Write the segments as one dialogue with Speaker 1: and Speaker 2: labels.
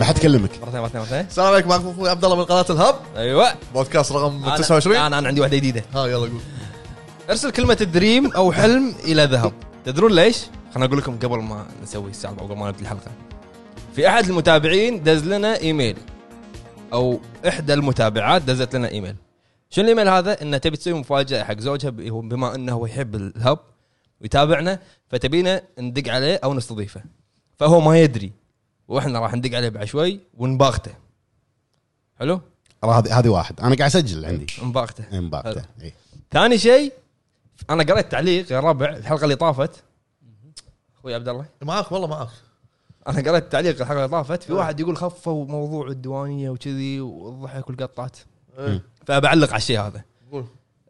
Speaker 1: اكلمك
Speaker 2: مره ثانيه مره ثانيه مره ثانيه
Speaker 1: السلام عليكم معكم اخوي عبد الله من قناه الهب
Speaker 2: ايوه
Speaker 1: بودكاست رقم
Speaker 2: أنا-
Speaker 1: 29
Speaker 2: انا انا عندي واحده جديده
Speaker 1: ها يلا قول
Speaker 2: ارسل كلمه دريم او حلم الى ذهب تدرون ليش؟ خلنا اقول لكم قبل ما نسوي السالفه أو قبل ما نبدا الحلقه في احد المتابعين دز لنا ايميل او احدى المتابعات دزت لنا ايميل شنو الايميل هذا؟ انه تبي تسوي مفاجاه حق زوجها ب- هو- بما انه هو يحب الهب ويتابعنا فتبينا ندق عليه او نستضيفه فهو ما يدري واحنا راح ندق عليه بعد شوي ونباغته حلو؟
Speaker 3: هذه هذه واحد انا قاعد اسجل عندي
Speaker 2: نباغته
Speaker 3: امبارح إيه.
Speaker 2: ثاني شيء انا قريت تعليق يا ربع الحلقه اللي طافت اخوي عبد الله
Speaker 1: معاك والله معاك
Speaker 2: انا قريت تعليق الحلقه اللي طافت في واحد يقول خفوا موضوع الديوانيه وكذي والضحك والقطات
Speaker 1: إيه.
Speaker 2: فبعلق على الشيء هذا
Speaker 1: قول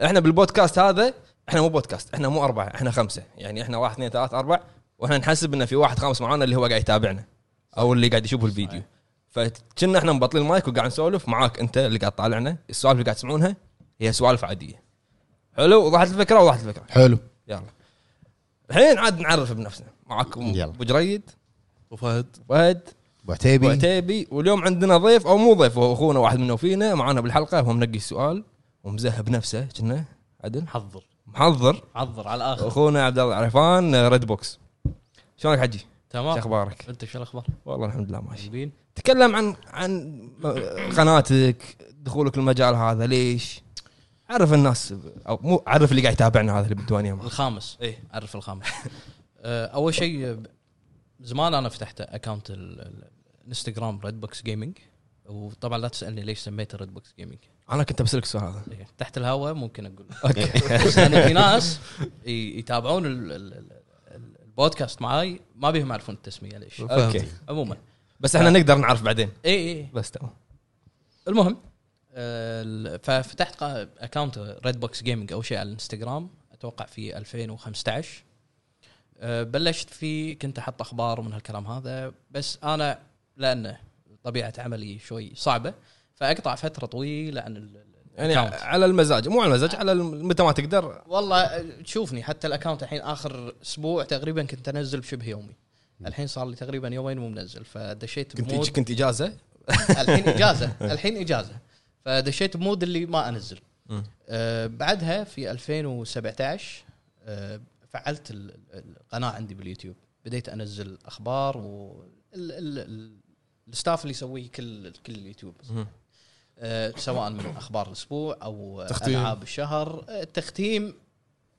Speaker 2: احنا بالبودكاست هذا احنا مو بودكاست احنا مو اربعه احنا خمسه يعني احنا واحد اثنين ثلاث اربع واحنا نحسب انه في واحد خامس معانا اللي هو قاعد يتابعنا او اللي قاعد يشوف الفيديو فكنا احنا مبطلين المايك وقاعد نسولف معاك انت اللي قاعد طالعنا السوالف اللي قاعد تسمعونها هي سوالف عاديه حلو وضحت الفكره وضحت الفكره
Speaker 3: حلو
Speaker 2: يلا الحين عاد نعرف بنفسنا معكم
Speaker 3: يلا.
Speaker 2: ابو جريد
Speaker 1: وفهد
Speaker 2: وهد
Speaker 3: ابو عتيبي
Speaker 2: وعتيبي واليوم عندنا ضيف او مو ضيف هو اخونا واحد منه فينا معانا بالحلقه هو منقي السؤال ومزهب نفسه كنا عدل
Speaker 4: حضر
Speaker 2: محضر
Speaker 4: حضر على الاخر
Speaker 2: اخونا عبد الله عرفان آه، ريد بوكس شلونك حجي؟ شو
Speaker 4: تمام
Speaker 2: اخبارك؟
Speaker 4: انت شو الاخبار؟
Speaker 2: والله الحمد لله ماشي
Speaker 4: طيبين
Speaker 2: تكلم عن عن قناتك دخولك المجال هذا ليش؟ عرف الناس او مو عرف اللي قاعد يتابعنا هذا اللي بالديوانيه معه
Speaker 4: الخامس
Speaker 2: ايه
Speaker 4: عرف الخامس آه، اول شيء آه، زمان انا فتحت اكونت ال- ال- الانستغرام ريد بوكس جيمنج وطبعا لا تسالني ليش سميته ريد بوكس جيمنج
Speaker 2: انا كنت بسالك السؤال هذا
Speaker 4: إيه، تحت الهواء ممكن اقول
Speaker 2: اوكي
Speaker 4: بس لأن في ناس ي- يتابعون ال- ال- ال- ال- البودكاست معاي ما بيهم يعرفون التسميه ليش إيه،
Speaker 2: اوكي
Speaker 4: عموما
Speaker 2: بس احنا نقدر نعرف بعدين
Speaker 4: اي اي
Speaker 2: بس تمام
Speaker 4: المهم آه، ال- ففتحت اكونت ريد بوكس جيمنج اول شيء على الانستغرام اتوقع في 2015 آه، بلشت فيه كنت احط اخبار ومن هالكلام هذا بس انا لانه طبيعه عملي شوي صعبه فاقطع فتره طويله عن ال-
Speaker 2: يعني
Speaker 4: Account.
Speaker 2: على المزاج مو على المزاج على الم- متى ما تقدر
Speaker 4: والله تشوفني حتى الاكونت الحين اخر اسبوع تقريبا كنت انزل بشبه يومي الحين صار لي تقريبا يومين مو منزل فدشيت
Speaker 2: كنت
Speaker 4: بمود
Speaker 2: كنت اجازه
Speaker 4: الحين اجازه الحين اجازه فدشيت بمود اللي ما انزل
Speaker 2: مم.
Speaker 4: آه بعدها في 2017 آه فعلت ال- ال- القناه عندي باليوتيوب بديت انزل اخبار و ال- ال- ال- الستاف اللي يسويه كل كل اليوتيوب
Speaker 2: مم.
Speaker 4: آه سواء من اخبار الاسبوع او
Speaker 1: تختيم.
Speaker 4: تختيم. العاب الشهر آه، التختيم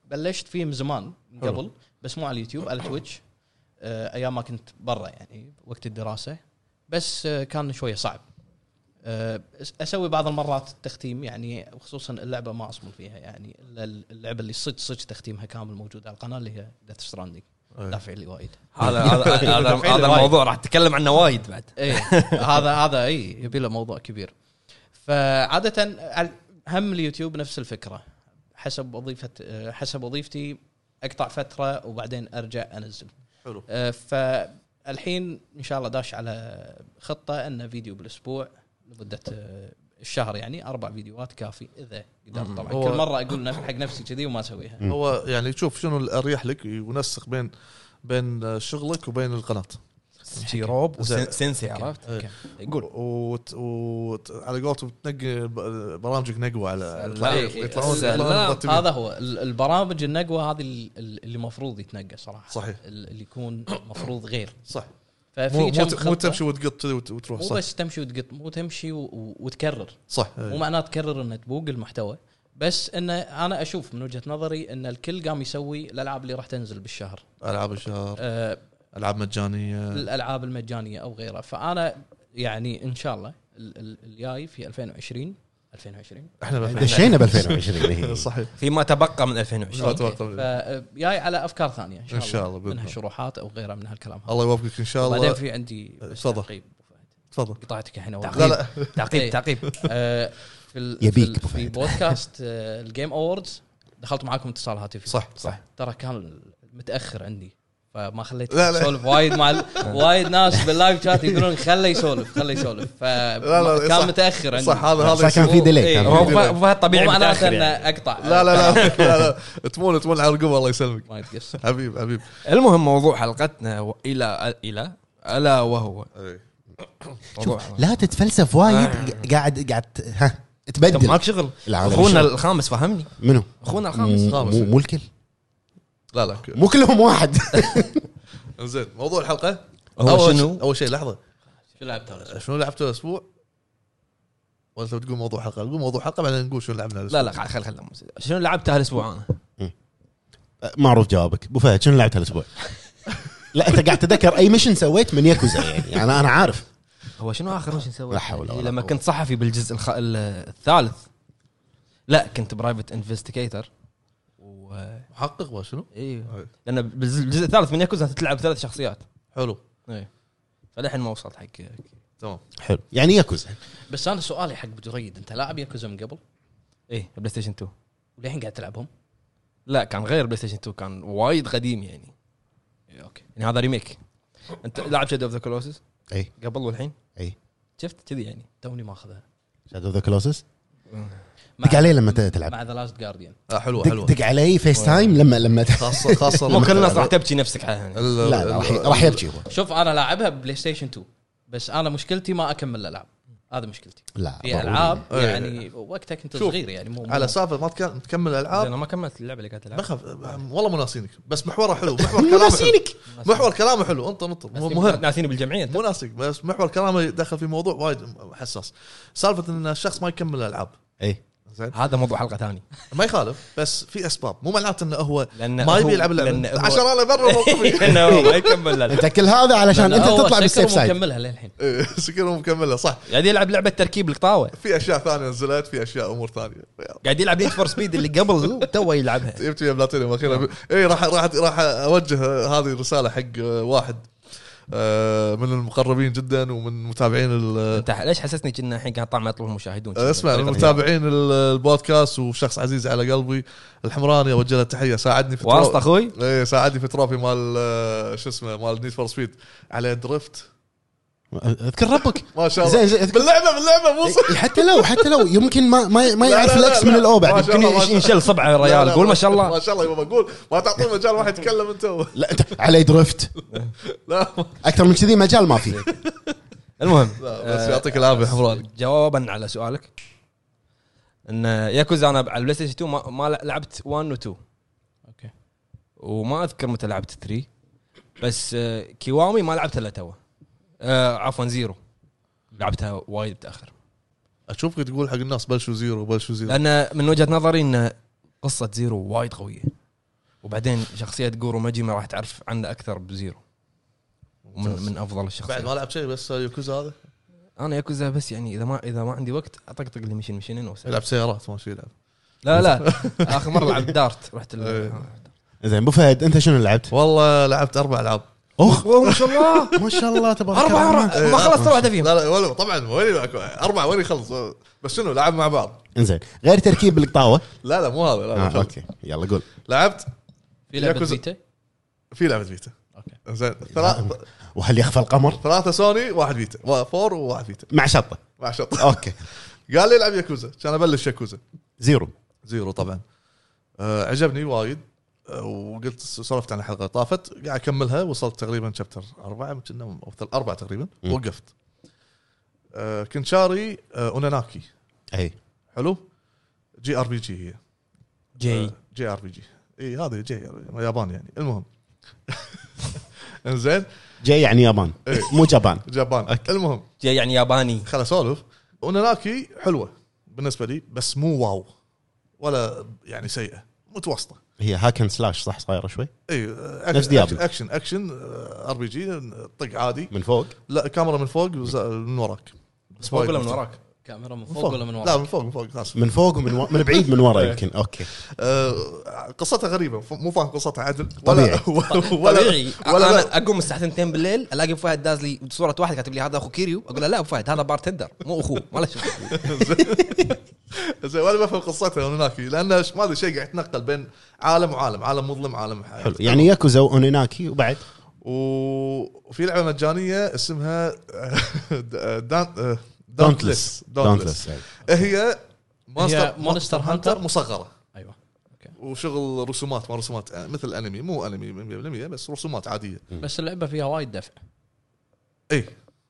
Speaker 4: بلشت فيه من زمان من
Speaker 2: حلو.
Speaker 4: قبل بس مو على اليوتيوب على تويتش آه، ايام ما كنت برا يعني وقت الدراسه بس آه، كان شويه صعب آه، أس- اسوي بعض المرات التختيم يعني وخصوصا اللعبه ما اصمل فيها يعني الا اللعبه اللي صدق صدق تختيمها كامل موجود على القناه اللي هي ديث ستراندنج
Speaker 1: أي.
Speaker 4: دافع لي وايد
Speaker 2: هذا هذا هذا- هذا الموضوع راح تتكلم عنه وايد بعد
Speaker 4: اي إيه، هذا هذا اي يبي له موضوع كبير فعاده على- هم اليوتيوب نفس الفكره حسب وظيفه آه، حسب وظيفتي اقطع فتره وبعدين ارجع انزل
Speaker 1: حلو.
Speaker 4: آه، فالحين ان شاء الله داش على خطه انه فيديو بالاسبوع لمده آه، الشهر يعني اربع فيديوهات كافي اذا قدرت طبعا
Speaker 1: هو-
Speaker 4: كل مره اقول نف- حق نفسي كذي وما اسويها
Speaker 1: هو يعني شوف شنو الاريح لك ونسق بين بين شغلك وبين القناه
Speaker 2: سيروب
Speaker 1: زين.
Speaker 2: وسنسي عرفت
Speaker 4: أوكي.
Speaker 2: قول
Speaker 1: وت... وت... على قولتهم تنقي ب- برامجك نقوه على على-
Speaker 2: سلام.
Speaker 1: يطلعون- يطلعون
Speaker 2: سلام.
Speaker 1: يطلعون مرتبين.
Speaker 4: هذا هو ال- البرامج النقوه هذه ال- ال- اللي المفروض يتنقى صراحه
Speaker 1: صحيح.
Speaker 4: ال- اللي يكون المفروض غير
Speaker 1: صح
Speaker 4: ففي
Speaker 1: مو, مو,
Speaker 4: كم
Speaker 1: ت...
Speaker 4: خطة.
Speaker 1: مو تمشي وتقط كذي وت- وتروح
Speaker 4: مو
Speaker 1: صح
Speaker 4: بس تمشي وتقط مو تمشي و- و- وتكرر
Speaker 1: صح
Speaker 4: مو
Speaker 1: إيه.
Speaker 4: معناه تكرر ان تبوق المحتوى بس ان انا اشوف من وجهه نظري ان الكل قام يسوي الالعاب اللي راح تنزل بالشهر
Speaker 1: العاب الشهر
Speaker 4: أه
Speaker 1: العاب مجانيه
Speaker 4: الالعاب المجانيه او غيرها فانا يعني ان شاء الله ال- ال- الجاي في 2020 2020
Speaker 1: احنا ما-
Speaker 3: دشينا ب 2020 إيه.
Speaker 1: صحيح
Speaker 2: فيما تبقى من 2020
Speaker 1: لا تتوقع.
Speaker 4: فجاي آه، على افكار ثانيه ان شاء
Speaker 1: إن
Speaker 4: الله,
Speaker 1: شاء الله بإذن
Speaker 4: منها
Speaker 1: الله.
Speaker 4: شروحات او غيرها من هالكلام هذا
Speaker 1: الله يوفقك ان شاء
Speaker 4: بعدين
Speaker 1: الله آه،
Speaker 4: في عندي بس
Speaker 1: تفضل.
Speaker 4: تعقيب أبو فهد.
Speaker 1: تفضل
Speaker 4: قطعتك الحين أول.
Speaker 1: لا لا
Speaker 2: تعقيب
Speaker 4: إيه.
Speaker 2: تعقيب
Speaker 4: آه، في ال-
Speaker 3: يبيك
Speaker 4: في,
Speaker 3: أبو
Speaker 4: ال- في
Speaker 3: فهد.
Speaker 4: بودكاست آه، الجيم اووردز دخلت معاكم اتصال هاتفي
Speaker 1: صح صح
Speaker 4: ترى كان متاخر عندي فما خليت
Speaker 1: لا، لا.
Speaker 4: يسولف وايد مع ال- وايد ناس باللايف شات يقولون خله يسولف خله يسولف
Speaker 1: لا،
Speaker 4: فكان
Speaker 1: صح.
Speaker 4: متاخر عندي
Speaker 1: صح هذا
Speaker 3: بس
Speaker 1: هذا
Speaker 3: كان في ديلي
Speaker 4: إيه.
Speaker 3: كان
Speaker 2: هو
Speaker 3: في
Speaker 1: أوه.
Speaker 3: delay.
Speaker 2: فهد- فهد
Speaker 4: مو
Speaker 2: طبيعي
Speaker 4: معناته
Speaker 2: متأخر يعني.
Speaker 4: انه اقطع
Speaker 1: لا لا لا لا لا تمون تمون على القمه الله يسلمك
Speaker 4: ما يتقصر
Speaker 1: حبيب حبيب
Speaker 2: المهم موضوع حلقتنا و- الى الى الا وهو
Speaker 1: إيه.
Speaker 2: موضوع.
Speaker 3: لا تتفلسف وايد قاعد قاعد ت- ها
Speaker 2: آه. طب
Speaker 3: تبدل
Speaker 2: ماك شغل
Speaker 3: لا، هذا
Speaker 2: اخونا
Speaker 3: مش-
Speaker 2: الخامس فهمني
Speaker 3: منو؟
Speaker 2: اخونا الخامس
Speaker 3: مو مو- مو الكل
Speaker 1: لا لا ك-
Speaker 3: مو كلهم واحد
Speaker 1: زين موضوع الحلقه
Speaker 2: هو
Speaker 1: أول
Speaker 2: شنو؟
Speaker 1: اول شيء لحظه
Speaker 4: شو لعبت أنا؟
Speaker 1: شنو لعبته الاسبوع؟ ولا تبي تقول موضوع حلقه؟ نقول موضوع حلقه بعدين نقول شنو لعبنا الأسبوع.
Speaker 2: لا لا خل خل خل شنو لعبت هالاسبوع انا؟
Speaker 3: معروف جوابك ابو فهد شنو لعبت هالاسبوع؟ لا انت قاعد تذكر اي ميشن سويت من ياكوزا يعني انا انا عارف
Speaker 2: هو شنو اخر مش نسوي؟ إيه،
Speaker 3: لا حول ولا
Speaker 2: لما
Speaker 3: قوة.
Speaker 2: كنت صحفي بالجزء الخ... ال- الثالث لا كنت برايفت انفستيجيتر و
Speaker 1: محقق ولا شنو؟
Speaker 2: ايوه لان بالز- بالجزء الثالث من ياكوزا تلعب ثلاث شخصيات
Speaker 1: حلو
Speaker 2: فلحين ما وصلت حق
Speaker 1: تمام
Speaker 3: حلو يعني ياكوزا
Speaker 4: بس انا سؤالي حق أبو جريد انت لاعب ياكوزا من قبل
Speaker 2: ايه بلاي ستيشن 2
Speaker 4: وللحين قاعد تلعبهم؟
Speaker 2: لا كان غير بلاي ستيشن 2 كان وايد قديم يعني
Speaker 4: إيه، اوكي
Speaker 2: يعني هذا ريميك انت لاعب شادو اوف ذا كلوسس
Speaker 3: اي
Speaker 2: قبل والحين
Speaker 1: إيه.
Speaker 3: اي
Speaker 2: شفت كذي يعني
Speaker 4: توني ماخذها
Speaker 3: شادو ذا كلوسس
Speaker 4: مع-
Speaker 3: دق عليه لما ت- تلعب
Speaker 4: مع ذا لاست جارديان
Speaker 1: آه حلوه
Speaker 3: دق
Speaker 1: حلوه
Speaker 3: دق عليه فيس تايم لما لما ت-
Speaker 1: خاصه خاصه
Speaker 2: مو
Speaker 1: لما-
Speaker 2: كل الناس راح تبكي نفسك عليها يعني.
Speaker 1: ال-
Speaker 3: لا لا
Speaker 1: ال-
Speaker 3: راح ي- راح يبكي هو
Speaker 4: شوف انا لاعبها ببلاي ستيشن 2 بس انا مشكلتي ما اكمل الالعاب هذا مشكلتي
Speaker 3: لا
Speaker 4: في
Speaker 3: ضروري.
Speaker 4: العاب
Speaker 1: إيه.
Speaker 4: يعني وقتها كنت
Speaker 1: شوف،
Speaker 4: صغير يعني مو مو-
Speaker 1: على سالفه ما تك- تكمل
Speaker 2: زين،
Speaker 1: الالعاب
Speaker 2: انا ما كملت اللعبه اللي قاعد العبها
Speaker 1: بخاف والله مناسينك بس محوره حلو محور كلامه حلو محور كلامه حلو انطر انطر مو مهم
Speaker 2: ناسيني بالجمعيه انت
Speaker 1: مناسب بس محور كلامه دخل في موضوع وايد حساس سالفه ان الشخص ما يكمل الالعاب
Speaker 3: اي
Speaker 1: زين
Speaker 2: هذا موضوع حلقه ثانيه
Speaker 1: ما يخالف بس في اسباب مو معناته انه هو
Speaker 2: لأن
Speaker 1: ما
Speaker 2: هو-
Speaker 1: يبي يلعب اللعبه
Speaker 2: لأن هو-
Speaker 1: عشان انا برا موقفي
Speaker 2: انه هو ما يكمل لا
Speaker 3: انت كل هذا علشان
Speaker 4: لأن
Speaker 3: انت
Speaker 4: هو
Speaker 3: تطلع
Speaker 4: سكر
Speaker 3: بالسيف سايد
Speaker 4: ومكملها للحين
Speaker 1: إيه، سكيرو مكمله صح
Speaker 2: قاعد يلعب لعبه تركيب القطاوه
Speaker 1: في اشياء ثانيه نزلت في اشياء امور ثانيه يلا.
Speaker 2: قاعد يلعب نيد فور سبيد اللي قبل توه يلعبها
Speaker 1: جبت ويا بلاتينيوم
Speaker 2: آه.
Speaker 1: اخيرا اي راح راح راح اوجه هذه الرساله حق واحد آه، من المقربين جدا ومن متابعين ال-
Speaker 2: انت ليش حسسني كنا الحين قاعد طعم يطلب المشاهدون
Speaker 1: اسمع
Speaker 2: طريقة-
Speaker 1: المتابعين ال- البودكاست وشخص عزيز على قلبي الحمراني اوجه له تحيه ساعدني في
Speaker 2: واسطه
Speaker 1: الترو-
Speaker 2: اخوي
Speaker 1: ايه ساعدني في تروفي مال آه، شو اسمه مال نيد فور سبيد على درفت
Speaker 3: اذكر ربك
Speaker 1: ما شاء الله
Speaker 3: زين زين اذكر-
Speaker 1: باللعبه باللعبه
Speaker 2: إيه.
Speaker 1: مو صح
Speaker 3: حتى لو حتى لو يمكن ما ما, ما
Speaker 1: لا،
Speaker 3: يعرف
Speaker 1: لا، لا،
Speaker 3: الاكس
Speaker 1: لا.
Speaker 3: من الاو
Speaker 1: ما
Speaker 3: بعد
Speaker 1: شاء
Speaker 2: يمكن
Speaker 1: الله، ما
Speaker 2: يش-
Speaker 1: شاء-
Speaker 2: ينشل صبع
Speaker 1: لا،
Speaker 2: الريال
Speaker 1: لا،
Speaker 2: قول ما شاء
Speaker 1: ما
Speaker 2: الله
Speaker 1: شاء الله يبا بقول ما تعطيه مجال واحد يتكلم انت
Speaker 3: لا انت علي درفت
Speaker 1: لا
Speaker 3: اكثر من كذي مجال ما في
Speaker 2: المهم
Speaker 1: لا، بس يعطيك العافيه حمراني
Speaker 2: جوابا على سؤالك ان ياكوزا انا على البلاي ستيشن 2 ما, ما لعبت 1 و 2
Speaker 4: اوكي
Speaker 2: وما اذكر متى لعبت 3 بس آه، كيوامي ما لعبتها الا توه آه، عفوا زيرو لعبتها وايد متاخر
Speaker 1: اشوفك تقول حق الناس بلشوا زيرو بلشوا زيرو
Speaker 2: لان من وجهه نظري ان قصه زيرو وايد قويه وبعدين شخصيه جورو ماجيما راح تعرف عنه اكثر بزيرو من, من افضل
Speaker 1: بعد ما
Speaker 2: الشخصيات
Speaker 1: لعب شيء بس يوكوزا هذا
Speaker 2: انا ياكوزا بس يعني اذا ما اذا ما عندي وقت اطقطق لي مشين مشينين وأوسع.
Speaker 1: يلعب سيارات ما شي يلعب
Speaker 2: لا لا اخر مره لعبت دارت رحت ال- آه.
Speaker 1: إيه.
Speaker 3: زين ابو فهد انت شنو لعبت؟
Speaker 1: والله لعبت اربع العاب
Speaker 3: اخ
Speaker 2: أوه، ما شاء الله
Speaker 3: ما شاء الله تبارك
Speaker 2: اربعه
Speaker 3: الرحمن.
Speaker 1: إيه.
Speaker 2: أربعة. ما خلصت ولا واحده
Speaker 1: لا
Speaker 2: فيهم
Speaker 1: لا ولا طبعا وين اربع وين يخلص بس شنو لعب مع بعض
Speaker 3: انزين غير تركيب القطاوه
Speaker 1: لا لا مو هذا لا لا
Speaker 3: آه
Speaker 1: خلص.
Speaker 3: اوكي يلا قول
Speaker 1: لعبت
Speaker 4: في لعبه
Speaker 1: ياكوزا.
Speaker 4: فيتا
Speaker 1: في لعبه فيتا
Speaker 4: اوكي
Speaker 1: زين ثلاث-
Speaker 3: وهل يخفى القمر
Speaker 1: ثلاثه سوني واحد فيتا وا- فور وواحد فيتا
Speaker 3: مع شطه
Speaker 1: مع شط
Speaker 3: اوكي
Speaker 1: قال لي العب ياكوزا كان ابلش ياكوزا
Speaker 3: زيرو
Speaker 1: زيرو طبعا آه عجبني وايد آه وقلت سولفت عن الحلقه اللي طافت قاعد اكملها وصلت تقريبا شابتر اربعه يمكن او ثل- اربعه تقريبا
Speaker 3: مم.
Speaker 1: وقفت آه كنت شاري آه اوناناكي
Speaker 3: اي
Speaker 1: حلو جي ار بي جي هي آه،
Speaker 2: جي
Speaker 1: جي ار بي جي اي هذه جي يابان يعني المهم انزين
Speaker 3: جاي يعني يابان
Speaker 1: إيه.
Speaker 3: مو جابان
Speaker 1: جابان المهم
Speaker 2: جي يعني ياباني
Speaker 1: خل اسولف اوناناكي حلوه بالنسبه لي بس مو واو ولا يعني سيئه متوسطه
Speaker 3: هي هاكن سلاش صح صايره شوي
Speaker 1: اي
Speaker 3: نفس ديابلو.
Speaker 1: اكشن اكشن ار بي جي طق عادي
Speaker 3: من فوق
Speaker 1: لا كاميرا من فوق وز- من وراك
Speaker 2: بس فوق ولا من وراك
Speaker 4: كاميرا من فوق ولا من
Speaker 1: لا
Speaker 4: ورا
Speaker 1: من فوق من فوق خلاص
Speaker 3: من فوق ومن و... من بعيد من
Speaker 1: إيه.
Speaker 3: ورا يمكن اوكي
Speaker 1: آه، قصتها غريبه ف- مو فاهم قصتها عدل
Speaker 3: طبيعي.
Speaker 1: ولا
Speaker 2: طبيعي
Speaker 1: ولا ولا لا.
Speaker 2: انا اقوم الساعه 2 بالليل الاقي ابو فهد داز لي صوره واحد كاتب لي هذا اخو كيريو اقول له لا ابو فهد هذا بارتندر مو اخوه ما له شغل
Speaker 1: زين ولا بفهم قصتها من هناك لان ش- ما ادري شيء قاعد يتنقل بين عالم وعالم عالم مظلم عالم حياة.
Speaker 3: حلو يعني ياكوزا واونيناكي وبعد
Speaker 1: وفي لعبه مجانيه اسمها آه، دان
Speaker 3: دونتلس
Speaker 1: دونتلس
Speaker 3: دونتلس
Speaker 1: هي
Speaker 4: هي
Speaker 1: مونستر
Speaker 4: مونستر
Speaker 1: مونستر
Speaker 4: هانتر.
Speaker 1: هانتر مصغره
Speaker 4: ايوه
Speaker 1: وشغل رسومات ما رسومات آه، مثل انمي مو انمي 100% بس رسومات عاديه
Speaker 4: بس اللعبه فيها وايد دفع
Speaker 1: اي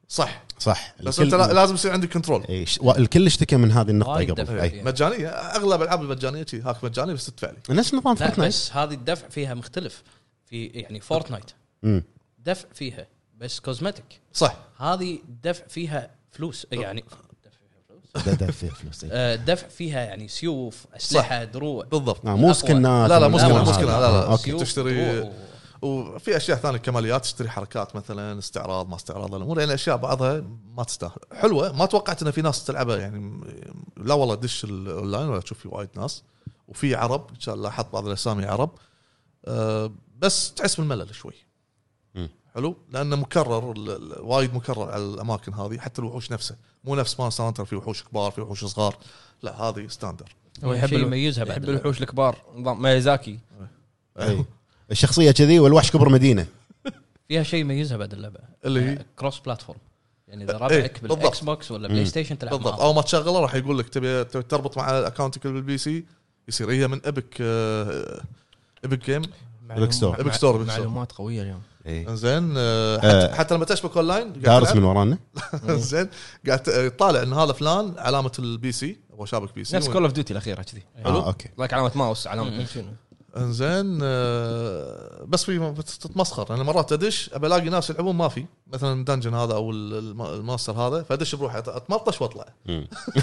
Speaker 1: صح
Speaker 3: صح
Speaker 1: بس انت
Speaker 3: الكل-
Speaker 1: لا- لازم يصير عندك كنترول
Speaker 3: يعني إي، ش- وا- الكل اشتكى من هذه النقطه
Speaker 4: وايد
Speaker 3: قبل
Speaker 4: دفع.
Speaker 3: أي.
Speaker 4: إي.
Speaker 1: مجانيه اغلب العاب المجانيه شي هاك مجاني بس تدفع لي
Speaker 3: نفس نظام
Speaker 4: لا
Speaker 3: فورتنايت
Speaker 4: بس هذه الدفع فيها مختلف في يعني فورتنايت
Speaker 3: مم.
Speaker 4: دفع فيها بس كوزمتيك
Speaker 1: صح
Speaker 4: هذه الدفع فيها فلوس يعني
Speaker 3: ده- ده فيه فلوس إيه. إي.
Speaker 4: آه، دفع فيها يعني سيوف اسلحه دروع
Speaker 1: بالضبط
Speaker 3: آه، مو سكنات
Speaker 1: لا، لا، مو
Speaker 3: ولا-
Speaker 1: سكنات، مو سكنات، لا، لا.
Speaker 3: آه، اوكي
Speaker 4: سيوف،
Speaker 1: تشتري-
Speaker 4: دروع و-
Speaker 1: وفي اشياء ثانيه كماليات تشتري حركات مثلا استعراض ما استعراض الامور يعني اشياء بعضها ما تستاهل حلوه ما توقعت ان في ناس تلعبها يعني م- لا والله دش الاونلاين ولا تشوف في وايد ناس وفي عرب إن شاء الله لاحظت بعض الاسامي عرب أه بس تحس بالملل شوي
Speaker 3: مم.
Speaker 1: حلو لانه مكرر ال- ال- وايد مكرر على الاماكن هذه حتى الوحوش نفسها مو نفس ما سانتر في وحوش كبار في وحوش صغار لا هذه ستاندر
Speaker 4: هو يحب
Speaker 2: شيء
Speaker 4: يعني يميزها بعد
Speaker 2: يحب الوحوش الكبار نظام ميازاكي
Speaker 3: إي. الشخصيه إيه. كذي والوحش كبر مدينه
Speaker 4: فيها شيء يميزها بعد اللعبه
Speaker 1: اللي هي؟
Speaker 4: آه، كروس بلاتفورم يعني اذا
Speaker 1: إيه،
Speaker 4: ربعك
Speaker 1: بالضبط.
Speaker 4: بالاكس بوكس ولا بلاي ستيشن تلعب
Speaker 1: بالضبط
Speaker 4: بالضبط
Speaker 1: اول ما تشغله راح يقول لك تبي تبي تربط مع اكونتك بالبي سي يصير هي من ابك آه، ابك جيم
Speaker 3: إبك ستور.
Speaker 1: إبك ستور، إبك ستور.
Speaker 2: معلومات قويه اليوم
Speaker 1: زين آه،
Speaker 3: آه.
Speaker 1: حتى, حتى لما تشبك اون لاين
Speaker 3: إيه. دارس من ورانا
Speaker 1: زين قاعد ت- طالع ان هذا فلان علامه البي سي هو شابك بي سي
Speaker 2: نفس كول اوف ديوتي الاخيره كذي
Speaker 3: اه اوكي
Speaker 2: لايك علامه ماوس
Speaker 1: إيه.
Speaker 2: علامه شنو
Speaker 1: انزين آه، بس في بت- تتمسخر انا مرات ادش ابى الاقي ناس يلعبون ما في مثلا الدنجن هذا او ال- الم- الماستر هذا فادش بروحي أت- اتمطش واطلع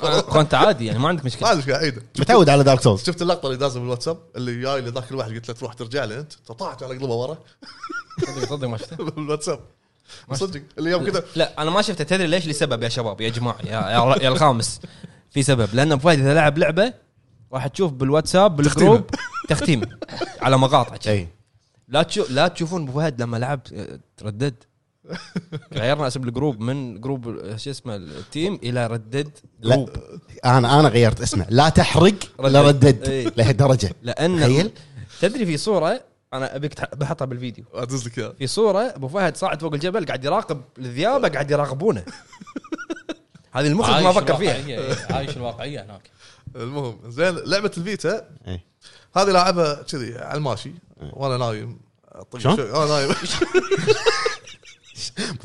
Speaker 2: اخوان انت عادي يعني ما عندك
Speaker 1: ما
Speaker 2: مشكله
Speaker 1: ادري قاعد اعيده
Speaker 3: متعود على دارك سولز
Speaker 1: شفت اللقطه اللي دازه بالواتساب اللي جاي لذاك الواحد قلت له تروح ترجع لي انت طلعت انا اقلبه ورا
Speaker 2: صدق صدق ما شفته
Speaker 1: بالواتساب
Speaker 2: ما
Speaker 1: صدق اللي يوم كذا
Speaker 2: لا انا ما شفته تدري ليش لسبب يا شباب يا جماعه يا, يا, يا الخامس في سبب لان أبو فهد اذا لعب لعبه راح تشوف بالواتساب بالجروب تختيم على مقاطع كذي.
Speaker 3: اي
Speaker 2: لا تشوف لا تشوفون ابو فهد لما لعب آه، تردد غيرنا اسم الجروب من جروب آه، شو اسمه التيم الى ردد
Speaker 3: لا
Speaker 2: جروب
Speaker 3: انا انا غيرت اسمه لا تحرق لا
Speaker 2: ردد.
Speaker 3: ردد
Speaker 2: إي.
Speaker 3: لهالدرجه
Speaker 2: لان
Speaker 3: تخيل.
Speaker 2: تدري في صوره انا ابيك تح- بحطها بالفيديو
Speaker 1: ادز لك اياه
Speaker 2: في صوره ابو فهد صاعد فوق الجبل قاعد يراقب الذئاب قاعد يراقبونه هذه المخرج ما فكر فيها
Speaker 4: إيه، عايش الواقعيه هناك
Speaker 1: المهم زين لعبه الفيتا
Speaker 3: إي.
Speaker 1: هذه لعبها كذي على الماشي وانا نايم أطق
Speaker 3: شلون؟
Speaker 1: شوي- انا نايم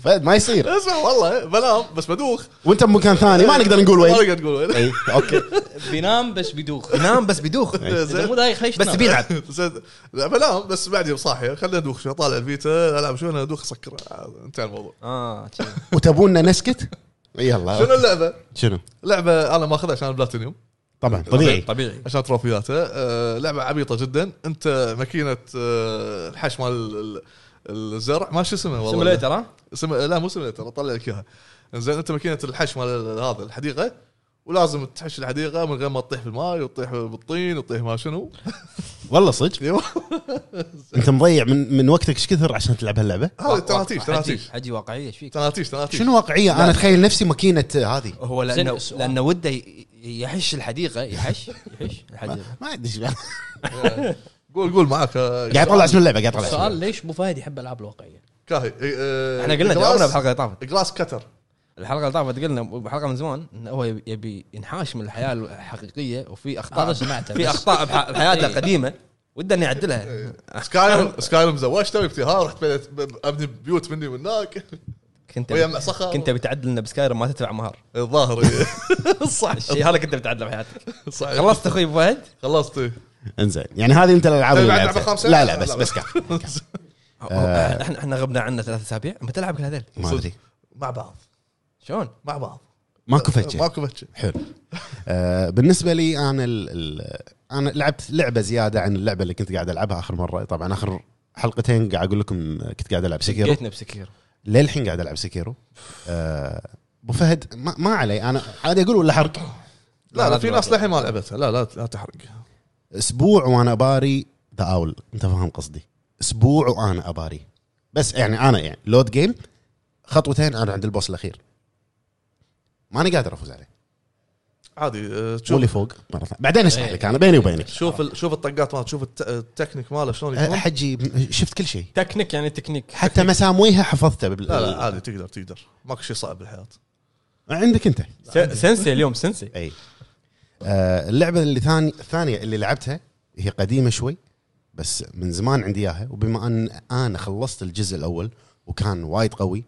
Speaker 3: فهد ما يصير
Speaker 1: اسمع والله بنام بس بدوخ
Speaker 3: وانت بمكان ثاني إيه، ما نقدر نقول وين إيه،
Speaker 1: ما نقدر نقول وين
Speaker 3: اي اوكي
Speaker 4: بينام بس بيدوخ
Speaker 2: ينام بس بيدوخ
Speaker 4: اذا مو
Speaker 1: زين
Speaker 4: دايخ ليش
Speaker 2: بس
Speaker 4: تنام؟
Speaker 2: بيلعب
Speaker 1: زين لا بنام بس بعدين صاحي خلينا ندوخ شوي طالع الفيتا العب شوي انا ادوخ اسكر آه، انتهى الموضوع
Speaker 2: اه شي.
Speaker 3: وتبونا نسكت يلا
Speaker 1: شنو
Speaker 3: أوكي.
Speaker 1: اللعبه؟
Speaker 3: شنو
Speaker 1: لعبه انا ماخذها عشان البلاتينيوم
Speaker 3: طبعا طبيعي
Speaker 2: طبيعي
Speaker 1: عشان تروفياته آه، لعبه عبيطه جدا انت ماكينه آه، الحش مال ال- ال- الزرع ما شو اسمه والله
Speaker 2: سيموليتر ها
Speaker 1: سم... لا مو سيميليتر اطلع لك اياها زين انت ماكينه الحش مال ال- هذا الحديقه ولازم تحش الحديقه من غير ما تطيح بالماي وتطيح بالطين وتطيح ما شنو
Speaker 3: والله صدق
Speaker 1: أيوه.
Speaker 3: انت مضيع من من وقتك ايش كثر عشان تلعب هاللعبه
Speaker 1: هذه تناتيش تناتيش
Speaker 2: حجي واقعيه ايش فيك
Speaker 1: تناتيش تناتيش
Speaker 3: شنو واقعيه انا اتخيل نفسي ماكينه هذه
Speaker 2: هو
Speaker 4: زين،
Speaker 2: لانه
Speaker 4: السؤال.
Speaker 2: لانه وده ي- يحش الحديقه يحش يحش الحديقه
Speaker 3: ما ادري إيش-
Speaker 1: قول قول معاك آه،
Speaker 3: قاعد يطلع اسم اللعبه قاعد يطلع اسم
Speaker 4: السؤال
Speaker 3: اللعبة.
Speaker 4: ليش ابو فهد يحب العاب الواقعيه؟
Speaker 1: كاهي إيه،
Speaker 2: احنا قلنا جاوبنا بالحلقه اللي طافت
Speaker 1: جلاس كتر
Speaker 2: الحلقه اللي طافت قلنا بحلقه من زمان انه هو يبي- يبي ينحاش من الحياه الحقيقيه وفي
Speaker 3: آه،
Speaker 4: هذا
Speaker 2: اخطاء
Speaker 4: سمعته
Speaker 2: في
Speaker 4: بس
Speaker 2: اخطاء بح- بحياته
Speaker 4: آه. إيه.
Speaker 2: قديمه وده اني اعدلها
Speaker 1: سكايرم سكايرم زوجته ابتهار رحت بنيت- ب- ابني بيوت مني ومناك
Speaker 2: كنت
Speaker 1: ويجمع صخر
Speaker 2: كنت بتعدلنا بسكاير ما تدفع مهر
Speaker 1: الظاهر إيه.
Speaker 2: صح الشيء هذا كنت بتعدله بحياتك
Speaker 1: صحيح.
Speaker 2: خلصت اخوي ابو فهد
Speaker 1: خلصت إيه.
Speaker 3: انزين يعني هذه انت الالعاب اللي
Speaker 1: طيب، بعد لعبة
Speaker 3: لعبتها.
Speaker 1: خامسة؟
Speaker 3: لا لا
Speaker 1: لا،
Speaker 3: بس
Speaker 1: لا.
Speaker 3: بس كاف آه.
Speaker 2: احنا احنا غبنا عنه ثلاث اسابيع متى لعب كل هذيل
Speaker 3: ما ادري
Speaker 1: مع بعض
Speaker 2: شلون
Speaker 1: مع بعض
Speaker 3: ماكو فتشه
Speaker 1: ماكو فتشه
Speaker 3: حلو آه بالنسبه لي انا ال ال انا لعبت لعبه زياده عن اللعبه اللي كنت قاعد العبها اخر مره طبعا اخر حلقتين قاعد اقول لكم كنت قاعد العب سكيرو
Speaker 2: جيتنا بسكير
Speaker 3: للحين قاعد العب سكيرو آه، ابو فهد ما, ما علي انا عادي اقول ولا حرق
Speaker 1: لا لا في
Speaker 2: لا،
Speaker 1: ناس
Speaker 2: لا.
Speaker 1: للحين ما لعبتها لا لا لا تحرق
Speaker 3: اسبوع وانا باري ذا اول انت فاهم قصدي اسبوع وانا اباري بس يعني انا يعني لود جيم خطوتين انا عند البوس الاخير ماني قادر افوز عليه
Speaker 1: عادي آه،
Speaker 3: مو
Speaker 1: تشوف
Speaker 3: اللي فوق مرة ثانية. بعدين اشرح لك انا بيني وبينك
Speaker 1: شوف ال- شوف الطقات ماله شوف الت- التكنيك ماله شلون
Speaker 3: أه،
Speaker 1: يكون
Speaker 3: حجي شفت كل شيء
Speaker 2: تكنيك يعني تكنيك
Speaker 3: حتى مسامويها حفظتها بال...
Speaker 1: إيه. لا لا عادي تقدر تقدر ماكو شيء صعب بالحياه
Speaker 3: عندك انت
Speaker 2: سنسي اليوم سنسي
Speaker 1: إيه.
Speaker 3: اي آه اللعبه اللي ثاني الثانيه اللي لعبتها هي قديمه شوي بس من زمان عندي اياها وبما ان انا خلصت الجزء الاول وكان وايد قوي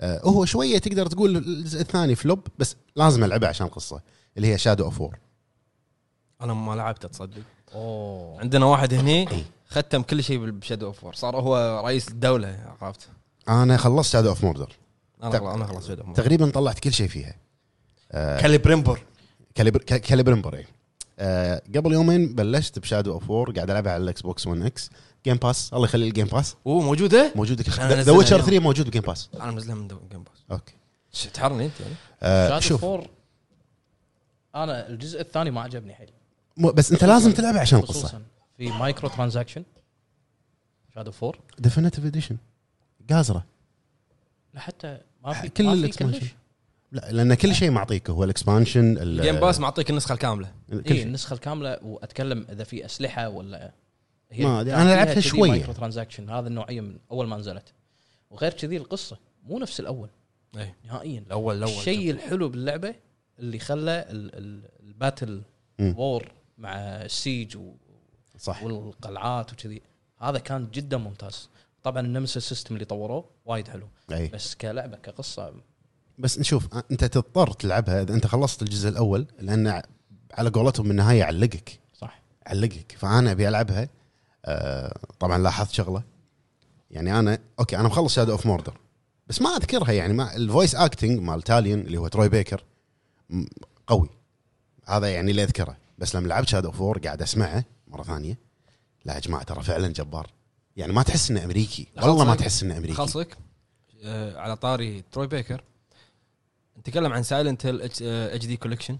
Speaker 3: آه، هو شويه تقدر تقول الجزء الثاني فلوب بس لازم العبه عشان قصه اللي هي شادو اوف وور
Speaker 2: انا ما لعبته تصدق
Speaker 4: اوه
Speaker 2: عندنا واحد هني ختم كل شيء بشادو اوف وور صار هو رئيس الدوله عرفت
Speaker 3: انا خلصت شادو اوف موردر
Speaker 2: انا
Speaker 3: تق-
Speaker 2: خلاص انا خلاص شادو اوف وور
Speaker 3: تقريبا طلعت كل شيء فيها آه،
Speaker 2: كاليبريمبر
Speaker 3: كاليبر ك- كاليبرمبر إيه. آه قبل يومين بلشت بشادو اوف وور قاعد العبها على الاكس بوكس 1 اكس جيم باس الله يخلي الجيم باس
Speaker 2: اوه موجوده؟
Speaker 3: موجوده كل شيء
Speaker 2: أنا
Speaker 3: ذا
Speaker 2: نزلها
Speaker 3: ويتشر
Speaker 2: اليوم.
Speaker 3: 3 موجود بجيم باس
Speaker 2: انا منزلها من جيم باس
Speaker 3: اوكي
Speaker 2: ش- تحرني انت يعني
Speaker 3: آه
Speaker 4: شوف
Speaker 3: شوف
Speaker 4: انا الجزء الثاني ما عجبني حيل
Speaker 3: مو- بس انت لازم تلعبها عشان القصه
Speaker 4: خصوصا في مايكرو ترانزاكشن شادو 4
Speaker 3: ديفينيتيف اديشن قازره
Speaker 4: لا حتى ما في
Speaker 3: كل
Speaker 4: ما في
Speaker 3: الإكسبانشن.
Speaker 4: كلش.
Speaker 3: لا لان كل شيء معطيك هو الاكسبانشن
Speaker 2: الجيم باس معطيك النسخه الكامله
Speaker 3: كل
Speaker 4: اي
Speaker 3: شيء
Speaker 4: النسخه الكامله واتكلم اذا في اسلحه ولا
Speaker 3: ما أدري،
Speaker 4: كان
Speaker 3: أنا
Speaker 4: فيها
Speaker 3: لعبتها
Speaker 4: كذي
Speaker 3: شوية.
Speaker 4: مايكرو ترانزاكشن هذا النوعيه من اول ما نزلت وغير كذي القصه مو نفس الاول
Speaker 2: اي
Speaker 4: نهائيا
Speaker 2: الاول الاول
Speaker 4: الشيء الحلو باللعبه اللي خلى ال- ال- الباتل
Speaker 3: مم.
Speaker 4: وور مع السيج و-
Speaker 3: صح
Speaker 4: والقلعات وكذي هذا كان جدا ممتاز طبعا النمس السيستم اللي طوروه وايد حلو
Speaker 3: اي
Speaker 4: بس كلعبه كقصه
Speaker 3: بس نشوف آه، انت تضطر تلعبها اذا انت خلصت الجزء الاول لان على قولتهم بالنهايه علقك
Speaker 4: صح
Speaker 3: علقك فانا ابي العبها آه طبعا لاحظت شغله يعني انا اوكي انا مخلص شادو اوف موردر بس ما اذكرها يعني ما الفويس اكتنج مال تاليون اللي هو تروي بيكر م- قوي هذا يعني اللي اذكره بس لما لعبت شادو اوف وور قاعد اسمعه مره ثانيه لا يا جماعه ترى فعلا جبار يعني ما تحس انه امريكي والله ما
Speaker 2: خلصك.
Speaker 3: تحس انه امريكي
Speaker 2: خاصك آه على طاري تروي بيكر نتكلم عن سايلنت هيل اتش دي كولكشن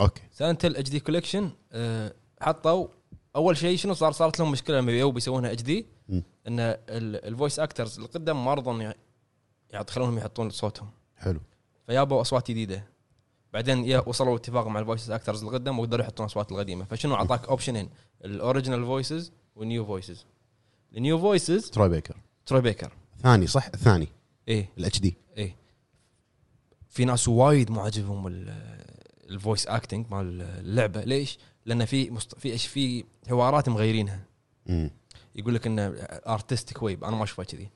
Speaker 3: اوكي
Speaker 2: سايلنت هيل اتش دي كولكشن آه، حطوا اول شيء شنو صار صارت لهم مشكله لما يبوا بيسوونها اتش دي
Speaker 3: مم.
Speaker 2: ان ال- الفويس اكترز اللي قدام ما رضوا إن يع- يخلونهم يحطون صوتهم
Speaker 3: حلو
Speaker 2: فيابوا اصوات جديده بعدين يا- وصلوا اتفاق مع الفويسز اكترز القدم وقدروا يحطون اصوات القديمه فشنو اعطاك اوبشنين الاوريجنال فويسز والنيو فويسز النيو فويسز
Speaker 3: تروي بيكر
Speaker 2: تروي بيكر
Speaker 3: ثاني صح الثاني
Speaker 2: ايه
Speaker 3: الاتش دي
Speaker 2: ايه في ناس وايد مو عاجبهم ال- الفويس اكتنج مال اللعبه ليش؟ لان في مست... في إيش- في حوارات مغيرينها يقول لك انه ارتستيك ويب انا ما اشوفها كذي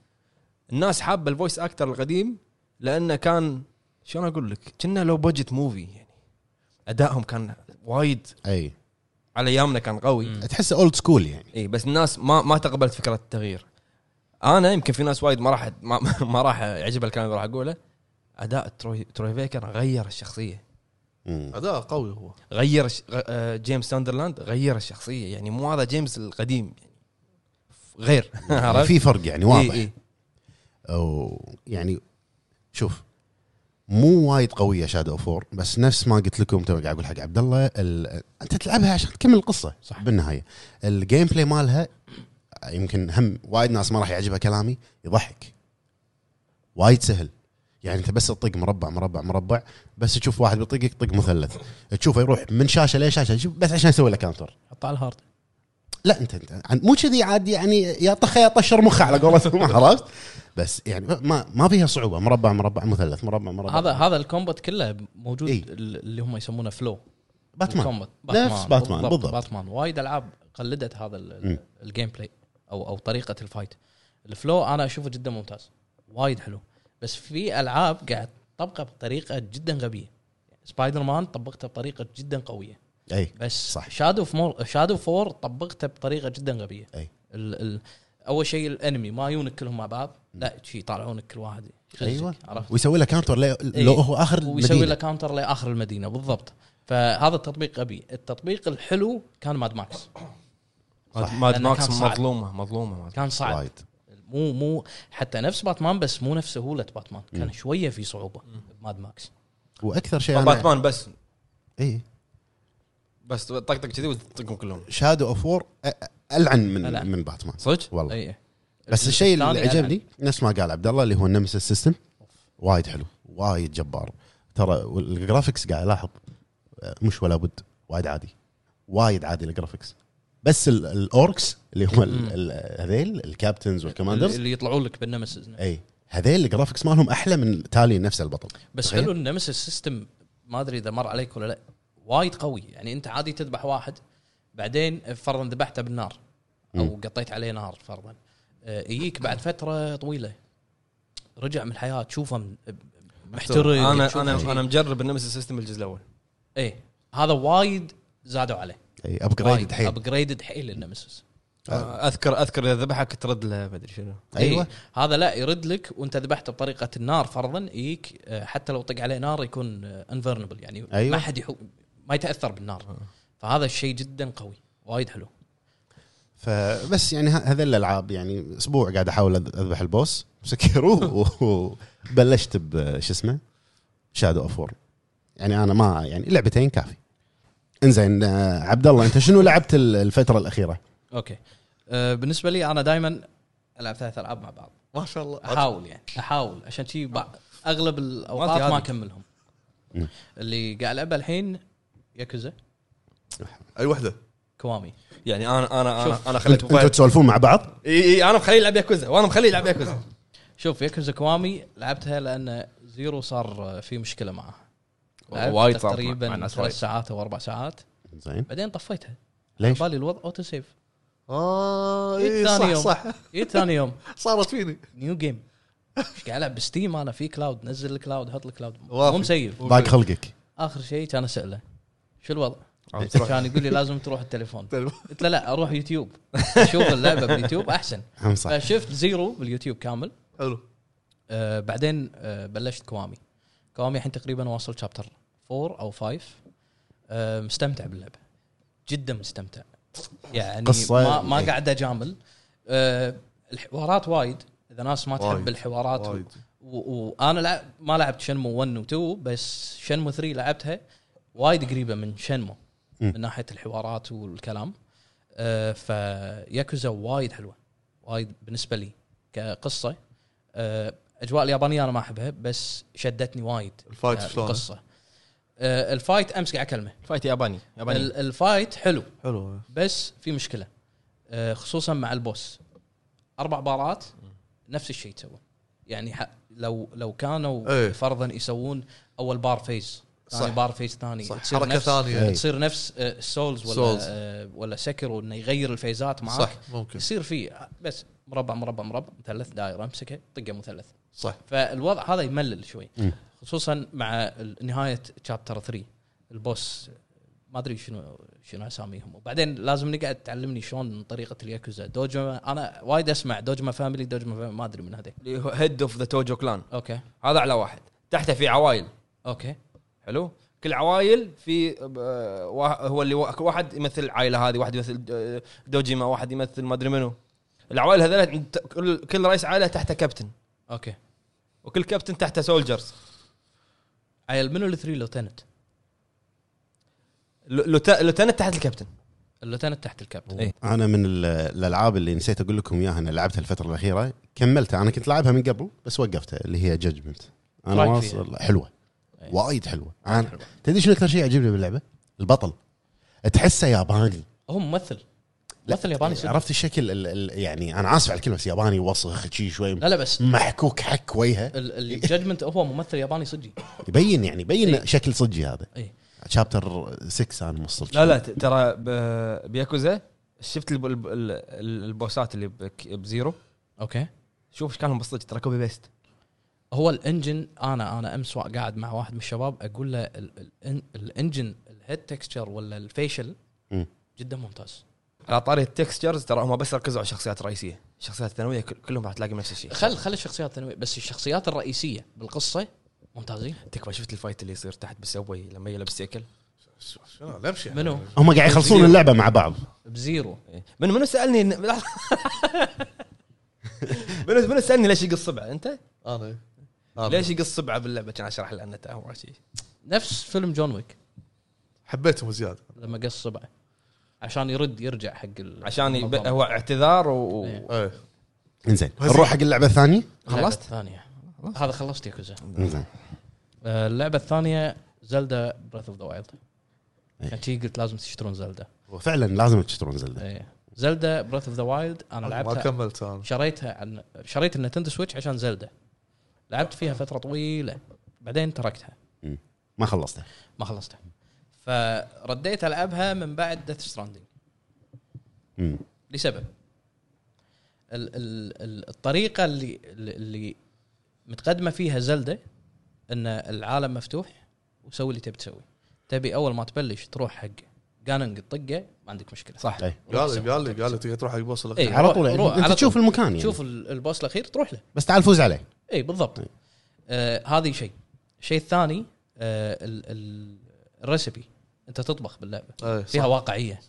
Speaker 2: الناس حابه الفويس اكتر القديم لانه كان شلون اقول لك؟ كنا لو بادجت موفي يعني ادائهم كان وايد
Speaker 3: اي
Speaker 2: على ايامنا كان قوي
Speaker 4: مم.
Speaker 3: تحسه اولد سكول يعني
Speaker 2: اي إيه، بس الناس ما ما تقبلت فكره التغيير انا يمكن في ناس وايد ما راح ما, ما راح يعجبها الكلام اللي راح اقوله اداء تروي تروي فيكر غير الشخصيه
Speaker 3: مم.
Speaker 1: اداء قوي هو
Speaker 2: غير الش- غ- آه، جيمس ساندرلاند غير الشخصيه يعني مو هذا جيمس القديم يعني غير عرفت؟ إيه،
Speaker 3: في فرق يعني واضح
Speaker 2: إي- إي.
Speaker 3: أو يعني شوف مو وايد قويه شادو فور بس نفس ما قلت لكم تو قاعد اقول حق عبد الله ال- انت تلعبها عشان تكمل القصه صح بالنهايه الجيم بلاي مالها يمكن هم وايد ناس ما راح يعجبها كلامي يضحك وايد سهل يعني انت بس تطق مربع مربع مربع بس تشوف واحد بيطقك طق مثلث تشوفه يروح من شاشه لشاشه شوف بس عشان يسوي له كاونتر
Speaker 4: حطه على الهارد
Speaker 3: لا انت انت عن- مو كذي عاد يعني يا طخه يا طشر مخه على قولتهم عرفت بس يعني ما ما فيها صعوبه مربع مربع مثلث مربع مربع
Speaker 4: هذا هذا الكومبات كله موجود
Speaker 3: إي.
Speaker 4: إيه؟ اللي هم يسمونه فلو
Speaker 3: باتمان
Speaker 4: الكومبات.
Speaker 3: نفس باتمان، بالضبط.
Speaker 4: باتمان وايد العاب قلدت هذا ال- ال-
Speaker 3: مم.
Speaker 4: الجيم بلاي او او طريقه الفايت الفلو انا اشوفه جدا ممتاز وايد حلو بس في العاب قاعد تطبقه بطريقه جدا غبيه سبايدر مان طبقته بطريقه جدا قويه
Speaker 3: اي
Speaker 4: بس
Speaker 3: صح.
Speaker 4: صح شادو فور شادو فور طبقته بطريقه جدا غبيه
Speaker 3: أي.
Speaker 4: ال ال اول شيء الانمي ما يونك كلهم مع بعض لا شي يطالعونك كل واحد يخزك،
Speaker 3: ايوه
Speaker 4: عرفت إيه.
Speaker 3: ويسوي له كاونتر لو, لو هو اخر
Speaker 4: ويسوي له
Speaker 3: ويسوي
Speaker 4: كاونتر لاخر المدينه بالضبط فهذا التطبيق غبي التطبيق الحلو كان ماد ماكس
Speaker 2: ماد-
Speaker 3: صح.
Speaker 2: ماد
Speaker 4: لأنه
Speaker 2: ماكس
Speaker 4: كان صعب.
Speaker 2: مظلومه مظلومه ماد-
Speaker 4: كان صعب
Speaker 3: وايد
Speaker 4: مو مو حتى نفس باتمان بس مو نفس سهوله باتمان كان
Speaker 3: مم.
Speaker 4: شويه في صعوبه ماد ماكس
Speaker 3: واكثر شيء إيه. انا
Speaker 2: باتمان بس
Speaker 3: اي
Speaker 2: بس طقطق كذي وتطقهم كلهم
Speaker 3: شادو اوف وور العن من
Speaker 4: ألعن.
Speaker 3: من باتمان
Speaker 2: صدق؟
Speaker 3: والله
Speaker 4: اي
Speaker 3: بس الشيء اللي
Speaker 4: إيه. الثاني يعني،
Speaker 3: عجبني نفس ما قال عبد الله اللي هو النمس سيستم وايد حلو وايد جبار ترى الجرافكس قاعد الاحظ آه، مش ولا بد وايد عادي وايد عادي الجرافكس بس ال- الاوركس اللي هم ال- ال- هذيل الكابتنز والكوماندرز
Speaker 4: اللي يطلعون لك بالنمسز
Speaker 3: اي هذيل الجرافكس مالهم احلى من تالي نفس البطل
Speaker 4: بس
Speaker 3: تخيل.
Speaker 4: حلو النمسس سيستم ما ادري اذا مر عليك ولا لا وايد قوي يعني انت عادي تذبح واحد بعدين فرضا ذبحته بالنار او قطيت عليه نار فرضا آه، يجيك بعد فتره طويله رجع من الحياه تشوفه م- محترق
Speaker 1: محترق.
Speaker 2: انا
Speaker 4: تشوفه
Speaker 2: انا
Speaker 4: شيء.
Speaker 2: انا مجرب النمسيس سيستم الجزء الاول
Speaker 4: ايه هذا وايد زادوا عليه
Speaker 3: اي ابجريد حيل
Speaker 4: ابجريدد حيل النمسيس
Speaker 3: آه.
Speaker 2: اذكر اذكر اذا ذبحك ترد له ما ادري شنو
Speaker 3: ايوه
Speaker 4: إيه. هذا لا يرد لك وانت ذبحته بطريقه النار فرضا يجيك آه، حتى لو طق عليه نار يكون انفرنبل يعني أيوة.
Speaker 3: أيوة.
Speaker 4: ما حد يحو... ما يتاثر بالنار فهذا الشيء جدا قوي وايد حلو
Speaker 3: فبس يعني ه- هذه الالعاب يعني اسبوع قاعد احاول أذ- اذبح البوس سكرو وبلشت بش اسمه شادو اوف وور يعني انا ما يعني لعبتين كافي انزين آه، عبد الله انت شنو لعبت ال- الفتره الاخيره؟
Speaker 4: اوكي آه، بالنسبه لي انا دائما العب ثلاث العاب مع بعض
Speaker 1: ما شاء الله
Speaker 4: احاول يعني احاول عشان شي بع- اغلب
Speaker 2: مالتي
Speaker 4: الاوقات
Speaker 2: هذه.
Speaker 4: ما اكملهم
Speaker 3: مم.
Speaker 4: اللي قاعد العبها الحين ياكوزا
Speaker 1: اي وحده
Speaker 4: كوامي
Speaker 2: يعني انا انا
Speaker 4: شوف.
Speaker 2: انا انا خليت
Speaker 3: انتوا
Speaker 2: موبايل
Speaker 3: تسولفون مع بعض؟
Speaker 2: اي اي انا مخليه يلعب ياكوزا وانا مخليه يلعب ياكوزا
Speaker 4: شوف ياكوزا كوامي لعبتها لان زيرو صار آه، في مشكله معه لعبت
Speaker 2: وايد صعب مع
Speaker 4: تقريبا
Speaker 2: الناس
Speaker 4: ثلاث
Speaker 2: وايد.
Speaker 4: ساعات او اربع ساعات
Speaker 3: زين
Speaker 4: بعدين طفيتها
Speaker 3: ليش؟
Speaker 4: بالي الوضع اوتو سيف
Speaker 1: اه
Speaker 4: إيه
Speaker 1: اي
Speaker 4: ثاني
Speaker 1: صح
Speaker 4: يوم.
Speaker 1: صح
Speaker 4: اي إيه ثاني يوم
Speaker 1: صارت فيني
Speaker 4: نيو جيم ايش قاعد العب بستيم انا في كلاود نزل الكلاود حط الكلاود
Speaker 1: وافي.
Speaker 4: مو مسيف
Speaker 3: ضاق خلقك
Speaker 4: اخر شيء كان اساله شو الوضع؟
Speaker 2: عم تروح.
Speaker 4: كان يقول لي لازم تروح التليفون قلت له لا اروح يوتيوب اشوف اللعبه باليوتيوب احسن
Speaker 3: هم صح
Speaker 4: فشفت زيرو باليوتيوب كامل
Speaker 1: حلو
Speaker 4: آه بعدين آه بلشت كوامي كوامي الحين تقريبا واصل شابتر 4 او 5 آه مستمتع باللعبه جدا مستمتع يعني
Speaker 3: قصة-
Speaker 4: ما, ما
Speaker 3: إيه.
Speaker 4: قاعد اجامل آه الحوارات وايد اذا ناس ما تحب
Speaker 1: وايد،
Speaker 4: الحوارات و-
Speaker 1: وايد
Speaker 4: و- وانا لعب ما لعبت شنمو 1 و 2 بس شنمو 3 لعبتها وايد قريبه من شنمو
Speaker 3: مم.
Speaker 4: من ناحيه الحوارات والكلام آه فياكوزا وايد حلوه وايد بالنسبه لي كقصه آه اجواء اليابانيه انا ما احبها بس شدتني وايد
Speaker 1: الفايت
Speaker 4: آه،
Speaker 1: شلون؟
Speaker 4: القصه آه الفايت امس قاعد اكلمه
Speaker 2: فايت ياباني ياباني
Speaker 4: ال- الفايت حلو
Speaker 1: حلو
Speaker 4: بس في مشكله آه، خصوصا مع البوس اربع بارات نفس الشيء تسوي يعني ح- لو لو كانوا
Speaker 1: إيه.
Speaker 4: فرضا يسوون اول بار فيز ثاني
Speaker 1: صح.
Speaker 4: بار فيز ثاني
Speaker 1: صح
Speaker 4: تصير
Speaker 1: حركه
Speaker 4: نفس-
Speaker 1: ثانيه
Speaker 3: إيه.
Speaker 4: تصير نفس آه، السولز ولا
Speaker 1: سولز.
Speaker 4: آه، ولا سكر انه يغير الفيزات معك صح.
Speaker 1: صح ممكن
Speaker 4: يصير فيه بس مربع مربع مربع مثلث دائره امسكها طقه مثلث
Speaker 1: صح
Speaker 4: فالوضع هذا يملل شوي
Speaker 3: مم.
Speaker 4: خصوصا مع ال- نهايه شابتر 3 البوس ما ادري شنو شنو اساميهم وبعدين لازم نقعد تعلمني شلون طريقه الياكوزا دوجما انا وايد اسمع دوجما فاميلي دوجما فاميلي ما ادري من هذي
Speaker 2: اللي هو هيد اوف ذا توجو كلان
Speaker 4: اوكي
Speaker 2: هذا اعلى واحد تحته في عوائل
Speaker 4: اوكي
Speaker 2: حلو كل عوائل في آه، وا- هو اللي وا- واحد يمثل العائله هذه واحد يمثل آه، دوجيما واحد يمثل ما ادري منو العوائل هذول عند- كل كل رئيس عائله تحته كابتن
Speaker 4: اوكي
Speaker 2: وكل كابتن تحته سولجرز
Speaker 4: عيل منو الثري لوتنت؟
Speaker 2: لوتنت تحت الكابتن
Speaker 4: اللوتنت تحت الكابتن
Speaker 2: إيه.
Speaker 3: انا من ال- الالعاب اللي نسيت اقول لكم اياها انا لعبتها الفتره الاخيره كملتها انا كنت لاعبها من قبل بس وقفتها اللي هي جادجمنت انا
Speaker 4: رايك
Speaker 3: واصل حلوه
Speaker 4: إيه.
Speaker 3: وايد حلوه انا تدري شنو اكثر شيء يعجبني باللعبه؟ البطل تحسه ياباني
Speaker 4: هو ممثل
Speaker 3: لا،
Speaker 4: ممثل ياباني صدق.
Speaker 3: عرفت الشكل ال ال يعني انا اسف على الكلمه بس ياباني وسخ شي شوي
Speaker 4: لا لا بس
Speaker 3: محكوك حك وجهه
Speaker 4: الجادجمنت هو ممثل ياباني صدقي
Speaker 3: يبين يعني يبين
Speaker 4: إيه.
Speaker 3: شكل صجي هذا
Speaker 4: إيه.
Speaker 3: شابتر 6 انا وصلت
Speaker 2: لا لا ت- ترى ب- بياكوزا شفت الب- الب- ال- ال- البوسات اللي بك- بزيرو
Speaker 4: اوكي
Speaker 2: شوف ايش كانهم بالصدق ترى كوبي بيست
Speaker 4: هو الانجن انا انا امس وا- قاعد مع واحد من الشباب اقول له ال- ال- الإن- الانجن الهيد تكستشر ولا الفيشل
Speaker 3: مم.
Speaker 4: جدا ممتاز
Speaker 2: على طاري التكستشرز ترى هم بس ركزوا على الشخصيات الرئيسيه الشخصيات الثانويه كل- كلهم راح تلاقي نفس الشيء
Speaker 4: خل خل الشخصيات الثانوية بس الشخصيات الرئيسيه بالقصه ممتازين
Speaker 2: تكفى شفت الفايت اللي يصير تحت بالسبوي لما يلبس سيكل
Speaker 1: شو- شنو الامشي
Speaker 4: منو؟
Speaker 3: هم قاعد
Speaker 4: إيه.
Speaker 3: يخلصون اللعبه مع بعض
Speaker 4: بزيرو
Speaker 2: إيه. من منو سالني إن- لحظة. منو منو سالني ليش يقص صبعه انت؟
Speaker 1: انا أنا.
Speaker 2: ليش يقص صبعه باللعبه كان اشرح له انه تاهو شيء
Speaker 4: نفس فيلم جون ويك
Speaker 1: حبيتهم زياده
Speaker 4: لما قص صبعه عشان يرد يرجع حق ال-
Speaker 2: عشان يب...
Speaker 4: المنظمة.
Speaker 2: هو اعتذار و...
Speaker 4: إيه.
Speaker 1: ايه
Speaker 3: انزين
Speaker 1: وزين.
Speaker 3: نروح حق اللعبه الثانيه
Speaker 4: اللعبة
Speaker 2: خلصت؟
Speaker 4: الثانيه هذا خلصت يا كوزا
Speaker 3: انزين
Speaker 4: آه، اللعبه الثانيه زلدا بريث اوف ذا وايلد
Speaker 3: إيه.
Speaker 4: عشان شي قلت لازم تشترون زلدا
Speaker 3: وفعلا لازم تشترون زلده
Speaker 4: إيه. زلدا بريث اوف ذا وايلد انا
Speaker 1: ما
Speaker 4: لعبتها
Speaker 1: كملت انا
Speaker 4: شريتها عن شريت النتندو سويتش عشان زلدة لعبت فيها فتره طويله بعدين تركتها
Speaker 3: ما خلصته
Speaker 4: ما خلصتها فرديت العبها من بعد ديث ستراندنج
Speaker 3: مم.
Speaker 4: لسبب ال- ال- ال- الطريقه اللي اللي متقدمه فيها زلده ان العالم مفتوح وسوي اللي تبي تسوي تبي اول ما تبلش تروح حق جاننج تطقه ما عندك مشكله
Speaker 2: صح
Speaker 3: إيه.
Speaker 1: قال لي قال لي قال لي تقدر تروح حق بوس
Speaker 4: إيه.
Speaker 1: الاخير
Speaker 3: على طول
Speaker 4: روح-
Speaker 3: يعني
Speaker 4: على
Speaker 3: انت
Speaker 4: طول.
Speaker 3: تشوف المكان يعني
Speaker 4: تشوف ال- البوس الاخير تروح له
Speaker 3: بس تعال فوز عليه
Speaker 4: اي إيه، بالضبط
Speaker 1: إيه.
Speaker 3: طيب.
Speaker 4: آه هذه شيء الشيء الثاني آه ال- ال- الريسبي انت تطبخ باللعبه
Speaker 1: إيه، صح.
Speaker 4: فيها واقعيه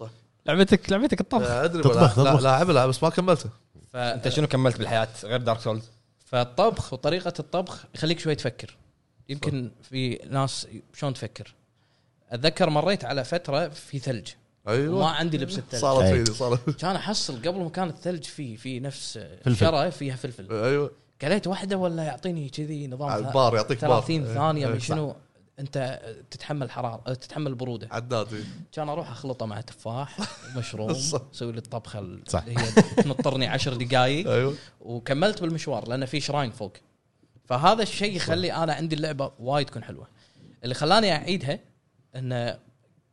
Speaker 2: لعبتك لعبتك الطبخ
Speaker 1: آه، ادري
Speaker 3: تطبخ-
Speaker 1: ولا- لا-
Speaker 3: تطبخ.
Speaker 1: لاعبه لا بس ما كملته
Speaker 4: ف...
Speaker 2: انت شنو كملت بالحياه غير دارك سولز؟
Speaker 4: فالطبخ وطريقه الطبخ يخليك شوي تفكر يمكن في ناس شلون تفكر اتذكر مريت على فتره في ثلج ما
Speaker 1: ايوه
Speaker 4: عندي لبس الثلج
Speaker 1: صارت
Speaker 3: إيه.
Speaker 1: فيني صارت
Speaker 4: كان احصل قبل ما كان الثلج في في نفس
Speaker 3: فلفل.
Speaker 4: شرى فيها فلفل
Speaker 1: ايوه
Speaker 4: قليت واحده ولا يعطيني كذي نظام ثا-
Speaker 1: بار يعطيك بار
Speaker 4: 30
Speaker 1: إيه.
Speaker 4: ثانيه
Speaker 1: إيه،
Speaker 4: من
Speaker 1: صح.
Speaker 4: شنو انت تتحمل حراره تتحمل بروده
Speaker 1: عداد إيه.
Speaker 4: كان اروح اخلطه مع تفاح ومشروم
Speaker 1: صح.
Speaker 4: اسوي لي الطبخه ال-
Speaker 3: صح.
Speaker 4: اللي هي تنطرني عشر دقائق
Speaker 1: ايوه
Speaker 4: وكملت بالمشوار لان في شراين فوق فهذا الشيء يخلي انا عندي اللعبه وايد تكون حلوه اللي خلاني اعيدها انه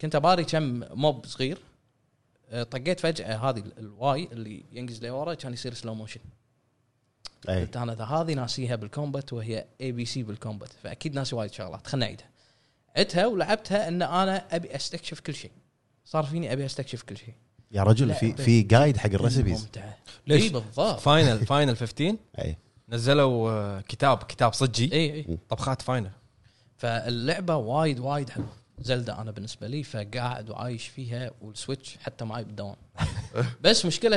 Speaker 4: كنت اباري كم موب صغير أه، طقيت فجاه هذه ال- الواي اللي ينقز لورا كان يصير سلو موشن
Speaker 3: اي
Speaker 4: قلت انا اذا هذه ناسيها بالكومبات وهي اي بي سي بالكومبات فاكيد ناسي وايد شغلات خلنا اعيدها عدتها ولعبتها ان انا ابي استكشف كل شيء صار فيني ابي استكشف كل شيء
Speaker 3: يا رجل في
Speaker 4: لا.
Speaker 3: في جايد حق الريسبيز
Speaker 4: ممتعه
Speaker 2: ليش؟
Speaker 4: اي بالضبط
Speaker 2: فاينل فاينل 15
Speaker 4: إيه.
Speaker 3: اي
Speaker 2: نزلوا آه، كتاب كتاب صجي
Speaker 4: اي اي
Speaker 2: طبخات فاينل
Speaker 4: فاللعبه وايد وايد حلوه زلدة انا بالنسبه لي فقاعد وعايش فيها والسويتش حتى معي بالدوام بس مشكله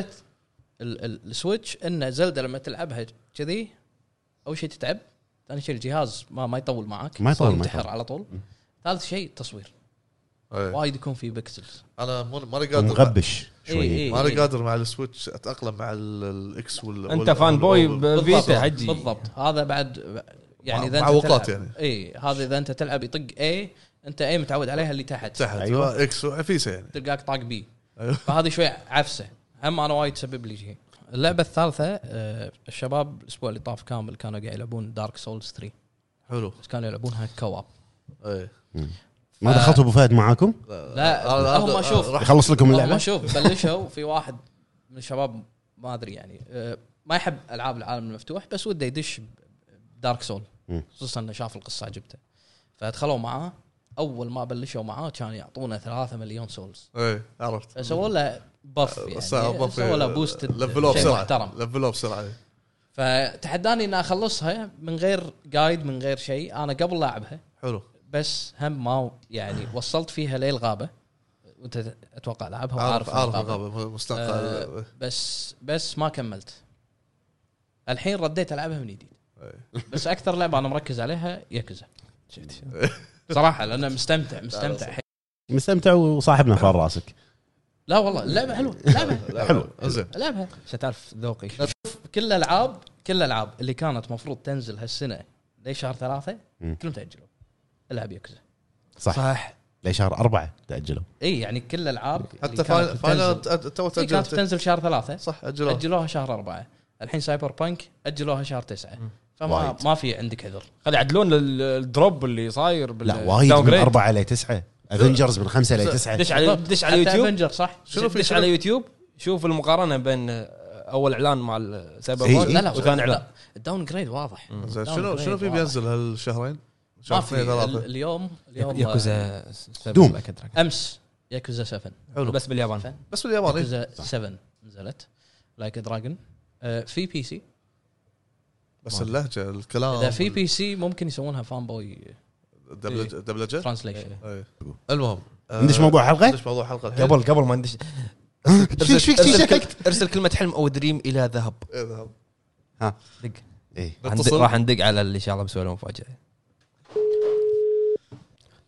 Speaker 4: ال- ال- السويتش ان زلدة لما تلعبها كذي اول شيء تتعب ثاني شيء الجهاز ما ما يطول معاك
Speaker 3: ما يطول، ما
Speaker 4: ينتحر
Speaker 3: يطول.
Speaker 4: على طول ثالث شيء التصوير
Speaker 1: إيه.
Speaker 4: وايد يكون في بكسلز
Speaker 1: انا مو- ماني قادر
Speaker 3: إيه. مغبش شوي
Speaker 4: إي.
Speaker 1: ماني قادر مع السويتش اتاقلم مع ال- الاكس وال
Speaker 2: انت
Speaker 1: وال-
Speaker 2: فان
Speaker 1: وال-
Speaker 2: بوي
Speaker 1: وال-
Speaker 4: بالضبط.
Speaker 2: بفيتا حجي
Speaker 4: بالضبط هذا بعد يعني
Speaker 1: مع-
Speaker 4: اذا
Speaker 1: مع أوقات يعني.
Speaker 4: اي إيه، هذا اذا انت تلعب يطق اي انت اي متعود عليها اللي تحت
Speaker 1: تحت
Speaker 3: أيوة.
Speaker 1: ايوه اكس وعفيسه يعني
Speaker 4: تلقاك طاق بي
Speaker 1: أيوه.
Speaker 4: فهذه شوي عفسه هم انا وايد تسبب لي شيء اللعبه الثالثه آه، الشباب الاسبوع اللي طاف كامل كانوا قاعد يلعبون دارك سولز 3
Speaker 1: حلو
Speaker 4: بس كانوا يلعبونها كواب
Speaker 1: ايه
Speaker 3: ما دخلت ابو فهد معاكم؟
Speaker 4: لا،
Speaker 1: أنا-
Speaker 4: هم
Speaker 1: أنا-
Speaker 4: أشوف.
Speaker 1: راح-
Speaker 3: يخلص لكم
Speaker 4: اللعبه
Speaker 3: اللعبه؟
Speaker 4: شوف بلشوا في واحد من الشباب ما ادري يعني آه، ما يحب العاب العالم المفتوح بس وده يدش دارك سول
Speaker 3: مم.
Speaker 4: خصوصا انه شاف القصه عجبته فدخلوا معاه اول ما بلشوا معاه كان يعطونا ثلاثة مليون سولز
Speaker 1: ايه عرفت
Speaker 4: سووا له بف يعني
Speaker 1: بس أضاف-
Speaker 4: سووا له بوست
Speaker 1: لفلوه بسرعه
Speaker 4: محترم
Speaker 1: لفلوه بسرعه إيه.
Speaker 4: فتحداني اني اخلصها من غير جايد من غير شيء انا قبل لا العبها
Speaker 1: حلو
Speaker 4: بس هم ما يعني وصلت فيها للغابه وانت اتوقع لعبها
Speaker 1: عارف
Speaker 4: وعارف
Speaker 1: عارف الغابه مستنقع
Speaker 4: آه، بس بس ما كملت الحين رديت العبها من جديد
Speaker 1: إيه.
Speaker 4: بس اكثر لعبه انا مركز عليها يكزا
Speaker 2: شفت
Speaker 4: صراحه لان مستمتع مستمتع حيل.
Speaker 3: مستمتع وصاحبنا
Speaker 2: نعم.
Speaker 3: فار راسك
Speaker 4: لا والله اللعبه حلوه لعبها
Speaker 3: حلو.
Speaker 1: إيه. زين
Speaker 4: لعبها
Speaker 2: عشان تعرف ذوقي
Speaker 4: كل الالعاب كل الالعاب اللي كانت مفروض تنزل هالسنه لشهر ثلاثه
Speaker 3: مم.
Speaker 4: كلهم تاجلوا العاب يكزا
Speaker 3: صح, صح.
Speaker 2: صح
Speaker 3: شهر أربعة تأجلوا
Speaker 4: اي يعني كل الالعاب
Speaker 1: حتى فاينل
Speaker 4: فاينل
Speaker 1: فاينل أت- تو
Speaker 4: كانت
Speaker 1: تاجلت
Speaker 4: بتنزل شهر ثلاثه
Speaker 1: صح اجلوها
Speaker 4: اجلوها شهر اربعه الحين سايبر بانك اجلوها شهر تسعه فما
Speaker 3: وايد.
Speaker 4: ما في عندك عذر
Speaker 2: خلي يعدلون ال- الدروب اللي صاير بال-
Speaker 3: لا وايد
Speaker 2: downgrade.
Speaker 3: من أربعة إلى تسعة افنجرز من خمسة إلى تسعة
Speaker 2: دش على دش على يوتيوب
Speaker 4: افنجر صح
Speaker 1: شنو في-
Speaker 2: دش
Speaker 1: شنو-
Speaker 2: على يوتيوب شوف المقارنه بين آه، اول اعلان مع السايبر
Speaker 3: إيه،
Speaker 2: بانك
Speaker 3: إيه.
Speaker 4: لا لا
Speaker 2: آه، وثاني اعلان
Speaker 4: الداون جريد واضح
Speaker 1: زين
Speaker 4: داون
Speaker 1: شنو
Speaker 4: جريد
Speaker 1: شنو في
Speaker 4: طيب، واضح.
Speaker 1: بينزل هالشهرين؟
Speaker 4: ما
Speaker 1: شهر
Speaker 4: في
Speaker 1: اثنين
Speaker 4: ال-
Speaker 1: ثلاثه
Speaker 4: اليوم اليوم
Speaker 2: ياكوزا
Speaker 3: دوم.
Speaker 4: آه، امس ياكوزا 7
Speaker 1: حلو
Speaker 2: بس باليابان
Speaker 1: بس باليابان إيه.
Speaker 4: ياكوزا 7 نزلت لايك دراجون آه، في بي سي
Speaker 1: بس اللهجه الكلام
Speaker 4: اذا في بي سي ممكن يسوونها فان بوي
Speaker 1: الدبلجه دبلجه
Speaker 4: ترانسليشن
Speaker 1: إيه. المهم آه،
Speaker 3: ندش موضوع حلقة
Speaker 1: ندش موضوع الحلقه الحين
Speaker 2: قبل قبل ما ندش
Speaker 3: ايش فيك شي
Speaker 2: ارسل
Speaker 3: شككت
Speaker 2: كل- ارسل كلمه حلم او دريم الى ذهب
Speaker 1: اذهب
Speaker 2: دق
Speaker 3: إيه.
Speaker 2: هندق-
Speaker 1: نتصل.
Speaker 2: راح ندق على اللي ان شاء الله بسوي له مفاجاه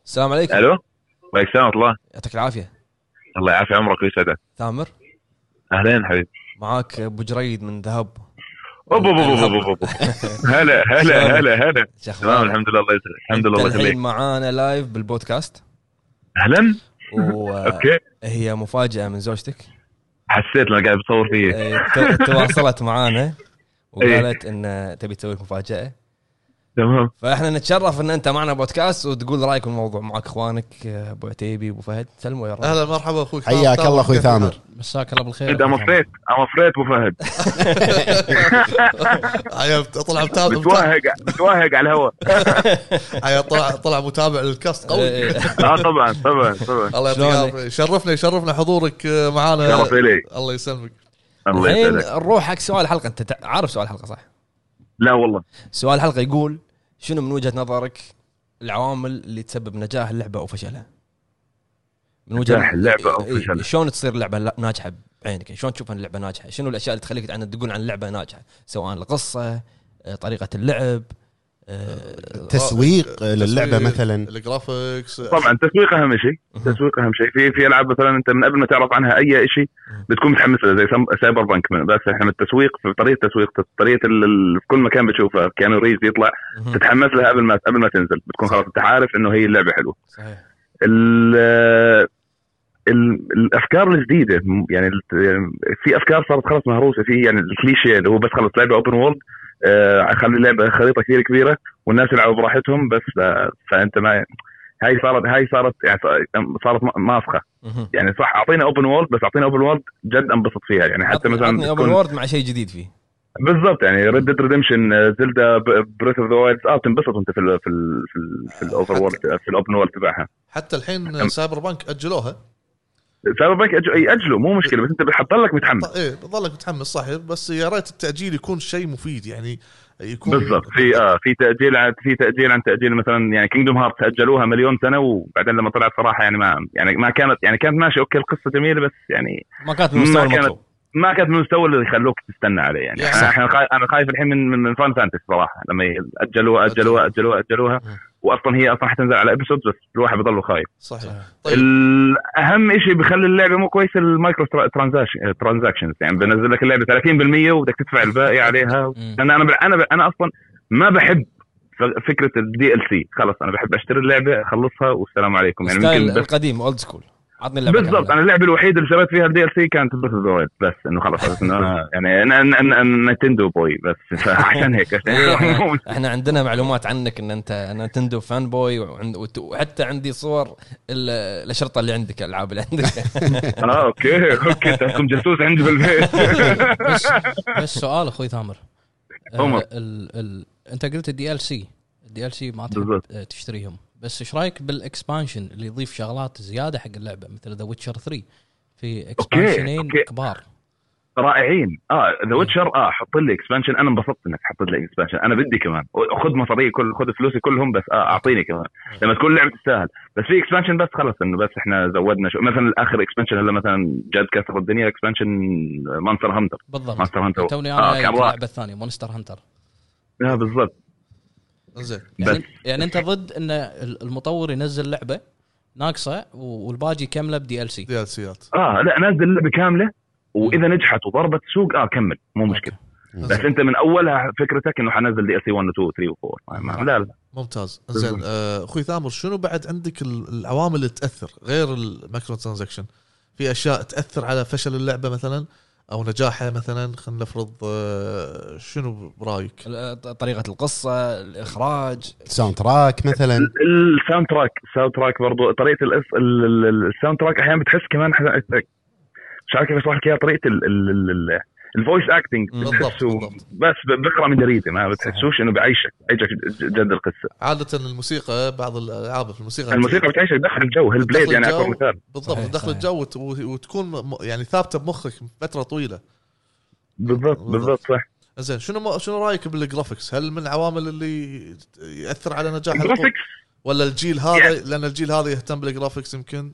Speaker 2: السلام عليكم
Speaker 5: الو وعليك السلام ورحمه الله
Speaker 2: يعطيك العافيه
Speaker 5: الله يعافي عمرك ويسعدك
Speaker 2: ثامر
Speaker 5: اهلين حبيبي
Speaker 2: معاك ابو جريد من ذهب
Speaker 5: أوب أوب أوب أوب أوب أوب. هلا هلا هلا هلا تمام
Speaker 2: شخبارك
Speaker 5: الحمد لله الله يسعدك الحمد لله الله
Speaker 2: الحين
Speaker 5: يخليك
Speaker 2: معانا لايف بالبودكاست
Speaker 5: اهلا
Speaker 2: آه.
Speaker 5: اوكي
Speaker 2: وهي مفاجاه من زوجتك
Speaker 5: حسيت انا قاعد بصور فيه
Speaker 2: طيب.
Speaker 5: إيه.
Speaker 2: إيه، ت- تواصلت معانا وقالت ان تبي تسوي لك مفاجاه
Speaker 5: تمام
Speaker 2: فاحنا نتشرف ان انت معنا بودكاست وتقول رايك بالموضوع معك اخوانك آه، ابو عتيبي ابو فهد سلموا يا رب
Speaker 1: اهلا مرحبا اخوي
Speaker 3: حياك الله اخوي ثامر
Speaker 4: مساك الله بالخير
Speaker 5: ام افريد ام افريد ابو فهد
Speaker 1: عيب طلع متابع متابع-
Speaker 5: متوهق متوهق على الهواء
Speaker 1: عيب طلع طلع متابع للكاست
Speaker 4: إيه،
Speaker 1: قوي
Speaker 5: اه طبعا طبعا طبعا
Speaker 1: الله يعطيك
Speaker 2: شلونك؟
Speaker 1: العافية. يشرفنا يشرفنا حضورك آه، معانا
Speaker 5: شرف لي
Speaker 1: الله يسلمك
Speaker 5: الله
Speaker 2: الحين
Speaker 5: يسلمك
Speaker 2: نروح حق سؤال الحلقه انت تع- عارف سؤال الحلقه صح؟
Speaker 5: لا والله
Speaker 2: سؤال الحلقه يقول شنو من وجهه نظرك العوامل اللي تسبب نجاح اللعبه او فشلها؟ من
Speaker 5: نجاح اللعبة أو
Speaker 2: إيه،
Speaker 5: فشلها.
Speaker 2: شلون تصير اللعبه لا- ناجحه بعينك؟ يعني شلون تشوف ان اللعبه ناجحه؟ شنو الاشياء اللي تخليك عن تقول عن اللعبه ناجحه؟ سواء القصه، آه، طريقه اللعب، آه،
Speaker 3: تسويق للعبه
Speaker 1: تسويق،
Speaker 3: مثلا
Speaker 1: الجرافكس
Speaker 5: طبعا تسويق اهم شيء تسويق اهم شيء في في العاب مثلا انت من قبل ما تعرف عنها اي شيء بتكون متحمس لها زي سم- سايبر بانك من- بس احنا التسويق في طريقه التسويق طريقه ال- ال- في كل مكان بتشوفها كيانو ريز يطلع
Speaker 2: مهم.
Speaker 5: تتحمس لها قبل ما قبل ما تنزل بتكون خلاص انت عارف انه هي اللعبه حلوه
Speaker 2: صحيح
Speaker 5: ال ال- الافكار الجديده م- يعني ال- يعني في افكار صارت خلاص مهروسه في يعني الكليشيه اللي هو بس خلاص لعبه اوبن وورلد آه، خلي اللعبه خريطه كثير كبيره والناس يلعبوا براحتهم بس آه، فانت ما هاي صارت هاي صارت يعني صارت م- ماسخه
Speaker 2: مهم.
Speaker 5: يعني صح اعطينا اوبن وورلد بس اعطينا اوبن وورلد جد انبسط فيها يعني حتى
Speaker 2: عطني-
Speaker 5: مثلا
Speaker 2: عطني اوبن
Speaker 5: تكون-
Speaker 2: وورد مع شيء جديد فيه
Speaker 5: بالضبط يعني ريد ديد ريدمشن زلدا بريث اوف ذا وايلد اه تنبسط انت في ال في ال في ال في الاوفر
Speaker 1: حتى-
Speaker 5: وورلد في الاوبن وورلد تبعها
Speaker 1: حتى الحين سايبر بانك اجلوها
Speaker 5: سايبر بانك أج- ياجلوا مو مشكله بس انت بتضلك متحمس
Speaker 1: ط- ايه بتظلك متحمس صح بس يا ريت التاجيل يكون شيء مفيد يعني يكون
Speaker 5: بالضبط في اه في تاجيل عن في تاجيل عن تاجيل مثلا يعني كينجدوم هارت تاجلوها مليون سنه وبعدين لما طلعت صراحه يعني ما يعني ما كانت يعني كانت ماشي اوكي القصه جميله بس يعني
Speaker 2: ما كانت
Speaker 5: ما
Speaker 2: بالمستوى
Speaker 5: كانت-
Speaker 2: المطلوب
Speaker 5: ما كانت بالمستوى اللي يخلوك تستنى عليه يعني
Speaker 1: يعني
Speaker 5: احنا احنا خا- انا خايف الحين من من, من فان فانتسي صراحه لما ي- اجلوها اجلوها اجلوها اجلوها واصلا هي اصلا حتنزل على ابيسود بس الواحد بضله خايف
Speaker 1: صحيح طيب
Speaker 5: الاهم شيء بيخلي اللعبه مو كويسه المايكرو ترانزاكشن ترانزاكشنز يعني بنزل لك اللعبه 30% وبدك تدفع الباقي عليها
Speaker 2: مم.
Speaker 5: انا انا انا انا اصلا ما بحب ف- فكره الدي ال سي خلص انا بحب اشتري اللعبه اخلصها والسلام عليكم يعني
Speaker 2: ستايل
Speaker 5: ممكن بس
Speaker 2: القديم اولد سكول عطني اللعبه
Speaker 5: بالضبط
Speaker 2: كاملة.
Speaker 5: انا اللعبه الوحيده اللي شريت فيها الدي ال سي كانت بس الزواج بس انه خلص بس انه انا يعني انا انا, أنا, أنا نتندو بوي بس عشان هيك عشان هيك.
Speaker 2: احنا عندنا معلومات عنك ان انت نتندو فان بوي وعند- وت- وحتى عندي صور ال- الاشرطه اللي عندك الالعاب اللي عندك
Speaker 5: اه اوكي اوكي انتم جاسوس عندي في البيت
Speaker 4: بس بس سؤال اخوي ثامر آه،
Speaker 5: عمر.
Speaker 4: ال ال انت قلت الدي ال سي الدي ال سي ما تحب
Speaker 5: بالضبط.
Speaker 4: آه، تشتريهم بس ايش رايك بالاكسبانشن اللي يضيف شغلات زياده حق اللعبه مثل ذا ويتشر 3 في اكسبانشنين
Speaker 5: أوكي.
Speaker 4: كبار
Speaker 5: رائعين اه ذا ويتشر اه حط لي اكسبانشن انا انبسطت انك حطيت لي اكسبانشن انا بدي كمان خذ مصاري كل خذ فلوسي كلهم بس اه اعطيني كمان لما تكون اللعبه تستاهل بس في اكسبانشن بس خلص انه بس احنا زودنا شو مثلا اخر اكسبانشن هلا مثلا جد كسر الدنيا اكسبانشن مانستر هانتر
Speaker 4: بالضبط
Speaker 5: مانستر هانتر
Speaker 4: توني
Speaker 5: آه،
Speaker 4: انا جاي
Speaker 5: كان
Speaker 4: في
Speaker 5: رائع.
Speaker 4: اللعبه الثانيه مونستر هانتر
Speaker 5: اه بالضبط
Speaker 1: زين
Speaker 4: يعني
Speaker 5: بس.
Speaker 4: يعني انت ضد ان ال- المطور ينزل لعبه ناقصه و- والباقي كامله بدي ال سي
Speaker 1: دي ال سيات
Speaker 5: اه لا نازل اللعبه كامله واذا نجحت وضربت سوق اه كمل مو مشكله بس انت من اولها فكرتك انه حنزل دي اس 1 و 2 و 3 و 4 ما- لا لا
Speaker 1: ممتاز زين آه، اخوي ثامر شنو بعد عندك ال- العوامل اللي تاثر غير المايكرو ترانزكشن في اشياء تاثر على فشل اللعبه مثلا او نجاحها مثلا خلينا نفرض آه، شنو برايك؟
Speaker 2: ال- طريقه القصه الاخراج
Speaker 3: ساوند تراك مثلا
Speaker 5: ال- الساوند تراك الساوند تراك برضو طريقه الأس- ال- ال- ال- الساوند تراك احيانا بتحس كمان ح- مش عارف كيف اشرح لك اياها طريقه ال- ال- ال- ال- الفويس اكتنج
Speaker 2: بالضبط،
Speaker 5: بتحسه
Speaker 1: بالضبط.
Speaker 5: بس ب- بقرا من جريده ما بتحسوش انه بعيشك بعيشك ج- جد القصه
Speaker 1: عاده الموسيقى بعض الالعاب في الموسيقى
Speaker 5: الموسيقى بتعيشك داخل الجو هالبليد
Speaker 1: داخل
Speaker 5: يعني
Speaker 1: الجو.
Speaker 5: اكبر مثال
Speaker 1: بالضبط
Speaker 2: صحيح،
Speaker 1: دخل
Speaker 2: صحيح.
Speaker 1: الجو وت- وت- وتكون م- يعني ثابته بمخك فتره طويله
Speaker 5: بالضبط بالضبط صح
Speaker 1: زين شنو ما- شنو رايك بالجرافكس؟ هل من العوامل اللي ياثر على نجاح الطور؟
Speaker 5: الجرافيكس
Speaker 1: ولا الجيل هذا لان الجيل هذا يهتم بالجرافكس يمكن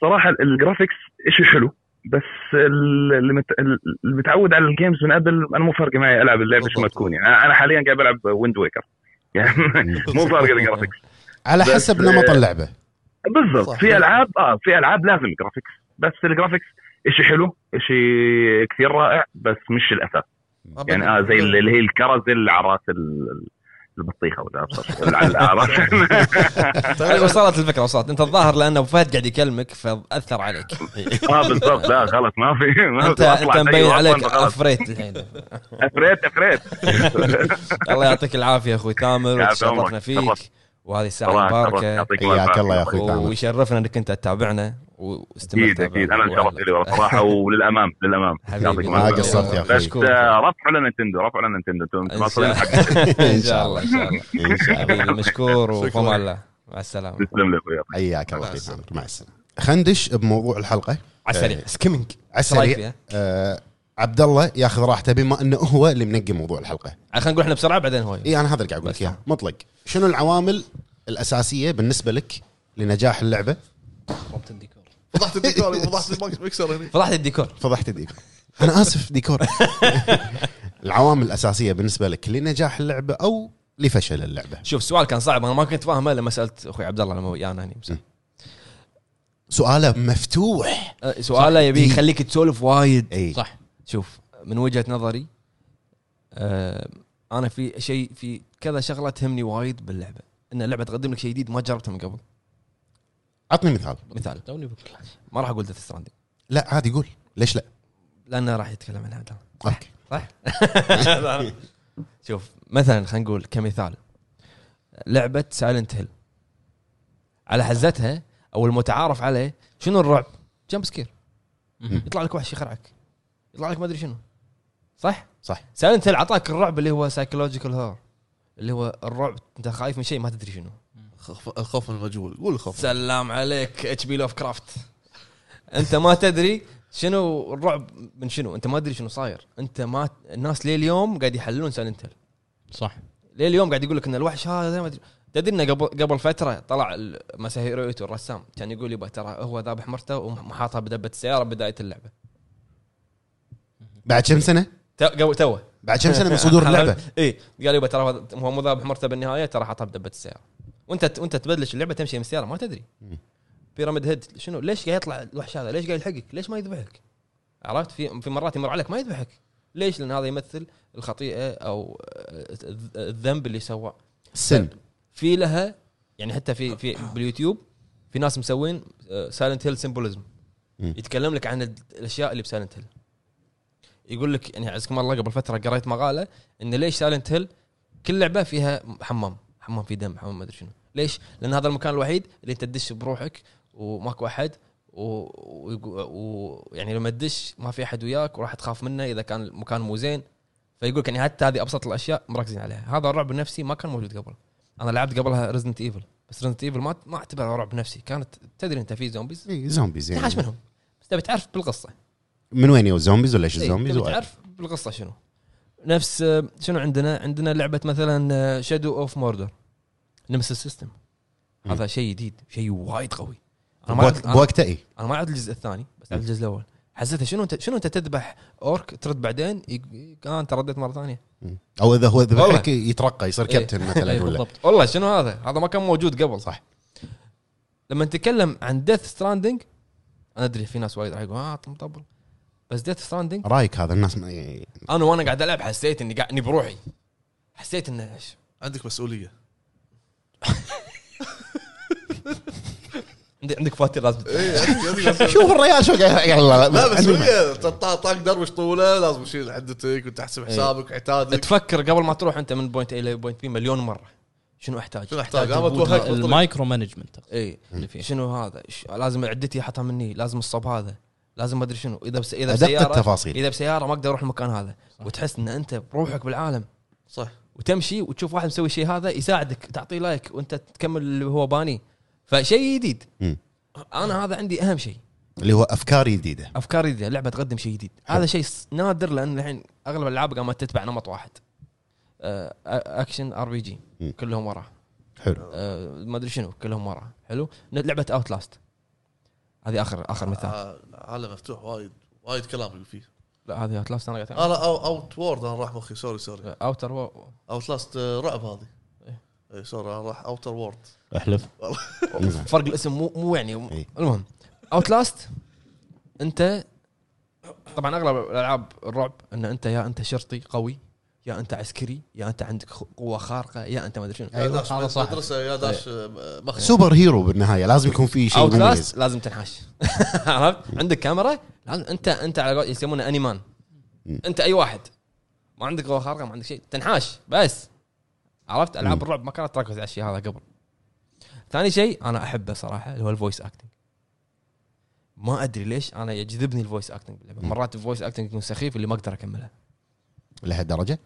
Speaker 5: صراحه الجرافيكس شيء حلو بس ال- اللي مت- ال- اللي متعود على الجيمز من قبل انا مو فارقه معي العب اللعبه شو ما
Speaker 1: بالضبط.
Speaker 5: تكون يعني أنا- انا حاليا قاعد العب ويند ويكر يعني مو فارقه الجرافيكس
Speaker 3: على
Speaker 5: بس-
Speaker 3: حسب نمط اللعبه
Speaker 5: بالضبط
Speaker 1: صح.
Speaker 5: في العاب اه في العاب لازم جرافيكس بس الجرافيكس شيء حلو شيء يعني، آه،
Speaker 2: إيه.
Speaker 5: كثير رائع بس مش الاساس يعني اه زي اللي اللي هي الكرز اللي على راس ال- البطيخه ولا أبصر. العلارة.
Speaker 2: طيب وصلت الفكره وصلت انت الظاهر لان ابو فهد قاعد يكلمك فاثر عليك
Speaker 5: اه بالضبط لا غلط ما في ما
Speaker 2: انت
Speaker 5: أطلع
Speaker 2: انت مبين
Speaker 5: أيوة،
Speaker 2: عليك
Speaker 5: أصلاً غلط.
Speaker 2: افريت الحين
Speaker 5: افريت افريت
Speaker 2: الله يعطيك العافيه اخوي تامر
Speaker 5: يعافي عمرك.
Speaker 2: تشرفنا
Speaker 5: تفضل.
Speaker 2: فيك وهذه الساعه
Speaker 5: الله يسلمك،
Speaker 2: المباركه
Speaker 5: يعطيك
Speaker 3: حياك الله يا
Speaker 5: العافية.
Speaker 3: اخوي تامر
Speaker 2: ويشرفنا انك انت تتابعنا واستمتع
Speaker 5: اكيد اكيد انا انشرفت لي والله صراحه وللامام للامام
Speaker 2: حبيبي،
Speaker 5: يعطيك
Speaker 3: ما
Speaker 5: العافية.
Speaker 3: قصرت يا
Speaker 5: بس
Speaker 2: مشكور.
Speaker 3: اخوي
Speaker 5: آه، رفعوا لنا نتندو رفعوا لنا نتندو انتم
Speaker 2: إن
Speaker 5: واصلين
Speaker 2: شاء-
Speaker 5: حق
Speaker 2: ان شاء الله ان شاء الله
Speaker 3: إن شاء الله. إيه.
Speaker 2: حبيبي مشكور
Speaker 1: شكراً.
Speaker 2: وفما الله مع السلامه
Speaker 5: تسلم لي اخوي
Speaker 3: حياك الله
Speaker 2: مع
Speaker 3: اخوي
Speaker 2: السلامة.
Speaker 3: تامر مع السلامه خندش بموضوع الحلقه
Speaker 2: على السريع سكيمنج
Speaker 3: على
Speaker 2: رايك
Speaker 3: السريع
Speaker 2: فيها؟
Speaker 3: آه، عبد الله ياخذ راحته بما انه هو اللي منقي موضوع الحلقه
Speaker 2: خلينا نقول احنا بسرعه بعدين هوي
Speaker 3: اي انا هذا اللي قاعد اقول لك اياه مطلق شنو العوامل الاساسيه بالنسبه لك لنجاح اللعبه
Speaker 4: ربط الديكور
Speaker 1: فضحت الديكور فضحت المكسر هنا
Speaker 2: فضحت الديكور
Speaker 3: فضحت الديكور انا اسف ديكور العوامل الاساسيه بالنسبه لك لنجاح اللعبه او لفشل اللعبه
Speaker 2: شوف السؤال كان صعب انا ما كنت فاهمه لما سالت اخوي عبد الله لما ويانا هني
Speaker 3: م. سؤاله مفتوح
Speaker 2: أه، سؤاله
Speaker 3: إيه.
Speaker 2: يبي يخليك تسولف وايد
Speaker 3: اي
Speaker 4: صح
Speaker 2: شوف من وجهه نظري آه، انا في شيء في كذا شغله تهمني وايد باللعبه ان اللعبه تقدم لك شيء جديد ما جربته من قبل
Speaker 3: عطني مثال
Speaker 2: مثال
Speaker 4: توني بقول لك.
Speaker 2: ما راح اقول ديث ستراندنج
Speaker 3: لا عادي قول ليش لا
Speaker 2: لانه راح يتكلم عنها عبد الله
Speaker 3: اوكي
Speaker 2: صح؟ شوف مثلا خلينا نقول كمثال لعبه سايلنت هيل على حزتها او المتعارف عليه شنو الرعب؟ جمب سكير
Speaker 4: مهم.
Speaker 2: يطلع لك وحش يخرعك يطلع لك ما ادري شنو صح؟
Speaker 3: صح.
Speaker 2: سايلنت هيل اعطاك الرعب اللي هو سايكولوجيكال هور اللي هو الرعب انت خايف من شيء ما تدري شنو
Speaker 1: خف- الخوف من المجهول قول الخوف
Speaker 2: سلام عليك اتش بي لوف كرافت انت ما تدري شنو الرعب من شنو انت ما تدري شنو صاير انت ما الناس ليه اليوم قاعد يحللون سايلنت هيل
Speaker 4: صح
Speaker 2: ليه اليوم قاعد يقول لك ان الوحش هذا ما ادري تدري انه قبل قبل فتره طلع ال- مساهيرو ايتو الرسام كان يقول يبا ترى هو ذابح مرته وحاطها بدبه السياره بدايه اللعبه
Speaker 3: بعد كم سنه
Speaker 2: تو- قبل توه
Speaker 3: بعد كم سنه من صدور اللعبه
Speaker 2: اي قال إيه، يبا ترى هو- هو مو ذابح مرته بالنهايه ترى حاطها بدبه السياره وانت ت- وانت تبلش اللعبه تمشي من السياره ما تدري
Speaker 3: مم.
Speaker 2: بيراميد هيد شنو ليش قاعد يطلع الوحش هذا ليش قاعد يلحقك ليش ما يذبحك عرفت في في مرات يمر عليك ما يذبحك ليش لان هذا يمثل الخطيئه او آه، الذ- الذنب اللي سواه
Speaker 3: سن
Speaker 2: في لها يعني حتى في في باليوتيوب في ناس مسوين آه، سايلنت هيل سيمبوليزم
Speaker 3: مم.
Speaker 2: يتكلم لك عن ال- الاشياء اللي بسايلنت هيل يقول لك يعني عزكم الله قبل فتره قريت مقاله ان ليش سايلنت هيل كل لعبه فيها حمام حمام في دم حمام ما ادري شنو ليش لان هذا المكان الوحيد اللي انت تدش بروحك وماكو احد ويعني و... يعني لما تدش ما في احد وياك وراح تخاف منه اذا كان المكان مو زين فيقول لك يعني حتى هذه ابسط الاشياء مركزين عليها هذا الرعب النفسي ما كان موجود قبل انا لعبت قبلها ريزنت ايفل بس ريزنت ايفل ما ما اعتبرها رعب نفسي كانت تدري انت في زومبيز
Speaker 3: إي، زومبيز
Speaker 2: تنحاش
Speaker 3: يعني
Speaker 2: منهم بس تبي تعرف بالقصه
Speaker 3: من وين يو زومبيز ولا ايش
Speaker 2: إي،
Speaker 3: الزومبيز
Speaker 2: تبي تعرف بالقصه شنو نفس آه، شنو عندنا عندنا آه، لعبه مثلا شادو اوف موردر نمس السيستم هذا شيء جديد شيء وايد قوي انا ما
Speaker 3: بوقت-
Speaker 2: لعبت- أنا-
Speaker 3: بوقتها اي
Speaker 2: انا ما لعبت الجزء الثاني بس لعبت الجزء الاول حسيتها شنو انت شنو انت تذبح اورك ترد بعدين يق- آه، انت رديت مره ثانيه
Speaker 3: او اذا هو
Speaker 2: والله.
Speaker 3: ذبحك يترقى يصير
Speaker 2: إيه.
Speaker 3: كابتن مثلا
Speaker 4: اي
Speaker 3: ولا
Speaker 4: بالضبط
Speaker 2: والله شنو هذا؟ هذا ما كان موجود قبل صح لما نتكلم عن ديث ستراندنج انا ادري في ناس وايد راح يقول اه مطبل بس ديث ستراندنج
Speaker 3: رايك هذا الناس ما- إي،
Speaker 2: انا وانا قاعد العب حسيت اني قاعد اني بروحي حسيت انه إيش؟
Speaker 1: عندك مسؤوليه
Speaker 2: عندي- عندك فاتير لازم تدفع.
Speaker 1: إيه، عندك- عندك مسؤولية.
Speaker 3: شوف الريال شو قاعد يلا
Speaker 1: لا
Speaker 3: عندي ما-
Speaker 1: مسؤوليه طا- طاق دروش طوله لازم تشيل عدتك وتحسب حسابك وعتادك
Speaker 2: تفكر قبل ما تروح انت من بوينت اي لبوينت بي مليون مره شنو احتاج؟
Speaker 1: شنو أحتاج؟ أنا
Speaker 2: البوت
Speaker 1: أتوهق.
Speaker 2: هذا.
Speaker 4: المايكرو مانجمنت
Speaker 2: اي
Speaker 4: اللي فيه
Speaker 2: إيه. شنو هذا؟ ش- لازم عدتي احطها مني، لازم الصب هذا، لازم ما ادري شنو، اذا بس اذا
Speaker 3: ادق
Speaker 2: بسياره
Speaker 3: التفاصيل
Speaker 2: اذا بسياره ما اقدر اروح المكان هذا، وتحس ان انت بروحك بالعالم
Speaker 1: صح
Speaker 2: وتمشي وتشوف واحد مسوي شيء هذا يساعدك تعطيه لايك وانت تكمل اللي هو باني فشيء جديد
Speaker 3: مم.
Speaker 2: انا هذا عندي اهم شيء
Speaker 3: اللي هو افكار جديده
Speaker 2: افكار جديده لعبه تقدم شيء جديد
Speaker 3: حلو.
Speaker 2: هذا شيء س- نادر لان الحين اغلب الالعاب قامت تتبع نمط واحد آه، أ- اكشن ار بي جي
Speaker 3: مم.
Speaker 2: كلهم وراه
Speaker 3: حلو
Speaker 2: آه، ما ادري شنو كلهم وراه حلو ن- لعبه اوت لاست هذه اخر اخر مثال
Speaker 1: آه، عالم مفتوح وايد وايد كلام يقول فيه
Speaker 2: لا هذه اوت لاست انا قاعد
Speaker 1: انا أو اوت وورد انا راح مخي سوري سوري
Speaker 3: آه.
Speaker 2: اوتر و...
Speaker 1: اوت لاست آه، رعب هذه
Speaker 2: إيه.
Speaker 1: اي سوري انا راح اوتر وورد
Speaker 3: احلف إنزين.
Speaker 2: فرق الاسم مو مو يعني
Speaker 3: إي.
Speaker 2: المهم اوت لاست انت طبعا اغلب الالعاب الرعب ان انت يا انت شرطي قوي يا انت عسكري يا انت عندك خ- قوه خارقه يا انت ما ادري شنو
Speaker 3: إيه.
Speaker 1: يا داش
Speaker 4: هذا صح.
Speaker 1: مدرسه يا داش بخ
Speaker 3: سوبر هيرو بالنهايه لازم يكون في شيء
Speaker 2: او
Speaker 3: مميز
Speaker 2: كلاس لازم تنحاش عرفت عندك كاميرا لازم انت انت على قول يسمونه انيمان
Speaker 3: مم.
Speaker 2: انت اي واحد ما عندك قوه خارقه ما عندك شيء تنحاش بس عرفت العاب
Speaker 3: مم.
Speaker 2: الرعب ما كانت تركز على الشيء هذا قبل ثاني شيء انا احبه صراحه اللي هو الفويس اكتنج ما ادري ليش انا يجذبني الفويس اكتنج
Speaker 3: مم.
Speaker 2: مرات الفويس اكتنج يكون سخيف اللي ما اقدر اكملها
Speaker 3: لهالدرجه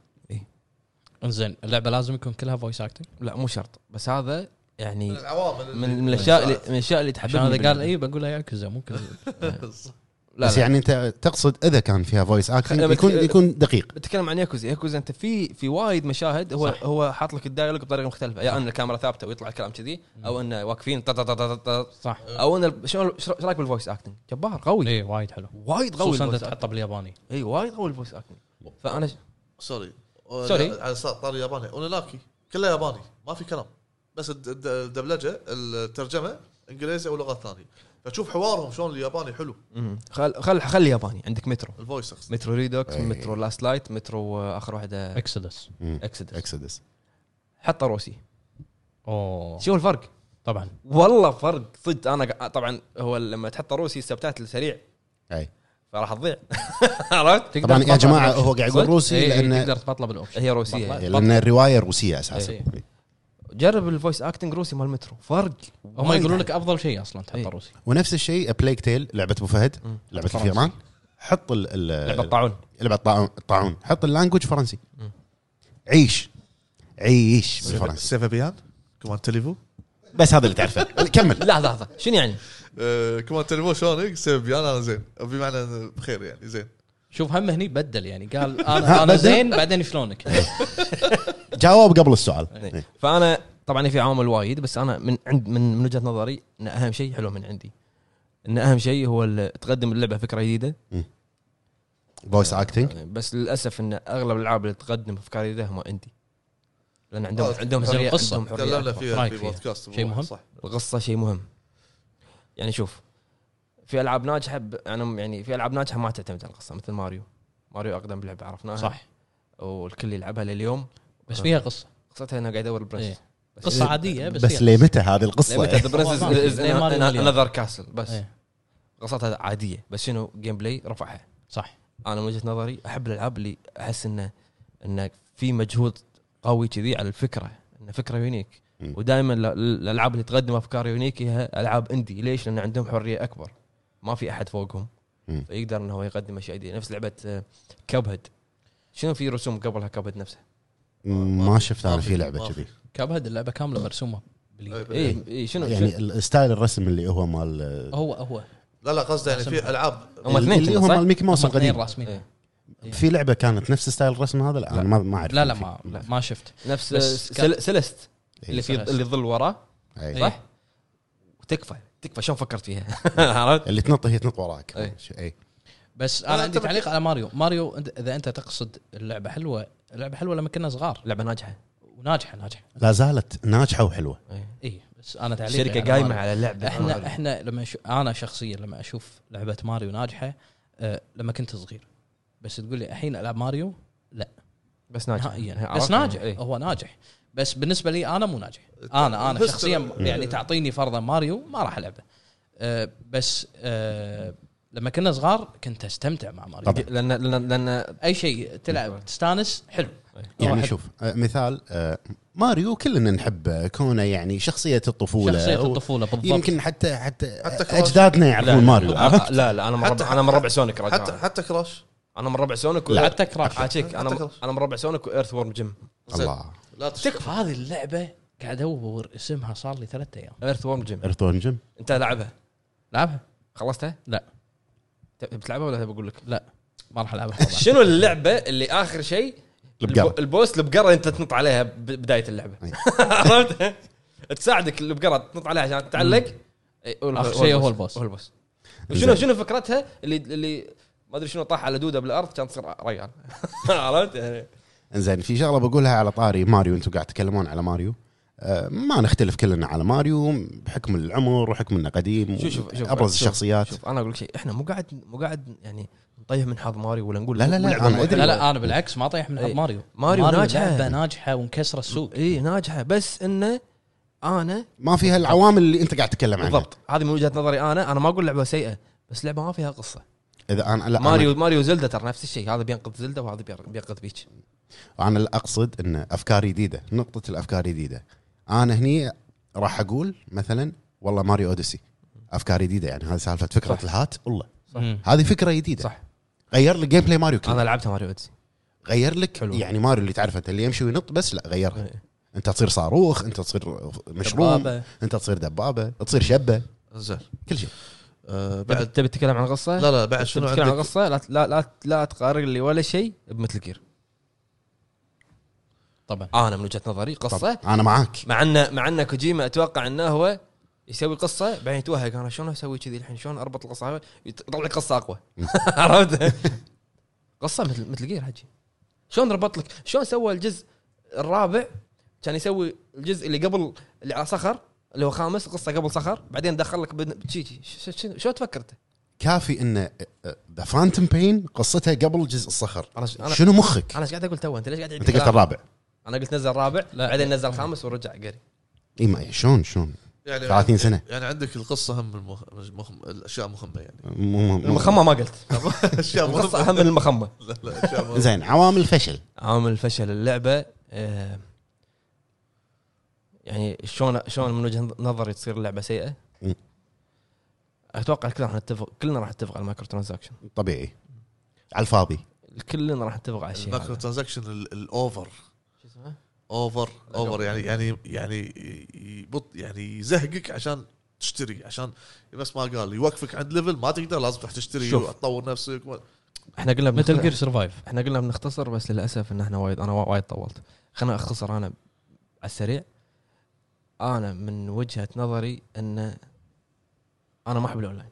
Speaker 4: انزين اللعبه لازم يكون كلها فويس اكتنج
Speaker 2: لا مو شرط بس هذا يعني
Speaker 1: من العوامل اللي-
Speaker 2: من من الاشياء اللي من الاشياء اللي
Speaker 4: عشان
Speaker 2: تحببني
Speaker 4: هذا قال
Speaker 2: باللعبة.
Speaker 4: اي بقول له ياكوزا مو كذا
Speaker 2: لا
Speaker 3: إيه؟ بس
Speaker 2: لا.
Speaker 3: يعني انت تقصد اذا كان فيها فويس
Speaker 2: خلينا
Speaker 3: اكتنج يكون
Speaker 2: بت-
Speaker 3: يكون دقيق
Speaker 2: بتكلم عن ياكوزا ياكوزا انت في في وايد مشاهد هو
Speaker 4: صح.
Speaker 2: صح. هو حاط لك الدايلوج بطريقه مختلفه يا ان الكاميرا ثابته ويطلع الكلام كذي او انه واقفين طط- طط- طط- طط-
Speaker 4: صح
Speaker 2: او ان ال- شو شو رايك بالفويس اكتنج جبار قوي
Speaker 4: اي إيه، وايد حلو
Speaker 2: وايد قوي
Speaker 4: خصوصا اذا
Speaker 2: الفويس اكتنج
Speaker 4: تحطه بالياباني
Speaker 2: اي وايد قوي الفويس اكتنج فانا ش-
Speaker 1: سوري
Speaker 2: سوري.
Speaker 1: على طاري ياباني اونلاكي كله ياباني ما في كلام بس الد- الد- الدبلجه الترجمه انجليزي ولغات ثانيه فتشوف حوارهم شلون الياباني حلو
Speaker 2: مم. خل خل خلي ياباني عندك مترو
Speaker 1: الفويس أقصد.
Speaker 2: مترو ريدوكس
Speaker 3: إي.
Speaker 2: مترو لاست لايت مترو آه، اخر واحده
Speaker 4: اكسدس
Speaker 2: اكسد
Speaker 3: اكسدس
Speaker 2: حطه روسي
Speaker 4: اوه
Speaker 2: شوف الفرق
Speaker 4: طبعا
Speaker 2: والله فرق صدق انا قا- طبعا هو لما تحطه روسي السبتايتل سريع
Speaker 3: اي
Speaker 2: فراح تضيع عرفت
Speaker 4: تقدر
Speaker 3: طبعا يا
Speaker 4: تبطل
Speaker 3: جماعه
Speaker 4: بالأوبشن.
Speaker 3: هو قاعد يقول
Speaker 2: صدق؟ إيه،
Speaker 3: روسي
Speaker 4: إي، إي،
Speaker 3: لان
Speaker 4: إيه، تقدر تبطله بالاوبشن
Speaker 2: هي روسية.
Speaker 4: بطلة-
Speaker 3: لأن الروايه روسيه اساسا
Speaker 2: إيه.
Speaker 4: إي.
Speaker 2: جرب الفويس اكتنج روسي مال مترو فرق
Speaker 4: هم يقولون لك افضل شيء اصلا تحطه
Speaker 2: إي.
Speaker 4: روسي
Speaker 3: ونفس الشيء بليك تيل لعبه ابو فهد
Speaker 2: مم.
Speaker 3: لعبه
Speaker 2: فرنسي.
Speaker 3: الفيرمان حط ال- ال-
Speaker 2: لعبه طاعون
Speaker 3: لعبه الطاعون- الطاعون حط اللانجوج فرنسي
Speaker 2: مم.
Speaker 3: عيش عيش بالفرنسي
Speaker 1: سيفا بيان كمان تليفو
Speaker 3: بس هذا اللي تعرفه كمل
Speaker 2: لحظه لحظه شنو يعني؟
Speaker 1: آه، كمان تليفو شلونك سيفا بيان انا زين بمعنى أنا بخير يعني زين
Speaker 4: شوف هم هني بدل يعني قال انا انا زين بعدين شلونك
Speaker 3: جاوب قبل السؤال
Speaker 4: إيه.
Speaker 3: إي.
Speaker 2: فانا طبعا إيه. في عوامل وايد بس انا من عند من, من وجهه نظري ان اهم شيء حلو من عندي ان اهم شيء هو ال- تقدم اللعبه فكره جديده
Speaker 3: فويس اكتنج
Speaker 2: بس للاسف ان اغلب الالعاب اللي تقدم افكار جديده هم عندي لان عندهم
Speaker 1: آه،
Speaker 2: عندهم
Speaker 1: بس
Speaker 2: حريه
Speaker 4: القصة.
Speaker 2: عندهم حريه
Speaker 1: تكلمنا
Speaker 2: أكبر.
Speaker 1: فيها
Speaker 4: رأيك
Speaker 1: في
Speaker 4: فيها؟
Speaker 1: بودكاست
Speaker 4: شيء مهم؟
Speaker 1: صح
Speaker 2: القصه شيء مهم يعني شوف في العاب ناجحه ب... انا يعني في العاب ناجحه ما تعتمد على القصه مثل ماريو ماريو اقدم لعبه عرفناها
Speaker 4: صح
Speaker 2: والكل يلعبها لليوم
Speaker 4: بس فيها قصه
Speaker 2: قصتها انه قاعد ادور
Speaker 4: إيه.
Speaker 2: البرنس
Speaker 4: قصه عاديه بس,
Speaker 3: بس
Speaker 2: يعني.
Speaker 4: فيها قصة.
Speaker 3: لمتى هذه
Speaker 2: لعبه
Speaker 3: القصه
Speaker 2: ذا برنسز
Speaker 4: ما في
Speaker 2: از
Speaker 4: زي إيه، ماريو واليوم.
Speaker 2: انذر كاسل بس
Speaker 4: إيه.
Speaker 2: قصتها عاديه بس شنو جيم بلاي رفعها
Speaker 4: صح
Speaker 2: انا من وجهه نظري احب الالعاب اللي احس انه انه في مجهود قوي كذي على الفكره انه فكره يونيك
Speaker 3: مم.
Speaker 2: ودائما ال- ال- الالعاب اللي تقدم افكار يونيك هي العاب اندي ليش؟ لان عندهم حريه اكبر ما في احد فوقهم
Speaker 3: مم.
Speaker 2: فيقدر انه هو يقدم اشياء جديده نفس لعبه كاب هيد شنو في رسوم قبلها كاب هيد نفسها؟
Speaker 3: ما شفت انا في
Speaker 1: ما
Speaker 3: لعبه
Speaker 1: في.
Speaker 3: كذي
Speaker 4: كاب هيد اللعبه كامله مرسومه باليد.
Speaker 2: اي اي إيه، شنو
Speaker 3: يعني الستايل الرسم اللي هو مال
Speaker 4: هو هو
Speaker 1: لا لا قصدي يعني في العاب
Speaker 2: هم اثنين
Speaker 3: اللي
Speaker 2: كذا،
Speaker 3: هو
Speaker 2: صح؟
Speaker 3: مال ميكي موس
Speaker 4: هم اثنين
Speaker 3: القديم
Speaker 4: راسمين
Speaker 2: إيه.
Speaker 3: في لعبه كانت نفس ستايل الرسم هذا لا انا ما ما اعرف
Speaker 4: لا لا ما ما شفت
Speaker 2: نفس
Speaker 4: بس
Speaker 2: سل- سلست
Speaker 3: إيه.
Speaker 2: اللي في
Speaker 4: سلست.
Speaker 2: اللي ظل وراه
Speaker 3: أي.
Speaker 2: صح؟
Speaker 4: إيه.
Speaker 2: وتكفى تكفى شلون فكرت فيها عرفت؟
Speaker 3: اللي تنط هي تنط وراك
Speaker 2: أي.
Speaker 3: ش- اي
Speaker 4: بس
Speaker 1: أنا
Speaker 4: انا عندي
Speaker 1: أنت بك-
Speaker 4: تعليق على ماريو ماريو أنت- اذا انت تقصد اللعبه حلوه اللعبه حلوه لما كنا صغار
Speaker 2: لعبه ناجحه
Speaker 4: وناجحه ناجحه
Speaker 3: لا زالت ناجحه وحلوه
Speaker 4: اي إيه، بس انا تعليق يعني
Speaker 2: الشركه قايمه على اللعبه
Speaker 4: احنا احنا لما شو انا شخصيا لما اشوف لعبه ماريو ناجحه أه لما كنت صغير بس تقول لي الحين العب ماريو
Speaker 2: بس ناجح
Speaker 4: نهائيا
Speaker 2: عرفت؟
Speaker 4: بس ناجح
Speaker 2: إيه. طيب،
Speaker 4: هو ناجح بس بالنسبه لي انا مو ناجح انا انا
Speaker 1: بس-
Speaker 4: شخصيا
Speaker 2: آه،
Speaker 4: يعني تعطيني فرضا ماريو ما راح العبه أه بس أه لما كنا صغار كنت استمتع مع ماريو
Speaker 3: طبعاً.
Speaker 2: لان لان لان
Speaker 4: اي شيء تلعب تستانس حلو
Speaker 2: طيب.
Speaker 3: يعني
Speaker 4: واحد.
Speaker 3: شوف آه، مثال آه، ماريو كلنا نحبه كونه يعني شخصيه الطفوله
Speaker 4: شخصيه
Speaker 3: و-
Speaker 4: الطفوله بالضبط
Speaker 3: يمكن حتى حتى,
Speaker 1: حتى كراش.
Speaker 3: اجدادنا يعرفون ماريو
Speaker 2: لا لا, لا انا من
Speaker 1: حتى-
Speaker 2: ربع انا من ربع سونيك
Speaker 1: حتى
Speaker 2: رجع
Speaker 1: حتى كراش
Speaker 2: انا من ربع سونيك
Speaker 4: لا
Speaker 2: و- آه،
Speaker 4: حتى كراش
Speaker 2: عاشيك انا
Speaker 1: حتى
Speaker 2: من-
Speaker 1: كراش.
Speaker 2: انا من ربع سونيك وايرث وورم جيم
Speaker 1: زين.
Speaker 3: الله
Speaker 1: لا تشتغل.
Speaker 4: تكفى هذه اللعبه قاعد ادور اسمها صار لي ثلاثة ايام
Speaker 2: ايرث وورم جيم
Speaker 3: ايرث وورم جيم
Speaker 2: انت لعبها
Speaker 4: لعبها
Speaker 2: خلصتها؟
Speaker 4: لا.
Speaker 2: تبي تلعبها ولا تبي اقول لك؟
Speaker 4: لا ما راح العبها طبعا
Speaker 2: شنو اللعبه اللي اخر شيء
Speaker 3: البقرة. إيه.
Speaker 2: البو- البوس البقره انت تنط عليها ب- بدايه اللعبه عرفت؟ تساعدك البقره تنط عليها عشان تتعلق إيه، إي، هو-
Speaker 4: آخر شيء هو البوس.
Speaker 2: هو البوس شنو شنو فكرتها اللي اللي ما ادري شنو طاح على دوده بالارض كان تصير ريال عرفت يعني
Speaker 3: زين في شغله بقولها على طاري ماريو انتم قاعد تتكلمون على ماريو آه، ما نختلف كلنا على ماريو بحكم العمر وحكم انه قديم
Speaker 2: شوف- شوف- شوف.
Speaker 3: ابرز
Speaker 2: شوف-
Speaker 3: الشخصيات
Speaker 2: شوف انا اقول لك شيء احنا مو قاعد مو قاعد يعني طيح من حظ ماريو ولا نقول
Speaker 3: لا لا لا انا ادري
Speaker 4: لا لا انا بالعكس ما طيح من حظ
Speaker 2: إيه.
Speaker 4: ماريو
Speaker 2: ماريو ناجحة. إيه.
Speaker 4: لعبه ناجحه ومكسره السوق
Speaker 2: اي ناجحه بس انه انا
Speaker 3: ما فيها العوامل اللي انت قاعد تتكلم عنها
Speaker 2: بالضبط هذه من وجهه نظري انا انا ما اقول لعبه سيئه بس لعبه ما فيها قصه
Speaker 3: اذا انا لا
Speaker 2: ماريو ماريو زلدة ترى نفس الشيء هذا بينقذ زلدة وهذا بير- بينقذ بيتش
Speaker 3: انا اللي اقصد ان افكار جديده نقطه الافكار جديده انا هني راح اقول مثلا والله ماريو اوديسي افكار جديده يعني هذه سالفه فكره
Speaker 2: صح.
Speaker 3: الهات والله
Speaker 2: صح.
Speaker 4: مم.
Speaker 3: هذه فكره جديده
Speaker 2: صح
Speaker 3: غير لك جيم بلاي ماريو كله
Speaker 2: انا لعبتها ماريو اوديسي
Speaker 3: غير لك
Speaker 2: حلو.
Speaker 3: يعني ماريو اللي تعرفه انت اللي يمشي وينط بس لا غيرها
Speaker 2: إيه.
Speaker 3: انت تصير صاروخ انت تصير مشروم
Speaker 4: دبابة.
Speaker 3: انت تصير دبابه تصير شبه
Speaker 1: زين
Speaker 3: كل شيء
Speaker 1: آه،
Speaker 2: تبي
Speaker 1: بعد
Speaker 2: تبي تتكلم عن قصه؟
Speaker 1: لا لا بعد شنو
Speaker 2: تبي تتكلم عن
Speaker 1: عندك
Speaker 2: قصه لا لا لا, لا تقارن لي ولا شيء بمثل جير
Speaker 4: طبعا
Speaker 2: انا من وجهه نظري قصه
Speaker 3: انا معاك
Speaker 2: مع انه مع انه كوجيما اتوقع انه هو يسوي قصه بعدين يتوهق انا شلون اسوي كذي الحين شلون اربط القصه هاي يط- يطلع لك قصه اقوى عرفت؟ قصه مثل مثل جير حجي شلون ربط لك شلون سوى الجزء الرابع كان يسوي الجزء اللي قبل اللي على صخر اللي هو خامس قصه قبل صخر بعدين دخل لك بن- شي- شي- شي- شي- شلون تفكرت
Speaker 3: كافي آه، ان ذا فانتوم بين قصتها قبل جزء الصخر
Speaker 2: انا ش- انا
Speaker 3: شنو مخك
Speaker 2: انا ايش قاعد اقول تو انت ليش قاعد تعيد
Speaker 3: انت قلت
Speaker 2: الكلام؟
Speaker 3: الرابع
Speaker 2: انا قلت نزل الرابع
Speaker 4: لا.
Speaker 2: بعدين نزل الخامس ورجع قري
Speaker 3: اي ما شلون شلون
Speaker 1: يعني
Speaker 3: 30 سنه
Speaker 1: يعني عندك القصه هم المخ... مخ... الاشياء مهمه يعني
Speaker 3: مو- مو-
Speaker 2: المخمه ما قلت
Speaker 1: اشياء
Speaker 2: القصه
Speaker 1: مهمه
Speaker 2: اهم من المخمه
Speaker 1: لا لا اشياء مهمه
Speaker 3: زين عوامل فشل
Speaker 2: عامل فشل اللعبه آه، يعني شلون شلون من وجهه نظري تصير اللعبه سيئه
Speaker 3: مم.
Speaker 2: اتوقع الكل راح نتفق كلنا راح نتفق على المايكرو ترانزاكشن
Speaker 3: طبيعي على الفاضي
Speaker 2: كلنا راح نتفق على الشيء
Speaker 1: المايكرو
Speaker 2: هذا.
Speaker 1: ترانزكشن ال- الاوفر
Speaker 2: شو اسمه؟
Speaker 1: اوفر
Speaker 2: لا،
Speaker 1: اوفر
Speaker 2: لا.
Speaker 1: يعني يعني يعني يبط يعني يزهقك عشان تشتري عشان بس ما قال يوقفك عند ليفل ما تقدر لازم تروح تشتري
Speaker 2: شوف.
Speaker 1: وتطور نفسك و...
Speaker 2: احنا قلنا
Speaker 4: مثل جير
Speaker 2: بنختصر
Speaker 4: سرفايف
Speaker 2: احنا قلنا بنختصر بس للاسف ان احنا وايد انا وا- وايد طولت خلنا اختصر انا على السريع انا من وجهه نظري ان انا ما احب الاونلاين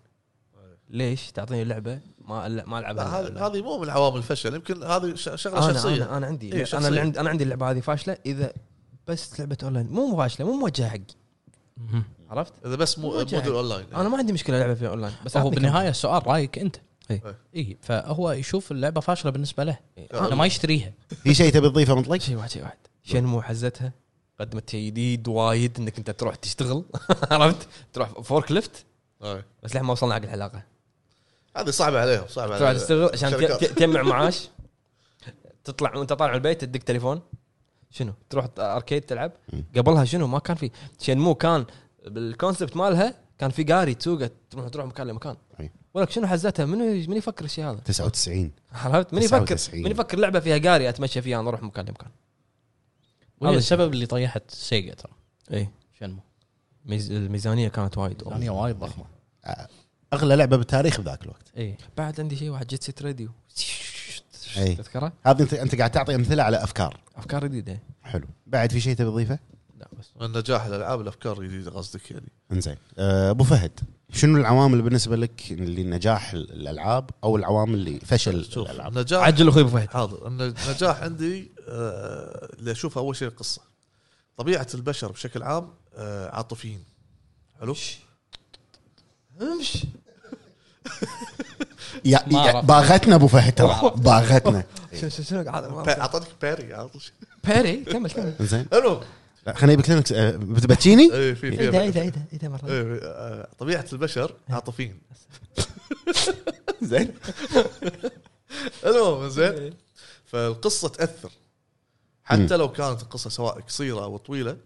Speaker 2: ليش تعطيني لعبه ما أل- ما
Speaker 1: لا،
Speaker 2: العبها
Speaker 1: هذه
Speaker 2: أونلاين.
Speaker 1: هذه مو من عوامل الفشل يمكن هذه ش- شغله
Speaker 2: انا
Speaker 1: شخصيه
Speaker 2: انا, أنا عندي
Speaker 1: إيه،
Speaker 2: انا
Speaker 1: شخصية.
Speaker 2: اللي عندي انا عندي اللعبه هذه فاشله اذا بس لعبه اونلاين مو فاشله مو موجهه حقي عرفت؟
Speaker 1: اذا بس مو يعني.
Speaker 2: وجهك.
Speaker 1: موديل اونلاين
Speaker 2: انا ما عندي مشكله لعبه في اونلاين بس
Speaker 4: هو
Speaker 2: أعطيك
Speaker 4: بالنهايه السؤال رايك انت
Speaker 2: إيه.
Speaker 4: اي فهو يشوف اللعبه فاشله بالنسبه له
Speaker 2: إيه.
Speaker 4: انه ما يشتريها
Speaker 3: في شيء تبي تضيفه مطلق؟
Speaker 2: شيء واحد شيء واحد شنمو حزتها قدمت شيء جديد وايد انك انت تروح تشتغل عرفت؟ تروح فورك ليفت
Speaker 1: أي.
Speaker 2: بس لحين ما وصلنا حق الحلاقه
Speaker 1: هذه صعبه عليهم صعبه
Speaker 2: تروح
Speaker 1: عليهم
Speaker 2: تشتغل عشان ت-
Speaker 1: شركات.
Speaker 2: ت- تجمع معاش تطلع وانت طالع البيت تدق تليفون شنو تروح ت- اركيد تلعب قبلها شنو ما كان في شنمو كان بالكونسبت مالها كان في قاري تسوقه تروح تروح مكان لمكان
Speaker 3: أي.
Speaker 2: ولك شنو حزتها منو من يفكر الشيء هذا
Speaker 3: 99
Speaker 2: عرفت من يفكر
Speaker 3: 99.
Speaker 2: من يفكر لعبه فيها قاري اتمشى فيها انا اروح مكان لمكان
Speaker 4: وهي
Speaker 2: هذا
Speaker 4: السبب اللي طيحت سيجا ترى
Speaker 2: اي
Speaker 4: شنمو
Speaker 2: ميز- الميزانيه كانت يعني وايد
Speaker 4: ثانيه وايد ضخمه
Speaker 3: اغلى لعبه بالتاريخ بذاك الوقت
Speaker 4: اي
Speaker 2: بعد عندي شيء واحد جيت سيت راديو
Speaker 3: أي.
Speaker 2: تذكره
Speaker 3: هذا انت انت قاعد تعطي امثله على افكار
Speaker 2: افكار جديده
Speaker 3: حلو بعد في شيء تبي تضيفه؟
Speaker 2: لا بس
Speaker 1: النجاح الالعاب الافكار الجديده قصدك يعني
Speaker 3: انزين أه، ابو فهد شنو العوامل بالنسبه لك لنجاح الالعاب او العوامل اللي فشل
Speaker 1: شوف
Speaker 3: الالعاب؟
Speaker 1: النجاح
Speaker 2: عجل اخوي ابو فهد
Speaker 1: حاضر ان النجاح عندي آه، اللي اشوفه اول شيء القصه طبيعه البشر بشكل عام آه، عاطفيين حلو
Speaker 2: امشي
Speaker 3: يا
Speaker 4: ما
Speaker 3: يا-
Speaker 4: أعرف.
Speaker 3: باغتنا ابو فهد
Speaker 4: ما
Speaker 3: ترى
Speaker 4: أعرف.
Speaker 3: باغتنا
Speaker 2: شنو شنو
Speaker 1: با- اعطتك باري عرفت شي؟
Speaker 2: بيري كمل كمل
Speaker 3: انزين
Speaker 1: حلو
Speaker 3: لا، خليني اجيب لك أه، بتبتشيني؟
Speaker 1: إيه، في في
Speaker 2: ايده ايده ايده ايده مره
Speaker 1: إيه، آه، طبيعه البشر عاطفيين
Speaker 3: زين
Speaker 1: المهم زين فالقصه تاثر حتى لو كانت القصه سواء قصيره او طويله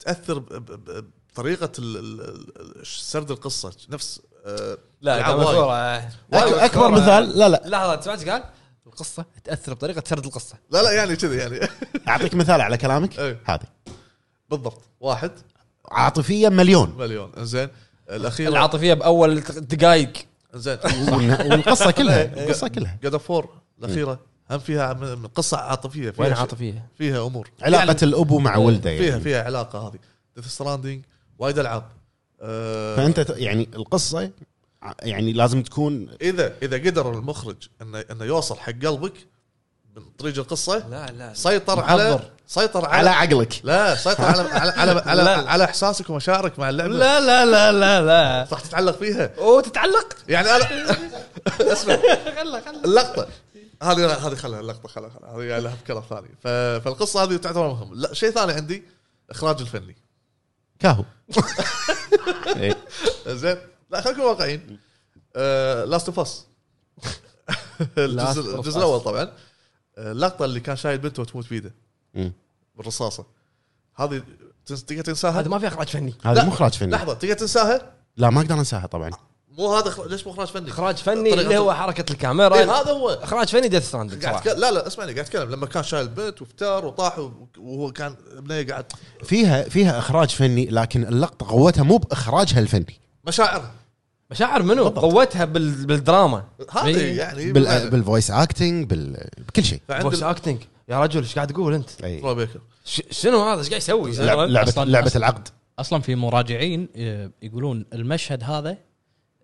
Speaker 1: تاثر ب- ب- ب- بطريقه ال- ال- ال- سرد القصه نفس آه،
Speaker 2: لا أيوة،
Speaker 1: ألعاب
Speaker 2: كمل
Speaker 1: وايد.
Speaker 2: كورة.
Speaker 3: أك- اكبر
Speaker 2: كورة.
Speaker 3: مثال لا لا
Speaker 2: لحظه سمعت إيش قال القصه تاثر بطريقه سرد القصه
Speaker 1: لا لا يعني كذي يعني
Speaker 3: اعطيك مثال على كلامك
Speaker 1: إيه.
Speaker 3: هذه
Speaker 1: بالضبط واحد
Speaker 3: عاطفيا مليون
Speaker 1: مليون انزين الاخير
Speaker 2: العاطفيه باول دقائق
Speaker 1: انزين
Speaker 3: والن- والقصه كلها
Speaker 1: إيه.
Speaker 3: القصه كلها
Speaker 1: جاد اوف فور الاخيره هم فيها م- م- قصه عاطفيه فيها
Speaker 2: وين
Speaker 1: شيء-
Speaker 2: عاطفيه؟
Speaker 1: فيها امور
Speaker 3: علاقه الابو مع ولده يعني
Speaker 1: فيها فيها علاقه هذه ديث ستراندنج وايد العاب آه،
Speaker 3: فانت ت- يعني القصه ع- يعني لازم تكون
Speaker 1: اذا اذا قدر المخرج انه انه يوصل حق قلبك من طريق القصه
Speaker 2: لا لا
Speaker 1: سيطر على
Speaker 2: محضر.
Speaker 1: سيطر
Speaker 3: على
Speaker 1: على
Speaker 3: عقلك
Speaker 1: لا سيطر على على على, على,
Speaker 2: لا.
Speaker 1: على احساسك ومشاعرك مع اللعبه
Speaker 2: لا لا لا لا لا
Speaker 1: راح تتعلق فيها
Speaker 2: اوه تتعلق
Speaker 1: يعني انا اسمع
Speaker 4: خله خله
Speaker 1: اللقطه هذه هذه خلها اللقطه خلها خلها هذه يعني لها بكلام ثاني ف- فالقصه هذه تعتبر مهم لا شيء ثاني عندي اخراج الفني
Speaker 3: كاهو إيه،
Speaker 1: زين لا خلينا نكون واقعيين آه، لاست اوف اس
Speaker 2: Last of
Speaker 1: الجزء
Speaker 2: Us.
Speaker 1: الجزء الاول طبعا آه، اللقطه اللي كان شايل بنته وتموت بيده
Speaker 3: مم.
Speaker 1: بالرصاصه هذه تنس- تقدر تنساها
Speaker 2: هذا ما في اخراج فني
Speaker 1: لا.
Speaker 3: هذا مو اخراج فني
Speaker 1: لحظه تقدر تنساها
Speaker 3: لا ما اقدر انساها طبعا
Speaker 1: مو هذا إخراج- ليش مو اخراج فني؟
Speaker 2: اخراج فني
Speaker 1: طريقة-
Speaker 2: اللي هو حركه الكاميرا
Speaker 1: إيه، هذا هو
Speaker 2: اخراج فني ديث ستراندنج
Speaker 1: قاعد
Speaker 2: صراحه
Speaker 1: أتكلم- لا لا اسمعني قاعد اتكلم لما كان شايل بنت وفتار وطاح و- وهو كان بنيه قاعد
Speaker 3: فيها فيها اخراج فني لكن اللقطه قوتها مو باخراجها الفني
Speaker 1: مشاعر
Speaker 2: مشاعر منو
Speaker 3: بالضبط.
Speaker 2: قوتها بال... بالدراما
Speaker 1: هذه
Speaker 4: إيه.
Speaker 1: يعني
Speaker 3: بال... بالفويس اكتنج بال... بكل شيء
Speaker 2: فويس
Speaker 1: فعند
Speaker 2: اكتنج يا رجل ايش قاعد تقول انت
Speaker 3: أي.
Speaker 1: ترو بيكر
Speaker 2: ش... شنو هذا ايش قاعد يسوي
Speaker 3: لعب- لعبه
Speaker 4: طيب، أصلاً-
Speaker 3: لعبه
Speaker 4: أصلاً.
Speaker 3: العقد
Speaker 4: اصلا في مراجعين آه، يقولون المشهد هذا آه،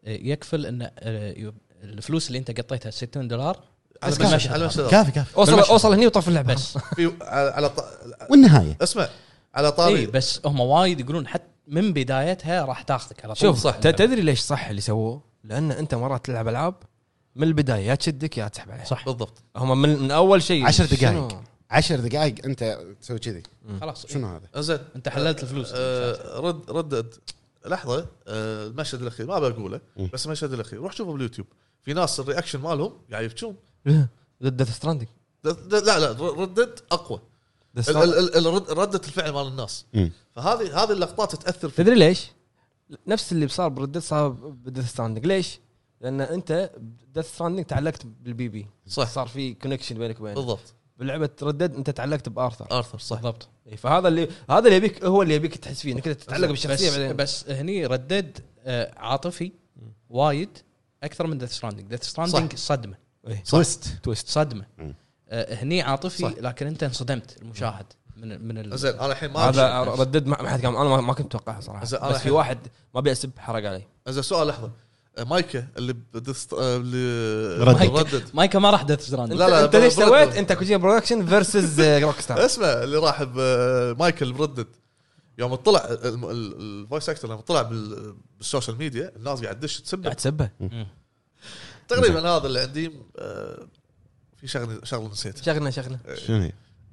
Speaker 4: يكفل ان آه، يب- الفلوس اللي انت قطيتها 60 دولار
Speaker 1: على
Speaker 4: بس
Speaker 1: المشهد
Speaker 4: المشهد.
Speaker 1: على المشهد
Speaker 3: كافي كافي
Speaker 2: اوصل
Speaker 4: بالمشهد.
Speaker 2: اوصل هني وطف اللعبه
Speaker 4: بس
Speaker 1: في على على ط-
Speaker 3: والنهايه
Speaker 1: اسمع على
Speaker 4: اي
Speaker 1: طاري
Speaker 4: إيه، بس هم وايد يقولون حتى من بدايتها راح تاخذك على طول
Speaker 2: شوف صح تدري ليش صح اللي سووه؟ لان انت مرات تلعب العاب من البدايه يا تشدك يا تسحب عليها
Speaker 4: صح
Speaker 1: بالضبط
Speaker 2: هم من, من اول شيء
Speaker 3: عشر
Speaker 2: شنو؟
Speaker 3: دقائق. عشر دقائق انت تسوي كذي
Speaker 4: خلاص
Speaker 3: شنو هذا؟
Speaker 1: زين
Speaker 4: انت حللت الفلوس
Speaker 1: آه، رد رد لحظه آه، المشهد الاخير ما بقوله
Speaker 3: مم.
Speaker 1: بس المشهد الاخير روح شوفه باليوتيوب في ناس الرياكشن مالهم قاعد يبكون
Speaker 2: لا، ضد ديث ستراندنج
Speaker 1: د- د- لا لا ر- ردد اقوى
Speaker 2: Death
Speaker 1: ال-
Speaker 2: Stranding.
Speaker 1: ال- ال- رد- رده الفعل مال الناس
Speaker 3: مم.
Speaker 1: فهذه هذه اللقطات تاثر في
Speaker 2: تدري ليش؟ نفس اللي صار بردت صار بديث ستراندنج ليش؟ لان انت ديث ستراندنج تعلقت بالبي بي
Speaker 1: صح.
Speaker 2: صار في كونكشن بينك وبينه
Speaker 1: بالضبط
Speaker 2: بلعبه ردد انت تعلقت بارثر
Speaker 1: ارثر صح
Speaker 4: بالضبط
Speaker 2: إيه، فهذا اللي هذا اللي يبيك هو اللي يبيك تحس فيه انك أنت تتعلق بالشخصيه
Speaker 4: بس,
Speaker 2: بعدين
Speaker 4: بس هني ردد آه، عاطفي وايد اكثر من ديث ستراندنج ديث ستراندنج صدمه
Speaker 3: تويست
Speaker 4: تويست صدمه
Speaker 3: مم.
Speaker 4: آه، هني عاطفي
Speaker 1: صح.
Speaker 4: لكن انت انصدمت المشاهد من من ال-
Speaker 1: زين انا الحين ما
Speaker 2: هذا
Speaker 1: هذا
Speaker 2: ردد ما ما حد قام انا ما- ما كنت اتوقعها صراحه
Speaker 1: زين، أنا
Speaker 2: بس في
Speaker 1: الحين-
Speaker 2: واحد ما ابي اسب حرق علي
Speaker 1: زين سؤال لحظه آه، مايكا اللي بدست آه، اللي
Speaker 3: ردد.
Speaker 1: ردد
Speaker 4: مايكا ما راح ديث ستراندنج
Speaker 1: لا، لا،
Speaker 2: انت ليش
Speaker 1: برد-
Speaker 2: سويت انت كوجيما برودكشن آه، فيرسز روك ستار
Speaker 1: اسمع اللي راح بمايكل بردد يوم طلع الم- ال- الفويس اكتر لما طلع بال- بالسوشيال ميديا الناس قاعد تدش تسبه
Speaker 2: قاعد تسبه
Speaker 1: تقريبا هذا اللي عندي آه، في شغله شغله نسيتها
Speaker 2: شغلنا شغلنا
Speaker 3: شنو هي؟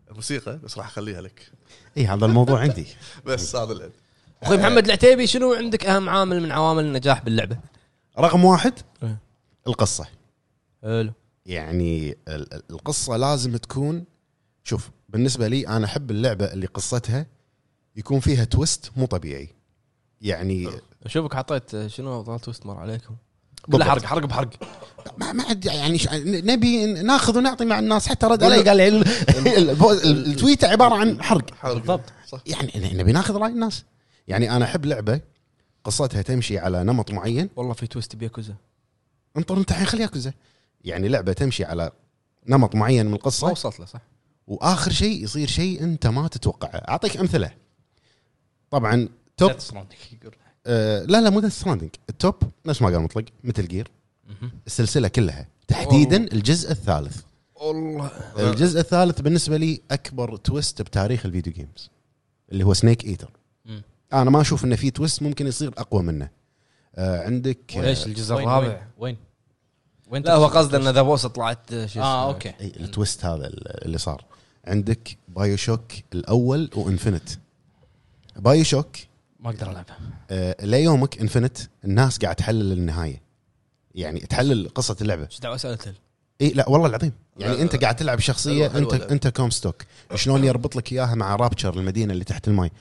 Speaker 1: الموسيقى بس راح اخليها لك
Speaker 3: اي هذا الموضوع عندي
Speaker 1: بس هذا اللي عندي
Speaker 2: اخوي محمد العتيبي شنو عندك اهم عامل من عوامل النجاح باللعبه؟
Speaker 3: رقم واحد
Speaker 2: إيه.
Speaker 3: القصه
Speaker 2: حلو
Speaker 3: يعني ال- ال- القصه لازم تكون شوف بالنسبه لي انا احب اللعبه اللي قصتها يكون فيها تويست مو طبيعي يعني
Speaker 4: أه.
Speaker 2: اشوفك حطيت آه، شنو ضغط توست مر عليكم
Speaker 3: بالضبط.
Speaker 2: كله حرق حرق بحرق
Speaker 3: ما ما حد يعني ش- نبي ناخذ ونعطي مع الناس حتى رد علي قال لي ال- البو- ال- التويته عباره عن حرق
Speaker 1: بالضبط صح
Speaker 3: يعني ن- نبي ناخذ راي الناس يعني انا احب لعبه قصتها تمشي على نمط معين
Speaker 2: والله في توست بياكوزا
Speaker 3: انطر انت الحين خلي ياكوزا يعني لعبه تمشي على نمط معين من
Speaker 2: ما
Speaker 3: القصه
Speaker 2: وصلت له صح؟
Speaker 3: واخر شيء يصير شيء انت ما تتوقعه اعطيك امثله طبعا توب
Speaker 4: ديث ستراندنج يقول
Speaker 3: آه لا لا مو ذا ستراندنج التوب نفس ما قال مطلق مثل جير السلسله كلها تحديدا
Speaker 2: أوه.
Speaker 3: الجزء الثالث
Speaker 2: والله
Speaker 3: الجزء الثالث بالنسبه لي اكبر تويست بتاريخ الفيديو جيمز اللي هو سنيك ايتر
Speaker 4: مم.
Speaker 3: انا ما اشوف انه في تويست ممكن يصير اقوى منه آه عندك آه،
Speaker 2: ليش الجزء
Speaker 4: وين-
Speaker 2: الرابع؟
Speaker 4: وين؟ وين
Speaker 2: لا هو قصده ان ذا بوس طلعت آه، شو
Speaker 4: اه
Speaker 2: اسمه.
Speaker 4: اوكي
Speaker 3: أي التويست هذا اللي صار عندك بايو شوك الاول وانفنت بايو شوك
Speaker 4: ما اقدر العبها
Speaker 3: آه ليومك انفنت الناس قاعد تحلل النهايه يعني تحلل قصه اللعبه
Speaker 2: ايش دعوه سالت له؟
Speaker 3: اي لا والله العظيم يعني
Speaker 1: لا،
Speaker 3: انت قاعد تلعب شخصيه
Speaker 1: حلوة- حلوة
Speaker 3: انت
Speaker 1: اللعبة.
Speaker 3: انت كومستوك شلون يربط لك اياها مع رابتشر المدينه اللي تحت الماي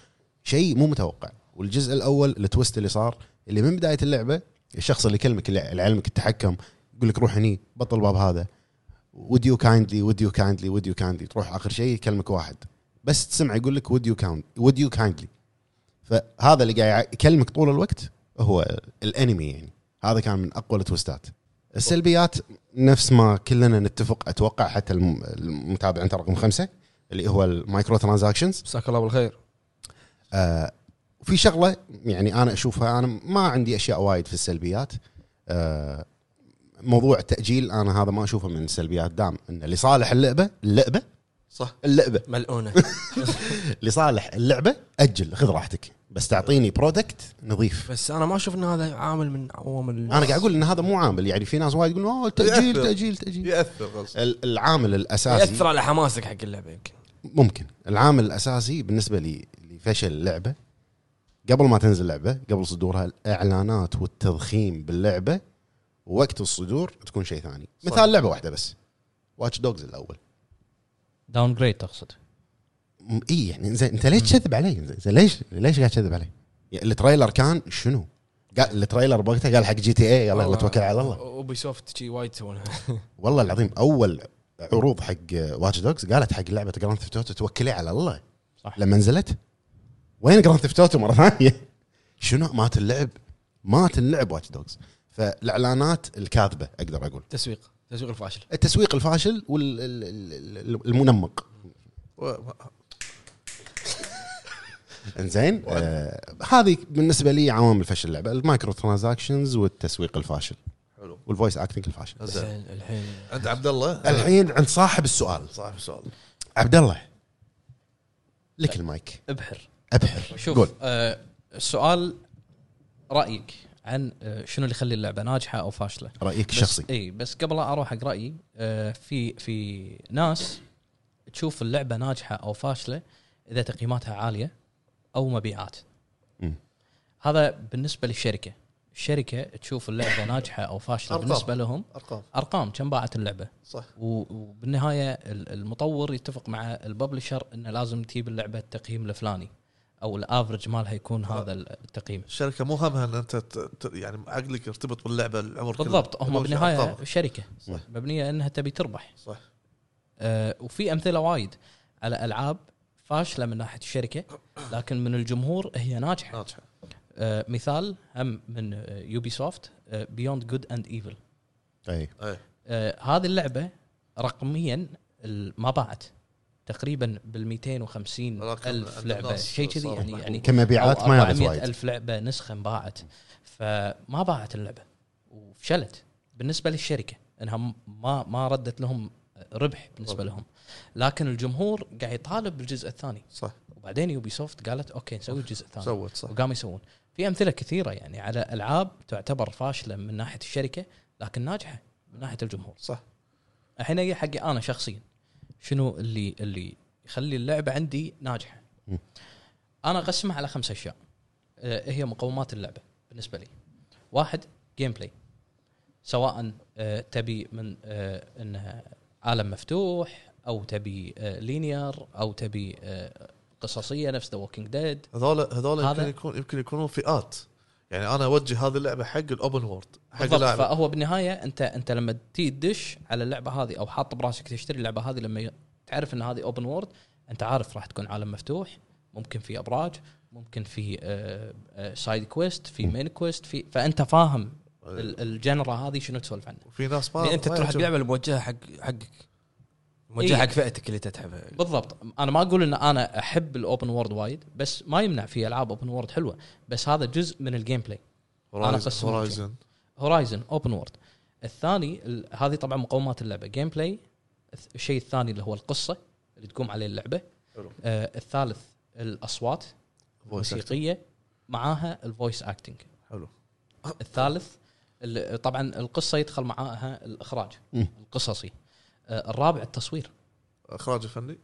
Speaker 3: شيء مو متوقع والجزء الاول التويست اللي صار اللي من بدايه اللعبه الشخص اللي كلمك اللي لعلمك التحكم يقول لك روح هني بطل الباب هذا ود يو كايندلي ود يو كايندلي ود يو كايندلي تروح اخر شيء يكلمك واحد بس تسمع يقول لك ود يو كاوند ود يو كايندلي فهذا اللي قاعد يكلمك طول الوقت هو الانمي يعني هذا كان من اقوى التويستات السلبيات نفس ما كلنا نتفق اتوقع حتى الم- المتابع انت رقم خمسه اللي هو المايكرو ترانزاكشنز
Speaker 2: جزاك الله بالخير
Speaker 3: آه في شغله يعني انا اشوفها انا ما عندي اشياء وايد في السلبيات آه موضوع التاجيل انا هذا ما اشوفه من السلبيات دام ان لصالح اللعبه اللعبه
Speaker 1: صح
Speaker 3: اللعبه
Speaker 2: ملعونه
Speaker 3: لصالح اللعبه اجل خذ راحتك بس تعطيني برودكت نظيف
Speaker 2: بس انا ما اشوف ان هذا عامل من عوامل
Speaker 3: انا قاعد اقول ان هذا مو عامل يعني في ناس وايد يقولون اوه تاجيل
Speaker 1: يأثر.
Speaker 3: تاجيل تاجيل
Speaker 1: ياثر غصب
Speaker 3: ال- العامل الاساسي
Speaker 2: ياثر على حماسك حق اللعبه يمكن
Speaker 3: ممكن العامل الاساسي بالنسبه لي لفشل اللعبه قبل ما تنزل اللعبه قبل صدورها الاعلانات والتضخيم باللعبه ووقت الصدور تكون شيء ثاني
Speaker 1: صح.
Speaker 3: مثال لعبه واحده بس واتش دوجز الاول
Speaker 4: داون جريد تقصد
Speaker 3: م- اي يعني زين انت ليش تكذب علي؟ زين ليش ليش قاعد تكذب علي؟ يعني التريلر كان شنو؟ قال التريلر بوقتها قال حق جي تي اي يلا يلا توكل على الله
Speaker 2: اوبي سوفت شي وايد يسوونها
Speaker 3: والله العظيم اول عروض حق واتش دوجز قالت حق لعبه جراند ثيفت اوتو توكلي على الله
Speaker 4: صح.
Speaker 3: لما نزلت وين جراند ثيفت اوتو مره ثانيه شنو مات اللعب مات اللعب واتش دوجز فالاعلانات الكاذبه اقدر اقول
Speaker 2: تسويق تسويق الفاشل
Speaker 3: التسويق الفاشل والمنمق انزين آه هذه بالنسبه لي عوامل فشل اللعبه المايكرو ترانزاكشنز والتسويق الفاشل
Speaker 1: حلو
Speaker 3: والفويس اكتنج الفاشل
Speaker 2: بس
Speaker 1: زين
Speaker 2: الحين
Speaker 1: عند عبد الله
Speaker 3: الحين عند صاحب السؤال
Speaker 1: صاحب السؤال
Speaker 3: عبد الله لك المايك
Speaker 4: ابحر
Speaker 3: ابحر قول
Speaker 4: شوف آه السؤال رايك عن آه شنو اللي يخلي اللعبه ناجحه او فاشله
Speaker 3: رايك الشخصي
Speaker 4: اي بس إيه. قبل لا اروح حق رايي آه، في في ناس تشوف اللعبه ناجحه او فاشله اذا تقييماتها عاليه او مبيعات
Speaker 3: مم.
Speaker 4: هذا بالنسبه للشركه الشركه تشوف اللعبه ناجحه او فاشله
Speaker 1: أرقام.
Speaker 4: بالنسبه لهم
Speaker 1: ارقام
Speaker 4: ارقام كم باعت اللعبه
Speaker 1: صح
Speaker 4: و- وبالنهايه ال- المطور يتفق مع الببلشر انه لازم تجيب اللعبه التقييم الفلاني او الافرج مالها يكون هذا التقييم
Speaker 1: الشركه مو همها ان انت ت- ت- يعني عقلك يرتبط باللعبه العمر كله.
Speaker 4: بالضبط هم
Speaker 1: يبون
Speaker 4: بالنهايه
Speaker 1: أرقام.
Speaker 4: شركه
Speaker 3: صح.
Speaker 4: مبنيه انها تبي تربح
Speaker 1: صح
Speaker 4: آه، وفي امثله وايد على العاب فاشله من ناحيه الشركه لكن من الجمهور هي ناجحه
Speaker 1: ناجحه
Speaker 4: آه، مثال هم من آه، يوبي سوفت بيوند جود اند ايفل
Speaker 3: اي
Speaker 1: اي
Speaker 4: آه، هذه اللعبه رقميا ال- ما باعت تقريبا بال 250
Speaker 1: رقم
Speaker 4: الف
Speaker 1: عند
Speaker 4: لعبه
Speaker 1: الناس
Speaker 4: شيء كذي
Speaker 1: صار
Speaker 4: يعني
Speaker 1: محبوب.
Speaker 4: يعني
Speaker 3: كمبيعات ما يعرف
Speaker 4: وايد
Speaker 3: وايد
Speaker 4: ألف لعبه نسخه انباعت فما باعت اللعبه وفشلت بالنسبه للشركه انها م- ما ما ردت لهم ربح بالنسبه لهم لكن الجمهور قاعد يطالب بالجزء الثاني
Speaker 1: صح
Speaker 4: وبعدين يوبي سوفت قالت اوكي نسوي الجزء الثاني
Speaker 1: سوت صح
Speaker 4: وقاموا يسوون في امثله كثيره يعني على العاب تعتبر فاشله من ناحيه الشركه لكن ناجحه من ناحيه الجمهور
Speaker 1: صح
Speaker 4: الحين هي حقي انا شخصيا شنو اللي اللي يخلي اللعبه عندي ناجحه
Speaker 3: م.
Speaker 4: انا اقسمها على خمس اشياء آه، هي مقومات اللعبه بالنسبه لي واحد جيم بلاي سواء آه، تبي من آه، انها عالم مفتوح او تبي لينير او تبي آه، قصصيه نفس ذا ووكينج ديد
Speaker 1: هذول هذول
Speaker 4: هذا-
Speaker 1: يمكن يكون يمكن يكونون فئات يعني انا اوجه هذه اللعبه حق الاوبن وورد حق
Speaker 4: بالضبط
Speaker 1: اللاعب
Speaker 4: فهو بالنهايه انت انت لما تي تدش على اللعبه هذه او حاط براسك تشتري اللعبه هذه لما ي- تعرف ان هذه اوبن وورد انت عارف راح تكون عالم مفتوح ممكن في ابراج ممكن في آه، آه، سايد كويست في مين كويست في فانت فاهم ال- الجنرا هذه شنو تسولف عنها
Speaker 1: وفي ناس ما
Speaker 2: يعني انت
Speaker 1: ما
Speaker 2: تروح
Speaker 1: يعجبهم.
Speaker 2: اللعبه الموجهه حق حقك موجهه
Speaker 4: إيه.
Speaker 2: حق فئتك اللي تتحبها
Speaker 4: بالضبط انا ما اقول ان انا احب الاوبن وورد وايد بس ما يمنع في العاب اوبن وورد حلوه بس هذا جزء من الجيم بلاي أنا
Speaker 1: هورايزن-
Speaker 4: أقسمهم شيء.
Speaker 1: هورايزن
Speaker 4: هورايزن اوبن وورد الثاني ال- هذه طبعا مقومات اللعبه جيم بلاي الث- الشيء الثاني اللي هو القصه اللي تقوم عليه اللعبه
Speaker 1: حلو.
Speaker 4: آه الثالث الاصوات الموسيقيه معاها الفويس اكتنج
Speaker 1: حلو
Speaker 4: الثالث ال- طبعا القصه يدخل معاها الاخراج
Speaker 3: مم.
Speaker 4: القصصي آه الرابع التصوير
Speaker 1: اخراج فني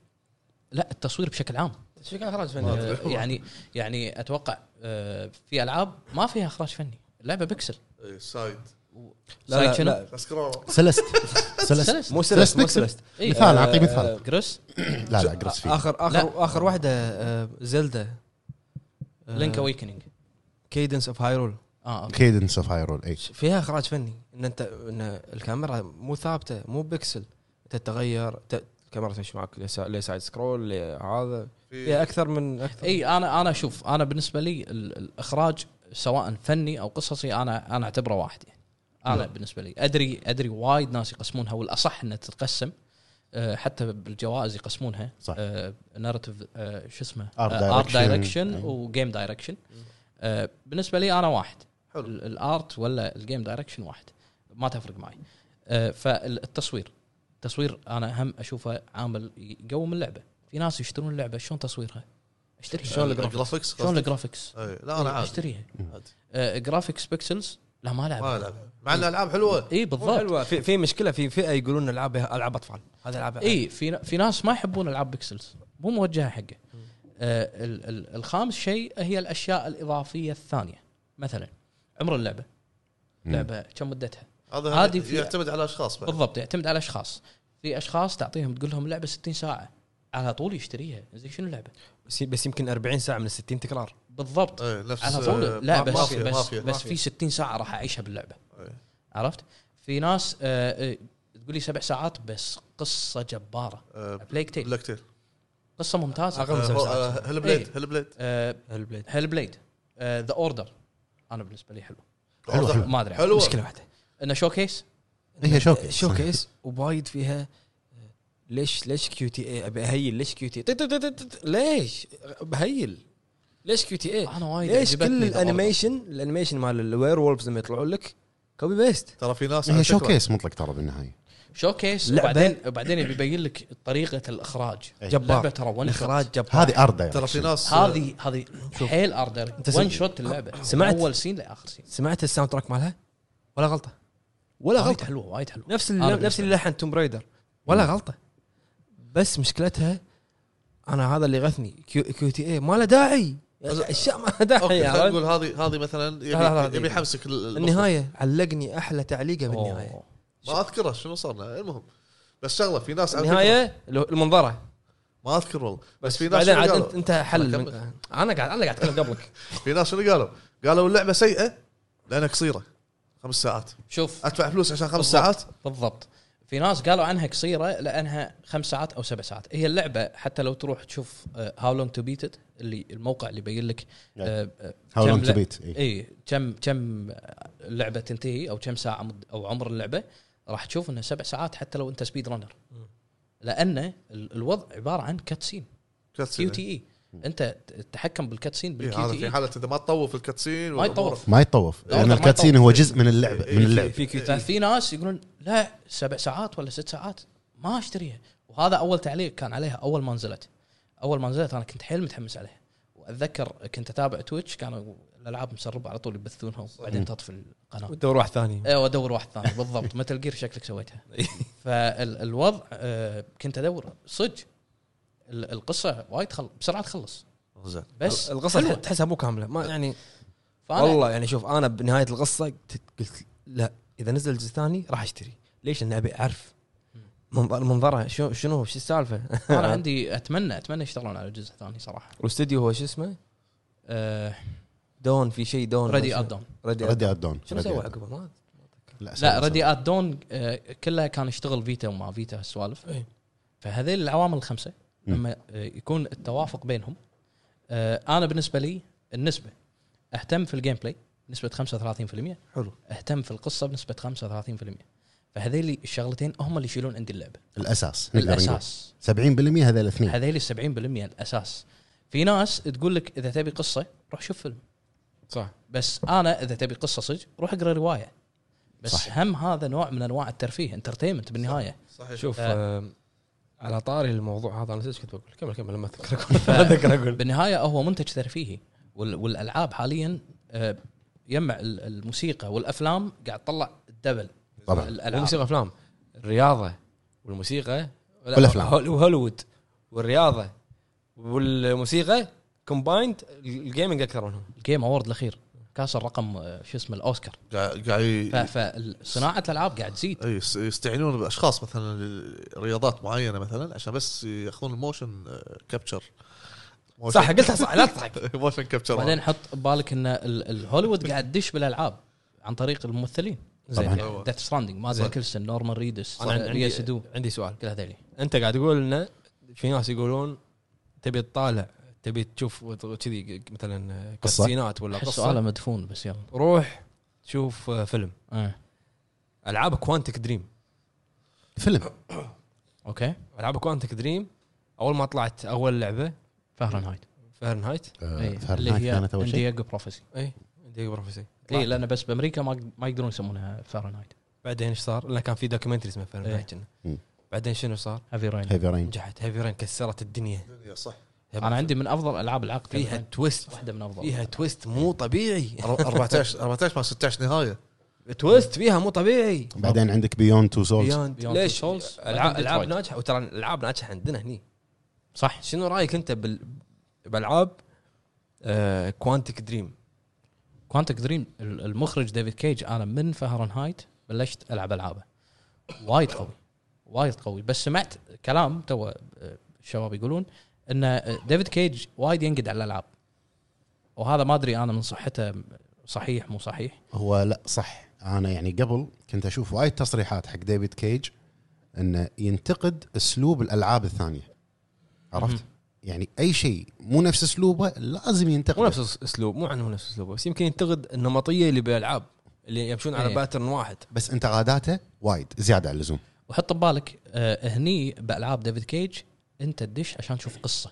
Speaker 4: لا التصوير بشكل عام
Speaker 2: ايش فيك اخراج
Speaker 1: ما
Speaker 2: فني
Speaker 1: أدري.
Speaker 4: آه يعني يعني اتوقع آه في العاب ما فيها اخراج فني اللعبه بكسل
Speaker 1: إيه، سايد
Speaker 2: لا لا,
Speaker 4: شنو؟
Speaker 2: لا
Speaker 1: اسكرول
Speaker 3: سلست سلست
Speaker 4: سلس
Speaker 2: مو سلست مو سلست
Speaker 4: إيه.
Speaker 3: مثال اعطي
Speaker 2: آه،
Speaker 3: مثال
Speaker 4: جريس
Speaker 3: لا لا اقرص فيه
Speaker 2: اخر اخر
Speaker 4: لا.
Speaker 2: اخر واحده آه، زلدا آه.
Speaker 4: لينك اويكننج
Speaker 2: كيدنس اوف هايرول
Speaker 4: اه أوكي.
Speaker 3: كيدنس اوف هايرول اي
Speaker 2: فيها اخراج فني ان انت ان الكاميرا مو ثابته مو بكسل انت تتغير ت- الكاميرا تمشي معك لسا- لسايد سكرول لهذا فيها اكثر من اكثر
Speaker 4: اي انا انا اشوف انا بالنسبه لي ال- الاخراج سواء فني او قصصي انا انا اعتبره واحد يعني
Speaker 3: نعم.
Speaker 4: انا بالنسبه لي ادري ادري وايد ناس يقسمونها والاصح انها تتقسم آه، حتى بالجوائز يقسمونها
Speaker 3: صح.
Speaker 4: نارتيف شو اسمه آه،
Speaker 3: Art
Speaker 4: ارت
Speaker 3: direction.
Speaker 4: دايركشن
Speaker 3: أيوة.
Speaker 4: وجيم دايركشن بالنسبه آه، لي انا واحد
Speaker 1: حلو.
Speaker 4: ال- الارت ولا الجيم دايركشن واحد ما تفرق معي آه، فالتصوير التصوير انا هم اشوفه عامل يقوم اللعبه في ناس يشترون اللعبه شلون تصويرها اشتريها
Speaker 1: شلون آه، الجرافيكس
Speaker 4: شلون
Speaker 1: قصدك؟
Speaker 4: الجرافيكس؟ إيه،
Speaker 1: إي، لا انا عادي
Speaker 4: اشتريها
Speaker 1: عادي.
Speaker 4: آه، جرافيكس بيكسلز لا ما
Speaker 1: ما
Speaker 4: العب
Speaker 1: العب مع ان الالعاب حلوه
Speaker 4: اي
Speaker 2: مو
Speaker 4: بالضبط
Speaker 2: حلوه في, في مشكله في فئه يقولون العاب العاب اطفال هذا العاب
Speaker 4: اي في في ناس ما يحبون العاب بيكسلز مو موجهه حقه آه ال ال الخامس شيء هي الاشياء الاضافيه الثانيه مثلا عمر اللعبه لعبه كم مدتها
Speaker 1: هذا يعني
Speaker 4: عادي في-
Speaker 1: يعتمد على اشخاص بعد
Speaker 4: بالضبط يعتمد على اشخاص في اشخاص تعطيهم تقول لهم اللعبه 60 ساعه على طول يشتريها زين شنو اللعبه
Speaker 2: بس, بس يمكن 40 ساعه من ال 60 تكرار
Speaker 4: بالضبط
Speaker 1: إي، إيه، نفس
Speaker 4: على طول لا
Speaker 1: آه، ما- إيه.
Speaker 4: بس
Speaker 1: مافيا
Speaker 4: بس,
Speaker 1: مافيا
Speaker 4: بس في 60 ساعه راح اعيشها باللعبه
Speaker 1: إي.
Speaker 4: عرفت في ناس آه، آه، تقول لي سبع ساعات بس قصه جباره
Speaker 1: آه،
Speaker 4: بلاك تيل
Speaker 1: بلاك تيل
Speaker 4: قصه ممتازه
Speaker 2: أقل من
Speaker 1: آه،
Speaker 2: سبع ساعات.
Speaker 1: هل
Speaker 4: إيه.
Speaker 1: بليد هل بليد
Speaker 2: البليد
Speaker 4: هيل بليد ذا اوردر انا بالنسبه لي حلو
Speaker 3: حلوة، حلوة.
Speaker 4: ما ادري
Speaker 1: حلوة.
Speaker 2: مشكله واحده
Speaker 4: انه شو كيس
Speaker 3: هي شوكيس
Speaker 2: شوكيس وبايد فيها آه، ليش ليش كيو تي اي ابي اهيل ليش كيو تي إيه؟ إي؟ طت- طت- طت- طت- ليش بهيل ليش كيو تي اي
Speaker 4: انا وايد
Speaker 2: ليش
Speaker 4: عجبتني
Speaker 2: كل
Speaker 4: The Order.
Speaker 2: الانيميشن الانيميشن مال الوير وولفز لما يطلعون لك كوبي بيست
Speaker 1: ترى في ناس على
Speaker 3: هي
Speaker 1: فكرة-
Speaker 3: شوكيس مطلق ترى بالنهايه
Speaker 4: شوكيس
Speaker 2: لعبة. إيه.
Speaker 4: وبعدين وبعدين يبي يبين لك طريقه الاخراج
Speaker 3: إي.
Speaker 2: جبار.
Speaker 4: اللعبة إيه. ترى ون
Speaker 2: الاخراج
Speaker 4: شوت
Speaker 2: جبار
Speaker 3: هذه يعني. اردا
Speaker 1: ترى في ناس
Speaker 4: هذه هذه حيل اردر
Speaker 2: أنت
Speaker 4: ون
Speaker 2: سمعت-
Speaker 4: شوت اللعبه
Speaker 2: سمعت؟
Speaker 4: اول سين لاخر سين
Speaker 2: سمعت الساوند تراك مالها ولا غلطه ولا
Speaker 4: وايد
Speaker 2: غلطه
Speaker 4: حلوه وايد حلوه
Speaker 2: نفس
Speaker 4: أنا
Speaker 2: اللي نفس
Speaker 4: بالنسبة
Speaker 2: اللي لحن توم برايدر ولا غلطه بس مشكلتها انا هذا اللي غثني كيو, كيو تي اي ما له داعي اشياء ما لها داعي
Speaker 1: اوكي خلينا
Speaker 2: إيه، عرفت؟
Speaker 1: نقول هذه هذه مثلا
Speaker 2: لا، لا،
Speaker 1: يبي- يبي
Speaker 2: دقيقة.
Speaker 1: يحمسك ال- ال-
Speaker 2: النهايه علقني احلى تعليقه بالنهايه
Speaker 4: أوه.
Speaker 1: ما اذكره شنو صار لنا المهم بس شغله في ناس على فكرة-
Speaker 2: النهايه لو- المنظره
Speaker 1: ما اذكر والله بس في ناس
Speaker 2: بعدين
Speaker 1: شنو
Speaker 2: عاد
Speaker 1: قالوا؟
Speaker 2: انت انت حلل
Speaker 1: أكمل.
Speaker 2: من- انا قاعد انا قاعد اتكلم قبلك
Speaker 1: في ناس شنو قالوا؟ قالوا اللعبه سيئه لانها قصيره خمس ساعات
Speaker 4: شوف
Speaker 1: ادفع فلوس عشان خمس
Speaker 4: بالضبط.
Speaker 1: ساعات
Speaker 4: بالضبط في ناس قالوا عنها قصيره لانها خمس ساعات او سبع ساعات هي اللعبه حتى لو تروح تشوف آه، هاو لونج تو بيت اللي الموقع اللي يبين لك آه، آه،
Speaker 3: هاو
Speaker 4: كم
Speaker 3: لونج تو
Speaker 4: لع-
Speaker 3: بيت اي
Speaker 4: اي كم كم اللعبه تنتهي او كم ساعه مد او عمر اللعبه راح تشوف انه سبع ساعات حتى لو انت سبيد رانر لان ال- الوضع عباره عن كاتسين كيو تي اي E. انت ت- تتحكم بالكاتسين
Speaker 1: إيه،
Speaker 4: بالكيو
Speaker 1: هذا
Speaker 4: تي
Speaker 1: في
Speaker 4: اي
Speaker 1: حاله اذا ما تطوف الكاتسين
Speaker 4: ما يطور
Speaker 3: ما يتطوف
Speaker 1: لا،
Speaker 3: لان
Speaker 1: ما
Speaker 3: الكاتسين
Speaker 1: يتطوف.
Speaker 3: هو جزء من اللعبه
Speaker 1: إي،
Speaker 3: من
Speaker 1: إي،
Speaker 3: اللعب
Speaker 2: في E. كيو
Speaker 1: إيه.
Speaker 2: تي
Speaker 4: ففي ناس يقولون لا سبع ساعات ولا ست ساعات ما اشتريها وهذا اول تعليق كان عليها اول ما نزلت اول ما نزلت انا كنت حيل متحمس عليها واتذكر كنت اتابع تويتش كانوا الالعاب مسربه على طول يبثونها وبعدين تطفي القناه
Speaker 2: وتدور واحد ثاني
Speaker 4: ايه وادور واحد ثاني بالضبط متل جير شكلك سويتها فالوضع آه، كنت ادور صدق ال- القصه وايد خل... بسرعه تخلص
Speaker 1: زين
Speaker 4: بس
Speaker 2: القصه
Speaker 4: حلوة.
Speaker 2: تحسها مو كامله ما يعني
Speaker 4: فأنا-
Speaker 2: والله يعني شوف انا بنهايه القصه قلت- قلت لا اذا نزل الجزء الثاني راح اشتري ليش؟ لاني ابي اعرف منظر منظره شو شنو شو السالفه؟
Speaker 4: انا عندي اتمنى اتمنى يشتغلون على الجزء الثاني صراحه
Speaker 2: والاستوديو هو شو اسمه؟
Speaker 4: آه،
Speaker 2: دون في شيء دون
Speaker 4: ريدي ات دون
Speaker 2: ريدي
Speaker 3: ردي ادون
Speaker 2: شنو سوى عقبه ما
Speaker 4: لا ريدي ات دون آه، كلها كان يشتغل فيتا وما فيتا السوالف
Speaker 2: إيه.
Speaker 4: فهذيل العوامل الخمسه
Speaker 3: مم.
Speaker 4: لما آه، يكون التوافق بينهم آه، انا بالنسبه لي النسبه اهتم في الجيم بلاي بنسبه 35%
Speaker 1: حلو
Speaker 4: اهتم في القصه بنسبه 35% فهذيلي الشغلتين هم اللي يشيلون عندي اللعبه
Speaker 3: الاساس نقدر نقول
Speaker 4: الاساس
Speaker 3: 70% هذول الاثنين
Speaker 4: هذيلي 70% الاساس في ناس تقول لك اذا تبي قصه روح شوف فيلم
Speaker 2: صح
Speaker 4: بس انا اذا تبي قصه صدق روح اقرا روايه بس
Speaker 3: صح.
Speaker 4: صح. هم هذا نوع من انواع الترفيه انترتينمنت بالنهايه
Speaker 1: صحيح شوف
Speaker 2: شوف
Speaker 4: آه.
Speaker 2: آه، على طاري الموضوع هذا انا نسيت إيش كنت بقول كمل كمل لما اتذكر اقول ما اتذكر اقول
Speaker 4: بالنهايه هو منتج ترفيهي وال- والالعاب حاليا آه، يجمع ال- الموسيقى والافلام قاعد تطلع الدبل
Speaker 3: طبعا.
Speaker 2: مو
Speaker 4: الالعاب
Speaker 2: موسيقى افلام الرياضه والموسيقى لا،
Speaker 3: والأفلام.
Speaker 2: هول- وهوليوود والرياضه والموسيقى كومبايند الجيمنج اكثر منهم
Speaker 4: الجيم اوورد الاخير كسر رقم آه، شو اسمه الاوسكار
Speaker 1: قاعد ي-
Speaker 4: فصناعه الالعاب قاعد تزيد
Speaker 1: أي، يس- يستعينون باشخاص مثلا رياضات معينه مثلا عشان بس ياخذون الموشن آه، كابتشر
Speaker 2: صح قلتها صح لا تضحك
Speaker 1: موشن
Speaker 4: بعدين
Speaker 1: كابتشر
Speaker 4: حط ببالك ان ال- الهوليوود قاعد تدش بالالعاب عن طريق الممثلين زين
Speaker 1: طبعاً.
Speaker 4: ديث ستراندنج ماز
Speaker 2: زين.
Speaker 4: ميكلسون نورمان ريدس
Speaker 2: انا عندي
Speaker 4: ريا سدو
Speaker 2: عندي سؤال
Speaker 4: كل هذيلي
Speaker 2: انت قاعد تقول انه في ناس يقولون تبي تطالع تبي تشوف وت- كذي مثلا
Speaker 3: قصة.
Speaker 2: كاسينات ولا
Speaker 4: احس
Speaker 2: قصه
Speaker 4: سؤاله مدفون بس يلا
Speaker 2: روح شوف آه، فيلم
Speaker 4: آه.
Speaker 2: العاب كوانتك دريم
Speaker 3: فيلم
Speaker 4: إيه. اوكي
Speaker 2: العاب كوانتك دريم اول ما طلعت اول لعبه
Speaker 4: فهرنهايت
Speaker 2: فهرنهايت
Speaker 4: إي، إيه، اللي
Speaker 3: فهرنهايت
Speaker 4: هي
Speaker 3: آه، كانت اول شيء
Speaker 4: دييغو بروفيسي
Speaker 2: اي ديجو بروفيسي
Speaker 4: اي لان بس بامريكا ما ما يقدرون يسمونها فهرنهايت
Speaker 2: بعدين ايش صار؟ لان كان في دوكيومنتري اسمه فهرنهايت
Speaker 4: إيه.
Speaker 2: كنا.
Speaker 3: مم.
Speaker 2: بعدين شنو صار؟
Speaker 4: هافي رين
Speaker 3: هيفي رينج
Speaker 2: نجحت هيفي رين كسرت الدنيا
Speaker 1: الدنيا صح
Speaker 4: انا عندي من افضل العاب العقد
Speaker 2: فيها
Speaker 4: يعني
Speaker 2: تويست
Speaker 4: واحده من افضل
Speaker 2: فيها تويست مو طبيعي
Speaker 1: 14 14 ما 16 نهايه
Speaker 2: تويست فيها مو طبيعي
Speaker 3: بعدين عندك بيون تو سولز
Speaker 2: Beyond.
Speaker 4: Beyond
Speaker 2: ليش؟
Speaker 4: Souls.
Speaker 2: العاب
Speaker 4: Beyond
Speaker 2: العاب
Speaker 4: Detroit.
Speaker 2: ناجحه وترى الالعاب ناجحه عندنا هني
Speaker 4: صح
Speaker 2: شنو رايك انت بال... آه، بالعاب كوانتك دريم
Speaker 4: كوانتك دريم المخرج ديفيد كيج انا من فهرنهايت بلشت العب العابه وايد قوي وايد قوي بس سمعت كلام تو آه، الشباب يقولون ان آه، ديفيد كيج وايد ينقد على الالعاب وهذا ما ادري انا من صحته صحيح مو صحيح
Speaker 3: هو لا صح انا يعني قبل كنت اشوف وايد تصريحات حق ديفيد كيج انه ينتقد اسلوب الالعاب الثانيه عرفت؟ يعني اي شيء مو نفس اسلوبه لازم ينتقد
Speaker 2: مو نفس اسلوب مو عنه نفس اسلوبه بس يمكن ينتقد النمطيه اللي بالالعاب اللي يمشون على
Speaker 4: إيه.
Speaker 2: باترن واحد
Speaker 3: بس انتقاداته وايد زياده عن اللزوم
Speaker 4: وحط ببالك آه، هني بالعاب ديفيد كيج انت تدش عشان تشوف قصه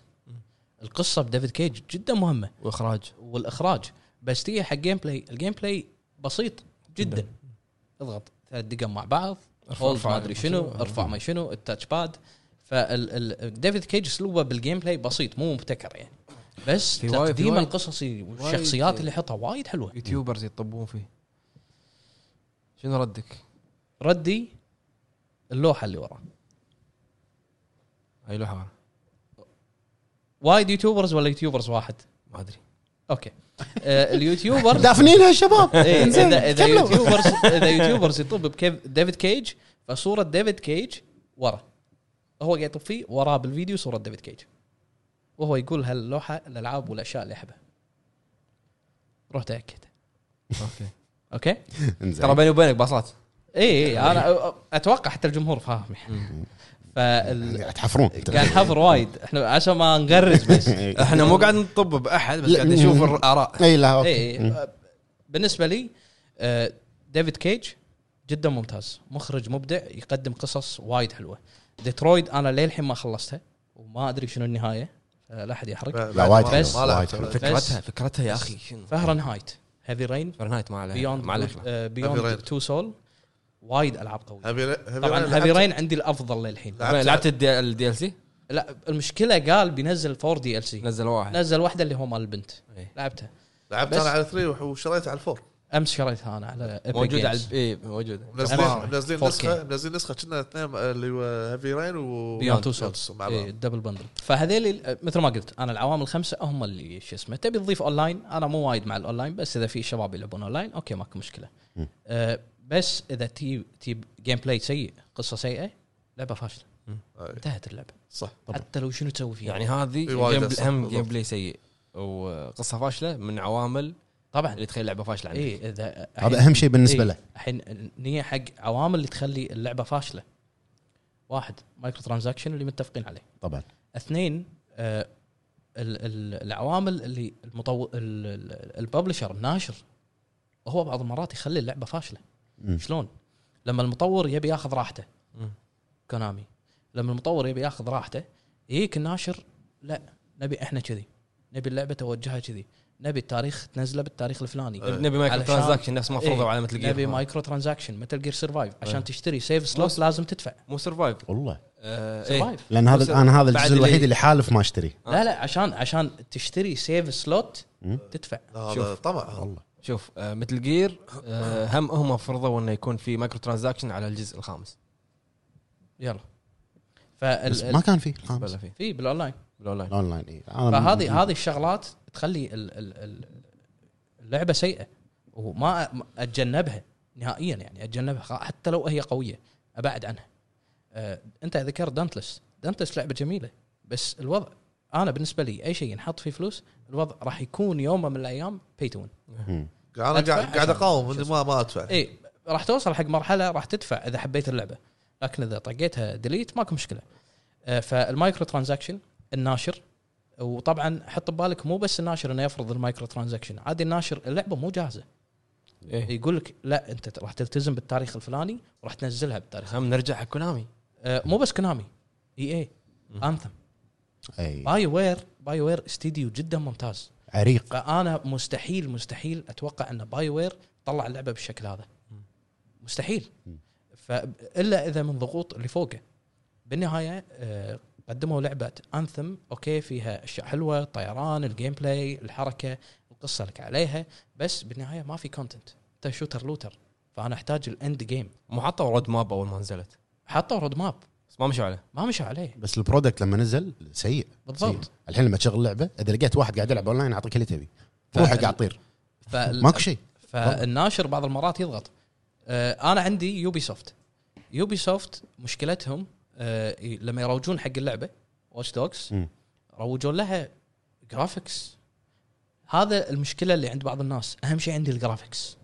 Speaker 4: القصه بديفيد كيج جدا مهمه
Speaker 2: واخراج
Speaker 4: والاخراج بس تيجي حق جيم بلاي الجيم بلاي بسيط جدا اضغط ثلاث دقائق مع بعض
Speaker 2: ارفع-
Speaker 4: هولد
Speaker 2: ارفع
Speaker 4: ما ادري شنو
Speaker 2: شنو.
Speaker 4: ارفع ما شنو التاتش باد فديفيد كيج اسلوبه بالجيم بلاي بسيط مو مبتكر يعني بس
Speaker 2: في وايد- في
Speaker 4: تقديم
Speaker 2: وايد-
Speaker 4: القصصي والشخصيات اللي حطها وايد حلوه
Speaker 2: يوتيوبرز يطبون فيه شنو ردك؟
Speaker 4: ردي اللوحه اللي وراه
Speaker 2: اي لوحه
Speaker 4: وايد يوتيوبرز ولا يوتيوبرز واحد
Speaker 2: ما ادري
Speaker 4: اوكي آه، اليوتيوبرز
Speaker 3: دافنينها الشباب
Speaker 4: إيه،
Speaker 3: زين،
Speaker 4: اذا اذا
Speaker 3: كملوا.
Speaker 4: يوتيوبرز اذا يوتيوبرز يطب بكيف ديفيد كيج فصوره ديفيد كيج ورا هو قاعد يطب فيه وراه بالفيديو صوره ديفيد كيج وهو يقول هاللوحه الالعاب والاشياء اللي يحبها روح إيه، تاكد
Speaker 2: اوكي
Speaker 4: اوكي اي
Speaker 3: إنزين.
Speaker 2: ترى بيني وبينك باصات
Speaker 4: اي انا اتوقع حتى الجمهور فاهم فال
Speaker 3: قاعد تحفرون
Speaker 4: قاعد نحفر وايد احنا عشان ما نغرز بس
Speaker 2: احنا مو قاعد نطب باحد بس
Speaker 3: لا.
Speaker 2: قاعد نشوف الاراء
Speaker 3: اي إيه، لا
Speaker 4: اي
Speaker 3: اوكي
Speaker 4: إي. بالنسبه إيه، آه، لي آه، ديفيد كيج جدا ممتاز مخرج مبدع يقدم قصص وايد حلوه ديترويد انا للحين ما خلصتها وما ادري شنو النهايه آه، لا احد يحرق
Speaker 1: بعد
Speaker 3: وايد
Speaker 1: ما-
Speaker 3: حلو،
Speaker 1: ما لعبت.
Speaker 3: وايد
Speaker 2: فكرتها فكرتها يا اخي شنو
Speaker 4: فهرنهايت هيفي رين
Speaker 2: فرنايت ما عليه
Speaker 4: بيوند
Speaker 2: ما عليه خلاف.
Speaker 4: آه،
Speaker 1: Heavy
Speaker 4: بيوند
Speaker 1: Rain.
Speaker 4: تو سول وايد العاب قويه
Speaker 1: هبي هبي
Speaker 4: طبعا
Speaker 1: لعبت-
Speaker 4: هيفي رين عندي الافضل للحين
Speaker 1: لعبت-
Speaker 2: لعبت الدي ال سي
Speaker 4: لا المشكله قال بينزل 4 دي ال سي
Speaker 2: نزل واحد
Speaker 4: نزل واحده اللي هو مال البنت
Speaker 2: إيه.
Speaker 4: لعبتها
Speaker 1: لعبت
Speaker 4: بس-
Speaker 1: انا على 3 وشريتها على 4
Speaker 4: امس شريتها انا على Epic
Speaker 2: موجود
Speaker 4: Games.
Speaker 2: على اي موجود
Speaker 1: منزلين منزلين
Speaker 4: 4K.
Speaker 1: نسخه منزلين نسخه كنا اثنين آه، اللي هو هيفي رين و
Speaker 4: Beyond Two Souls.
Speaker 1: مع بعض
Speaker 4: إيه الدبل بندل فهذيل مثل ما قلت انا العوامل الخمسه هم اللي شو اسمه تبي تضيف اونلاين انا مو وايد مع الاونلاين بس اذا في شباب يلعبون اونلاين اوكي ماكو مشكله
Speaker 3: مم.
Speaker 4: أه بس اذا تي تي جيم بلاي سيء قصه سيئه لعبه فاشله
Speaker 1: أي.
Speaker 4: انتهت اللعبه
Speaker 1: صح
Speaker 4: حتى لو شنو تسوي فيها
Speaker 2: يعني
Speaker 4: يعني
Speaker 2: هذه
Speaker 1: في وايد
Speaker 2: جيم-
Speaker 1: أصلاً،
Speaker 2: هم
Speaker 1: بالضبط.
Speaker 2: جيم بلاي سيء وقصه فاشله من عوامل
Speaker 4: طبعا
Speaker 2: اللي تخلي لعبه فاشله عندك
Speaker 4: اي اذا
Speaker 3: هذا اهم شيء بالنسبه له
Speaker 4: إيه، الحين نيه حق عوامل اللي تخلي اللعبه فاشله واحد مايكرو ترانزاكشن اللي متفقين عليه
Speaker 3: طبعا
Speaker 4: اثنين آه، ال- ال- العوامل اللي المطور الببلشر الناشر هو بعض المرات يخلي اللعبه فاشله
Speaker 3: مم.
Speaker 4: شلون؟ لما المطور يبي ياخذ راحته
Speaker 2: مم.
Speaker 4: كونامي لما المطور يبي ياخذ راحته يجيك الناشر لا نبي احنا كذي نبي اللعبه توجهها كذي نبي التاريخ تنزله بالتاريخ الفلاني
Speaker 2: إيه، نبي مايكرو
Speaker 4: علشان-
Speaker 2: ترانزاكشن نفس ما فرضوا على مثل
Speaker 4: نبي
Speaker 2: جير
Speaker 4: مايكرو ترانزاكشن متل جير سرفايف
Speaker 2: إيه.
Speaker 4: عشان تشتري سيف سلوت لازم تدفع
Speaker 2: مو سرفايف
Speaker 3: والله
Speaker 2: إيه.
Speaker 4: سرفايف
Speaker 3: لان
Speaker 2: بس-
Speaker 3: هذا انا هذا
Speaker 2: بعد
Speaker 3: الجزء
Speaker 2: اللي-
Speaker 3: الوحيد اللي حالف ما اشتري
Speaker 4: لا لا عشان عشان تشتري سيف سلوت
Speaker 3: مم.
Speaker 4: تدفع
Speaker 1: لا، هذا
Speaker 2: شوف.
Speaker 1: طمع هذا.
Speaker 3: والله
Speaker 2: شوف آه، مثل جير آه، هم هم فرضوا انه يكون في مايكرو ترانزاكشن على الجزء الخامس
Speaker 4: يلا فال
Speaker 3: بس ما كان فيه الخامس
Speaker 2: ولا في
Speaker 4: في بالاونلاين
Speaker 2: بالاونلاين
Speaker 3: الاونلاين اي
Speaker 4: فهذه هذه الشغلات تخلي ال- ال- ال- اللعبه سيئه وما أ- ما اتجنبها نهائيا يعني اتجنبها خ- حتى لو هي قويه ابعد عنها أه انت ذكرت دانتلس دانتلس لعبه جميله بس الوضع انا بالنسبه لي اي شيء ينحط فيه فلوس الوضع راح يكون يوم من الايام بيتون
Speaker 1: انا
Speaker 4: أدفع
Speaker 1: قاعد قاعد
Speaker 4: عشان-
Speaker 1: اقاوم اني ما ما ادفع
Speaker 2: إيه.
Speaker 4: اي إيه، راح توصل حق مرحله راح تدفع اذا حبيت اللعبه لكن اذا طقيتها ديليت ماكو مشكله آه، فالمايكرو ترانزاكشن الناشر وطبعا حط ببالك مو بس الناشر انه يفرض المايكرو ترانزاكشن عادي الناشر اللعبه مو جاهزه
Speaker 2: إيه.
Speaker 4: يقول لك لا انت راح تلتزم بالتاريخ الفلاني وراح تنزلها بالتاريخ
Speaker 2: هم نرجع حق كونامي
Speaker 4: آه، مو بس E كنامي اي اي انثم
Speaker 3: اي
Speaker 4: باي وير باي وير استديو جدا ممتاز
Speaker 3: إيه. عريق
Speaker 4: فانا مستحيل مستحيل اتوقع ان باي وير طلع اللعبه بالشكل هذا مستحيل ف الا اذا من ضغوط اللي فوقه بالنهايه آه، قدموا لعبه انثم اوكي فيها اشياء حلوه الطيران الجيم بلاي الحركه القصه لك عليها بس بالنهايه ما في كونتنت انت شوتر لوتر فانا احتاج الاند جيم
Speaker 2: مو حطوا رود ماب اول ما نزلت
Speaker 4: حطوا رود ماب
Speaker 2: بس ما مشوا عليه
Speaker 4: ما مشوا عليه
Speaker 3: بس البرودكت لما نزل سيء
Speaker 4: بالضبط
Speaker 3: سيء. الحين لما تشغل لعبه اذا لقيت واحد قاعد يلعب اونلاين اعطيك اللي تبي روحه
Speaker 4: فال-
Speaker 3: قاعد طير
Speaker 4: فال-
Speaker 3: ماكو شيء
Speaker 4: فالناشر بعض المرات يضغط آه، انا عندي يوبي سوفت يوبي سوفت مشكلتهم آه، ي- لما يروجون حق اللعبه واتش دوكس
Speaker 3: مم.
Speaker 4: روجون لها جرافيكس هذا المشكله اللي عند بعض الناس اهم شيء عندي الجرافيكس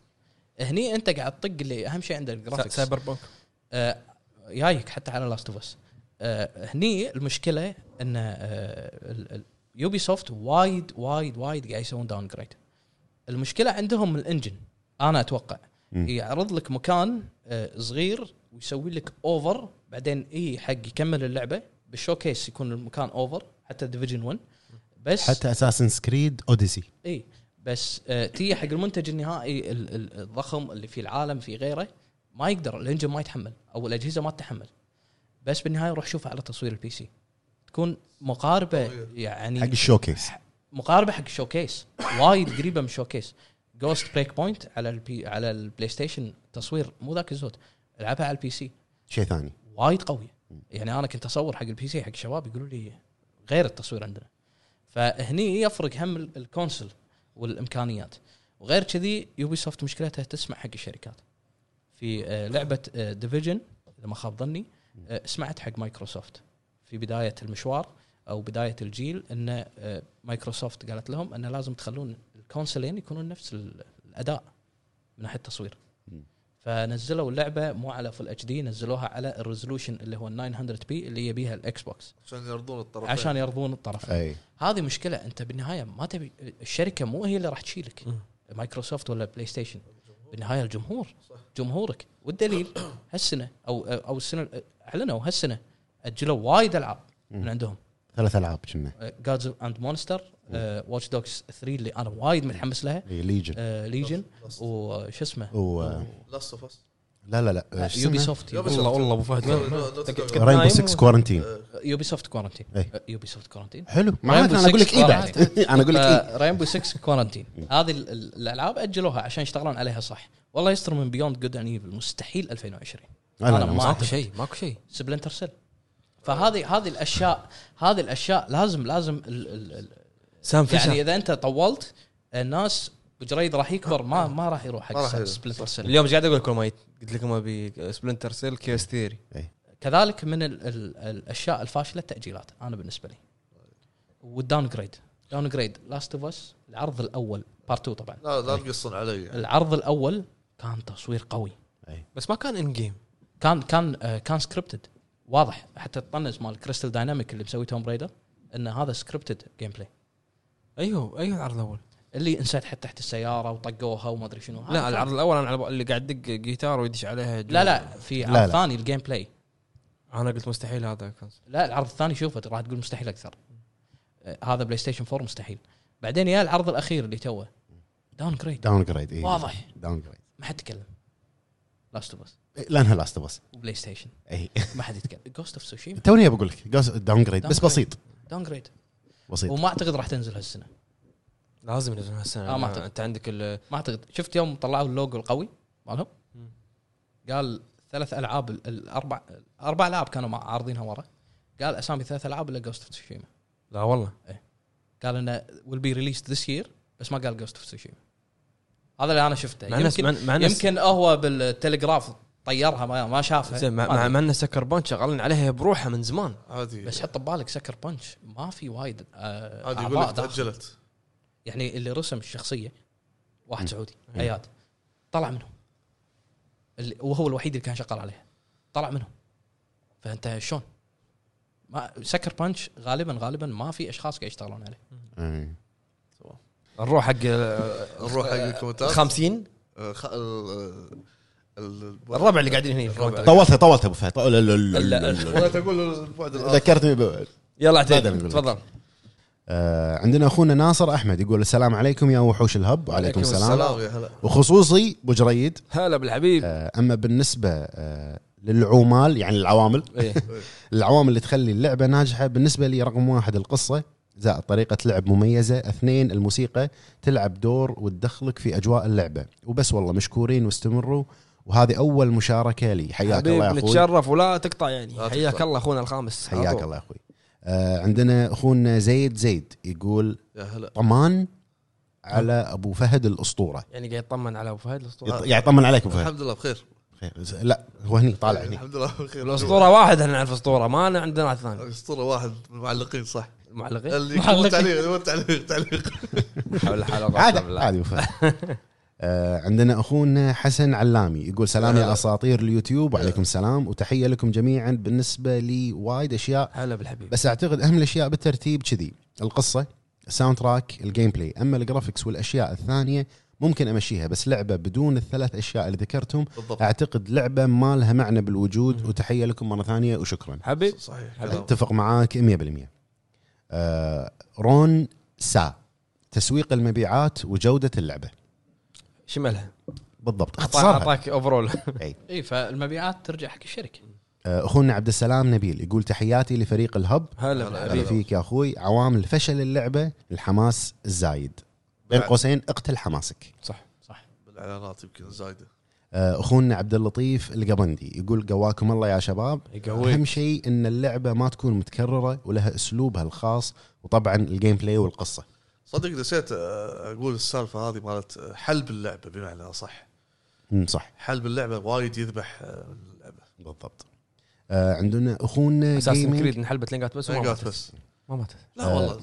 Speaker 4: هني انت قاعد تطق اللي اهم شيء
Speaker 2: سا-
Speaker 4: عندك الجرافيكس
Speaker 2: سايبر بونك
Speaker 4: آه، جايك حتى على لاست اوف اس آه، هني آه، المشكله ان يوبي سوفت وايد وايد وايد قاعد يسوون داون جريد المشكله عندهم الانجن انا اتوقع
Speaker 3: مم.
Speaker 4: يعرض لك مكان آه، صغير ويسوي لك اوفر بعدين اي حق يكمل اللعبه بالشوكيس يكون المكان اوفر حتى ديفيجن 1 بس
Speaker 3: حتى اساسن سكريد اوديسي
Speaker 4: اي بس آه، تيجي حق المنتج النهائي ال- ال- الضخم اللي في العالم في غيره ما يقدر الانجن ما يتحمل او الاجهزه ما تتحمل بس بالنهايه روح شوفها على تصوير البي سي تكون مقاربه
Speaker 3: حق
Speaker 4: يعني
Speaker 3: الشوكيس
Speaker 4: مقاربه حق الشوكيس وايد قريبه من الشوكيس جوست بريك بوينت على البي على البلاي ستيشن تصوير مو ذاك الزود العبها على البي سي
Speaker 3: شيء ثاني
Speaker 4: وايد قويه يعني انا كنت اصور حق البي سي حق الشباب يقولوا لي غير التصوير عندنا فهني يفرق هم ال- الكونسل والامكانيات وغير كذي يوبي سوفت مشكلتها تسمع حق الشركات في آه، لعبه ديفيجن لما خاب ظني آه، سمعت حق مايكروسوفت في بدايه المشوار او بدايه الجيل ان آه، مايكروسوفت قالت لهم ان لازم تخلون الكونسلين يكونون نفس ال- الاداء من ناحيه التصوير فنزلوا اللعبه مو على فل اتش دي نزلوها على الريزولوشن اللي هو 900 بي اللي يبيها الاكس بوكس
Speaker 1: عشان يرضون الطرفين
Speaker 4: عشان يرضون الطرفين
Speaker 3: اي
Speaker 4: هذه مشكله انت بالنهايه ما تبي الشركه مو هي اللي راح تشيلك مايكروسوفت ولا بلاي ستيشن بالنهايه الجمهور جمهورك والدليل هالسنه او او السنه اعلنوا هالسنه اجلوا وايد العاب من عندهم آه،
Speaker 3: ثلاث العاب كنا
Speaker 4: جادز اند مونستر واتش دوكس 3 اللي انا وايد متحمس لها
Speaker 3: ليجن
Speaker 4: ليجن وشو اسمه
Speaker 3: إيه،
Speaker 4: آه،
Speaker 3: و
Speaker 1: لاست اوف اس
Speaker 3: لا لا لا إيش
Speaker 4: يوبي
Speaker 3: اسمها؟
Speaker 4: سوفت
Speaker 2: والله والله ابو فهد
Speaker 1: لا، لا، لا تقعد.
Speaker 2: كنت
Speaker 3: رينبو
Speaker 2: نايم
Speaker 3: 6 كوارنتين
Speaker 4: يوبي سوفت كورنتين
Speaker 3: إي.
Speaker 4: يوبي سوفت كورنتين
Speaker 3: حلو معناته انا اقول لك اي بعد انا اقول لك إيه. اي
Speaker 4: رينبو 6 كورنتين هذه ال- ال- الالعاب اجلوها عشان يشتغلون عليها صح والله يستر من بيوند جود اند ايفل مستحيل 2020
Speaker 3: لا، لا،
Speaker 4: أنا
Speaker 3: لا،
Speaker 4: ما-
Speaker 2: ماكو شيء ماكو شيء
Speaker 4: سبلنتر سيل فهذه هذه الاشياء هذه الاشياء لازم لازم ال ال ال
Speaker 2: سام
Speaker 4: يعني
Speaker 2: فيشر
Speaker 4: اذا انت طولت الناس بجريد راح يكبر ما ما راح يروح
Speaker 1: ما راح
Speaker 4: حق
Speaker 1: يروح.
Speaker 4: سبلنتر سيل
Speaker 2: اليوم إيش قاعد اقول لكم ما يت- قلت لكم ابي سبلنتر سيل كيوس ثيري
Speaker 3: إيه.
Speaker 4: كذلك من ال ال الاشياء الفاشله التاجيلات انا بالنسبه لي والداون جريد داون جريد لاست اوف اس العرض الاول بارت 2 طبعا
Speaker 1: لا لا تقصون علي يعني.
Speaker 4: العرض الاول كان تصوير قوي
Speaker 2: بس ما كان ان جيم
Speaker 4: كان كان آه، كان سكريبتد واضح حتى الطنز مال كريستال دايناميك اللي مسوي توم رايدر ان هذا سكريبتد جيم بلاي
Speaker 2: ايوه ايوه العرض الاول
Speaker 4: اللي انسدحت تحت السياره وطقوها وما ادري شنو هذا
Speaker 2: لا العرض الاول انا على بال- اللي قاعد يدق جيتار ويدش عليها جو.
Speaker 4: لا لا في
Speaker 3: لا،
Speaker 4: عرض
Speaker 3: لا.
Speaker 4: ثاني الجيم بلاي
Speaker 2: انا قلت مستحيل هذا كان
Speaker 4: لا العرض الثاني شوفه راح تقول مستحيل اكثر آه، هذا بلاي ستيشن 4 مستحيل بعدين يا العرض الاخير اللي توه داون جريد
Speaker 3: داون جريد اي
Speaker 4: واضح.
Speaker 3: داون جريد
Speaker 4: ما حد تكلم لاست اوف اس
Speaker 3: لانها لاست اوف اس
Speaker 4: وبلاي ستيشن
Speaker 3: اي
Speaker 4: ما حد يتكلم جوست اوف سوشيما
Speaker 3: إيه. توني بقول لك داون جريد بس
Speaker 4: Downgrade.
Speaker 3: بسيط
Speaker 4: داون جريد
Speaker 3: بسيط
Speaker 4: وما اعتقد راح تنزل هالسنه
Speaker 2: لازم ينزلون هالسنه
Speaker 4: آه، ما
Speaker 2: لأن
Speaker 4: أعتقد.
Speaker 2: انت عندك ال-
Speaker 4: ما اعتقد شفت يوم طلعوا اللوجو القوي مالهم
Speaker 2: مم.
Speaker 4: قال ثلاث العاب ال- الاربع اربع العاب كانوا مع- عارضينها ورا قال اسامي ثلاث العاب الا جوست اوف تسوشيما
Speaker 2: لا والله
Speaker 4: قال انه ويل بي ريليست ذس يير بس ما قال جوست اوف تسوشيما هذا اللي انا شفته
Speaker 2: مع نفس
Speaker 4: يمكن
Speaker 2: مع مع نفس
Speaker 4: يمكن هو بالتلغراف طيرها ما, ما شافها
Speaker 2: زين مع
Speaker 4: ما
Speaker 2: مع
Speaker 4: أدري.
Speaker 2: مع انه سكر بانش شغالين عليها بروحها من زمان
Speaker 1: عادي
Speaker 4: بس حط ببالك سكر بانش ما في وايد آه
Speaker 1: عادي يقول
Speaker 4: اعضاء
Speaker 1: لك
Speaker 4: داخل.
Speaker 1: تاجلت
Speaker 4: يعني اللي رسم الشخصيه واحد سعودي اياد طلع منهم اللي وهو الوحيد اللي كان شغال عليها طلع منهم فانت شلون؟ ما سكر بانش غالبا غالبا ما في اشخاص قاعد يشتغلون عليه
Speaker 3: إي.
Speaker 2: نروح حق
Speaker 1: نروح حق الكومنتات
Speaker 2: 50
Speaker 1: آه، خ- ال- ال-
Speaker 2: الربع اللي قاعدين هنا في
Speaker 1: الربع.
Speaker 2: الكومنتات.
Speaker 3: طولتها طولتها ابو فهد لا، لا، لا، لا، لا، لا، لا.
Speaker 1: ولا تقول البعد الاخر
Speaker 3: ذكرتني ب-
Speaker 2: يلا
Speaker 3: بعدين
Speaker 2: عتيبي
Speaker 3: نقول لك.
Speaker 2: تفضل
Speaker 3: آه، عندنا اخونا ناصر احمد يقول السلام عليكم يا وحوش الهب وعليكم
Speaker 2: وعليكم
Speaker 3: السلام
Speaker 1: سلام يا هلا
Speaker 3: وخصوصي بو جريد
Speaker 2: هلا بالحبيب
Speaker 3: آه، اما بالنسبه آه، للعمال يعني العوامل
Speaker 2: إيه.
Speaker 3: العوامل اللي تخلي اللعبه ناجحه بالنسبه لي رقم واحد القصه زائد طريقة لعب مميزة، اثنين الموسيقى تلعب دور وتدخلك في اجواء اللعبة، وبس والله مشكورين واستمروا وهذه اول مشاركة لي، حياك الله يا
Speaker 2: حبيب
Speaker 3: اخوي.
Speaker 2: نتشرف ولا تقطع يعني
Speaker 1: لا
Speaker 2: حياك
Speaker 1: تقطع.
Speaker 2: الله اخونا الخامس على
Speaker 3: حياك
Speaker 2: طول.
Speaker 3: الله يا اخوي. آه عندنا اخونا زيد زيد يقول
Speaker 1: يا هلا
Speaker 3: طمان على ابو فهد الاسطوره
Speaker 2: يعني قاعد يطمن على ابو فهد الاسطوره
Speaker 3: يط- يعني يطمن عليك ابو فهد
Speaker 1: الحمد لله بخير
Speaker 3: خير. لا هو هني طالع هني
Speaker 1: الحمد لله بخير
Speaker 2: الاسطوره واحد احنا نعرف اسطوره ما أنا عندنا واحد ثاني
Speaker 1: اسطوره واحد من المعلقين صح
Speaker 2: إيه؟ المعلقين
Speaker 1: اللي
Speaker 4: معلق.
Speaker 1: يكتبون تعليق يكتبون تعليق تعليق
Speaker 2: حول الحلقه
Speaker 3: عادي عادي أبو فهد. آه، عندنا اخونا حسن علامي يقول سلام يا اساطير اليوتيوب وعليكم السلام وتحيه لكم جميعا بالنسبه لي وايد اشياء
Speaker 2: هلا بالحبيب
Speaker 3: بس اعتقد اهم الاشياء بالترتيب كذي القصه الساوند تراك الجيم بلاي اما الجرافكس والاشياء الثانيه ممكن امشيها بس لعبه بدون الثلاث اشياء اللي ذكرتهم
Speaker 1: بالضبط
Speaker 3: اعتقد لعبه ما لها معنى بالوجود وتحيه لكم مره ثانيه وشكرا
Speaker 2: حبيب
Speaker 1: صحيح
Speaker 2: حبيب.
Speaker 1: كلام.
Speaker 3: اتفق معاك 100% آه، رون سا تسويق المبيعات وجوده اللعبه
Speaker 2: شملها
Speaker 3: بالضبط اختصارها
Speaker 2: اعطاك اوفرول
Speaker 4: اي إيه، فالمبيعات ترجع حق الشركه
Speaker 3: آه، اخونا عبد السلام نبيل يقول تحياتي لفريق الهب
Speaker 2: هلا
Speaker 1: هلا
Speaker 3: هلا
Speaker 2: بالحبيب
Speaker 3: فيك يا اخوي عوامل فشل اللعبه الحماس الزايد بين
Speaker 1: بعد.
Speaker 3: قوسين اقتل حماسك
Speaker 2: صح
Speaker 1: بالاعلانات يمكن زايده
Speaker 3: آه، اخونا عبد اللطيف القبندي يقول قواكم الله يا شباب
Speaker 2: يقويك.
Speaker 3: اهم شيء ان اللعبه ما تكون متكرره ولها اسلوبها الخاص وطبعا الجيم بلاي والقصه
Speaker 1: صدق نسيت آه، اقول السالفه هذه مالت آه، حلب اللعبه بمعنى اصح
Speaker 3: مم، صح
Speaker 1: حلب اللعبه وايد يذبح آه، اللعبه
Speaker 3: بالضبط آه، عندنا اخونا
Speaker 2: اساس
Speaker 3: جيمنج
Speaker 2: كريد انحلبت لينجات بس وما
Speaker 1: ما قالت
Speaker 2: ماتت
Speaker 1: بس
Speaker 2: ما ماتت
Speaker 1: لا
Speaker 3: آه.
Speaker 1: والله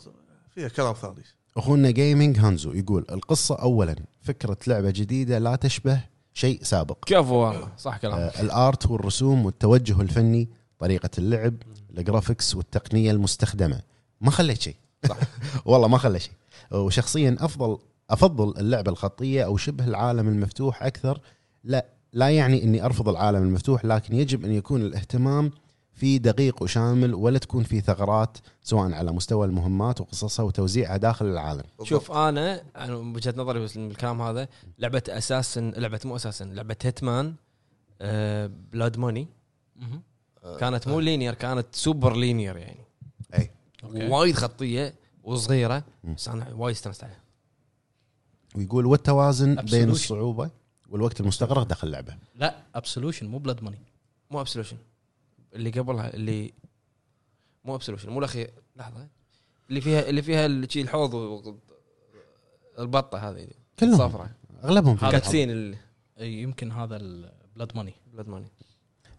Speaker 1: فيها كلام ثاني
Speaker 3: اخونا جيمنج هانزو يقول القصه اولا فكره لعبه جديده لا تشبه شيء سابق
Speaker 2: كفو والله صح كلام
Speaker 3: آه، الارت والرسوم والتوجه الفني طريقه اللعب الجرافكس والتقنيه المستخدمه ما خليت شيء
Speaker 2: صح.
Speaker 3: والله ما خلى شيء وشخصيا افضل افضل اللعبه الخطيه او شبه العالم المفتوح اكثر لا لا يعني اني ارفض العالم المفتوح لكن يجب ان يكون الاهتمام في دقيق وشامل ولا تكون في ثغرات سواء على مستوى المهمات وقصصها وتوزيعها داخل العالم
Speaker 2: شوف انا انا من وجهه نظري بس من الكلام هذا لعبه اساسن لعبه مو اساسن لعبه هيتمان بلاد موني
Speaker 4: مهم.
Speaker 2: آه،
Speaker 3: آه،
Speaker 2: كانت مو لينير كانت سوبر لينير يعني
Speaker 3: أي.
Speaker 4: أوكي.
Speaker 2: وايد خطيه وصغيره
Speaker 3: مم.
Speaker 2: بس انا وايد استانست عليها
Speaker 3: ويقول والتوازن بين
Speaker 4: Absolution.
Speaker 3: الصعوبه والوقت المستغرق داخل اللعبه
Speaker 4: لا ابسولوشن مو بلاد ماني
Speaker 2: مو ابسولوشن اللي قبلها اللي مو ابسولوشن مو الاخير لحظه اللي فيها اللي فيها ال- شي الحوض و- البطه هذه
Speaker 3: كلهم
Speaker 2: الصفراء
Speaker 3: اغلبهم في الحظ.
Speaker 2: كاتسين ال-
Speaker 4: إيه، يمكن هذا البلاد ماني
Speaker 2: بلاد ماني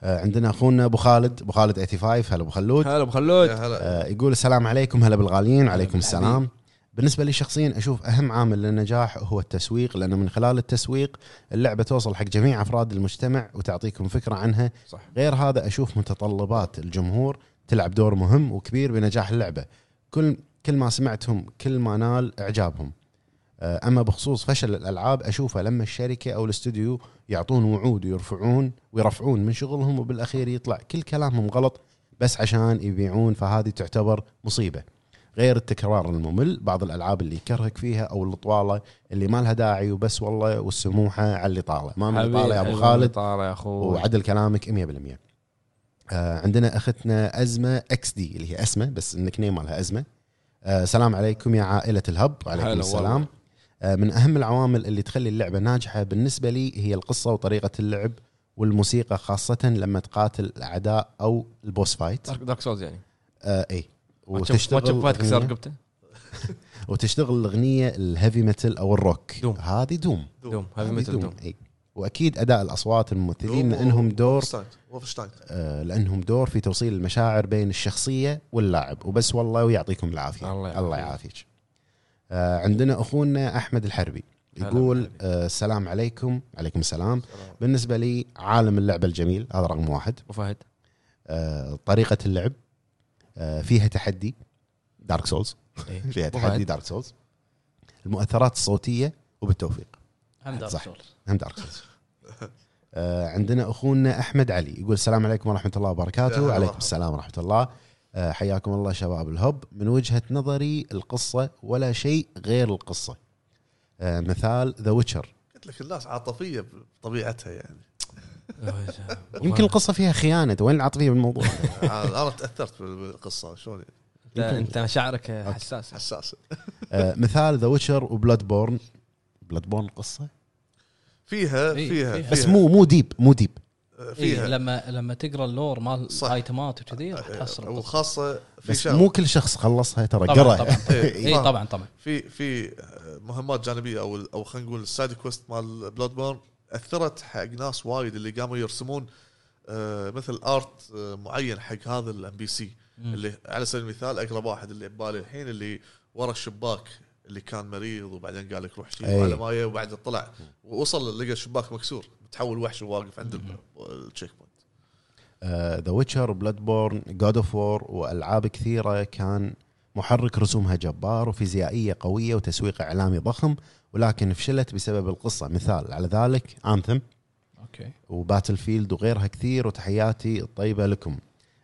Speaker 3: آه، عندنا اخونا ابو خالد ابو خالد 85 هلا ابو خلود
Speaker 2: هلا ابو خلود
Speaker 1: يا هلا
Speaker 3: آه، يقول السلام عليكم هلا بالغاليين عليكم
Speaker 4: بالحبيب.
Speaker 3: السلام بالنسبه لي شخصيا اشوف اهم عامل للنجاح هو التسويق لان من خلال التسويق اللعبه توصل حق جميع افراد المجتمع وتعطيكم فكره عنها
Speaker 2: صح
Speaker 3: غير هذا اشوف متطلبات الجمهور تلعب دور مهم وكبير بنجاح اللعبه كل كل ما سمعتهم كل ما نال اعجابهم آه، اما بخصوص فشل الالعاب اشوفه لما الشركه او الاستوديو يعطون وعود ويرفعون ويرفعون من شغلهم وبالاخير يطلع كل كلامهم غلط بس عشان يبيعون فهذه تعتبر مصيبه غير التكرار الممل بعض الالعاب اللي يكرهك فيها او الطواله اللي ما لها داعي وبس والله والسموحه على اللي طاله ما من اللي طاله يا ابو
Speaker 2: حبيبي،
Speaker 3: خالد
Speaker 2: طالع يا اخوي
Speaker 3: وعدل كلامك 100% آه عندنا اختنا ازمه اكس دي اللي هي اسمه بس النك نيم مالها ازمه آه سلام عليكم يا عائله الهب
Speaker 2: هلا
Speaker 3: وعليكم
Speaker 2: والله.
Speaker 3: السلام آه من اهم العوامل اللي تخلي اللعبه ناجحه بالنسبه لي هي القصه وطريقه اللعب والموسيقى خاصه لما تقاتل الاعداء او البوس فايت
Speaker 2: دارك, دارك سولز يعني
Speaker 3: آه اي
Speaker 2: ما تشوف ما تشوف فهد كسر
Speaker 3: أغنية-
Speaker 2: رقبته
Speaker 3: وتشتغل الاغنيه الهيفي ميتال او الروك
Speaker 2: دوم.
Speaker 3: هذه دوم إيه.
Speaker 2: دوم هذا
Speaker 3: هذه
Speaker 2: مثل دوم
Speaker 3: اي واكيد اداء الاصوات الممثلين لانهم دور
Speaker 1: وولفشتاين وولفشتاين
Speaker 3: آه، لانهم دور في توصيل المشاعر بين الشخصيه واللاعب وبس والله ويعطيكم العافيه
Speaker 2: الله يعافيك.
Speaker 3: الله يعافيك آه، عندنا اخونا احمد الحربي
Speaker 2: هلا
Speaker 3: يقول
Speaker 2: بالحبيب.
Speaker 3: آه، السلام عليكم عليكم السلام بالنسبه لي عالم اللعبه الجميل هذا رقم واحد
Speaker 2: ابو فهد
Speaker 3: آه، طريقه اللعب آه، فيها تحدي دارك سولز
Speaker 2: إيه.
Speaker 3: فيها
Speaker 2: أبو فهد.
Speaker 3: تحدي دارك سولز المؤثرات الصوتيه وبالتوفيق
Speaker 4: هم دارك
Speaker 3: صح.
Speaker 4: سولز
Speaker 3: هم دارك سولز آه، عندنا اخونا احمد علي يقول السلام عليكم ورحمه الله
Speaker 1: يا هلا
Speaker 3: وبركاته عليكم
Speaker 1: مرحبا.
Speaker 3: السلام ورحمه الله آه، حياكم الله شباب الهب من وجهه نظري القصه ولا شيء غير القصه آه، مثال ذا ويتشر
Speaker 1: قلت لك الناس عاطفيه بطبيعتها يعني
Speaker 3: يمكن القصه فيها خيانه أنت وين العاطفيه بالموضوع
Speaker 1: انا تاثرت بال- بالقصه شلون
Speaker 2: أنت- انت شعرك حساس
Speaker 1: حساسه
Speaker 3: آه، مثال ذا ويتشر وبلاد بورن بلاد بورن قصه
Speaker 1: فيها
Speaker 4: إيه،
Speaker 1: فيها
Speaker 4: فيها.
Speaker 3: بس
Speaker 1: فيها-
Speaker 3: مو مو ديب مو ديب
Speaker 1: فيها
Speaker 4: إيه لما لما تقرا اللور مال
Speaker 1: صح.
Speaker 4: ايتمات وكذي راح
Speaker 1: آه،
Speaker 4: تحصل
Speaker 1: وخاصه في
Speaker 3: بس
Speaker 1: شغله
Speaker 3: مو كل شخص خلصها ترى
Speaker 4: طبعاً،
Speaker 3: قرا
Speaker 4: طبعاً.
Speaker 1: إيه.
Speaker 3: إيه.
Speaker 4: اي طبعا طبعا
Speaker 1: في في آه، مهمات جانبيه او او خلينا نقول السايد كويست مال بلاد بورن اثرت حق ناس وايد اللي قاموا يرسمون آه، مثل ارت آه، معين حق هذا الام بي سي اللي على سبيل المثال اقرب واحد اللي ببالي الحين اللي ورا الشباك اللي كان مريض وبعدين قال لك روح شيل
Speaker 3: أي.
Speaker 1: على مايه وبعدين طلع ووصل لقى الشباك مكسور تحول وحش وواقف عند ال- التشيك بوينت
Speaker 3: ذا ويتشر بلاد بورن جود اوف وور والعاب كثيره كان محرك رسومها جبار وفيزيائيه قويه وتسويق اعلامي ضخم ولكن فشلت بسبب القصه مثال على ذلك انثم
Speaker 4: اوكي
Speaker 3: وباتل فيلد وغيرها كثير وتحياتي الطيبه لكم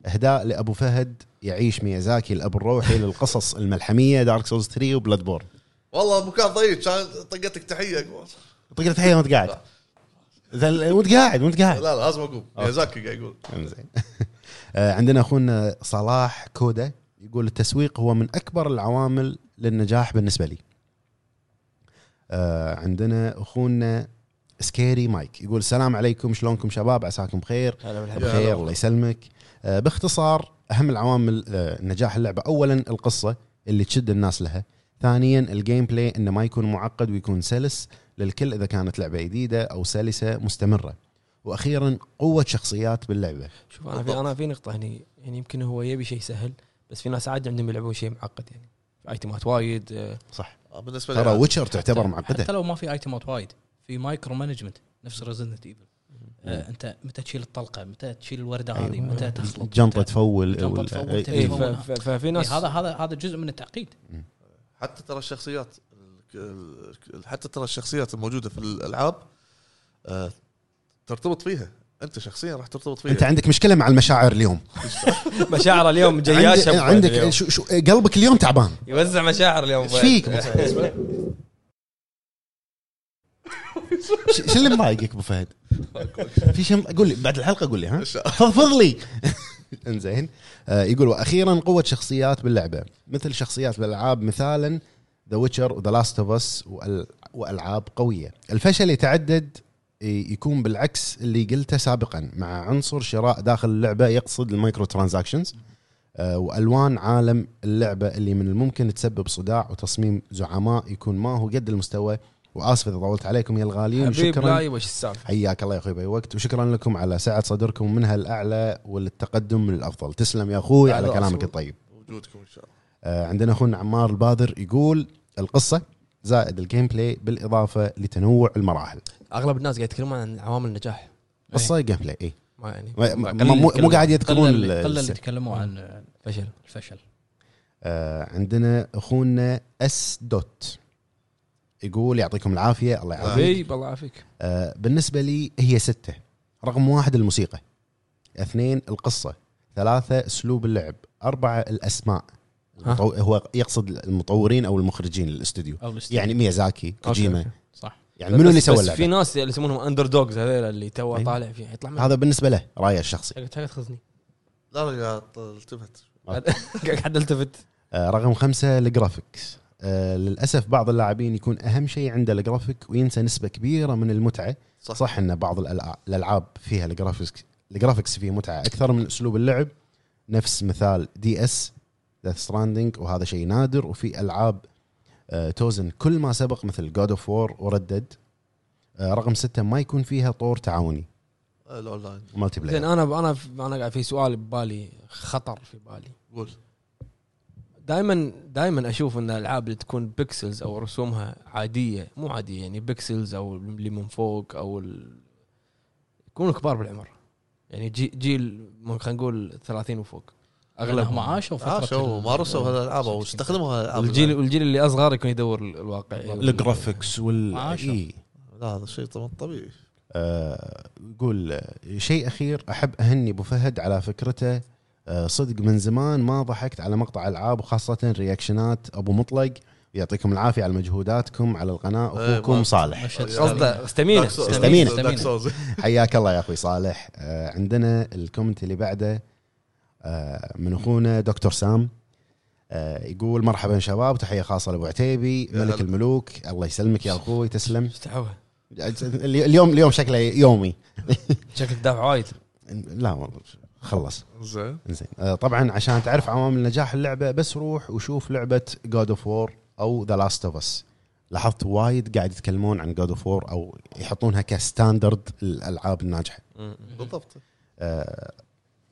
Speaker 3: اهداء لابو فهد يعيش ميازاكي الاب الروحي للقصص الملحميه دارك سولز 3 وبلاد بورن
Speaker 1: والله مكان ضيق كان طقتك تحيه
Speaker 3: طقت تحيه وانت قاعد ذا- وانت قاعد وانت قاعد
Speaker 1: لا لا لازم اقوم ميازاكي قاعد يقول
Speaker 3: انزين آه، عندنا اخونا صلاح كودا يقول التسويق هو من اكبر العوامل للنجاح بالنسبه لي. آه، عندنا اخونا سكيري مايك يقول السلام عليكم شلونكم شباب عساكم بخير بخير الله يسلمك آه، باختصار اهم العوامل آه، نجاح اللعبه اولا القصه اللي تشد الناس لها ثانيا الجيم بلاي انه ما يكون معقد ويكون سلس للكل اذا كانت لعبه جديده او سلسه مستمره واخيرا قوه شخصيات باللعبه
Speaker 6: شوف انا في انا في نقطه هني يعني يمكن هو يبي شيء سهل بس في ناس عادي عندهم يلعبون شيء معقد يعني ايتمات وايد آه،
Speaker 3: صح
Speaker 1: آه، بالنسبه
Speaker 3: ترى
Speaker 1: لي
Speaker 3: ويتشر تعتبر معقده
Speaker 4: حتى لو ما في ايتمات وايد في مايكرو مانجمنت نفس ريزنت ايفل آه انت متى تشيل الطلقه متى تشيل الورده هذه
Speaker 3: إيه. أيوة.
Speaker 4: متى تخلط
Speaker 3: جنطه
Speaker 4: متى-
Speaker 3: تفول
Speaker 4: جنطة
Speaker 3: وال-
Speaker 4: تفول،
Speaker 3: إيه.
Speaker 6: إيه،
Speaker 4: تبي
Speaker 6: ف- ف- ففي
Speaker 4: إيه،
Speaker 6: ناس
Speaker 4: هذا هذا هذا جزء من التعقيد
Speaker 1: حتى ترى الشخصيات ال- ال- حتى ترى الشخصيات الموجوده في الالعاب آه، ترتبط فيها انت شخصيا راح ترتبط فيها
Speaker 3: انت عندك مشكله مع المشاعر اليوم
Speaker 2: مشاعر اليوم
Speaker 3: عندك,
Speaker 2: جياشه
Speaker 3: عندك شو شو قلبك اليوم تعبان
Speaker 2: يوزع مشاعر اليوم
Speaker 3: ايش فيك أبو فهد؟ ش- شو اللي مضايقك ابو فهد؟ في شيء م- قول لي بعد الحلقه قول لي ها؟ فضفض لي انزين آه، يقول واخيرا قوه شخصيات باللعبه مثل شخصيات بالالعاب مثالا ذا ويتشر وذا لاست اوف اس والعاب قويه الفشل يتعدد ي- يكون بالعكس اللي قلته سابقا مع عنصر شراء داخل اللعبه يقصد المايكرو ترانزاكشنز آه، والوان عالم اللعبه اللي من الممكن تسبب صداع وتصميم زعماء يكون ما هو قد المستوى واسف اذا طولت عليكم يا الغاليين
Speaker 2: حبيب لا
Speaker 3: وشكرا
Speaker 2: يبغى شو السالفه
Speaker 3: حياك الله يا اخوي باي وقت وشكرا لكم على سعه صدركم منها الاعلى وللتقدم للافضل تسلم يا اخوي على
Speaker 2: أهلا
Speaker 3: كلامك
Speaker 2: وسهلا.
Speaker 3: الطيب
Speaker 1: وجودكم ان شاء الله
Speaker 3: آه، عندنا اخونا عمار الباذر يقول القصه زائد الجيم بلاي بالاضافه لتنوع المراحل
Speaker 2: إيه.
Speaker 6: اغلب الناس قاعد يتكلمون عن عوامل النجاح
Speaker 3: قصه جيم بلاي اي
Speaker 6: ما يعني
Speaker 3: إيه. ما- ما-
Speaker 2: قلل
Speaker 3: مو مو
Speaker 2: يتكلم.
Speaker 3: قاعد
Speaker 4: قل
Speaker 3: يذكرون
Speaker 4: اللي
Speaker 3: ال-
Speaker 4: قل
Speaker 3: الس-
Speaker 4: اللي تكلموا عن آه،
Speaker 6: فشل
Speaker 4: الفشل
Speaker 3: آه، عندنا اخونا اس دوت يقول يعطيكم العافيه الله يعافيك
Speaker 6: حبيب الله يعافيك
Speaker 3: آه، بالنسبه لي هي سته رقم واحد الموسيقى اثنين القصه ثلاثه اسلوب اللعب اربعه
Speaker 6: ها؟
Speaker 3: الاسماء المطو... هو يقصد المطورين او المخرجين الاستوديو
Speaker 4: او الاستيل.
Speaker 3: يعني ميازاكي كوجيما
Speaker 6: أوكي.
Speaker 4: صح
Speaker 3: يعني منو اللي
Speaker 6: بس-
Speaker 3: سوى
Speaker 6: بس في
Speaker 3: اللعبه
Speaker 6: ناس اللي يسمونهم اندر دوجز هذول اللي تو
Speaker 3: أيوة.
Speaker 6: طالع فيه يطلع منهم
Speaker 3: هذا بالنسبه له رايه الشخصي
Speaker 6: قاعد قاعد تاخذني
Speaker 1: لا لا يا ط- التفت
Speaker 6: قاعد حد التفت
Speaker 3: آه، رقم خمسة الجرافيكس آه، للأسف بعض اللاعبين يكون أهم شيء عنده الجرافيك وينسى نسبة كبيرة من المتعة صح,
Speaker 1: صح.
Speaker 3: صح أن بعض الألع- الألعاب فيها الجرافيكس الجرافيكس فيه متعة أكثر من أسلوب اللعب نفس مثال دي اس ذا ستراندنج وهذا شيء نادر وفي ألعاب آه، توزن كل ما سبق مثل جود اوف وور وردد آه، رقم ستة ما يكون فيها طور تعاوني
Speaker 1: آه، الاونلاين
Speaker 3: مالتي
Speaker 6: زين
Speaker 3: بلاير
Speaker 6: انا انا انا قاعد في سؤال ببالي خطر في بالي
Speaker 1: قول
Speaker 6: دائما دائما اشوف ان الالعاب اللي تكون بيكسلز او رسومها عاديه مو عاديه يعني بيكسلز او اللي من فوق او ال... يكونوا كبار بالعمر يعني جي جيل من- خلينا نقول 30 وفوق
Speaker 4: اغلبهم
Speaker 6: اغلبهم
Speaker 4: عاشوا فتره
Speaker 1: عاشوا
Speaker 4: ال-
Speaker 1: آه، مارسوا هالالعاب او استخدموا هالالعاب
Speaker 6: والجيل والجيل اللي اصغر يكون يدور ال- الواقع
Speaker 3: الجرافيكس وال
Speaker 4: عاشر.
Speaker 3: إيه.
Speaker 1: لا هذا شيء طبعا طبيعي
Speaker 3: آه، يقول آه، شيء اخير احب اهني ابو فهد على فكرته آه، صدق من زمان ما ضحكت على مقطع العاب وخاصه رياكشنات ابو مطلق يعطيكم العافيه على مجهوداتكم على القناه
Speaker 1: إيه،
Speaker 3: اخوكم
Speaker 1: ما-
Speaker 3: صالح
Speaker 4: مشهد
Speaker 2: قصده استمينا
Speaker 3: استمينا.
Speaker 1: دارك سولز
Speaker 3: حياك الله يا اخوي صالح آه عندنا الكومنت اللي بعده آه من اخونا دكتور سام آه يقول مرحبا شباب تحيه خاصه لابو عتيبي
Speaker 1: يا
Speaker 3: ملك
Speaker 1: هلا.
Speaker 3: الملوك الله يسلمك يا اخوي تسلم
Speaker 6: استحوها
Speaker 3: اليوم اليوم شكله يومي
Speaker 6: شكلك دافع وايد
Speaker 3: لا والله خلص
Speaker 1: زين
Speaker 3: زين آه، طبعا عشان تعرف عوامل نجاح اللعبه بس روح وشوف لعبه جود اوف وور او ذا لاست اوف اس لاحظت وايد قاعد يتكلمون عن جود اوف وور او يحطونها كستاندرد الالعاب الناجحه
Speaker 1: بالضبط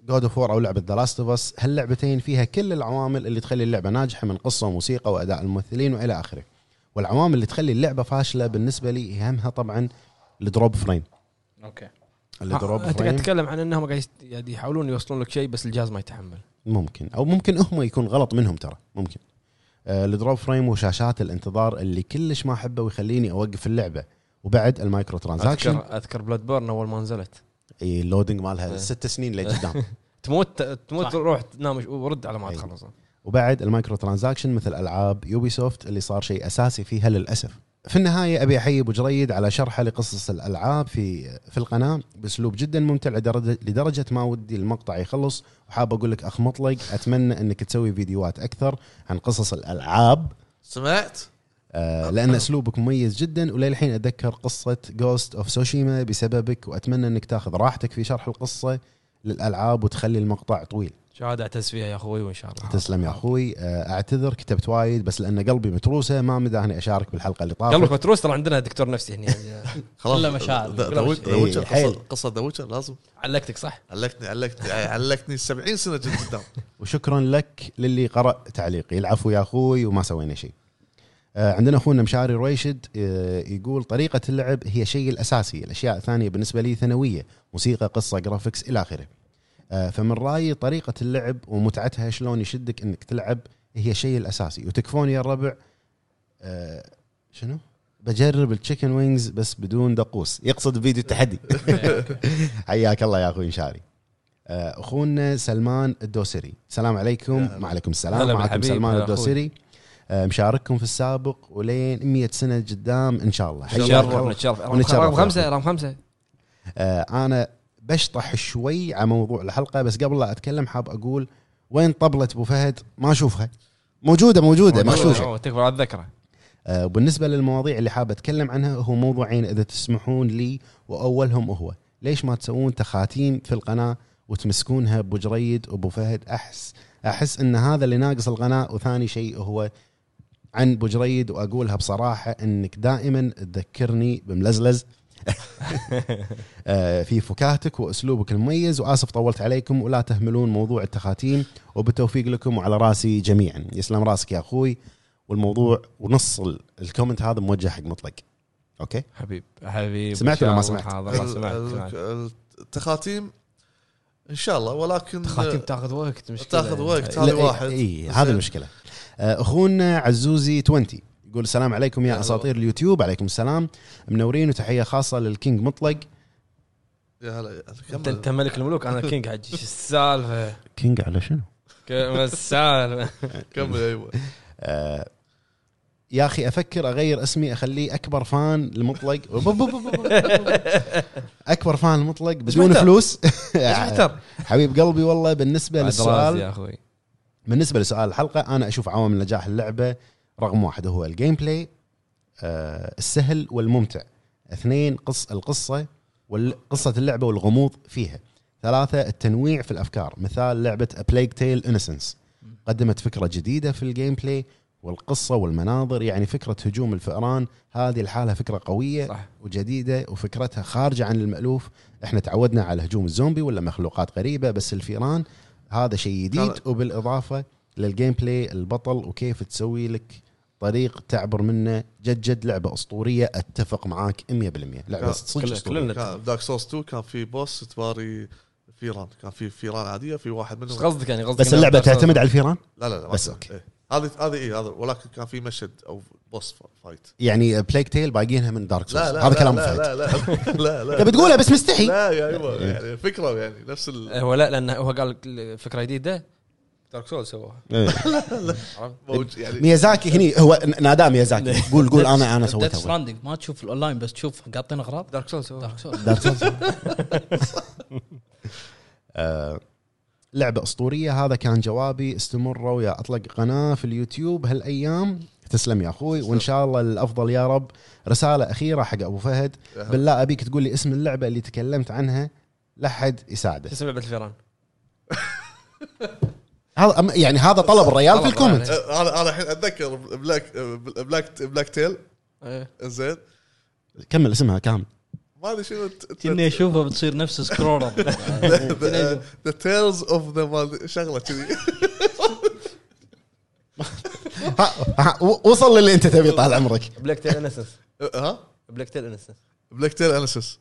Speaker 3: جود اوف وور او لعبه ذا لاست اوف اس هاللعبتين فيها كل العوامل اللي تخلي اللعبه ناجحه من قصه وموسيقى واداء الممثلين والى اخره والعوامل اللي تخلي اللعبه فاشله بالنسبه لي اهمها طبعا الدروب فريم
Speaker 4: اوكي
Speaker 3: الدروب
Speaker 6: انت آه، قاعد
Speaker 3: فريم
Speaker 6: تتكلم عن انهم قاعد يست- قاعد يحاولون يوصلون لك شيء بس الجهاز ما يتحمل
Speaker 3: ممكن او ممكن هم يكون غلط منهم ترى ممكن آه، الدروب فريم وشاشات الانتظار اللي كلش ما احبه ويخليني اوقف اللعبه وبعد المايكرو ترانزاكشن
Speaker 6: اذكر اذكر بلاد بورن اول ما نزلت
Speaker 3: إي، اللودنج مالها
Speaker 6: إيه.
Speaker 3: ست سنين لقدام
Speaker 6: تموت تموت
Speaker 4: صح.
Speaker 6: روح تنام ورد على ما
Speaker 3: أي.
Speaker 6: تخلص
Speaker 3: وبعد المايكرو ترانزاكشن مثل العاب يوبي سوفت اللي صار شيء اساسي فيها للاسف. في النهايه ابي احيي ابو جريد على شرحه لقصص الالعاب في في القناه باسلوب جدا ممتع لدرجه لدرجه ما ودي المقطع يخلص وحاب اقول لك اخ مطلق اتمنى انك تسوي فيديوهات اكثر عن قصص الالعاب
Speaker 1: سمعت
Speaker 3: آه، لان اسلوبك مميز جدا وللحين اتذكر قصه جوست اوف سوشيما بسببك واتمنى انك تاخذ راحتك في شرح القصه للالعاب وتخلي المقطع طويل
Speaker 6: شهاده اعتز فيها يا اخوي وان شاء الله
Speaker 3: تسلم يا اخوي آه، اعتذر كتبت وايد بس لان قلبي متروسه ما مداني اشارك بالحلقه اللي طافت
Speaker 6: قبلك متروس ترى عندنا دكتور نفسي هنا يعني
Speaker 1: خلاص
Speaker 4: كلها مشاعر.
Speaker 1: ذا-
Speaker 4: كلها
Speaker 1: ذا-
Speaker 4: مشاعر.
Speaker 1: ذا ويتشر،
Speaker 3: إيه، حيل.
Speaker 1: قصة- قصه ذا ويتشر لازم
Speaker 4: علقتك صح؟
Speaker 1: علقتني علقتني علقتني 70 سنه جد قدام
Speaker 3: وشكرا لك للي قرا تعليقي العفو يا اخوي وما سوينا شيء آه، عندنا اخونا مشاري رويشد آه، يقول طريقه اللعب هي شيء الاساسي الاشياء الثانيه بالنسبه لي ثانويه موسيقى قصه جرافيكس الى اخره آه، فمن رايي طريقه اللعب ومتعتها شلون يشدك انك تلعب هي شيء الاساسي وتكفون يا الربع آه، شنو بجرب التشيكن وينجز بس بدون دقوس يقصد فيديو التحدي حياك الله يا اخوي مشاري آه، اخونا سلمان الدوسري السلام عليكم
Speaker 1: هلا.
Speaker 3: وعليكم
Speaker 6: هلا
Speaker 3: السلام معكم
Speaker 6: بالحبيب،
Speaker 3: سلمان
Speaker 6: هلا أخوي.
Speaker 3: الدوسري آه، مشارككم في السابق ولين 100 سنه قدام ان شاء الله حياك
Speaker 6: نتشرف
Speaker 3: الله
Speaker 6: نتشرف
Speaker 3: ونتشرف.
Speaker 6: رقم خمسه رقم خمسه
Speaker 3: آه، انا بشطح شوي على موضوع الحلقه بس قبل لا اتكلم حاب اقول وين طبله ابو فهد ما اشوفها موجوده موجوده مغشوشه
Speaker 6: أوه، تكفى على الذكرى
Speaker 3: آه، وبالنسبه للمواضيع اللي حاب اتكلم عنها هو موضوعين اذا تسمحون لي واولهم هو ليش ما تسوون تخاتيم في القناه وتمسكونها ابو جريد وابو فهد احس احس ان هذا اللي ناقص القناه وثاني شيء هو عن ابو جريد واقولها بصراحه انك دائما تذكرني بملزلز آه، في فكاهتك واسلوبك المميز واسف طولت عليكم ولا تهملون موضوع التخاتيم وبالتوفيق لكم وعلى راسي جميعا يسلم راسك يا اخوي والموضوع ونص ال- الكومنت هذا موجه حق مطلق اوكي
Speaker 6: حبيب حبيب
Speaker 3: سمعت ولا ما سمعت؟
Speaker 6: حاضر ما
Speaker 1: ال-
Speaker 6: سمعت
Speaker 1: ال-
Speaker 6: سمعت.
Speaker 1: ال- التخاتيم ان شاء الله ولكن
Speaker 6: تخاتيم تاخذ وقت مشكله
Speaker 1: تاخذ وقت
Speaker 3: لا،
Speaker 1: هذه
Speaker 3: إيه،
Speaker 1: واحد
Speaker 3: اي
Speaker 1: زين.
Speaker 3: هذا المشكله آه، اخونا عزوزي 20 يقول السلام عليكم
Speaker 1: هلا
Speaker 3: يا اساطير اليوتيوب عليكم السلام منورين وتحيه خاصه للكينج مطلق
Speaker 1: يا هلا
Speaker 6: انت
Speaker 1: كمل.
Speaker 6: انت ملك الملوك انا كينج حجي شو السالفه؟
Speaker 3: كينج على شنو؟
Speaker 6: كم السالفه؟
Speaker 1: كمل ايوه
Speaker 3: آه، يا اخي افكر اغير اسمي اخليه اكبر فان لمطلق اكبر فان لمطلق بدون
Speaker 6: معناته؟
Speaker 3: فلوس يعني
Speaker 6: ايش بتر؟
Speaker 3: حبيب قلبي والله بالنسبه
Speaker 6: بعد راسي
Speaker 1: يعني.
Speaker 3: للسؤال
Speaker 6: يا اخوي
Speaker 3: بالنسبه لسؤال الحلقه انا اشوف عوامل نجاح اللعبه رقم واحد هو الجيم بلاي آه السهل والممتع اثنين قص القصه وقصه اللعبه والغموض فيها ثلاثة التنويع في الأفكار مثال لعبة A Plague Tale Innocence قدمت فكرة جديدة في الجيم بلاي والقصة والمناظر يعني فكرة هجوم الفئران هذه الحالة فكرة قوية
Speaker 6: صح.
Speaker 3: وجديدة وفكرتها خارجة عن المألوف احنا تعودنا على هجوم الزومبي ولا مخلوقات غريبة بس الفئران هذا شيء جديد
Speaker 1: ترى-
Speaker 3: وبالإضافة للجيم بلاي البطل وكيف تسوي لك طريق تعبر منه جد جد لعبة أسطورية أتفق معاك 100% لعبة
Speaker 1: كان-
Speaker 3: صدق
Speaker 6: كلنا-
Speaker 3: أسطورية
Speaker 6: كلنا-
Speaker 1: كان دارك سورس 2 كان في بوس تباري فيران كان في فيران عاديه في واحد
Speaker 6: ايش
Speaker 1: منهم
Speaker 6: قصدك يعني قصدك
Speaker 3: بس
Speaker 6: إنه
Speaker 3: اللعبة
Speaker 6: أكثر صوت؟
Speaker 3: تعتمد على الفئران
Speaker 1: لا لا لا ما
Speaker 3: بس
Speaker 1: كان.
Speaker 3: أوكي.
Speaker 1: إيه. هذه هذه اي هذا ولكن كان في مشهد او بوس فا- فايت
Speaker 3: يعني بلاك تيل باقيينها من دارك سولز
Speaker 1: لا لا
Speaker 3: هذا
Speaker 1: لا
Speaker 3: كلام
Speaker 1: لا
Speaker 3: فهد
Speaker 1: لا لا لا لا
Speaker 3: تبي تقولها بس مستحي
Speaker 6: إيه،
Speaker 1: لا يا ايوه يعني فكره يعني نفس ال...
Speaker 6: هو لا لانه هو قال فكره جديده
Speaker 2: دارك سول سووها
Speaker 1: موج- يعني
Speaker 3: ميازاكي هني هو ناداه ميازاكي قول قول انا انا
Speaker 4: ديث
Speaker 3: سويتها
Speaker 4: ستراندنج ما تشوف الاونلاين بس تشوف قاطين اغراض
Speaker 2: دارك سول سووها
Speaker 4: دارك سول
Speaker 3: آه، لعبة أسطورية هذا كان جوابي استمروا يا أطلق قناة في اليوتيوب هالأيام تسلم يا أخوي وإن شاء الله الأفضل يا رب رسالة أخيرة حق أبو فهد بالله أبيك تقول لي اسم اللعبة اللي تكلمت عنها لحد يساعده
Speaker 2: اسم لعبه الفيران
Speaker 3: هذا أم- يعني هذا طلب الريال في
Speaker 2: طلب
Speaker 3: الكومنت
Speaker 1: آه، انا انا الحين اتذكر بلاك بلاك بلاك تيل
Speaker 2: إيه.
Speaker 1: زين
Speaker 3: كمل اسمها كامل
Speaker 1: ما ادري شنو
Speaker 4: كني اشوفها بتصير نفس سكرولر
Speaker 1: ذا تيلز اوف ذا شغله كذي
Speaker 3: ها ها و- وصل للي أنت تبيه طال عمرك
Speaker 2: بلاك تيل انسنس
Speaker 1: ها
Speaker 2: بلاك تيل انسنس
Speaker 1: بلاك تيل انسس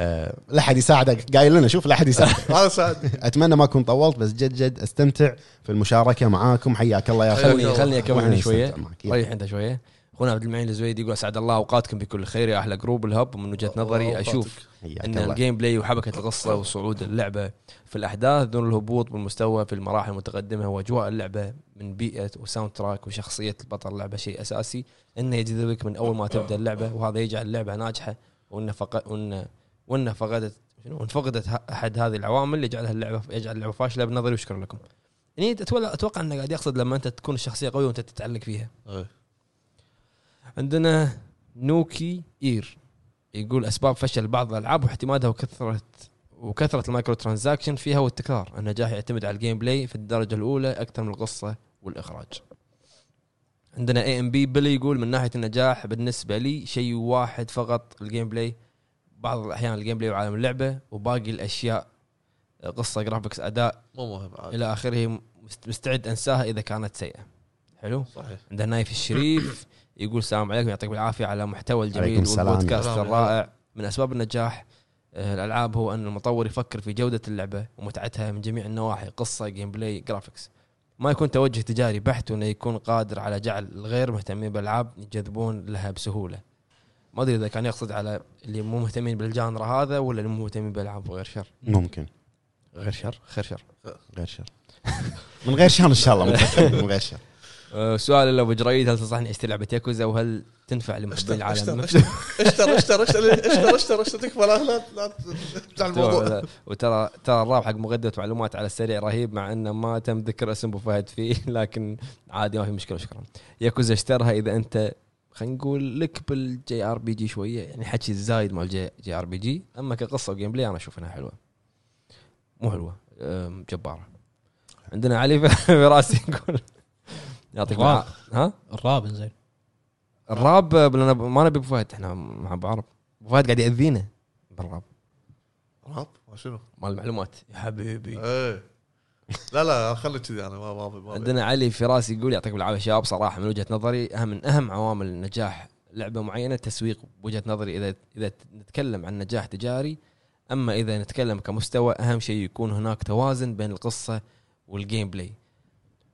Speaker 3: آه، لحد يساعدك قايل لنا شوف لحد يساعدك
Speaker 1: هذا سعد
Speaker 3: أتمنى ما أكون طولت بس جد جد أستمتع في المشاركة معاكم حياك الله يا أخوي
Speaker 2: خلني طيب، خلني اكمل
Speaker 3: وإحنا
Speaker 2: هنا شويه
Speaker 3: نستمتع معك.
Speaker 2: ريح انت شويه اخونا عبد المعين الزويدي يقول اسعد الله اوقاتكم بكل خير يا احلى جروب الهب ومن وجهه نظري اشوف
Speaker 3: حياك
Speaker 2: ان
Speaker 3: الله.
Speaker 2: الجيم بلاي وحبكه القصه وصعود اللعبه في الاحداث دون الهبوط بالمستوى في المراحل المتقدمه واجواء اللعبه من بيئه وساوند تراك وشخصيه البطل اللعبه شيء اساسي انه يجذبك من اول ما تبدا اللعبه وهذا يجعل اللعبه ناجحه وانه فق... وانه وانه فقدت شنو وان فقدت ه- احد هذه العوامل اللي يجعلها اللعبه يجعل اللعبه فاشله بنظري وشكرا لكم. يعني اتوقع اتوقع انه قاعد يقصد لما انت تكون الشخصيه قويه وانت تتعلق فيها. عندنا نوكي اير يقول اسباب فشل بعض الالعاب واعتمادها وكثره وكثره المايكرو ترانزاكشن فيها والتكرار النجاح يعتمد على الجيم بلاي في الدرجه الاولى اكثر من القصه والاخراج عندنا اي ام بي بيلي يقول من ناحيه النجاح بالنسبه لي شيء واحد فقط الجيم بلاي بعض الاحيان الجيم بلاي وعالم اللعبه وباقي الاشياء قصه جرافيكس اداء
Speaker 1: مو مهم عاد
Speaker 2: الى اخره مست- مستعد انساها اذا كانت سيئه حلو
Speaker 1: صحيح
Speaker 2: عندنا نايف الشريف يقول السلام عليكم يعطيكم العافيه على المحتوى الجميل
Speaker 3: عليكم السلام.
Speaker 2: والبودكاست
Speaker 1: السلام.
Speaker 2: الرائع من اسباب النجاح آه، الالعاب هو ان المطور يفكر في جوده اللعبه ومتعتها من جميع النواحي قصه جيم بلاي جرافيكس ما يكون توجه تجاري بحت وانه يكون قادر على جعل الغير مهتمين بالالعاب يجذبون لها بسهوله ما ادري اذا كان يقصد على اللي مو مهتمين بالجانرا هذا ولا اللي مو مهتمين بالالعاب وغير شر
Speaker 3: ممكن
Speaker 2: غير شر خير شر
Speaker 3: غير شر من غير شر ان شاء الله متأكد من غير شر
Speaker 2: أه، سؤال لابو جريد هل تنصحني اشتري لعبه ياكوزا وهل تنفع لمحبي العالم
Speaker 1: اشتر اشتر اشتر اشتر اشتر اشتر اشتر تكفى لا لا لا تفتح الموضوع
Speaker 2: ولا- وترى ترى الراب حق مقدمه معلومات على السريع رهيب مع انه ما تم ذكر اسم ابو فهد فيه لكن عادي ما في مشكله شكرا ياكوزا اشترها اذا انت خلينا نقول لك بالجي ار بي جي شويه يعني حكي الزايد مال جي, جي ار بي جي اما كقصه وجيم بلاي انا اشوف انها حلوه مو حلوه أم، جباره عندنا علي فراسي يقول يعطيك
Speaker 4: الراب.
Speaker 2: العافية. ها
Speaker 4: الراب زين
Speaker 2: الراب بل- ما نبي ابو فهد احنا مع ابو عرب ابو فهد قاعد ياذينا بالراب
Speaker 1: راب ما شنو؟
Speaker 2: مال المعلومات يا حبيبي
Speaker 1: ايه لا لا خلي كذي انا ما ما أبي- ما أبي.
Speaker 2: عندنا علي فراس يقول يعطيكم العافيه شباب صراحه من وجهه نظري اهم من اهم عوامل نجاح لعبه معينه التسويق بوجهه نظري اذا اذا نتكلم عن نجاح تجاري اما اذا نتكلم كمستوى اهم شيء يكون هناك توازن بين القصه والجيم بلاي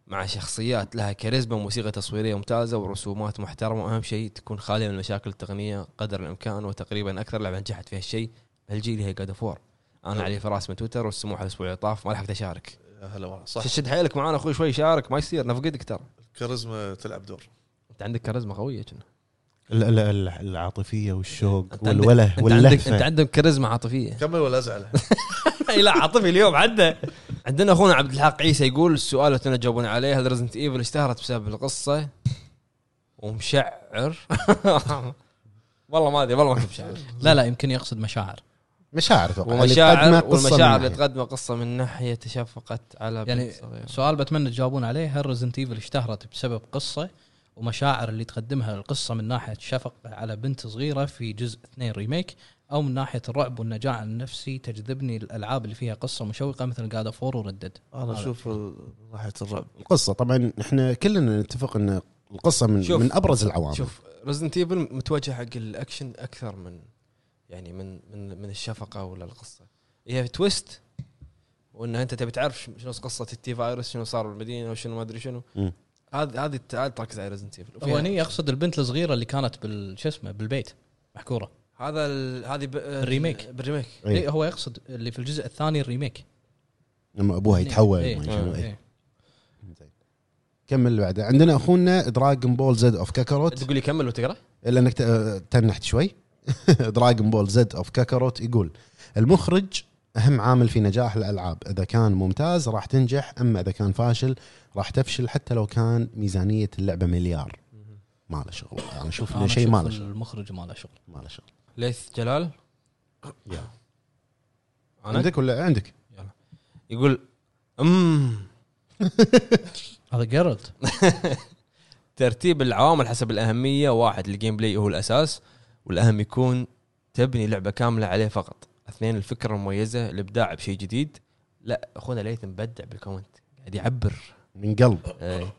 Speaker 2: مع شخصيات لها كاريزما وموسيقى تصويريه ممتازه ورسومات محترمه واهم شيء تكون خاليه من مشاكل التقنيه قدر الامكان وتقريبا اكثر لعبه نجحت في هالشيء بهالجيل هي جاد اوف انا علي فراس من تويتر والسموح الاسبوع اللي طاف ما لحقت اشارك
Speaker 1: يا هلا والله صح
Speaker 2: شد حيلك معانا اخوي شوي شارك ما يصير نفقدك ترى
Speaker 1: الكاريزما تلعب دور
Speaker 2: انت عندك كاريزما قويه كنا
Speaker 3: العاطفيه والشوق
Speaker 2: عندك-
Speaker 3: والوله
Speaker 2: انت عندك انت عندك كاريزما عاطفيه
Speaker 1: كمل ولا ازعل
Speaker 2: اي لا عاطفي اليوم عدى عندنا اخونا عبد الحق عيسى يقول السؤال اللي كنا جاوبنا عليه هل ريزنت ايفل اشتهرت بسبب القصه ومشعر والله ما ادري والله ما كنت مشعر
Speaker 4: لا لا يمكن يقصد مشاعر
Speaker 3: مشاعر يعني اتوقع اللي
Speaker 2: ومشاعر
Speaker 3: تقدمه قصة من ناحية.
Speaker 2: والمشاعر اللي تقدمه قصه من ناحيه تشفقت على
Speaker 4: يعني سؤال بتمنى تجاوبون عليه هل ريزنت ايفل اشتهرت بسبب قصه ومشاعر اللي تقدمها القصه من ناحيه شفقه على بنت صغيره في جزء اثنين ريميك او من ناحيه الرعب والنجاع النفسي تجذبني الالعاب اللي فيها قصه مشوقه مثل جادا فور وردد
Speaker 1: انا اشوف ناحيه الرعب
Speaker 3: القصه طبعا احنا كلنا نتفق ان القصه من
Speaker 2: شوف.
Speaker 3: من ابرز العوامل
Speaker 2: شوف ريزنت ايفل متوجه حق الاكشن اكثر من يعني من من من الشفقه ولا القصه هي تويست وانه انت تبي تعرف ش- شنو قصه التي فايروس شنو صار بالمدينه وشنو ما ادري شنو
Speaker 3: مم.
Speaker 2: هذه هذه تعال تركز على ريزنت ايفل
Speaker 4: هو هني يقصد البنت الصغيره اللي كانت بال شو اسمه بالبيت محكوره
Speaker 2: هذا ال- هذه ب- آه،
Speaker 4: الريميك.
Speaker 2: بالريميك
Speaker 3: إيه.
Speaker 4: إيه هو يقصد اللي في الجزء الثاني الريميك
Speaker 3: لما ابوها يتحول
Speaker 4: إيه.
Speaker 3: ما شنو، إيه.
Speaker 4: إيه.
Speaker 3: كمل اللي بعده عندنا اخونا دراجون بول زد اوف كاكاروت
Speaker 2: تقول لي كمل وتقرا
Speaker 3: لانك ت- تنحت شوي دراجون بول زد اوف كاكاروت يقول المخرج اهم عامل في نجاح الالعاب اذا كان ممتاز راح تنجح اما اذا كان فاشل راح تفشل حتى لو كان ميزانيه اللعبه مليار ما له شغل انا اشوف
Speaker 4: أنا
Speaker 3: انه شيء
Speaker 4: أشوف
Speaker 3: ما له شغل
Speaker 4: آه، المخرج ما له شغل
Speaker 3: ما له شغل
Speaker 2: ليث جلال
Speaker 3: يلا.
Speaker 2: انا
Speaker 3: عندك ولا عندك
Speaker 2: يقول امم
Speaker 4: هذا جيرلت
Speaker 2: ترتيب العوامل حسب الاهميه واحد الجيم بلاي هو الاساس والاهم يكون تبني لعبه كامله عليه فقط اثنين الفكره المميزه الابداع بشيء جديد لا اخونا ليث مبدع بالكومنت قاعد يعبر
Speaker 3: من قلب
Speaker 2: إيه.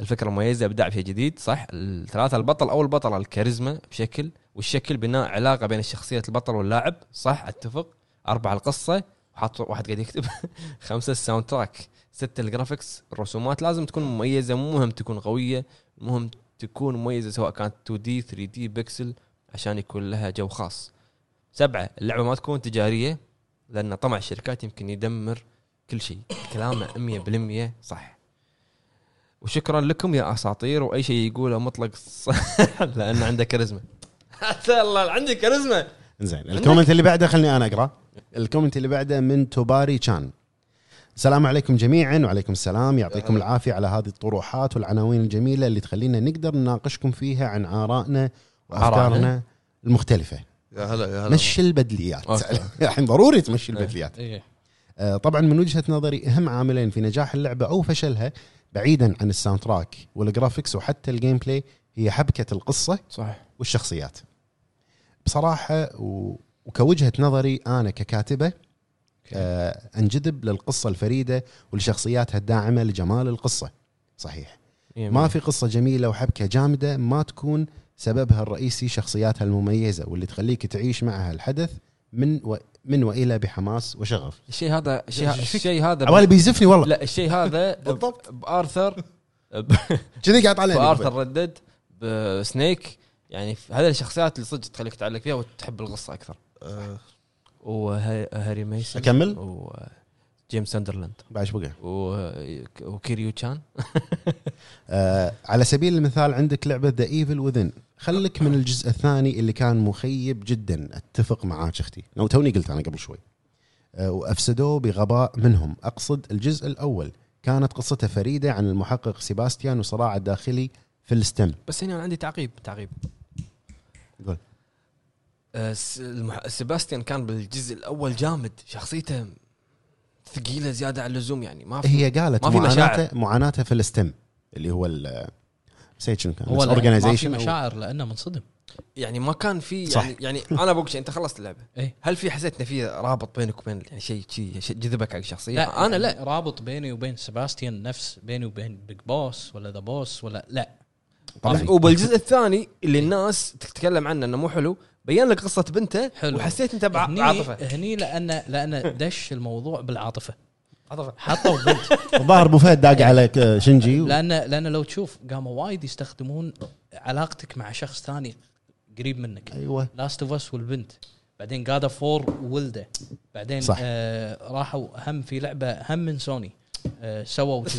Speaker 2: الفكره المميزه ابداع بشيء جديد صح الثلاثه البطل او البطله الكاريزما بشكل والشكل بناء علاقه بين شخصيه البطل واللاعب صح اتفق اربعه القصه وحاط واحد قاعد يكتب خمسه الساوند تراك سته الجرافكس الرسومات لازم تكون مميزه مو مهم تكون قويه المهم تكون مميزه سواء كانت 2 دي 3 دي بيكسل عشان يكون لها جو خاص سبعه اللعبه ما تكون تجاريه لان طمع الشركات يمكن يدمر كل شيء كلامه 100% صح وشكرا لكم يا اساطير واي شيء يقوله مطلق صح لان عنده كاريزما حتى الله عندي كاريزما
Speaker 3: زين الكومنت اللي بعده خلني انا اقرا الكومنت اللي بعده من توباري تشان السلام عليكم جميعا وعليكم السلام يعطيكم العافيه على هذه الطروحات والعناوين الجميله اللي تخلينا نقدر نناقشكم فيها عن ارائنا وافكارنا
Speaker 2: آرائنا؟
Speaker 3: المختلفه
Speaker 1: يا هلا يا هلا
Speaker 3: مشي البدليات
Speaker 2: أوكي.
Speaker 3: الحين ضروري تمشي البدليات
Speaker 4: إيه.
Speaker 3: آه، طبعا من وجهه نظري اهم عاملين في نجاح اللعبه او فشلها بعيدا عن الساوند تراك والجرافكس وحتى الجيم بلاي هي حبكه القصه
Speaker 2: صح
Speaker 3: والشخصيات بصراحة و... وكوجهة نظري أنا ككاتبة آه أنجذب للقصة الفريدة ولشخصياتها الداعمة لجمال القصة صحيح ما في قصة جميلة وحبكة جامدة ما تكون سببها الرئيسي شخصياتها المميزة واللي تخليك تعيش معها الحدث من و... من وإلى بحماس وشغف
Speaker 2: الشيء هذا الشيء ه- الشيء هذا
Speaker 3: عوالي بيزفني والله
Speaker 2: لا الشيء هذا
Speaker 3: بالضبط.
Speaker 2: بارثر
Speaker 3: كذي قاعد علينا
Speaker 2: بارثر ردد بسنيك يعني ف- هذه الشخصيات اللي صدق تخليك تعلق فيها وتحب القصه اكثر
Speaker 1: آه،
Speaker 2: وهاري ميسون
Speaker 3: أكمل؟
Speaker 2: وجيمس ساندرلاند
Speaker 3: بعد شو بقى
Speaker 2: و- وكيريو تشان
Speaker 3: آه على سبيل المثال عندك لعبة ذا ايفل وذن خلك من الجزء الثاني اللي كان مخيب جدا اتفق معاك اختي لو توني قلت انا قبل شوي آه وافسدوه بغباء منهم اقصد الجزء الاول كانت قصته فريدة عن المحقق سيباستيان وصراعه الداخلي في الستم
Speaker 2: بس هنا أنا عندي تعقيب تعقيب
Speaker 3: قول.
Speaker 2: آه، س- المح... سيباستيان كان بالجزء الاول جامد شخصيته ثقيله زياده عن اللزوم يعني ما
Speaker 4: إيه.
Speaker 2: في
Speaker 3: هي قالت
Speaker 2: ما في
Speaker 3: معاناته
Speaker 2: مشاعر.
Speaker 3: معاناته في الستم اللي هو ال نسيت شنو كان
Speaker 4: هو
Speaker 3: بس
Speaker 4: لا، ما في
Speaker 3: organization أو-
Speaker 4: مشاعر لانه منصدم
Speaker 2: يعني ما كان في
Speaker 3: صح.
Speaker 2: يعني يعني انا بقول شيء انت خلصت اللعبه
Speaker 4: إيه.
Speaker 2: هل في حسيت ان في رابط بينك وبين يعني شيء شيء شيء جذبك على الشخصيه
Speaker 4: لا يعني
Speaker 2: انا لا
Speaker 4: رابط بيني وبين سباستيان نفس بيني وبين بيج بوس ولا ذا بوس ولا لا
Speaker 3: طبعاً.
Speaker 2: وبالجزء الثاني اللي الناس تتكلم عنه انه مو حلو بين لك قصه بنته
Speaker 4: حلو.
Speaker 2: وحسيت انت بع-
Speaker 4: هني إيه.
Speaker 2: بعاطفه
Speaker 4: هني لان لان دش الموضوع بالعاطفه
Speaker 2: عاطفه
Speaker 4: حطوا بنت
Speaker 3: الظاهر ابو فهد داق على آه، شنجي و...
Speaker 4: لان لان لو تشوف قاموا وايد يستخدمون علاقتك مع شخص ثاني قريب منك
Speaker 3: ايوه
Speaker 4: لاست اوف اس والبنت بعدين جادا فور وولده بعدين
Speaker 3: صح.
Speaker 4: آه راحوا هم في لعبه هم من سوني آه سووا كذي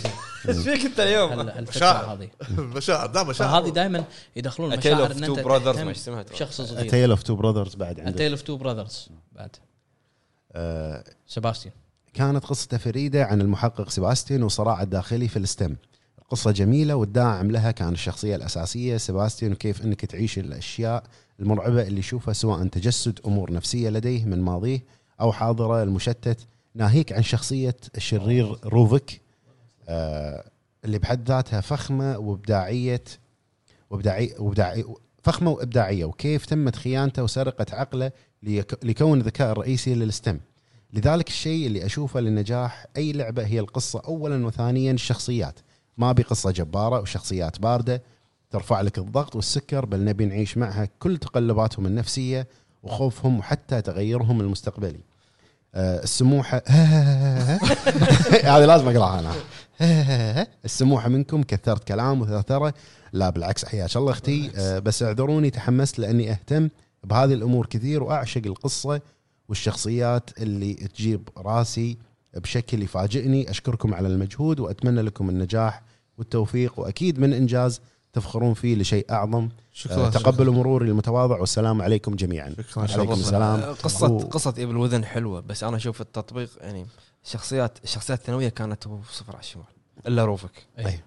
Speaker 2: ايش فيك انت اليوم؟
Speaker 4: هال- الفكره
Speaker 1: مشاعر.
Speaker 4: هذه
Speaker 1: مشاعر دا مشاعر
Speaker 4: فهذه دائما يدخلون
Speaker 2: A Tale
Speaker 4: مشاعر
Speaker 2: of
Speaker 4: ان
Speaker 2: Two
Speaker 4: انت
Speaker 2: Brothers،
Speaker 4: تهتم
Speaker 2: ما إيش اسمها ترى.
Speaker 4: شخص صغير
Speaker 3: تيل اوف تو براذرز بعد عندك
Speaker 4: تيل اوف تو براذرز بعد
Speaker 3: آه،
Speaker 4: سباستيان
Speaker 3: كانت قصته فريدة عن المحقق سيباستيان وصراعه الداخلي في الستم القصة جميلة والداعم لها كان الشخصية الأساسية سيباستيان وكيف أنك تعيش الأشياء المرعبة اللي يشوفها سواء تجسد أمور نفسية لديه من ماضيه أو حاضره المشتت ناهيك عن شخصية الشرير روفك آه اللي بحد ذاتها فخمة وإبداعية وإبداعي وإبداعي فخمة وإبداعية وكيف تمت خيانته وسرقة عقله ليك- ليكون الذكاء الرئيسي للستم لذلك الشيء اللي اشوفه لنجاح اي لعبه هي القصه اولا وثانيا الشخصيات ما بقصه جباره وشخصيات بارده ترفع لك الضغط والسكر بل نبي نعيش معها كل تقلباتهم النفسيه وخوفهم وحتى تغيرهم المستقبلي آه، السموحه هذه لازم اقراها انا السموحه منكم كثرت كلام وثرثره لا بالعكس حياك الله اختي آه، بس اعذروني تحمست لاني اهتم بهذه الامور كثير واعشق القصه والشخصيات اللي تجيب راسي بشكل يفاجئني اشكركم على المجهود واتمنى لكم النجاح والتوفيق واكيد من انجاز تفخرون فيه لشيء اعظم
Speaker 1: شكرا
Speaker 3: آه، تقبلوا مروري المتواضع والسلام عليكم جميعا
Speaker 1: شكرا
Speaker 3: عليكم
Speaker 1: شرفنا
Speaker 3: السلام
Speaker 2: آه،
Speaker 6: قصه
Speaker 3: و-
Speaker 6: قصه ايفل وذن حلوه بس انا اشوف التطبيق يعني الشخصيات الشخصيات الثانويه كانت صفر على الشمال الا روفك
Speaker 3: طيب.
Speaker 4: إيه.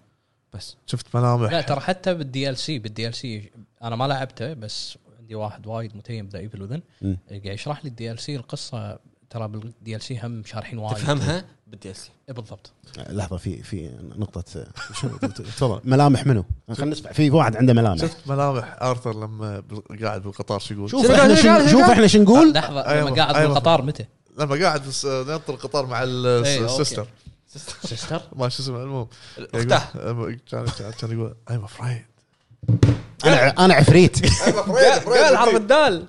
Speaker 6: بس
Speaker 1: شفت ملامح
Speaker 4: لا ترى حتى بالدي ال سي بالدي ال سي انا ما لعبته بس عندي واحد وايد متيم ذا ايفل وذن
Speaker 3: مم.
Speaker 4: قاعد يشرح لي الدي ال سي القصه ترى بالدي ال سي هم شارحين وايد
Speaker 6: تفهمها بدي اسي
Speaker 4: إيه بالضبط
Speaker 3: آه، لحظه في في نقطه آه، شو- تفضل ملامح منو؟ خلينا نسمع في واحد عنده ملامح
Speaker 1: شفت ملامح ارثر لما بال- قاعد بالقطار شو يقول
Speaker 3: شوف احنا شن- شوف احنا شو نقول
Speaker 4: لحظه
Speaker 1: أيوة،
Speaker 4: لما قاعد
Speaker 1: أيوة.
Speaker 4: بالقطار متى؟
Speaker 1: لما قاعد بس نط القطار مع
Speaker 4: إيه، أوكي.
Speaker 1: السيستر
Speaker 4: سيستر
Speaker 1: ما شو اسمه المهم
Speaker 2: اختاه
Speaker 1: يقول- كان كان- كان يقول ايم افريد
Speaker 3: انا انا عفريت
Speaker 1: ايم
Speaker 2: قال حرف الدال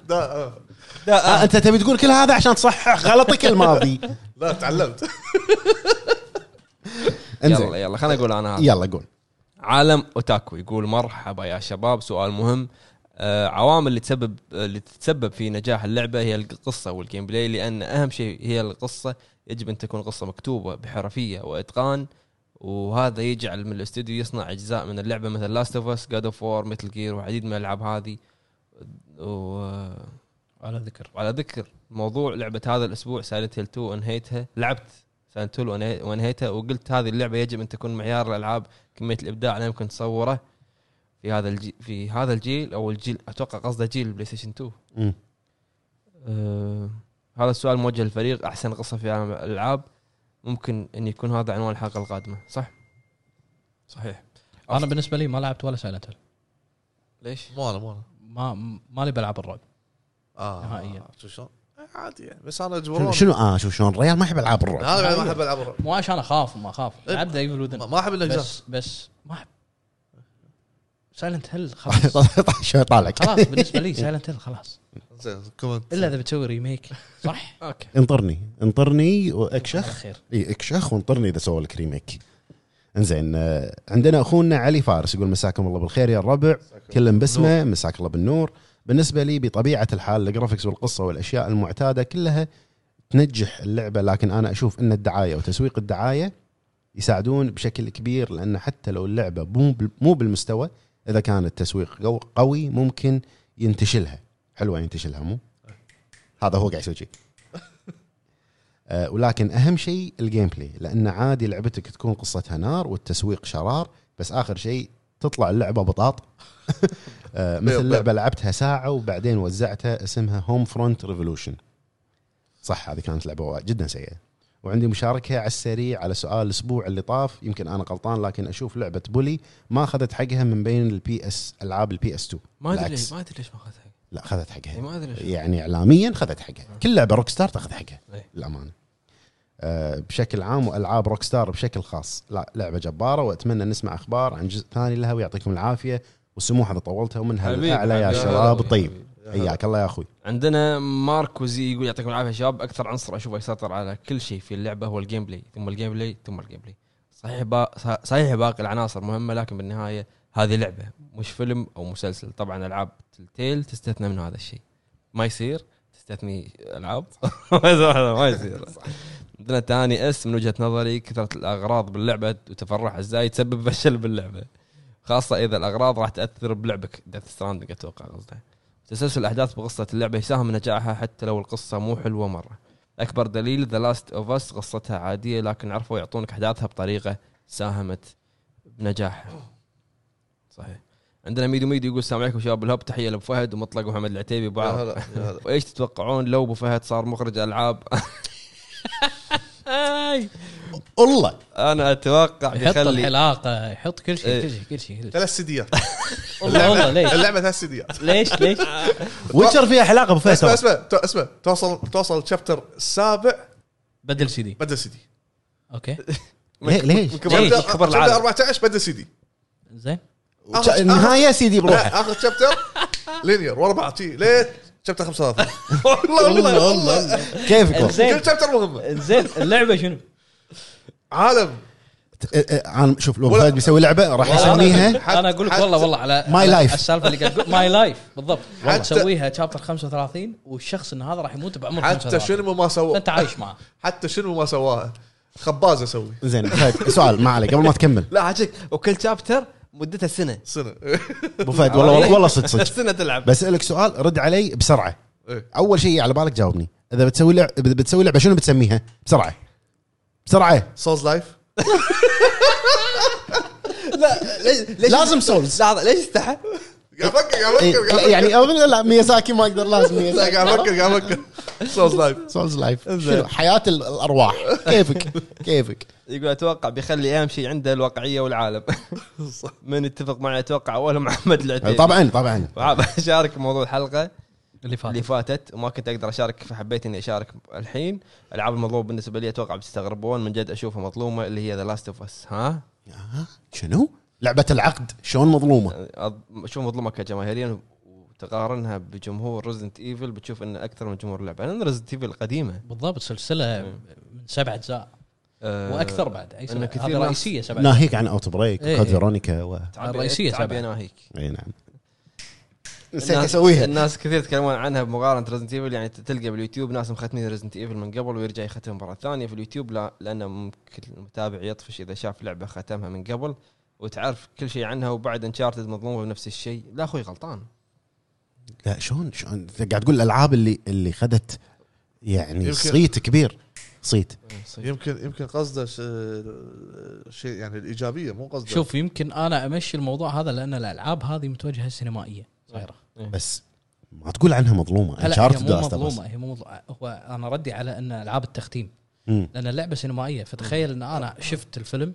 Speaker 3: آه، انت تبي تقول كل هذا عشان تصحح غلطك الماضي
Speaker 1: لا تعلمت
Speaker 3: انزين
Speaker 2: يلا يلا خليني اقول انا هذا
Speaker 3: يلا قول
Speaker 2: عالم اوتاكو يقول مرحبا يا شباب سؤال مهم آه، عوامل اللي تسبب اللي تتسبب في نجاح اللعبه هي القصه والجيم بلاي لان اهم شيء هي القصه يجب ان تكون قصه مكتوبه بحرفيه واتقان وهذا يجعل من الاستوديو يصنع اجزاء من اللعبه مثل لاست اوف اس جاد اوف وور مثل جير وعديد من الالعاب هذه و...
Speaker 4: على ذكر
Speaker 2: وعلى ذكر موضوع لعبه هذا الاسبوع سايلنت هيل 2 انهيتها لعبت سايلنت هيل وانهيتها وقلت هذه اللعبه يجب ان تكون معيار الالعاب كميه الابداع لا يمكن تصوره في هذا الجيل في هذا الجيل او الجيل اتوقع قصده جيل البلاي ستيشن 2
Speaker 3: مم.
Speaker 2: آه هذا السؤال موجه للفريق احسن قصه في عالم الالعاب ممكن ان يكون هذا عنوان الحلقه القادمه صح؟ صحيح
Speaker 4: انا بالنسبه لي ما لعبت ولا سايلنت
Speaker 2: ليش؟
Speaker 1: مو انا مو انا
Speaker 4: ما ما لي بلعب الرعب
Speaker 1: اه
Speaker 4: نهائياً.
Speaker 1: آه، شو شلون عادي يعني بس انا
Speaker 3: شنو-
Speaker 1: اجبروني
Speaker 3: شنو اه شوف شلون الريال ما يحب العاب الرعب
Speaker 1: انا بعد ما احب العب الرعب.
Speaker 4: مو عشان اخاف وما اخاف
Speaker 1: إيه.
Speaker 4: لعبت ذا ايفل وذن
Speaker 1: ما- ما احب الاجزاء
Speaker 4: بس بس ما احب سايلنت هيل خلاص
Speaker 3: شو طالعك
Speaker 4: خلاص بالنسبه لي سايلنت هيل خلاص
Speaker 1: زين كومنت
Speaker 4: الا اذا بتسوي ريميك صح؟ اوكي
Speaker 3: انطرني انطرني واكشخ
Speaker 4: خير
Speaker 3: اي اكشخ وانطرني اذا سووا لك ريميك انزين آه، عندنا اخونا علي فارس يقول مساكم الله بالخير يا الربع كلم باسمه مساك الله بالنور بالنسبه لي بطبيعه الحال الجرافكس والقصه والاشياء المعتاده كلها تنجح اللعبه لكن انا اشوف ان الدعايه وتسويق الدعايه يساعدون بشكل كبير لان حتى لو اللعبه مو بال- مو بالمستوى اذا كان التسويق قو- قوي ممكن ينتشلها حلوه ينتشلها مو هذا هو قاعد يسوي شيء آه، ولكن اهم شيء الجيم بلاي لان عادي لعبتك تكون قصتها نار والتسويق شرار بس اخر شيء تطلع اللعبه بطاط آه، مثل
Speaker 1: بيض.
Speaker 3: لعبه لعبتها ساعه وبعدين وزعتها اسمها هوم فرونت ريفولوشن صح هذه كانت لعبه جدا سيئه وعندي مشاركه على السريع على سؤال الاسبوع اللي طاف يمكن انا غلطان لكن اشوف لعبه بولي ما اخذت حقها من بين البي اس العاب البي اس 2
Speaker 6: ما ادري
Speaker 3: بالعكس.
Speaker 6: ليش ما ادري ليش ما اخذها
Speaker 3: لا اخذت حقها
Speaker 6: يعني ما ادري ليش
Speaker 3: يعني اعلاميا خذت حقها كل لعبه روك ستار تاخذ حقها
Speaker 6: إيه.
Speaker 3: للامانه آه، بشكل عام والعاب روك ستار بشكل خاص لا لعبه جباره واتمنى نسمع اخبار عن جزء ثاني لها ويعطيكم العافيه والسموح اذا طولتها ومنها
Speaker 2: حبيبي،
Speaker 3: الاعلى يا
Speaker 2: حبيبي.
Speaker 3: شباب الطيب حياك الله يا اخوي
Speaker 2: عندنا ماركوزي يقول يعطيكم العافيه يا شباب اكثر عنصر اشوفه يسيطر على كل شيء في اللعبه هو الجيم بلاي ثم الجيم بلاي ثم الجيم بلاي صحيح با... صح- صحيح باقي العناصر مهمه لكن بالنهايه هذه لعبه مش فيلم او مسلسل طبعا العاب تلتيل تستثنى من هذا الشيء ما يصير تستثني العاب ما يصير- ما يصير عندنا تاني اس من وجهه نظري كثره الاغراض باللعبه وتفرعها ازاي تسبب فشل باللعبه خاصه اذا الاغراض راح تاثر بلعبك ديث ستراندنج اتوقع قصده تسلسل الاحداث بقصه اللعبه يساهم من نجاحها حتى لو القصه مو حلوه مره اكبر دليل ذا لاست اوف اس قصتها عاديه لكن عرفوا يعطونك احداثها بطريقه ساهمت بنجاحها صحيح عندنا ميدو ميدو يقول السلام عليكم شباب الهب تحيه لابو فهد ومطلق محمد العتيبي ابو
Speaker 1: يا
Speaker 2: عرب
Speaker 1: هلا يا هلا
Speaker 2: وايش تتوقعون لو ابو فهد صار مخرج العاب
Speaker 3: الله
Speaker 2: انا اتوقع
Speaker 4: طيب، يحط
Speaker 2: يخلي
Speaker 4: الحلاقه يحط كل شيء
Speaker 2: إيه.
Speaker 4: كل شيء كل شيء كل شيء
Speaker 1: ثلاث سيديات
Speaker 4: والله والله ليش
Speaker 1: اللعبه ثلاث سيديات
Speaker 4: ليش ليش
Speaker 3: ويتشر فيها حلاقه ابو
Speaker 1: اسمع
Speaker 3: فيصل
Speaker 1: اسمع تو- اسمع توصل توصل شابتر السابع
Speaker 4: بدل سي دي
Speaker 1: بدل سيدي
Speaker 4: اوكي
Speaker 3: ليه- ليش؟
Speaker 2: كبر
Speaker 1: شابتر-
Speaker 2: كبر
Speaker 1: شابتر
Speaker 2: العالم
Speaker 1: 14 بدل سيدي
Speaker 4: زين
Speaker 1: آخر- آخر-
Speaker 3: النهايه سيدي بروحه
Speaker 1: لا، اخر شابتر لينير ورا بعض شي، ليه شابتر 35 والله والله والله
Speaker 3: كيفكم
Speaker 1: كل شابتر مهمه
Speaker 4: زين اللعبه شنو؟
Speaker 1: عالم
Speaker 3: إيه، إيه، انا شوف لو فهد بيسوي لعبه راح
Speaker 4: والله
Speaker 3: يسميها
Speaker 4: أنا- انا اقول لك
Speaker 1: حتى-
Speaker 4: والله والله على
Speaker 3: My
Speaker 4: على
Speaker 3: life.
Speaker 4: السالفه اللي قاعد ماي لايف بالضبط والله
Speaker 1: حتى-
Speaker 4: سويها شابتر 35 والشخص ان هذا راح يموت بعمر
Speaker 1: حتى
Speaker 4: 35
Speaker 1: شنو ما سوى
Speaker 4: فانت عايش معه
Speaker 1: حتى شنو ما سواها خباز اسوي
Speaker 3: زين فهد سؤال ما عليك قبل ما تكمل
Speaker 2: لا حاجيك وكل شابتر مدته سنه
Speaker 1: سنه
Speaker 3: ابو فهد والله والله- والله صدق صدق
Speaker 2: سنه تلعب
Speaker 3: بسالك سؤال رد علي بسرعه
Speaker 1: إيه.
Speaker 3: اول شيء على بالك جاوبني اذا بتسوي لعبه بتسوي لعبه شنو بتسميها بسرعه بسرعه
Speaker 1: سولز لايف
Speaker 2: لا ليش ليش
Speaker 3: لازم سولز
Speaker 2: لحظه ليش استحى؟
Speaker 1: قاعد افكر قاعد افكر قاعد أفكر.
Speaker 3: يعني اظن لا ميازاكي ما اقدر لازم
Speaker 1: لا
Speaker 3: ميازاكي
Speaker 1: قاعد افكر قاعد افكر سولز لايف
Speaker 3: سولز لايف شنو حياه ال- الارواح كيفك كيفك
Speaker 2: يقول اتوقع بيخلي اهم شيء عنده الواقعيه والعالم من يتفق معي اتوقع اولها محمد العتيبي
Speaker 3: طبعا طبعا
Speaker 2: وعاب اشارك موضوع الحلقه
Speaker 4: اللي فات
Speaker 2: اللي فاتت وما كنت اقدر اشارك فحبيت اني اشارك الحين العاب المطلوب بالنسبه لي اتوقع بتستغربون من جد اشوفها مظلومه اللي هي ذا لاست اوف اس ها
Speaker 3: آه، شنو لعبه العقد شلون مظلومه
Speaker 2: أض- اشوف مظلومه كجماهيريا وتقارنها بجمهور ريزنت ايفل بتشوف ان اكثر من جمهور اللعبه لان ريزنت ايفل القديمه
Speaker 4: بالضبط
Speaker 2: إيه.
Speaker 4: سلسله من سبع اجزاء
Speaker 2: أه،
Speaker 4: واكثر بعد اي سنة.
Speaker 2: إنه كثير
Speaker 4: هذه
Speaker 2: ناس-
Speaker 4: رئيسيه سبع أجزاء.
Speaker 3: ناهيك عن اوت بريك
Speaker 4: إيه،
Speaker 3: وكود
Speaker 4: إيه.
Speaker 3: فيرونيكا و
Speaker 2: تعبي-
Speaker 4: الرئيسية
Speaker 2: تعبي
Speaker 4: تبعها.
Speaker 2: انا هيك
Speaker 3: اي نعم نسيت
Speaker 2: الناس-
Speaker 3: اسويها
Speaker 2: الناس كثير يتكلمون عنها بمقارنه ريزنت ايفل يعني تلقى باليوتيوب ناس مختمين ريزنت ايفل من قبل ويرجع يختم مره ثانيه في اليوتيوب لا لانه ممكن المتابع يطفش اذا شاف لعبه ختمها من قبل وتعرف كل شيء عنها وبعد انشارتد مظلومه بنفس الشيء لا اخوي غلطان
Speaker 3: لا شلون شلون أنت قاعد تقول الالعاب اللي اللي خدت يعني
Speaker 1: يمكن-
Speaker 3: صيت كبير صيت
Speaker 1: يمكن يمكن قصده ش- شيء يعني الايجابيه مو قصده
Speaker 4: شوف يمكن انا امشي الموضوع هذا لان الالعاب هذه متوجهه سينمائيه صغيره
Speaker 3: بس ما تقول عنها مظلومه
Speaker 4: هلا هي
Speaker 3: انشارتد
Speaker 4: مو
Speaker 3: ذا بس
Speaker 4: مظلومه هي مو مظلومه هو انا ردي على ان العاب التختيم لان اللعبه سينمائيه فتخيل ان انا شفت الفيلم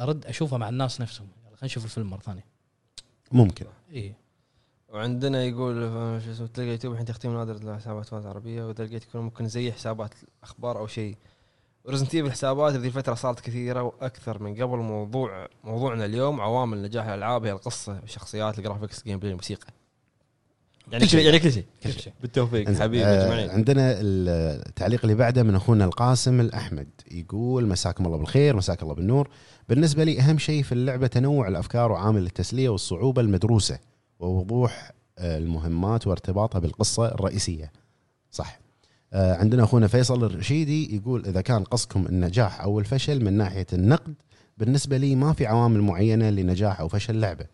Speaker 4: ارد اشوفه مع الناس نفسهم يلا خلينا نشوف الفيلم إيه. مره ثانيه
Speaker 3: ممكن
Speaker 4: اي
Speaker 2: وعندنا يقول آه، شو اسمه تلقى يوتيوب الحين تختيم نادر لحسابات فانز عربيه وتلقيت يكون ممكن زي حسابات اخبار او شيء ريزنت ايفل الحسابات بذي الفتره صارت كثيره واكثر من قبل موضوع موضوعنا اليوم عوامل نجاح الالعاب هي القصه الشخصيات الجرافكس الجيم بلاي الموسيقى يعني كل شيء يعني كل شيء
Speaker 4: كل شيء
Speaker 2: بالتوفيق
Speaker 3: إنزين.
Speaker 2: حبيبي
Speaker 3: آه،
Speaker 2: اجمعين
Speaker 3: عندنا التعليق اللي بعده من اخونا القاسم الاحمد يقول مساكم الله بالخير مساك الله بالنور بالنسبه لي اهم شيء في اللعبه تنوع الافكار وعامل التسليه والصعوبه المدروسه ووضوح آه، المهمات وارتباطها بالقصه الرئيسيه صح آه، عندنا اخونا فيصل الرشيدي يقول اذا كان قصدكم النجاح او الفشل من ناحيه النقد بالنسبه لي ما في عوامل معينه لنجاح او فشل لعبه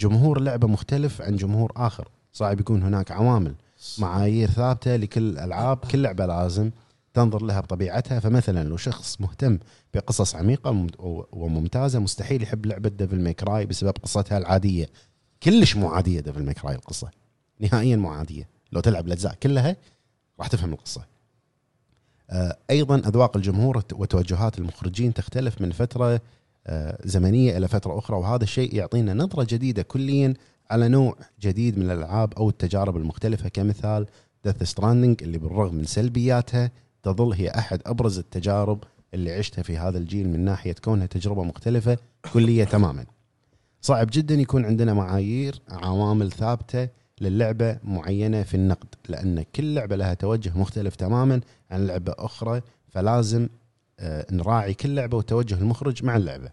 Speaker 3: جمهور لعبه مختلف عن جمهور اخر صعب يكون هناك عوامل معايير ثابته لكل الالعاب كل لعبه لازم تنظر لها بطبيعتها فمثلا لو شخص مهتم بقصص عميقه ومم- وممتازه مستحيل يحب لعبه ديفل ميكراي بسبب قصتها العاديه كلش مو عاديه ديفل ميكراي القصه نهائيا مو عاديه لو تلعب الاجزاء كلها راح تفهم القصه آه، ايضا اذواق الجمهور وت- وتوجهات المخرجين تختلف من فتره آه، زمنيه الى فتره اخرى وهذا الشيء يعطينا نظره جديده كليا على نوع جديد من الالعاب او التجارب المختلفه كمثال ديث ستراندنج اللي بالرغم من سلبياتها تظل هي احد ابرز التجارب اللي عشتها في هذا الجيل من ناحيه كونها تجربه مختلفه كليه تماما. صعب جدا يكون عندنا معايير عوامل ثابته للعبه معينه في النقد لان كل لعبه لها توجه مختلف تماما عن لعبه اخرى فلازم آه، نراعي كل لعبه وتوجه المخرج مع اللعبه.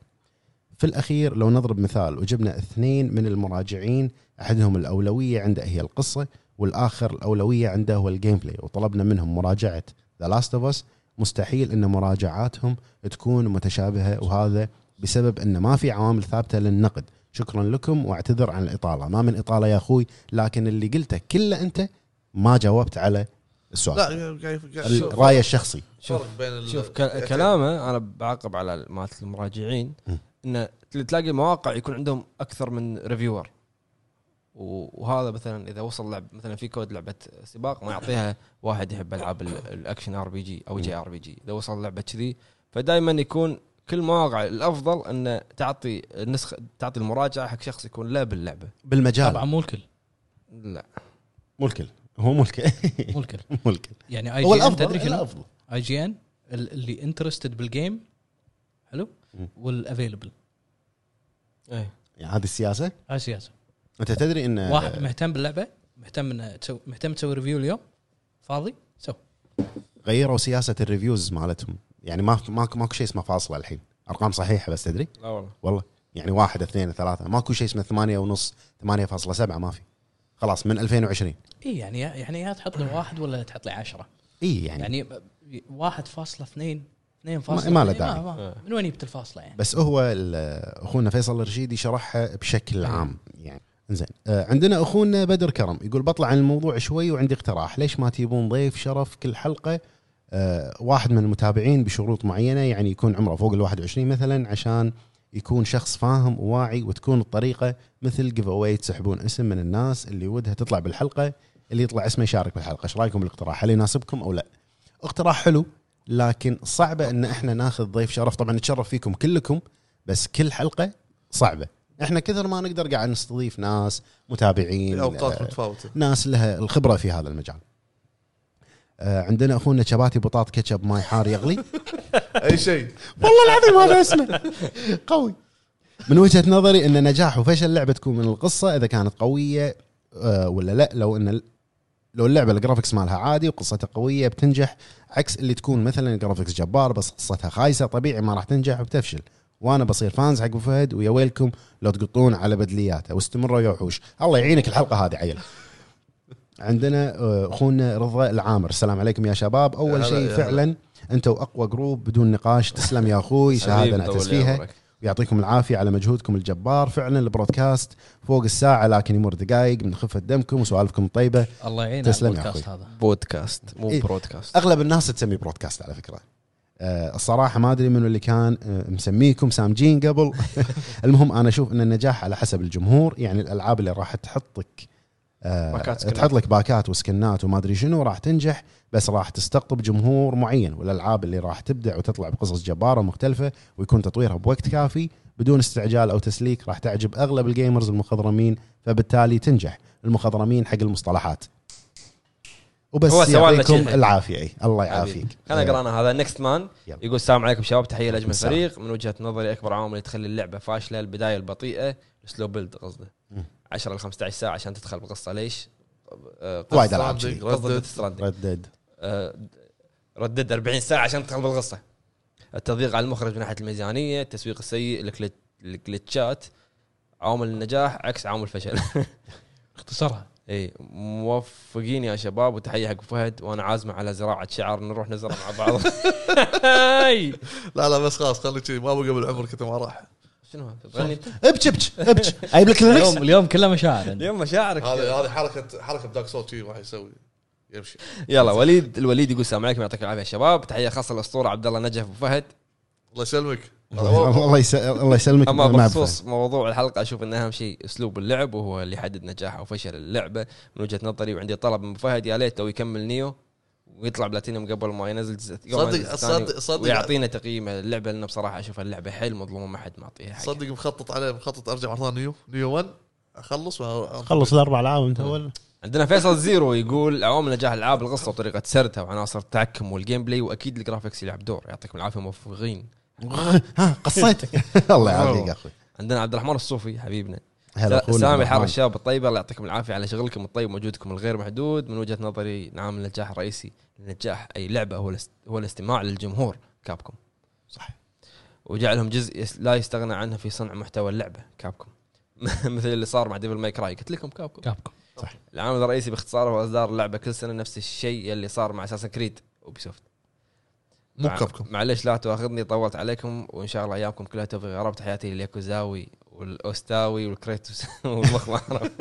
Speaker 3: في الاخير لو نضرب مثال وجبنا اثنين من المراجعين احدهم الاولويه عنده هي القصه والاخر الاولويه عنده هو الجيم بلاي وطلبنا منهم مراجعه ذا لاست اوف اس مستحيل ان مراجعاتهم تكون متشابهه وهذا بسبب ان ما في عوامل ثابته للنقد شكرا لكم واعتذر عن الاطاله ما من اطاله يا اخوي لكن اللي قلته كله انت ما جاوبت على
Speaker 1: لا
Speaker 3: السؤال
Speaker 1: قاعد- قاعد قاعد شوف
Speaker 3: الراي الشخصي
Speaker 2: شوف
Speaker 1: فرق بين ال-
Speaker 2: شوف ك- كلامه انا بعاقب على مالت المراجعين
Speaker 3: مم.
Speaker 2: انه تل- تلاقي مواقع يكون عندهم اكثر من ريفيور وهذا مثلا اذا وصل لعب مثلا في كود لعبه سباق ما يعطيها واحد يحب العاب ال- الاكشن ار بي جي او جي ار بي جي اذا وصل لعبه كذي فدائما يكون كل مواقع الافضل انه تعطي النسخه تعطي المراجعه حق شخص يكون لا باللعبه
Speaker 4: طبعا
Speaker 3: بالمجال
Speaker 4: مو الكل
Speaker 2: لا
Speaker 3: مو الكل هو مو الكل
Speaker 4: مو الكل
Speaker 3: مو الكل
Speaker 4: يعني اي
Speaker 3: هو
Speaker 4: جي ان
Speaker 3: الافضل
Speaker 4: تدري شنو
Speaker 3: الافضل
Speaker 4: اي جي ان اللي انترستد بالجيم حلو
Speaker 3: مم.
Speaker 4: والافيلبل
Speaker 2: ايه
Speaker 3: يعني هذه السياسه
Speaker 4: هاي سياسه
Speaker 3: انت تدري ان
Speaker 4: واحد مهتم باللعبه مهتم انه تسوي مهتم تسوي ريفيو اليوم فاضي سو
Speaker 3: غيروا سياسه الريفيوز مالتهم يعني ما ما ماكو شيء اسمه فاصله الحين ارقام صحيحه بس تدري
Speaker 2: لا والله
Speaker 3: والله يعني واحد اثنين ثلاثه ماكو شيء اسمه ثمانية ونص 8.7 ما في خلاص من 2020
Speaker 4: اي يعني يعني يا تحط لي واحد ولا لا تحط لي 10
Speaker 3: اي يعني, يعني
Speaker 4: يعني 1.2 2.2
Speaker 3: ما- ما له داعي.
Speaker 4: ما- من وين جبت الفاصله يعني؟
Speaker 3: بس هو ال- اخونا فيصل الرشيدي شرحها بشكل عام يعني زين آه، عندنا اخونا بدر كرم يقول بطلع عن الموضوع شوي وعندي اقتراح ليش ما تجيبون ضيف شرف كل حلقه آه، واحد من المتابعين بشروط معينه يعني يكون عمره فوق ال 21 مثلا عشان يكون شخص فاهم وواعي وتكون الطريقه مثل جيف اواي تسحبون اسم من الناس اللي ودها تطلع بالحلقه اللي يطلع اسمه يشارك بالحلقه ايش رايكم بالاقتراح هل يناسبكم او لا اقتراح حلو لكن صعبه ان احنا ناخذ ضيف شرف طبعا نتشرف فيكم كلكم بس كل حلقه صعبه احنا كثر ما نقدر قاعد نستضيف ناس متابعين
Speaker 1: في اوقات
Speaker 3: آه،
Speaker 1: متفاوته
Speaker 3: ناس لها الخبره في هذا المجال آه، عندنا اخونا شباتي بطاط كاتشب ماي حار يغلي
Speaker 1: اي شيء
Speaker 3: والله العظيم هذا اسمه قوي من وجهه نظري ان نجاح وفشل اللعبه تكون من القصه اذا كانت قويه آه، ولا لا لو ان ال- لو اللعبه الجرافكس مالها عادي وقصتها قويه بتنجح عكس اللي تكون مثلا الجرافكس جبار بس قصتها خايسه طبيعي ما راح تنجح وبتفشل وانا بصير فانز حق أبو فهد ويا ويلكم لو تقطون على بدلياته واستمروا يا وحوش الله يعينك الحلقه هذه عيل عندنا آه، اخونا رضا العامر السلام عليكم يا شباب اول
Speaker 1: هلا-
Speaker 3: شيء
Speaker 1: هلا.
Speaker 3: فعلا انتم اقوى جروب بدون نقاش تسلم يا اخوي شهاده
Speaker 2: حبيبي،
Speaker 3: نعتز
Speaker 2: طول
Speaker 3: فيها
Speaker 2: عمرك.
Speaker 3: ويعطيكم العافيه على مجهودكم الجبار فعلا البرودكاست فوق الساعه لكن يمر دقائق من خفه دمكم وسوالفكم الطيبه
Speaker 4: الله يعين
Speaker 3: تسلم
Speaker 4: على
Speaker 3: يا
Speaker 4: البودكاست هذا
Speaker 6: بودكاست مو
Speaker 3: إيه.
Speaker 6: برودكاست
Speaker 3: اغلب الناس تسميه برودكاست على فكره آه، الصراحه ما ادري منو اللي كان آه، مسميكم سامجين قبل المهم انا اشوف ان النجاح على حسب الجمهور يعني الالعاب اللي راح تحطك آه،
Speaker 6: باكات سكنات.
Speaker 3: تحط لك باكات وسكنات وما ادري شنو راح تنجح بس راح تستقطب جمهور معين والالعاب اللي راح تبدع وتطلع بقصص جباره ومختلفه ويكون تطويرها بوقت كافي بدون استعجال او تسليك راح تعجب اغلب الجيمرز المخضرمين فبالتالي تنجح المخضرمين حق المصطلحات وبس
Speaker 2: هو سوالنا
Speaker 3: يعطيكم
Speaker 2: شيء.
Speaker 3: العافيه أي. الله يعافيك
Speaker 2: خلينا نقرا انا هذا نكست مان
Speaker 3: إيه. يلا.
Speaker 2: يقول السلام عليكم شباب تحيه لاجمل
Speaker 3: السلام.
Speaker 2: فريق من وجهه نظري اكبر عوامل اللي تخلي اللعبه فاشله البدايه البطيئه سلو بيلد قصده
Speaker 3: مم.
Speaker 2: 10 ل 15 ساعه عشان تدخل بقصه ليش؟ آه، قصة-
Speaker 3: وايد العاب كذي.
Speaker 2: قصده
Speaker 1: ردد.
Speaker 2: Death Stranding.
Speaker 3: ردد
Speaker 2: آه، ردد 40 ساعه عشان تدخل بالقصه التضييق على المخرج من ناحيه الميزانيه التسويق السيء الكليت- الكليتشات عوامل النجاح عكس عوامل الفشل
Speaker 4: اختصرها
Speaker 2: اي موفقين يا شباب وتحيه حق فهد وانا عازمه على زراعه شعر نروح نزرع مع بعض هاي.
Speaker 1: لا لا بس خلاص خليك شيء ما بقى بالعمر كنت ما راح
Speaker 2: شنو هذا تغني
Speaker 3: ابش ابش ابش جايب لك
Speaker 4: اليوم
Speaker 3: ليركس
Speaker 4: اليوم كله مشاعر عندي.
Speaker 2: اليوم مشاعرك
Speaker 1: هذه هذه حركه حركه بداك صوت شيء راح يسوي يمشي
Speaker 2: يلا وليد الوليد يقول السلام عليكم يعطيك العافيه يا شباب تحيه خاصه للاسطوره عبد الله نجف وفهد
Speaker 1: الله يسلمك
Speaker 3: الله يس- الله يسلمك
Speaker 2: اما
Speaker 3: مع
Speaker 2: بخصوص موضوع الحلقه اشوف ان اهم شيء اسلوب اللعب وهو اللي يحدد نجاح او فشل اللعبه من وجهه نظري وعندي طلب من فهد يا ليت لو يكمل نيو ويطلع بلاتينيوم قبل ما ينزل جزء قبل ما
Speaker 1: صدق-
Speaker 2: ينزل الثاني
Speaker 1: صدق- صدق.
Speaker 2: ويعطينا تقييم اللعبه لانه بصراحه اشوف اللعبه حيل مظلومه ما حد معطيها حق
Speaker 1: صدق مخطط عليه مخطط ارجع مره ثانيه نيو نيو 1 اخلص وأ-
Speaker 3: خلص الاربع العاب انت اول
Speaker 2: عندنا فيصل زيرو يقول عوامل نجاح العاب القصه وطريقه سردها وعناصر التحكم والجيم بلاي واكيد الجرافيكس يلعب دور يعطيكم العافيه موفقين
Speaker 3: ها قصيت الله يعافيك يا اخوي
Speaker 2: عندنا عبد الرحمن الصوفي حبيبنا
Speaker 3: هلا
Speaker 2: سلام- سلام
Speaker 3: الرحمن.
Speaker 2: الحار الشباب الطيبه الله يعطيكم العافيه على شغلكم الطيب وجودكم الغير محدود من وجهه نظري نعم النجاح الرئيسي لنجاح اي لعبه هو الاست... هو الاستماع للجمهور كابكم
Speaker 3: صح.
Speaker 2: وجعلهم جزء يس- لا يستغنى عنه في صنع محتوى اللعبه كابكم مثل اللي صار مع ديفل ماي كراي قلت لكم كابكم
Speaker 4: كابكم
Speaker 2: العامل الرئيسي باختصار هو اصدار اللعبه كل سنه نفس الشيء اللي صار مع اساسا كريد وبيسوفت
Speaker 1: مو
Speaker 2: مع-
Speaker 1: كابكم
Speaker 2: معليش لا تواخذني طولت عليكم وان شاء الله ايامكم كلها توفيق يا رب تحياتي للياكوزاوي والاوستاوي والكريتوس والمخ ما أعرف.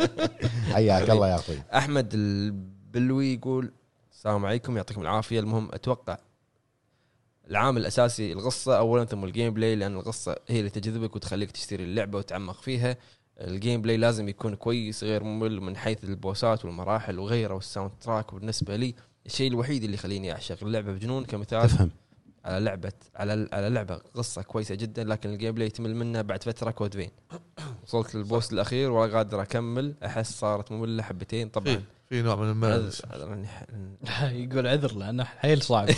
Speaker 3: حياك الله يا اخوي
Speaker 2: احمد البلوي يقول السلام عليكم يعطيكم العافيه المهم اتوقع العامل الاساسي القصه اولا ثم الجيم بلاي لان القصه هي اللي تجذبك وتخليك تشتري اللعبه وتعمق فيها الجيم بلاي لازم يكون كويس غير ممل من حيث البوسات والمراحل وغيره والساوند تراك وبالنسبه لي الشيء الوحيد اللي يخليني اعشق اللعبه بجنون كمثال
Speaker 3: تفهم
Speaker 2: على لعبه على على لعبه قصه كويسه جدا لكن الجيم بلاي تمل منه بعد فتره كود فين وصلت للبوس الاخير ولا قادر اكمل احس صارت ممله حبتين
Speaker 1: في
Speaker 2: طبعا
Speaker 1: في نوع من الملل
Speaker 2: عذر- عذر عني ح-
Speaker 4: يقول عذر لانه حيل صعب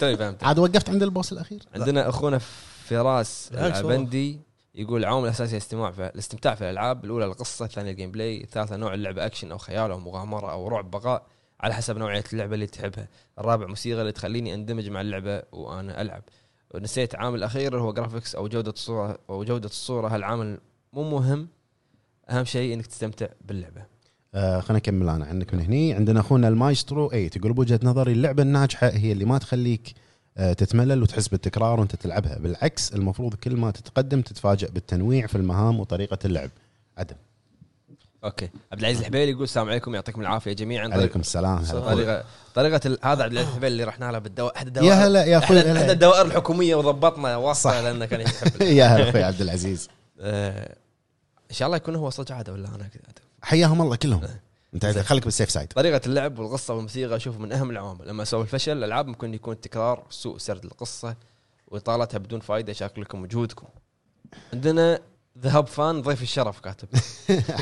Speaker 2: توي فهمت
Speaker 3: عاد وقفت عند البوس الاخير
Speaker 2: عندنا اخونا فراس
Speaker 1: بالعكس والله.
Speaker 2: العبندي يقول العامل الاساسي الاستماع في الاستمتاع في الالعاب الاولى القصه الثانيه الجيم بلاي الثالثه نوع اللعبه اكشن او خيال او مغامره او رعب بقاء على حسب نوعيه اللعبه اللي تحبها الرابع موسيقى اللي تخليني اندمج مع اللعبه وانا العب ونسيت عامل اخير هو جرافيكس او جوده الصوره او جوده الصوره هالعامل مو مهم اهم شيء انك تستمتع باللعبه
Speaker 3: آه خلينا نكمل انا عنك من هني عندنا اخونا المايسترو اي يقول بوجهه نظري اللعبه الناجحه هي اللي ما تخليك آه تتملل وتحس بالتكرار وانت تلعبها بالعكس المفروض كل ما تتقدم تتفاجئ بالتنويع في المهام وطريقه اللعب عدم
Speaker 2: اوكي عبد العزيز الحبيلي يقول السلام عليكم يعطيكم العافيه جميعا
Speaker 3: عليكم طيب. السلام هلا أخوي.
Speaker 2: طريقه طريقه ال- هذا عبد العزيز الحبيلي اللي رحنا له بالدوائر احد
Speaker 3: يا
Speaker 2: الدوائر
Speaker 3: هلا يا
Speaker 2: احد
Speaker 3: اخوي
Speaker 2: أحد
Speaker 3: هلا.
Speaker 2: الدوائر الحكوميه وضبطنا واصله لانه كان يحب
Speaker 3: يا هلا اخوي عبد العزيز
Speaker 2: آه، ان شاء الله يكون هو صج عاده ولا انا كذا
Speaker 3: حياهم الله كلهم انت خليك بالسيف سايد
Speaker 2: طريقة اللعب والقصة والموسيقى أشوف من أهم العوامل، لما أسوي الفشل الألعاب ممكن يكون تكرار سوء سرد القصة وإطالتها بدون فائدة شاكر لكم مجهودكم. عندنا ذهب فان ضيف الشرف كاتب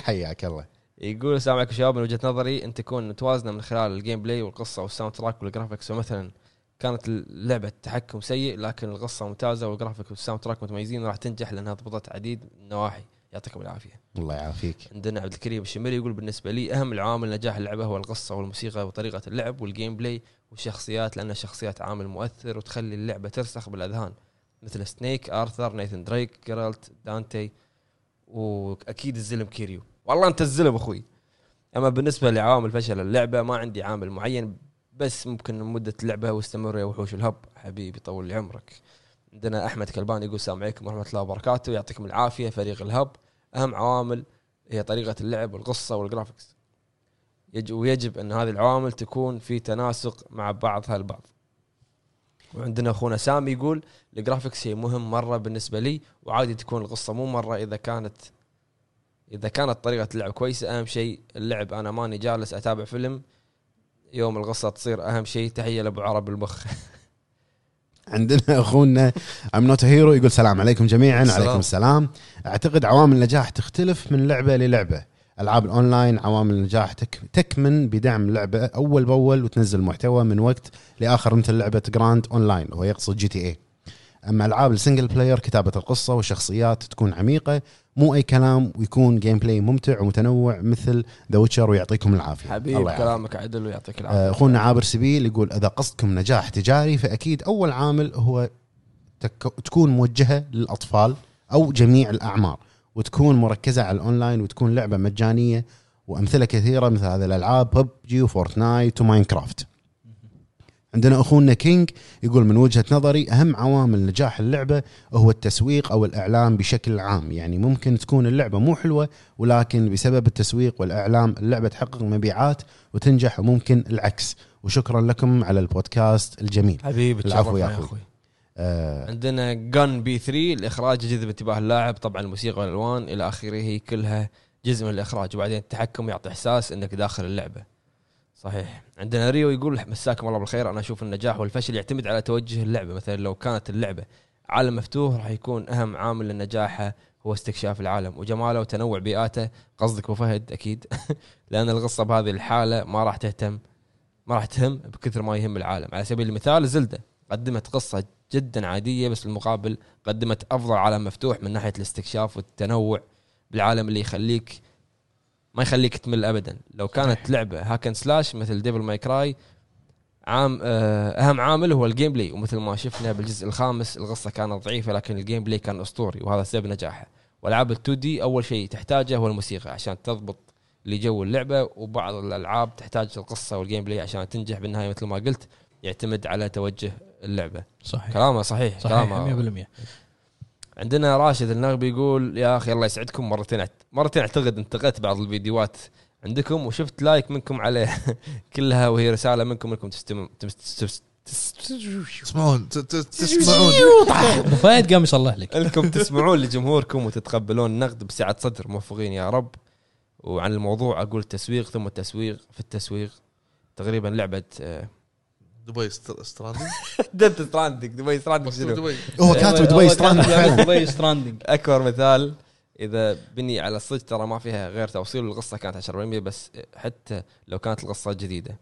Speaker 3: حياك الله
Speaker 2: يقول السلام عليكم شباب من وجهة نظري أن تكون متوازنة من خلال الجيم بلاي والقصة والساوند تراك والجرافيكس فمثلا كانت اللعبة التحكم سيء لكن القصة ممتازة والجرافيك والساوند تراك متميزين راح تنجح لأنها ضبطت عديد من النواحي يعطيكم العافية.
Speaker 3: الله يعافيك
Speaker 2: عندنا عبد الكريم الشمري يقول بالنسبه لي اهم العوامل نجاح اللعبه هو القصه والموسيقى وطريقه اللعب والجيم بلاي والشخصيات لان الشخصيات عامل مؤثر وتخلي اللعبه ترسخ بالاذهان مثل سنيك ارثر نيثن دريك جيرالت دانتي واكيد الزلم كيريو والله انت الزلم اخوي اما بالنسبه لعوامل فشل اللعبه ما عندي عامل معين بس ممكن مده اللعبه واستمر يا وحوش الهب حبيبي طول لي عمرك عندنا احمد كلبان يقول السلام عليكم ورحمه الله وبركاته يعطيكم العافيه فريق الهب اهم عوامل هي طريقه اللعب والقصه والجرافكس يج- ويجب ان هذه العوامل تكون في تناسق مع بعضها البعض وعندنا اخونا سامي يقول الجرافكس شيء مهم مره بالنسبه لي وعادي تكون القصه مو مره اذا كانت اذا كانت طريقه اللعب كويسه اهم شيء اللعب انا ماني جالس اتابع فيلم يوم القصه تصير اهم شيء تحيه لابو عرب المخ
Speaker 3: عندنا اخونا ام نوت هيرو يقول السلام عليكم جميعا
Speaker 1: السلام.
Speaker 3: عليكم السلام اعتقد عوامل النجاح تختلف من لعبه للعبه العاب الاونلاين عوامل النجاح تك... تكمن بدعم لعبه اول باول وتنزل محتوى من وقت لاخر مثل لعبه جراند اونلاين هو يقصد جي تي اي اما العاب السنجل بلاير كتابه القصه والشخصيات تكون عميقه مو اي كلام ويكون جيم بلاي ممتع ومتنوع مثل ذا ويتشر ويعطيكم العافيه
Speaker 2: حبيب
Speaker 3: الله يعافيك.
Speaker 2: كلامك عدل ويعطيك العافيه
Speaker 3: آه، اخونا عابر سبيل يقول اذا قصدكم نجاح تجاري فاكيد اول عامل هو تك... تكون موجهه للاطفال او جميع الاعمار وتكون مركزه على الاونلاين وتكون لعبه مجانيه وامثله كثيره مثل هذه الالعاب ببجي وفورتنايت وماينكرافت عندنا اخونا كينج يقول من وجهه نظري اهم عوامل نجاح اللعبه هو التسويق او الاعلام بشكل عام يعني ممكن تكون اللعبه مو حلوه ولكن بسبب التسويق والاعلام اللعبه تحقق مبيعات وتنجح وممكن العكس وشكرا لكم على البودكاست الجميل
Speaker 2: حبيبي
Speaker 3: العفو يا
Speaker 2: تشرفنا
Speaker 3: أخوي. آه
Speaker 2: عندنا جن بي 3 الاخراج جذب انتباه اللاعب طبعا الموسيقى والالوان الى اخره هي كلها جزء من الاخراج وبعدين التحكم يعطي احساس انك داخل اللعبه صحيح عندنا ريو يقول مساكم الله بالخير انا اشوف النجاح والفشل يعتمد على توجه اللعبه مثلا لو كانت اللعبه عالم مفتوح راح يكون اهم عامل لنجاحها هو استكشاف العالم وجماله وتنوع بيئاته قصدك ابو فهد اكيد لان القصه بهذه الحاله ما راح تهتم ما راح تهم بكثر ما يهم العالم على سبيل المثال زلده قدمت قصه جدا عاديه بس بالمقابل قدمت افضل عالم مفتوح من ناحيه الاستكشاف والتنوع بالعالم اللي يخليك ما يخليك تمل ابدا لو كانت لعبه هاكن سلاش مثل ديفل ماي كراي عام آه، اهم عامل هو الجيم بلاي ومثل ما شفنا بالجزء الخامس القصه كانت ضعيفه لكن الجيم بلاي كان اسطوري وهذا سبب نجاحه والعاب ال2 دي اول شيء تحتاجه هو الموسيقى عشان تضبط لجو اللعبه وبعض الالعاب تحتاج القصه والجيم بلاي عشان تنجح بالنهايه مثل ما قلت يعتمد على توجه اللعبه
Speaker 4: صحيح
Speaker 2: كلامه صحيح, كلامه
Speaker 4: صحيح 100%
Speaker 2: عندنا راشد النغبي يقول يا اخي الله يسعدكم مرتين أعت- مرتين اعتقد انتقدت بعض الفيديوهات عندكم وشفت لايك منكم عليه كلها وهي رساله منكم انكم تستم... تمس- تس- تس-
Speaker 1: تسمعون ت- ت- تسمعون
Speaker 4: ابو فهد قام يصلح لك
Speaker 2: انكم تسمعون لجمهوركم وتتقبلون النقد بسعه صدر موفقين يا رب وعن الموضوع اقول التسويق ثم التسويق في التسويق تقريبا لعبه آه،
Speaker 1: دبي ست- ستراندينج
Speaker 2: ديث ستراندنج دبي ستراندنج شنو؟
Speaker 1: مكتوب دبي
Speaker 3: آه، هو كاتب يعني دبي ستراند فعلا
Speaker 4: دبي ستراندنج
Speaker 2: اكبر مثال اذا بني على الصج ترى ما فيها غير توصيل القصه كانت 10% بس حتى لو كانت القصه جديده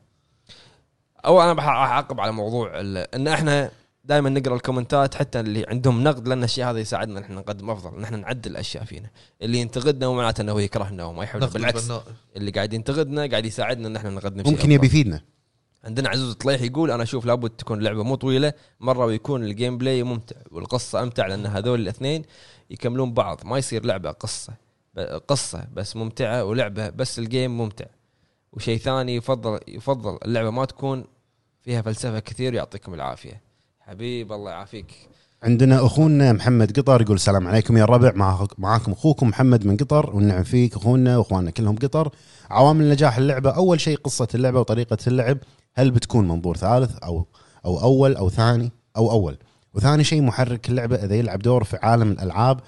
Speaker 2: او انا بح- راح اعقب على موضوع ال- ان احنا دائما نقرا الكومنتات حتى اللي عندهم نقد لان الشيء هذا يساعدنا ان احنا نقدم افضل ان احنا نعدل الاشياء فينا اللي ينتقدنا مو معناته انه هو يكرهنا وما يحبنا
Speaker 1: نقد
Speaker 2: بالعكس
Speaker 1: البناء.
Speaker 2: اللي قاعد ينتقدنا قاعد يساعدنا ان احنا نقدم شيء
Speaker 3: ممكن يبي
Speaker 2: أفضل.
Speaker 3: يفيدنا
Speaker 2: عندنا عزوز طليح يقول انا اشوف لابد تكون اللعبه مو طويله مره ويكون الجيم بلاي ممتع والقصه امتع لان هذول الاثنين يكملون بعض ما يصير لعبه قصه ب- قصه بس ممتعه ولعبه بس الجيم ممتع وشيء ثاني يفضل يفضل اللعبه ما تكون فيها فلسفه كثير يعطيكم العافيه حبيب الله يعافيك
Speaker 3: عندنا اخونا محمد قطر يقول السلام عليكم يا الربع معاك- معاكم اخوكم محمد من قطر والنعم فيك اخونا واخواننا كلهم قطر عوامل نجاح اللعبه اول شيء قصه اللعبه وطريقه اللعب هل بتكون منظور ثالث او او اول او ثاني او اول وثاني شيء محرك اللعبه اذا يلعب دور في عالم الالعاب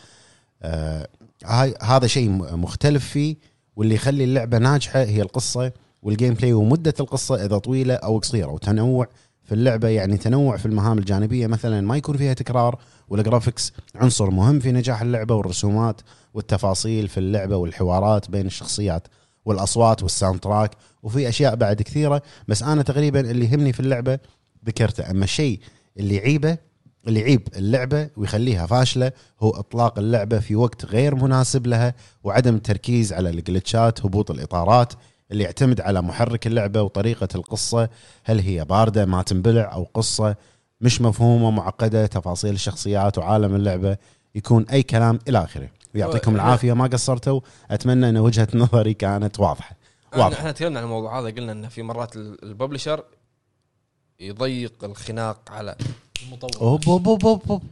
Speaker 3: آه هاي هذا شيء م- مختلف فيه واللي يخلي اللعبه ناجحه هي القصه والجيم بلاي ومده القصه اذا طويله او قصيره وتنوع في اللعبه يعني تنوع في المهام الجانبيه مثلا ما يكون فيها تكرار والجرافكس عنصر مهم في نجاح اللعبه والرسومات والتفاصيل في اللعبه والحوارات بين الشخصيات والاصوات والساوند تراك وفي اشياء بعد كثيره بس انا تقريبا اللي يهمني في اللعبه ذكرته اما الشيء اللي يعيبه اللي يعيب اللعبه ويخليها فاشله هو اطلاق اللعبه في وقت غير مناسب لها وعدم التركيز على الجلتشات هبوط الاطارات اللي يعتمد على محرك اللعبه وطريقه القصه هل هي بارده ما تنبلع او قصه مش مفهومه معقده تفاصيل الشخصيات وعالم اللعبه يكون اي كلام الى اخره ويعطيكم العافيه ما قصرتوا اتمنى ان وجهه نظري كانت واضحه
Speaker 2: واضح
Speaker 3: واضحه
Speaker 2: احنا آه، تكلمنا عن الموضوع هذا قلنا انه في مرات ال- الببلشر يضيق الخناق على
Speaker 4: المطور
Speaker 3: أوب أوب أوب أوب أوب.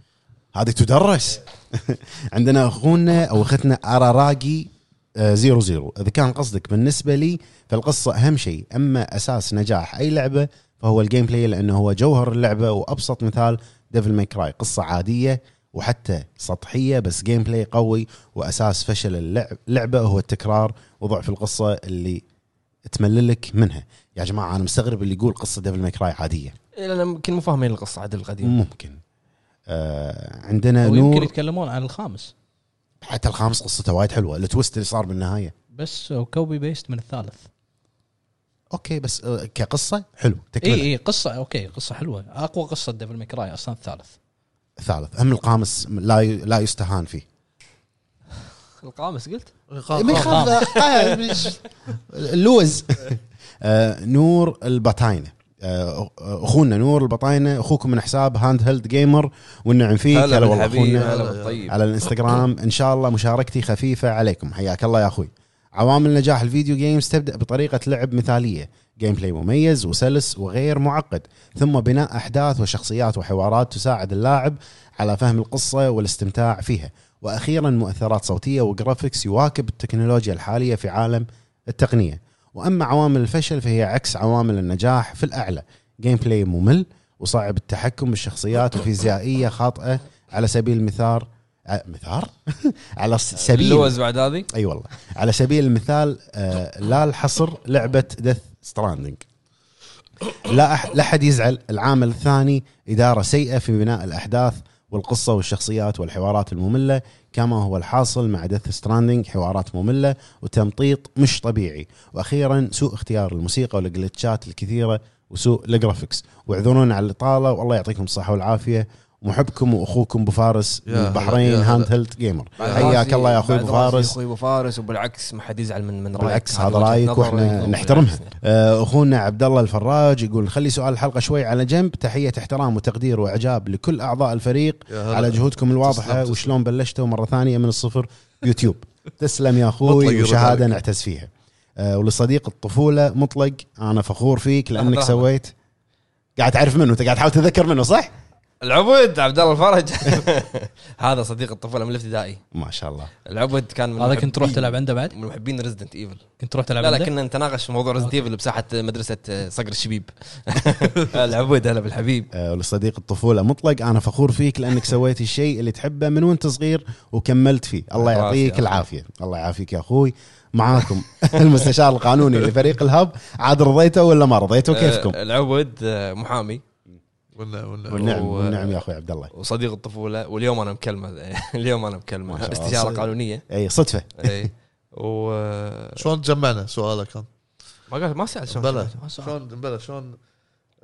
Speaker 3: هذه تدرس عندنا اخونا او اختنا اراراجي آه، زيرو زيرو اذا كان قصدك بالنسبه لي فالقصه اهم شيء اما اساس نجاح اي لعبه فهو الجيم بلاي لانه هو جوهر اللعبه وابسط مثال ديفل ماي كراي قصه عاديه وحتى سطحيه بس جيم بلاي قوي واساس فشل اللعب- اللعبه هو التكرار وضعف القصه اللي تمللك منها يا جماعه انا مستغرب اللي يقول قصه ديفل ماي كراي عاديه
Speaker 2: إيه، لان يمكن مو فاهمين القصه عدل القديم
Speaker 3: ممكن آه عندنا
Speaker 4: او يمكن
Speaker 3: نور
Speaker 4: يتكلمون عن الخامس
Speaker 3: حتى الخامس قصته وايد حلوه التويست اللي صار بالنهايه
Speaker 4: بس كوبي بيست من الثالث
Speaker 3: اوكي بس آه كقصه حلو
Speaker 2: إيه،
Speaker 3: تكمله
Speaker 4: اي اي قصه اوكي قصه حلوه اقوى قصه ديفل ميكراي اصلا الثالث
Speaker 3: الثالث هم القامس لا ي- لا يستهان فيه إيه،
Speaker 2: القامس قلت
Speaker 3: ما يخاف آه، مش- اللوز آه، نور البطاينه آه، اخونا نور البطاينه اخوكم من حساب هاند هيلد جيمر والنعم فيك
Speaker 2: هلا بالحبيب
Speaker 3: اخونا
Speaker 2: هلا بالطيب
Speaker 3: على الانستغرام ان شاء الله مشاركتي خفيفه عليكم حياك الله يا اخوي عوامل نجاح الفيديو جيمز تبدا بطريقه لعب مثاليه جيم بلاي مميز وسلس وغير معقد ثم بناء احداث وشخصيات وحوارات تساعد اللاعب على فهم القصه والاستمتاع فيها واخيرا مؤثرات صوتيه وجرافيكس يواكب التكنولوجيا الحاليه في عالم التقنيه واما عوامل الفشل فهي عكس عوامل النجاح في الاعلى جيم بلاي ممل وصعب التحكم بالشخصيات وفيزيائيه خاطئه على سبيل المثال ع- مثار على س- سبيل
Speaker 2: اللوز بعد هذه
Speaker 3: اي والله على سبيل المثال آه لا الحصر لعبه دث ستراندنج لا أح- لا احد يزعل العامل الثاني اداره سيئه في بناء الاحداث والقصه والشخصيات والحوارات الممله كما هو الحاصل مع دث ستراندنج حوارات ممله وتمطيط مش طبيعي واخيرا سوء اختيار الموسيقى والجلتشات الكثيره وسوء الجرافكس واعذرونا على الاطاله والله يعطيكم الصحه والعافيه محبكم واخوكم ابو فارس من
Speaker 1: يا هلا-
Speaker 3: البحرين
Speaker 1: يا هلا.
Speaker 3: هاند هيلد جيمر
Speaker 2: بعد
Speaker 3: حياك
Speaker 2: راسي-
Speaker 3: الله يا اخوي
Speaker 2: بعد
Speaker 3: ابو
Speaker 2: راسي يا
Speaker 3: فارس
Speaker 2: اخوي ابو فارس وبالعكس ما حد يزعل من من رايك
Speaker 3: بالعكس هذا
Speaker 2: وجهة يعني.
Speaker 3: رايك
Speaker 2: نظري.
Speaker 3: واحنا نحترمها آه، اخونا عبد الله الفراج يقول خلي سؤال الحلقه شوي على جنب تحيه احترام وتقدير واعجاب لكل اعضاء الفريق
Speaker 1: يا هلا.
Speaker 3: على جهودكم
Speaker 1: تسلم،
Speaker 3: الواضحه
Speaker 1: تسلم.
Speaker 3: وشلون بلشتوا مره ثانيه من الصفر يوتيوب تسلم يا
Speaker 1: مطلق
Speaker 3: اخوي
Speaker 1: يرد
Speaker 3: وشهاده
Speaker 1: عليك.
Speaker 3: نعتز فيها آه، ولصديق الطفوله مطلق انا فخور فيك
Speaker 2: لحظة،
Speaker 3: لانك
Speaker 2: لحظة.
Speaker 3: سويت قاعد تعرف منه انت قاعد تحاول تتذكر منه صح؟
Speaker 2: العبد عبد الله الفرج هذا صديق الطفوله من الابتدائي
Speaker 3: ما شاء الله
Speaker 2: العبد كان من
Speaker 4: هذا كنت تروح
Speaker 2: محبين-
Speaker 4: تلعب عنده بعد
Speaker 2: من محبين ريزدنت ايفل
Speaker 4: كنت تروح تلعب
Speaker 2: لا لا
Speaker 4: عنده
Speaker 2: كنا نتناقش في موضوع ريزدنت ايفل بساحه مدرسه آه، صقر الشبيب العبود هلا بالحبيب
Speaker 3: آه، ولصديق الطفوله مطلق انا فخور فيك لانك سويت الشيء اللي تحبه من وانت صغير وكملت فيه الله
Speaker 2: الله يعافيك
Speaker 3: يعطيك
Speaker 2: يا
Speaker 3: العافيه الله يعافيك يا اخوي معاكم المستشار القانوني لفريق الهب عاد رضيته ولا ما رضيته كيفكم
Speaker 2: آه، العبد آه، محامي
Speaker 1: ولا ولا
Speaker 3: والنعم
Speaker 2: و-
Speaker 3: والنعم يا اخوي عبد الله
Speaker 2: وصديق الطفوله واليوم انا مكلمه اليوم انا
Speaker 3: ما
Speaker 2: مكلمه
Speaker 3: شاء الله.
Speaker 2: استشاره
Speaker 3: صديق.
Speaker 2: قانونيه
Speaker 3: اي صدفه
Speaker 2: اي إيه. و آه،
Speaker 1: شلون تجمعنا سؤالك كان
Speaker 2: ما قال ما سال شلون
Speaker 1: بلى
Speaker 2: ما سأل.
Speaker 1: شلون بلى شلون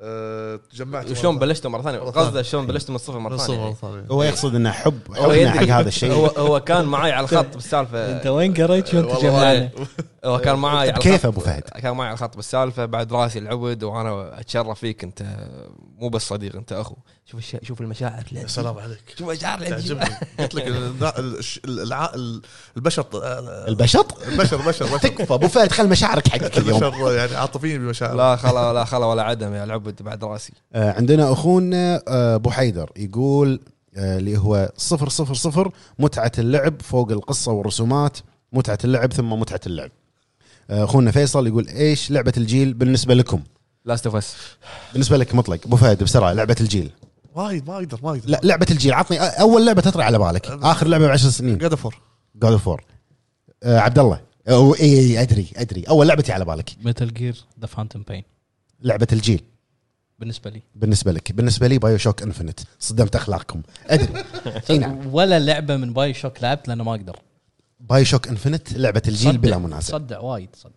Speaker 1: آه، تجمعت
Speaker 2: شلون
Speaker 1: مرة
Speaker 2: بلشتوا مره ثانيه
Speaker 1: مرة ثانية.
Speaker 2: قصده شلون بلشتوا من الصفر مره
Speaker 1: ثانية؟
Speaker 2: ثانيه
Speaker 1: نص مرة
Speaker 2: يعني.
Speaker 1: ثانية
Speaker 3: هو يقصد انه حب
Speaker 2: هو
Speaker 3: حبنا حق
Speaker 2: إيه. يدري.
Speaker 3: هذا
Speaker 2: هو
Speaker 3: الشيء
Speaker 2: هو كان معي على الخط بالسالفه
Speaker 7: انت وين قريت شلون
Speaker 3: إيه.
Speaker 1: والله
Speaker 7: تجمعنا؟
Speaker 2: آه، هو كان معاي على
Speaker 3: كيف
Speaker 2: الخط-
Speaker 3: ابو فهد
Speaker 2: كان معي على الخط بالسالفه بعد راسي العود وانا اتشرف فيك انت مو بس صديق انت اخو شوف الش... شوف المشاعر اللي
Speaker 1: يا
Speaker 2: عندي.
Speaker 1: سلام عليك
Speaker 2: شوف المشاعر اللي عندي.
Speaker 1: تعجبني قلت لك النا- الش- الع- ال- البشر آه،
Speaker 3: البشط
Speaker 1: البشر بشر بشر
Speaker 3: تكفى ابو فهد خل مشاعرك حقك اليوم
Speaker 1: البشر يعني عاطفيين بمشاعر
Speaker 2: لا خلا لا خلا ولا عدم يا العبد بعد راسي
Speaker 3: آه، عندنا اخونا آه، ابو حيدر يقول آه، اللي هو صفر صفر صفر متعه اللعب فوق القصه والرسومات متعه اللعب ثم متعه اللعب آه، اخونا فيصل يقول ايش لعبه الجيل بالنسبه لكم
Speaker 2: لاست اوف اس
Speaker 3: بالنسبه لك مطلق ابو فهد بسرعه لعبه الجيل
Speaker 1: وايد ما اقدر ما اقدر
Speaker 3: لا لعبه الجيل عطني أ- اول لعبه تطرى على بالك اخر لعبه بعشر سنين
Speaker 1: قاعد افر
Speaker 3: جود اوف وور عبد الله آه، أو إي- اي ادري ادري اول لعبتي على بالك
Speaker 4: متل جير ذا فانتوم بين
Speaker 3: لعبه الجيل
Speaker 4: بالنسبه لي
Speaker 3: بالنسبه لك بالنسبه لي بايو شوك انفنت صدمت اخلاقكم ادري اي نعم
Speaker 4: ولا لعبه من باي شوك لعبت لانه ما اقدر
Speaker 3: باي شوك انفنت لعبه الجيل
Speaker 4: صدق-
Speaker 3: بلا منازع
Speaker 4: صدق وايد صدق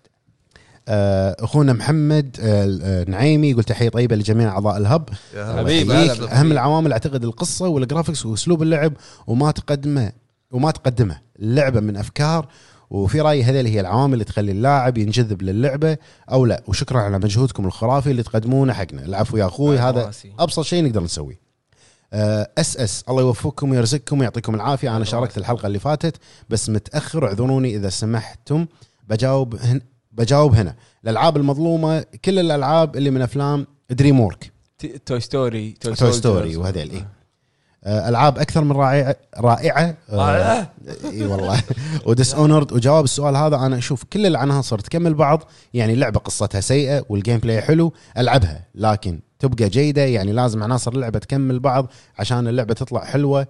Speaker 3: آه، اخونا محمد آه، آه، نعيمي يقول تحيه طيبه لجميع اعضاء الهب
Speaker 1: يا
Speaker 3: الله
Speaker 1: هلا.
Speaker 2: حبيبي،
Speaker 3: يحييك.
Speaker 2: هلا
Speaker 3: اهم العوامل اعتقد القصه والجرافكس واسلوب اللعب وما تقدمه وما تقدمه اللعبه من افكار وفي رايي هذه هي العوامل اللي تخلي اللاعب ينجذب للعبه او لا وشكرا على مجهودكم الخرافي اللي تقدمونه حقنا العفو يا اخوي
Speaker 2: على
Speaker 3: هذا
Speaker 2: راسي.
Speaker 3: ابسط شيء نقدر نسويه آه، اس اس الله يوفقكم ويرزقكم ويعطيكم العافيه انا شاركت الحلقه اللي فاتت بس متاخر اعذروني اذا سمحتم بجاوب هن بجاوب هنا الالعاب المظلومه كل الالعاب اللي من افلام دريم وورك
Speaker 2: توي ستوري
Speaker 3: توي ستوري وهذيل إيه. اي آه، العاب اكثر من رائعه رائعه
Speaker 2: رائعة؟
Speaker 3: اي والله وديس اونرد وجواب السؤال هذا انا اشوف كل العناصر تكمل بعض يعني لعبه قصتها سيئه والجيم بلاي حلو العبها لكن تبقى جيده يعني لازم عناصر اللعبه تكمل بعض عشان اللعبه تطلع حلوه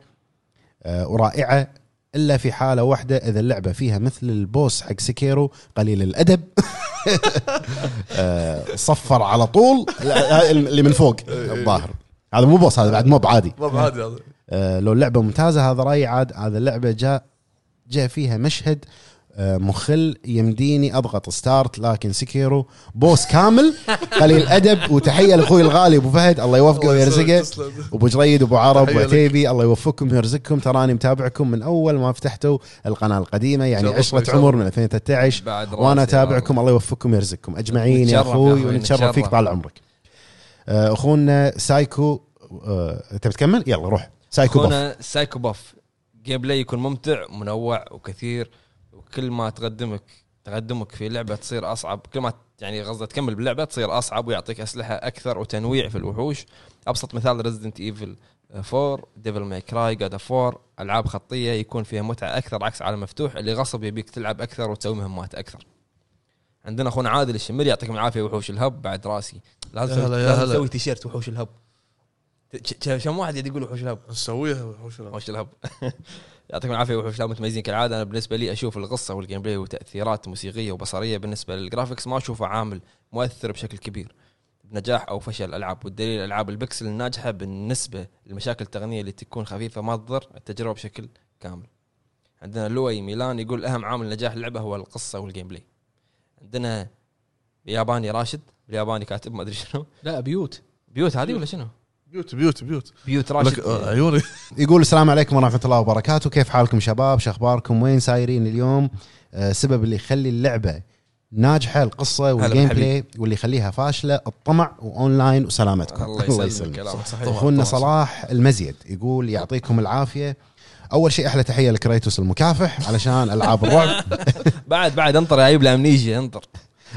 Speaker 3: آه، ورائعه الا في حاله واحده اذا اللعبه فيها مثل البوس حق سكيرو قليل الادب آه، صفر على طول لا، اللي من فوق الظاهر هذا مو بوس هذا بعد موب عادي
Speaker 1: ما بعادي هذا
Speaker 3: آه، لو اللعبه ممتازه هذا رايي عاد هذا اللعبه جاء جاء فيها مشهد آه، مخل يمديني اضغط ستارت لكن سكيرو بوس كامل قليل ادب وتحيه لاخوي الغالي ابو فهد الله يوفقه
Speaker 1: الله يسلمك،
Speaker 3: ويرزقه
Speaker 1: تسلم.
Speaker 3: ابو جريد ابو عرب
Speaker 1: تحية لك.
Speaker 3: وعتيبي الله يوفقكم ويرزقكم تراني متابعكم من اول ما فتحتوا القناه القديمه يعني
Speaker 1: شرفنا،
Speaker 3: عشره
Speaker 1: شرف.
Speaker 3: عمر من 2013
Speaker 2: بعد راسي
Speaker 3: وانا
Speaker 2: يا
Speaker 3: اتابعكم الله يوفقكم ويرزقكم اجمعين يا
Speaker 2: نتشرف يا
Speaker 3: اخوي
Speaker 2: أخوي،
Speaker 3: ونتشرف
Speaker 2: نتشرف.
Speaker 3: فيك طال عمرك آه، اخونا سايكو آه، انت بتكمل يلا روح سايكو بوف.
Speaker 2: هنا سايكو باف جيم بلاي يكون ممتع منوع وكثير وكل ما تقدمك تقدمك في لعبه تصير اصعب كل ما ت- يعني قصده تكمل باللعبه تصير اصعب ويعطيك اسلحه اكثر وتنويع في الوحوش ابسط مثال ريزدنت ايفل 4 ديفل ماي كراي جاد اوف 4 العاب خطيه يكون فيها متعه اكثر عكس عالم مفتوح اللي غصب يبيك تلعب اكثر وتسوي مهمات اكثر عندنا اخونا عادل الشمري يعطيكم العافيه وحوش الهب بعد راسي لازم
Speaker 1: يا
Speaker 2: تسوي-
Speaker 1: هلا، يا
Speaker 2: لازم
Speaker 1: هلا.
Speaker 2: تسوي تيشيرت وحوش الهب ت- ش- كم واحد قاعد يقول وحوش الهب
Speaker 1: نسويها وحوش الهب.
Speaker 2: وحوش الهب يعطيكم العافيه وحوش الهب متميزين كالعاده انا بالنسبه لي اشوف القصه والجيم بلاي وتاثيرات موسيقيه وبصريه بالنسبه للجرافكس ما اشوفه عامل مؤثر بشكل كبير بنجاح او فشل الالعاب والدليل العاب البكسل الناجحه بالنسبه للمشاكل التقنيه اللي تكون خفيفه ما تضر التجربه بشكل كامل عندنا لوي ميلان يقول اهم عامل نجاح اللعبه هو القصه والجيم بلاي عندنا ياباني راشد الياباني كاتب ما ادري شنو
Speaker 4: لا بيوت
Speaker 2: بيوت هذه ولا شنو
Speaker 1: بيوت بيوت بيوت
Speaker 2: بيوت
Speaker 1: لك
Speaker 2: راشد
Speaker 1: آه، عيوني
Speaker 3: يقول السلام عليكم ورحمه الله وبركاته كيف حالكم شباب شخباركم وين سايرين اليوم آه، السبب اللي يخلي اللعبه ناجحه القصه والجيم بلاي
Speaker 2: بالحبيب.
Speaker 3: واللي يخليها فاشله الطمع واونلاين وسلامتكم
Speaker 2: الله يسلمك كلامك
Speaker 3: صحيح. اخونا
Speaker 2: طبعاً.
Speaker 3: صلاح المزيد يقول يعطيكم العافيه اول شيء احلى تحيه لكريتوس المكافح علشان العاب الرعب
Speaker 2: بعد بعد انطر يا عيب لامنيجيا انطر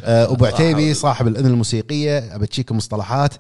Speaker 3: آه، ابو عتيبي صاحب الاذن الموسيقيه ابى تشيك مصطلحات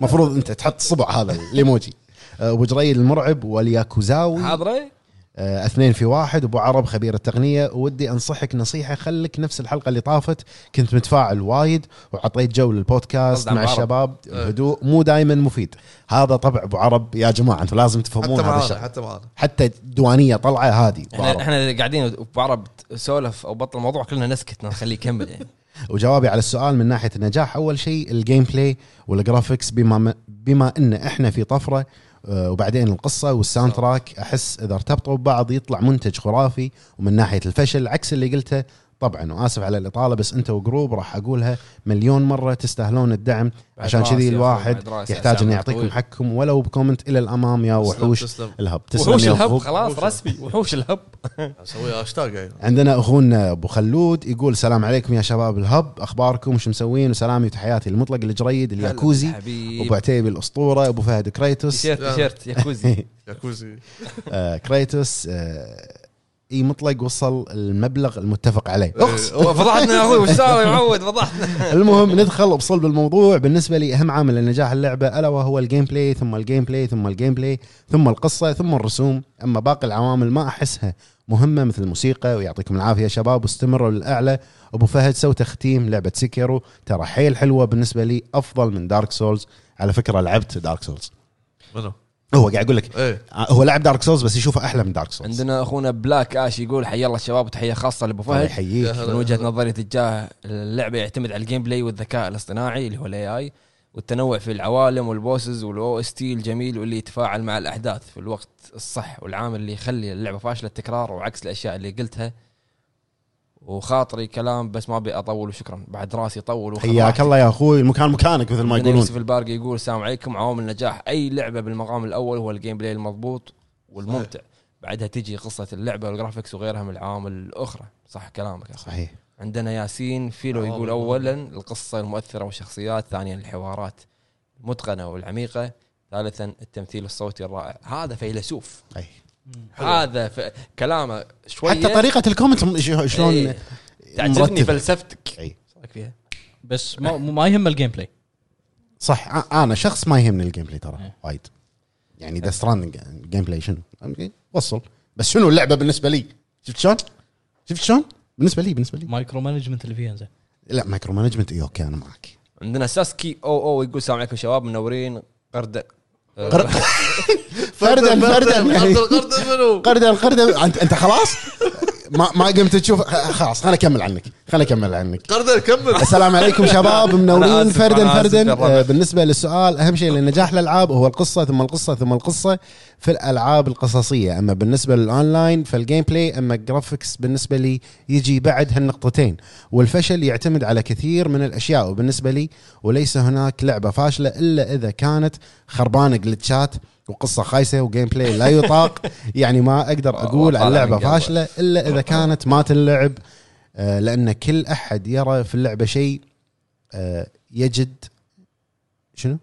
Speaker 3: مفروض انت تحط صبع هذا الايموجي آه، ابو جريد المرعب والياكوزاوي
Speaker 2: حاضره
Speaker 3: آه، اثنين في واحد ابو عرب خبير التقنيه ودي انصحك نصيحه خلك نفس الحلقه اللي طافت كنت متفاعل وايد وعطيت جو للبودكاست
Speaker 2: قصد عن إيه.
Speaker 3: مع
Speaker 2: أبو عرب.
Speaker 3: الشباب الهدوء مو دائما مفيد هذا طبع ابو عرب يا جماعه انتم لازم
Speaker 1: حتى
Speaker 3: تفهمون هذا
Speaker 1: معانا
Speaker 3: الشيء
Speaker 1: حتى معانا
Speaker 3: حتى الديوانيه طلعه هذه أبو
Speaker 2: احنا
Speaker 3: عرب.
Speaker 2: احنا قاعدين بعرب سولف او بطل الموضوع كلنا نسكت نخليه يكمل يعني
Speaker 3: وجوابي على السؤال من ناحيه النجاح اول شيء الجيم بلاي والجرافكس بما بما ان احنا في طفره آه، وبعدين القصه والساوند تراك احس اذا ارتبطوا ببعض يطلع منتج خرافي ومن ناحيه الفشل عكس اللي قلته طبعا واسف على الاطاله بس انت وجروب راح اقولها مليون مره تستاهلون الدعم
Speaker 2: بعد
Speaker 3: عشان
Speaker 2: راسي
Speaker 3: كذي
Speaker 2: يا أخوي،
Speaker 3: الواحد
Speaker 2: بعد راسي
Speaker 3: يحتاج
Speaker 2: عشان
Speaker 3: انه
Speaker 2: عمرك
Speaker 3: يعطيكم
Speaker 2: طويل.
Speaker 3: حقكم ولو بكومنت الى الامام يا وحوش
Speaker 1: تسلم
Speaker 3: الهب تسلم
Speaker 2: وحوش
Speaker 3: يا
Speaker 2: الهب
Speaker 3: وحوش
Speaker 2: خلاص
Speaker 1: وحوش
Speaker 2: رسمي وحوش الهب
Speaker 1: اسوي هاشتاج
Speaker 3: عندنا اخونا ابو خلود يقول السلام عليكم يا شباب الهب اخباركم وش مسوين وسلامي وتحياتي المطلق الجريد الياكوزي ابو
Speaker 2: حبيب
Speaker 3: عتيبي الاسطوره ابو فهد كريتوس
Speaker 2: تيشيرت تيشيرت ياكوزي
Speaker 1: ياكوزي
Speaker 3: آه، كريتوس آه، اي مطلق وصل المبلغ المتفق عليه
Speaker 2: اخس فضحتنا يا اخوي وش ساوي يا معود فضحتنا
Speaker 3: المهم ندخل بصلب الموضوع بالنسبه لي اهم عامل لنجاح اللعبه الا وهو الجيم بلاي ثم الجيم بلاي ثم الجيم بلاي ثم القصه ثم الرسوم اما باقي العوامل ما احسها مهمه مثل الموسيقى ويعطيكم العافيه يا شباب واستمروا للاعلى ابو فهد سو تختيم لعبه سكيرو ترى حيل حلوه بالنسبه لي افضل من دارك سولز على فكره لعبت دارك سولز
Speaker 1: منو؟
Speaker 3: هو قاعد يقول لك آه،
Speaker 1: ايه
Speaker 3: هو لعب دارك سولز بس يشوفه احلى من دارك سولز
Speaker 2: عندنا اخونا بلاك اش يقول حي الله الشباب وتحيه خاصه لابو
Speaker 3: الله
Speaker 2: فهد
Speaker 1: يا
Speaker 3: يحييك
Speaker 1: هلا.
Speaker 2: من وجهه نظري تجاه اللعبه يعتمد على الجيم بلاي والذكاء الاصطناعي اللي هو الاي اي والتنوع في العوالم والبوسز والاو اس تي الجميل واللي يتفاعل مع الاحداث في الوقت الصح والعامل اللي يخلي اللعبه فاشله التكرار وعكس الاشياء اللي قلتها وخاطري كلام بس ما ابي اطول وشكرا بعد راسي طول وخذ
Speaker 3: حياك
Speaker 2: راحتي.
Speaker 3: الله يا اخوي المكان مكانك مثل ما
Speaker 2: عندنا
Speaker 3: يقولون
Speaker 2: يوسف البارقي يقول السلام عليكم عوامل نجاح اي لعبه بالمقام الاول هو الجيم بلاي المضبوط والممتع بعدها تجي قصه اللعبه والجرافكس وغيرها من العوامل الاخرى صح كلامك يا أخوي.
Speaker 3: صحيح
Speaker 2: عندنا ياسين فيلو
Speaker 1: عوامل
Speaker 2: يقول
Speaker 1: مهمة.
Speaker 2: اولا القصه المؤثره والشخصيات ثانيا الحوارات المتقنه والعميقه ثالثا التمثيل الصوتي الرائع هذا فيلسوف
Speaker 3: أي.
Speaker 2: هذا ف... كلامه شويه
Speaker 3: حتى طريقه الكومنت م- ش- شلون
Speaker 2: طيب. إيه. تعجبني
Speaker 3: مرتبة. إيه.
Speaker 2: فلسفتك
Speaker 3: أي.
Speaker 2: ايش رايك فيها؟
Speaker 4: بس ما, ما يهم الجيم بلاي
Speaker 3: صح أ- انا شخص ما يهمني الجيم بلاي ترى
Speaker 4: إيه.
Speaker 3: وايد يعني ذا ستراند الجيم بلاي شنو؟ أوكي، وصل بس شنو اللعبه بالنسبه لي؟ شفت شلون؟ شفت شلون؟ بالنسبه لي بالنسبه لي
Speaker 4: مايكرو مانجمنت اللي فيها زين
Speaker 3: لا مايكرو مانجمنت اي اوكي انا معك
Speaker 2: عندنا ساسكي او او يقول السلام عليكم شباب منورين قرده
Speaker 3: قر- فردا فردا يعني.
Speaker 1: قردن منو؟
Speaker 3: قردة القردة انت انت خلاص ما ما قمت تشوف خ- خلاص خليني اكمل عنك خليني اكمل عنك
Speaker 1: قردن كمل
Speaker 3: السلام عليكم شباب منورين
Speaker 2: أنا آسف،
Speaker 3: فردا
Speaker 2: أنا آسف يا
Speaker 3: فردا
Speaker 2: الربع.
Speaker 3: آه، بالنسبه للسؤال اهم شيء لنجاح الالعاب هو القصه ثم القصه ثم القصه في الالعاب القصصيه اما بالنسبه للاونلاين فالجيم بلاي اما الجرافكس بالنسبه لي يجي بعد هالنقطتين والفشل يعتمد على كثير من الاشياء وبالنسبه لي وليس هناك لعبه فاشله الا اذا كانت خربانه جلتشات وقصه خايسه وجيم بلاي لا يطاق يعني ما اقدر اقول على
Speaker 2: وطالع
Speaker 3: اللعبه
Speaker 2: من قلبه.
Speaker 3: فاشله الا اذا كانت ما تنلعب آه، لان كل احد يرى في اللعبه شيء آه، يجد شنو؟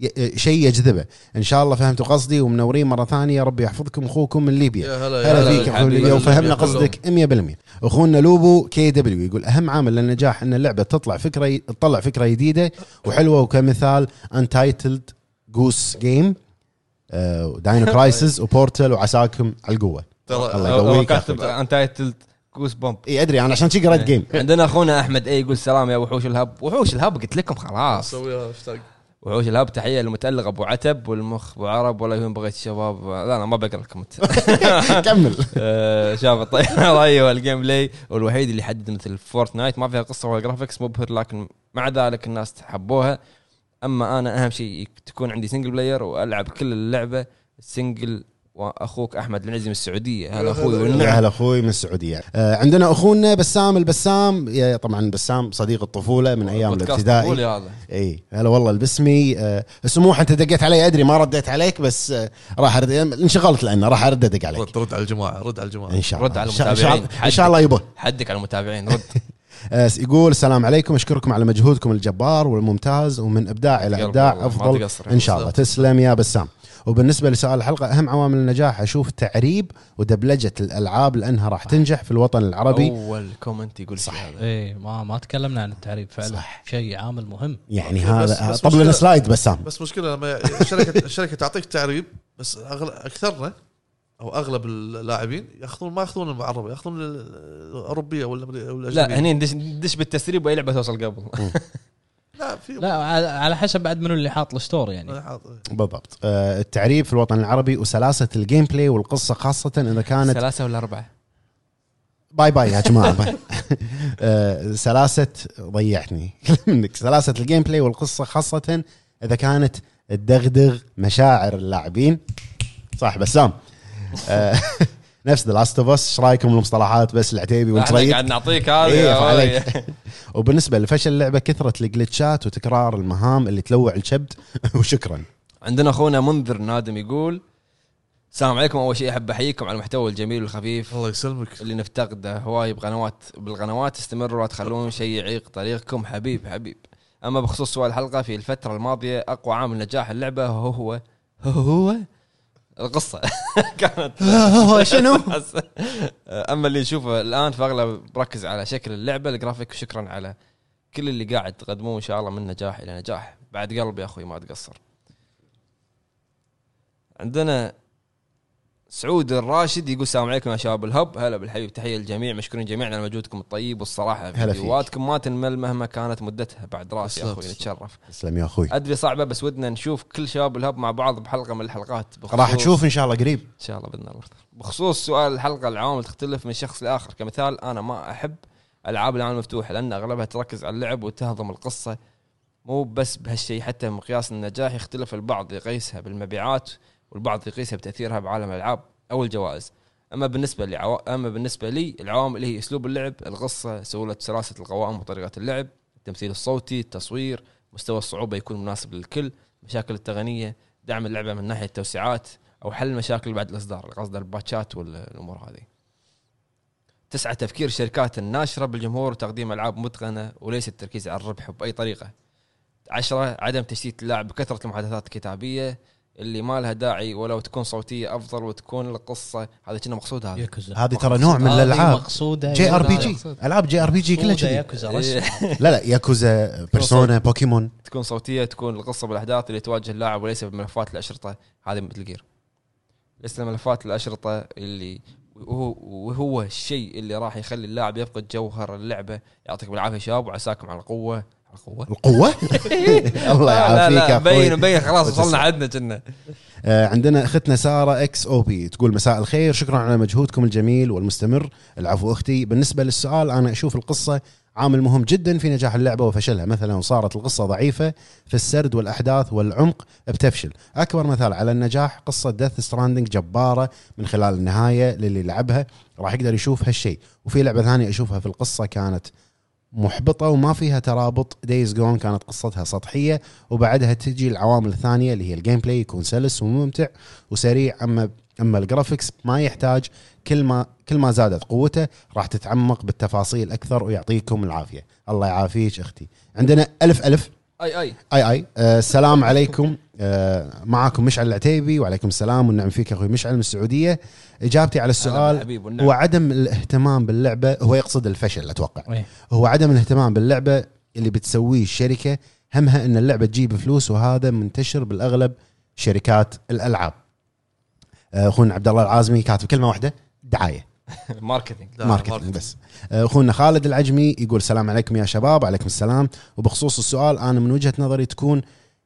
Speaker 3: ي- آه، شيء يجذبه ان شاء الله فهمتوا قصدي ومنورين مره ثانيه ربي يحفظكم اخوكم من ليبيا
Speaker 1: يا هلا
Speaker 3: هلا فيك يا
Speaker 2: حبيبي.
Speaker 3: حبيبي وفهمنا
Speaker 1: يا كلهم.
Speaker 3: قصدك 100% اخونا لوبو كي دبليو يقول اهم عامل للنجاح ان اللعبه تطلع فكره تطلع فكره جديده وحلوه وكمثال انتايتلد جوس جيم داينو كرايسز وبورتل وعساكم على القوه الله
Speaker 1: ترى
Speaker 3: يقويك
Speaker 2: هو
Speaker 3: يا
Speaker 2: كاتب
Speaker 1: أخوي.
Speaker 2: انتايتلد كوس بومب
Speaker 3: اي ادري انا عشان شي قريت جيم
Speaker 2: عندنا اخونا احمد اي يقول السلام يا وحوش الهب وحوش الهب قلت لكم خلاص
Speaker 1: اسويها هاشتاج
Speaker 2: وحوش الهب تحيه للمتالق ابو عتب والمخ ابو عرب ولا يهم بغيت الشباب لا انا ما بقرا الكومنت
Speaker 3: كمل
Speaker 2: آه، شاف الطياره رايه والجيم بلاي والوحيد اللي حدد مثل فورتنايت ما فيها قصه ولا جرافيكس مبهر لكن مع ذلك الناس حبوها اما انا اهم شيء تكون عندي سنجل بلاير والعب كل اللعبه سنجل واخوك احمد العزيز من السعوديه هلا اخوي والنعم
Speaker 3: هلا اخوي من السعوديه آه، عندنا اخونا بسام البسام يا- طبعا بسام صديق الطفوله من ايام
Speaker 2: آه، بودكاست طفولي
Speaker 3: الابتدائي
Speaker 2: هذا
Speaker 3: اي هلا والله البسمي آه، سموح انت دقيت علي ادري ما رديت عليك بس آه، راح أرد- انشغلت لانه راح ارد ادق عليك
Speaker 1: رد رد على الجماعه رد على الجماعه
Speaker 3: ان شاء الله
Speaker 2: رد على
Speaker 3: إن شاء- إن شاء-
Speaker 2: المتابعين.
Speaker 3: ان شاء الله يبه
Speaker 2: حدك على المتابعين رد
Speaker 3: آه، يقول السلام عليكم اشكركم على مجهودكم الجبار والممتاز ومن ابداع الى
Speaker 2: يلا
Speaker 3: ابداع
Speaker 2: والله، ما
Speaker 3: افضل
Speaker 2: تقصر.
Speaker 3: ان شاء الله تسلم يا بسام وبالنسبه لسؤال الحلقه اهم عوامل النجاح اشوف تعريب ودبلجه الالعاب لانها راح تنجح في الوطن العربي
Speaker 2: اول كومنت يقول صح هذا
Speaker 4: اي إيه، ما ما تكلمنا عن التعريب فعلا
Speaker 3: صح.
Speaker 4: شيء عامل مهم
Speaker 3: يعني
Speaker 1: بس-
Speaker 3: هذا
Speaker 1: بس
Speaker 3: طب لنا
Speaker 1: مشكلة-
Speaker 3: سلايد بسام
Speaker 1: بس مشكله لما الشركه الشركه تعطيك تعريب بس أغل... اكثرنا او اغلب اللاعبين ياخذون ما ياخذون المعربه ياخذون ال- الاوروبيه ولا ولا
Speaker 2: لا
Speaker 1: الأجنبية.
Speaker 3: يعني-
Speaker 2: هني ندش ندش بالتسريب واي لعبه توصل قبل
Speaker 1: لا في
Speaker 4: لا على- على حسب بعد منو اللي حاط الستور يعني
Speaker 3: بالضبط آه، التعريب في الوطن العربي وسلاسه الجيم بلاي والقصه خاصه اذا كانت
Speaker 2: ثلاثه ولا اربعه
Speaker 3: باي باي يا جماعه باي آه، سلاسه ضيعتني منك سلاسه الجيم بلاي والقصه خاصه اذا كانت تدغدغ مشاعر اللاعبين صح بسام آه، نفس ذا لاست اوف اس ايش رايكم بالمصطلحات بس العتيبي وانت
Speaker 2: احنا
Speaker 3: ريت
Speaker 2: قاعد نعطيك
Speaker 3: طيب. إيه،
Speaker 2: هذا
Speaker 3: عليك. وبالنسبه لفشل اللعبه كثره الجلتشات وتكرار المهام اللي تلوع الكبد وشكرا
Speaker 2: عندنا اخونا منذر نادم يقول السلام عليكم اول شيء احب احييكم على المحتوى الجميل والخفيف
Speaker 1: الله يسلمك
Speaker 2: اللي نفتقده هواي بقنوات بالقنوات استمروا لا تخلون شيء يعيق طريقكم حبيب حبيب اما بخصوص سؤال الحلقه في الفتره الماضيه اقوى عامل نجاح اللعبه هو هو هو, هو القصه كانت
Speaker 3: هو شنو؟
Speaker 2: اما آه، اللي يشوفه الان فاغلب ركز على شكل اللعبه الجرافيك وشكرا على كل اللي قاعد تقدموه ان شاء الله من نجاح الى نجاح بعد قلبي يا اخوي ما تقصر عندنا سعود الراشد يقول السلام عليكم يا شباب الهب هلا بالحبيب تحيه للجميع مشكورين جميعا على مجهودكم الطيب والصراحه
Speaker 3: هلا فيك.
Speaker 2: فيديوهاتكم ما تنمل مهما كانت مدتها بعد راسي يا
Speaker 1: تسلم،
Speaker 2: اخوي
Speaker 1: تسلم.
Speaker 2: نتشرف
Speaker 3: تسلم يا اخوي
Speaker 2: ادري صعبه بس ودنا نشوف كل شباب الهب مع بعض بحلقه من الحلقات بخصوص-
Speaker 3: راح تشوف ان شاء الله قريب
Speaker 2: ان شاء الله باذن الله بخصوص سؤال الحلقه العوامل تختلف من شخص لاخر كمثال انا ما احب العاب العالم المفتوح لان اغلبها تركز على اللعب وتهضم القصه مو بس بهالشيء حتى مقياس النجاح يختلف البعض يقيسها بالمبيعات والبعض يقيسها بتاثيرها بعالم الالعاب او الجوائز اما بالنسبه لعو... اما بالنسبه لي العوامل هي اسلوب اللعب القصه سهوله سلاسه القوائم وطريقه اللعب التمثيل الصوتي التصوير مستوى الصعوبه يكون مناسب للكل مشاكل التقنيه دعم اللعبه من ناحيه التوسعات او حل المشاكل بعد الاصدار قصد الباتشات والامور هذه تسعة تفكير الشركات الناشرة بالجمهور وتقديم ألعاب متقنة وليس التركيز على الربح بأي طريقة عشرة عدم تشتيت اللاعب بكثرة المحادثات الكتابية اللي ما لها داعي ولو تكون صوتية أفضل وتكون القصة هذا كنا مقصود هذا
Speaker 4: ياكوزا
Speaker 3: هذه ترى نوع من الالعاب
Speaker 4: مقصوده
Speaker 3: جي ار بي جي العاب جي ار بي جي كلها كذي
Speaker 4: ياكوزا
Speaker 2: إيه.
Speaker 4: رسم
Speaker 3: لا لا ياكوزا بيرسونا بوكيمون
Speaker 2: تكون صوتيه تكون القصه بالاحداث اللي تواجه اللاعب وليس بملفات الاشرطه هذه مثل جير ليس ملفات الاشرطه اللي وهو, وهو الشيء اللي راح يخلي اللاعب يفقد جوهر اللعبه يعطيكم العافيه شباب وعساكم على القوه على القوه
Speaker 3: القوه الله
Speaker 2: لا، لا،
Speaker 3: يعافيك يا
Speaker 2: مبين
Speaker 3: اخوي
Speaker 2: مبين خلاص وصلنا
Speaker 3: وتسلم.
Speaker 2: عدنا كنا
Speaker 3: آه، عندنا اختنا ساره اكس او بي تقول مساء الخير شكرا على مجهودكم الجميل والمستمر العفو اختي بالنسبه للسؤال انا اشوف القصه عامل مهم جدا في نجاح اللعبه وفشلها مثلا صارت القصه ضعيفه في السرد والاحداث والعمق بتفشل اكبر مثال على النجاح قصه ديث ستراندنج جباره من خلال النهايه للي لعبها راح يقدر يشوف هالشيء وفي لعبه ثانيه اشوفها في القصه كانت محبطه وما فيها ترابط دايز جون كانت قصتها سطحيه وبعدها تجي العوامل الثانيه اللي هي الجيم بلاي يكون سلس وممتع وسريع اما اما الجرافكس ما يحتاج كل ما كل ما زادت قوته راح تتعمق بالتفاصيل اكثر ويعطيكم العافيه الله يعافيك اختي عندنا الف الف
Speaker 2: اي اي
Speaker 3: اي اي آه، السلام عليكم آه، معاكم مشعل العتيبي وعليكم السلام والنعم فيك اخوي مشعل من السعوديه اجابتي على السؤال
Speaker 2: حبيب والنعم.
Speaker 3: هو عدم الاهتمام باللعبه هو يقصد الفشل اتوقع
Speaker 4: إيه.
Speaker 3: هو عدم الاهتمام باللعبه اللي بتسويه الشركه همها ان اللعبه تجيب فلوس وهذا منتشر بالاغلب شركات الالعاب آه، اخونا عبد الله العازمي كاتب كلمه واحده دعايه
Speaker 2: ماركتينج
Speaker 1: لا،
Speaker 3: ماركتينج بس اخونا خالد العجمي يقول السلام عليكم يا شباب وعليكم السلام وبخصوص السؤال انا من وجهه نظري تكون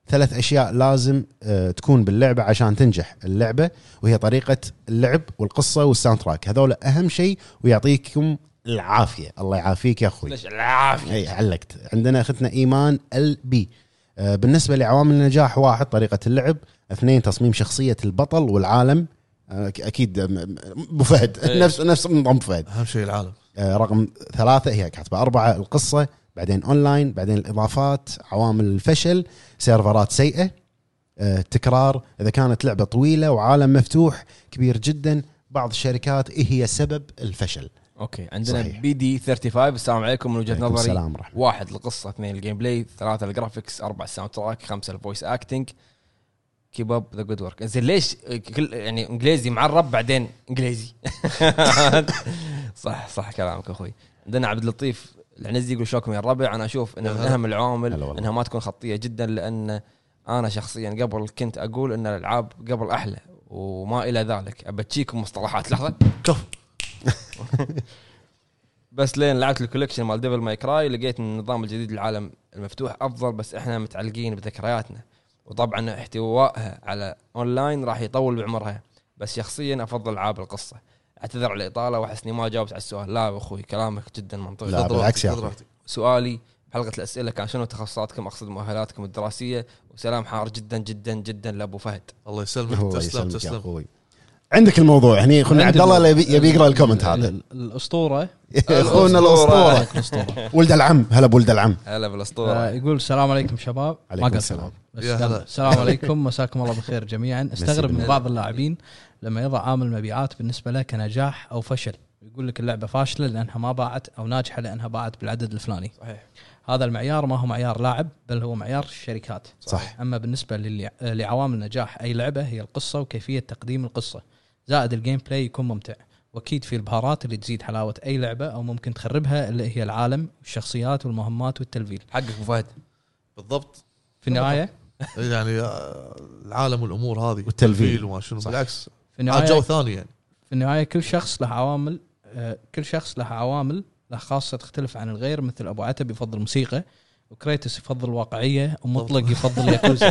Speaker 3: ثلاث اشياء لازم آه، تكون باللعبه عشان تنجح اللعبه وهي طريقه اللعب والقصه والساوند تراك هذول اهم شيء ويعطيكم العافيه الله يعافيك يا اخوي
Speaker 2: ليش العافيه
Speaker 3: اي علقت عندنا اختنا ايمان ال بي آه، بالنسبه لعوامل النجاح واحد طريقه اللعب اثنين تصميم شخصيه البطل والعالم آه، أك- اكيد آم، آم، ابو فهد
Speaker 2: إيه.
Speaker 3: نفس نفس نظام أبو فهد
Speaker 1: اهم شيء العالم
Speaker 3: آه، رقم ثلاثة هي كاتبة أربعة القصة بعدين أونلاين بعدين الإضافات عوامل الفشل سيرفرات سيئة آه، تكرار إذا كانت لعبة طويلة وعالم مفتوح كبير جدا بعض الشركات إيه هي سبب الفشل
Speaker 2: اوكي عندنا
Speaker 3: صحيح.
Speaker 2: بي دي 35 السلام عليكم من وجهه
Speaker 3: عليكم
Speaker 2: نظري
Speaker 3: السلام ورحمة
Speaker 2: واحد القصه اثنين الجيم بلاي ثلاثه الجرافكس اربعه الساوند تراك خمسه الفويس اكتنج كيب اب ذا جود ورك زين ليش كل يعني انجليزي معرب بعدين انجليزي صح صح كلامك اخوي عندنا عبد اللطيف العنزي يقول شلونكم يا الربع انا اشوف ان من اهم
Speaker 3: هلا
Speaker 2: العوامل
Speaker 3: والله.
Speaker 2: انها ما تكون خطيه جدا لان انا شخصيا قبل كنت اقول ان الالعاب قبل احلى وما الى ذلك ابتشيكم مصطلحات لحظه
Speaker 1: كف
Speaker 2: بس لين لعبت الكوليكشن مال ديفل ماي كراي لقيت ان النظام الجديد للعالم المفتوح افضل بس احنا متعلقين بذكرياتنا وطبعا احتوائها على اونلاين راح يطول بعمرها بس شخصيا افضل العاب القصه اعتذر على الاطاله واحس اني ما جاوبت على السؤال لا يا اخوي كلامك جدا منطقي
Speaker 3: لا بالعكس يا
Speaker 1: خذ
Speaker 3: أخوي
Speaker 1: راحتك.
Speaker 2: سؤالي حلقه الاسئله كان شنو تخصصاتكم اقصد مؤهلاتكم الدراسيه وسلام حار جدا جدا جدا لابو فهد
Speaker 1: الله يسلمك
Speaker 3: الله
Speaker 1: تسلم
Speaker 3: يسلمك يا
Speaker 1: تسلم
Speaker 3: أخوي عندك الموضوع يعني هني اخونا
Speaker 4: عندي
Speaker 3: عبد الله
Speaker 4: الموضوع.
Speaker 3: يبي يبي يقرا الكومنت هذا
Speaker 4: ال- الاسطوره
Speaker 3: اخونا الاسطوره
Speaker 4: الاسطوره
Speaker 3: ولد العم هلا بولد العم
Speaker 2: هلا بالاسطوره
Speaker 4: آه، يقول السلام عليكم شباب ما
Speaker 3: عليكم
Speaker 4: قصر.
Speaker 3: السلام.
Speaker 4: بس
Speaker 1: يا
Speaker 4: يلا.
Speaker 1: هلا.
Speaker 4: السلام عليكم مساكم الله بالخير جميعا استغرب من
Speaker 3: بالنور.
Speaker 4: بعض اللاعبين لما يضع عامل مبيعات بالنسبه له كنجاح او فشل يقول لك اللعبه فاشله لانها ما باعت او ناجحه لانها باعت بالعدد الفلاني
Speaker 2: صحيح.
Speaker 4: هذا المعيار ما هو معيار لاعب بل هو معيار الشركات
Speaker 3: صح
Speaker 4: اما بالنسبه للي- لعوامل نجاح اي لعبه هي القصه وكيفيه تقديم القصه زائد الجيم بلاي يكون ممتع واكيد في البهارات اللي تزيد حلاوه اي لعبه او ممكن تخربها اللي هي العالم والشخصيات والمهمات والتلفيل
Speaker 2: حقك ابو فهد
Speaker 1: بالضبط
Speaker 4: في النهايه
Speaker 1: يعني آه، العالم والامور هذه
Speaker 3: والتلفيل.
Speaker 1: وما شنو بالعكس
Speaker 4: في
Speaker 2: نعم.
Speaker 1: هذا جو
Speaker 4: النهايه
Speaker 1: ثاني يعني
Speaker 4: في النهايه كل شخص له عوامل آه، كل شخص له عوامل له خاصه تختلف عن الغير مثل ابو عتب يفضل موسيقى وكريتوس يفضل واقعيه ومطلق يفضل ياكوزا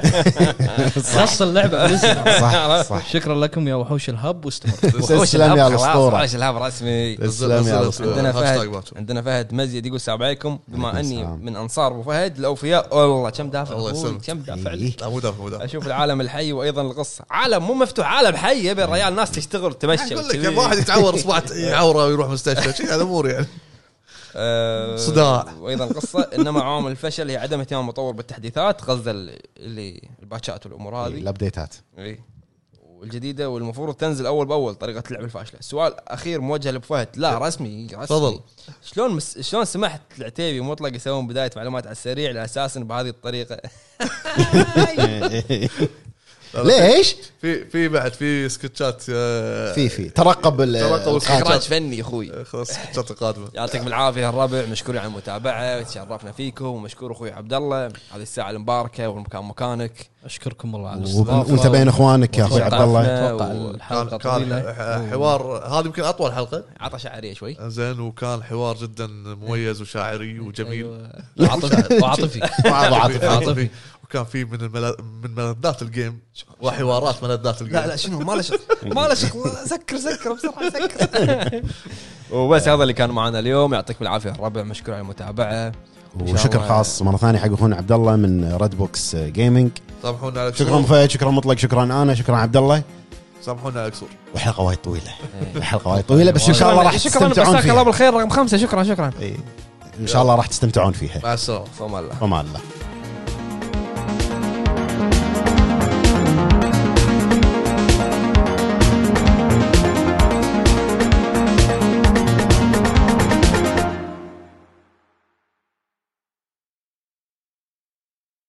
Speaker 4: خص اللعبه بالاسم.
Speaker 3: صح صح
Speaker 4: شكرا لكم يا وحوش الهب واستمر
Speaker 3: تسلم يا الاسطوره
Speaker 2: وحوش الهاب رسمي
Speaker 3: تسلم يا
Speaker 1: آه،
Speaker 3: الاسطوره
Speaker 2: عندنا
Speaker 1: هاشتاج
Speaker 2: فهد
Speaker 1: باكر.
Speaker 2: عندنا فهد مزيد يقول السلام عليكم بما
Speaker 3: عليكم
Speaker 2: اني
Speaker 3: السلام.
Speaker 2: من انصار ابو فهد الاوفياء والله كم دافع
Speaker 1: الله
Speaker 2: أبوي،
Speaker 1: يسلمك.
Speaker 2: كم دافع
Speaker 3: إيه.
Speaker 1: لا مو دافع مو دافع
Speaker 2: اشوف العالم الحي وايضا القصه عالم مو مفتوح عالم حي يبي
Speaker 3: إيه.
Speaker 2: الريال ناس تشتغل تمشي
Speaker 1: اقول
Speaker 2: وكذي.
Speaker 1: لك واحد يتعور اصبعه يعوره ويروح مستشفى شي هالامور يعني
Speaker 2: آه،
Speaker 1: صداع.
Speaker 2: وايضا القصه انما عوامل الفشل هي عدم اهتمام المطور بالتحديثات غزه ال- اللي الباتشات والامور
Speaker 3: إيه،
Speaker 2: هذه
Speaker 3: الابديتات
Speaker 2: اي والجديده إيه. والمفروض تنزل اول باول طريقه اللعب الفاشله السؤال اخير موجه لابو فهد
Speaker 3: إيه.
Speaker 2: لا رسمي رسمي
Speaker 1: تفضل.
Speaker 2: شلون مس... شلون سمحت العتيبي ومطلق يسوون بدايه معلومات على السريع لاساسا بهذه الطريقه
Speaker 3: ليش؟
Speaker 1: في في بعد في سكتشات آه،
Speaker 3: في في ترقب ال-
Speaker 1: ترقب
Speaker 2: اخراج
Speaker 1: السكتشات
Speaker 2: فني اخوي
Speaker 1: آه، خلاص السكتشات القادمه
Speaker 2: يعطيكم العافيه الربع مشكورين على المتابعه تشرفنا فيكم ومشكور اخوي عبد الله هذه الساعه المباركه والمكان مكانك
Speaker 4: اشكركم والله على
Speaker 3: وب-
Speaker 4: الاستضافه
Speaker 3: وانت بين اخوانك يا اخوي عبد الله
Speaker 4: اتوقع
Speaker 2: و-
Speaker 1: كان
Speaker 4: الحلقه
Speaker 1: كان
Speaker 4: طويله
Speaker 1: ح- حوار هذه يمكن اطول حلقه
Speaker 2: عطى شعريه شوي
Speaker 1: زين وكان حوار جدا مميز وشاعري وجميل
Speaker 4: أيوة. وعاطفي وعاطفي
Speaker 1: وعاطفي
Speaker 4: عاطفي.
Speaker 1: عاطفي وكان في من المل... من ملذات الجيم وحوارات ملذات الجيم
Speaker 2: لا لا شنو ما له شغل ما له شغل سكر سكر بسرعه سكر وبس هذا اللي كان معنا اليوم يعطيكم العافيه الربع مشكور على المتابعه
Speaker 3: وشكر خاص مره ثانيه حق اخونا عبد الله من ريد بوكس جيمنج
Speaker 1: سامحونا على
Speaker 3: شكرا
Speaker 1: الكسور
Speaker 3: فهد شكرا مطلق شكرا انا شكرا عبد الله
Speaker 1: سامحونا على الكسور
Speaker 3: وحلقه وايد طويله الحلقه وايد طويله بس ان شاء الله راح تستمتعون
Speaker 2: جزاك الله
Speaker 3: فيها
Speaker 2: بالخير رقم خمسه شكرا شكرا
Speaker 3: إيه. ان شاء الله راح تستمتعون فيها
Speaker 1: مع السلامه
Speaker 2: فما الله
Speaker 3: وما الله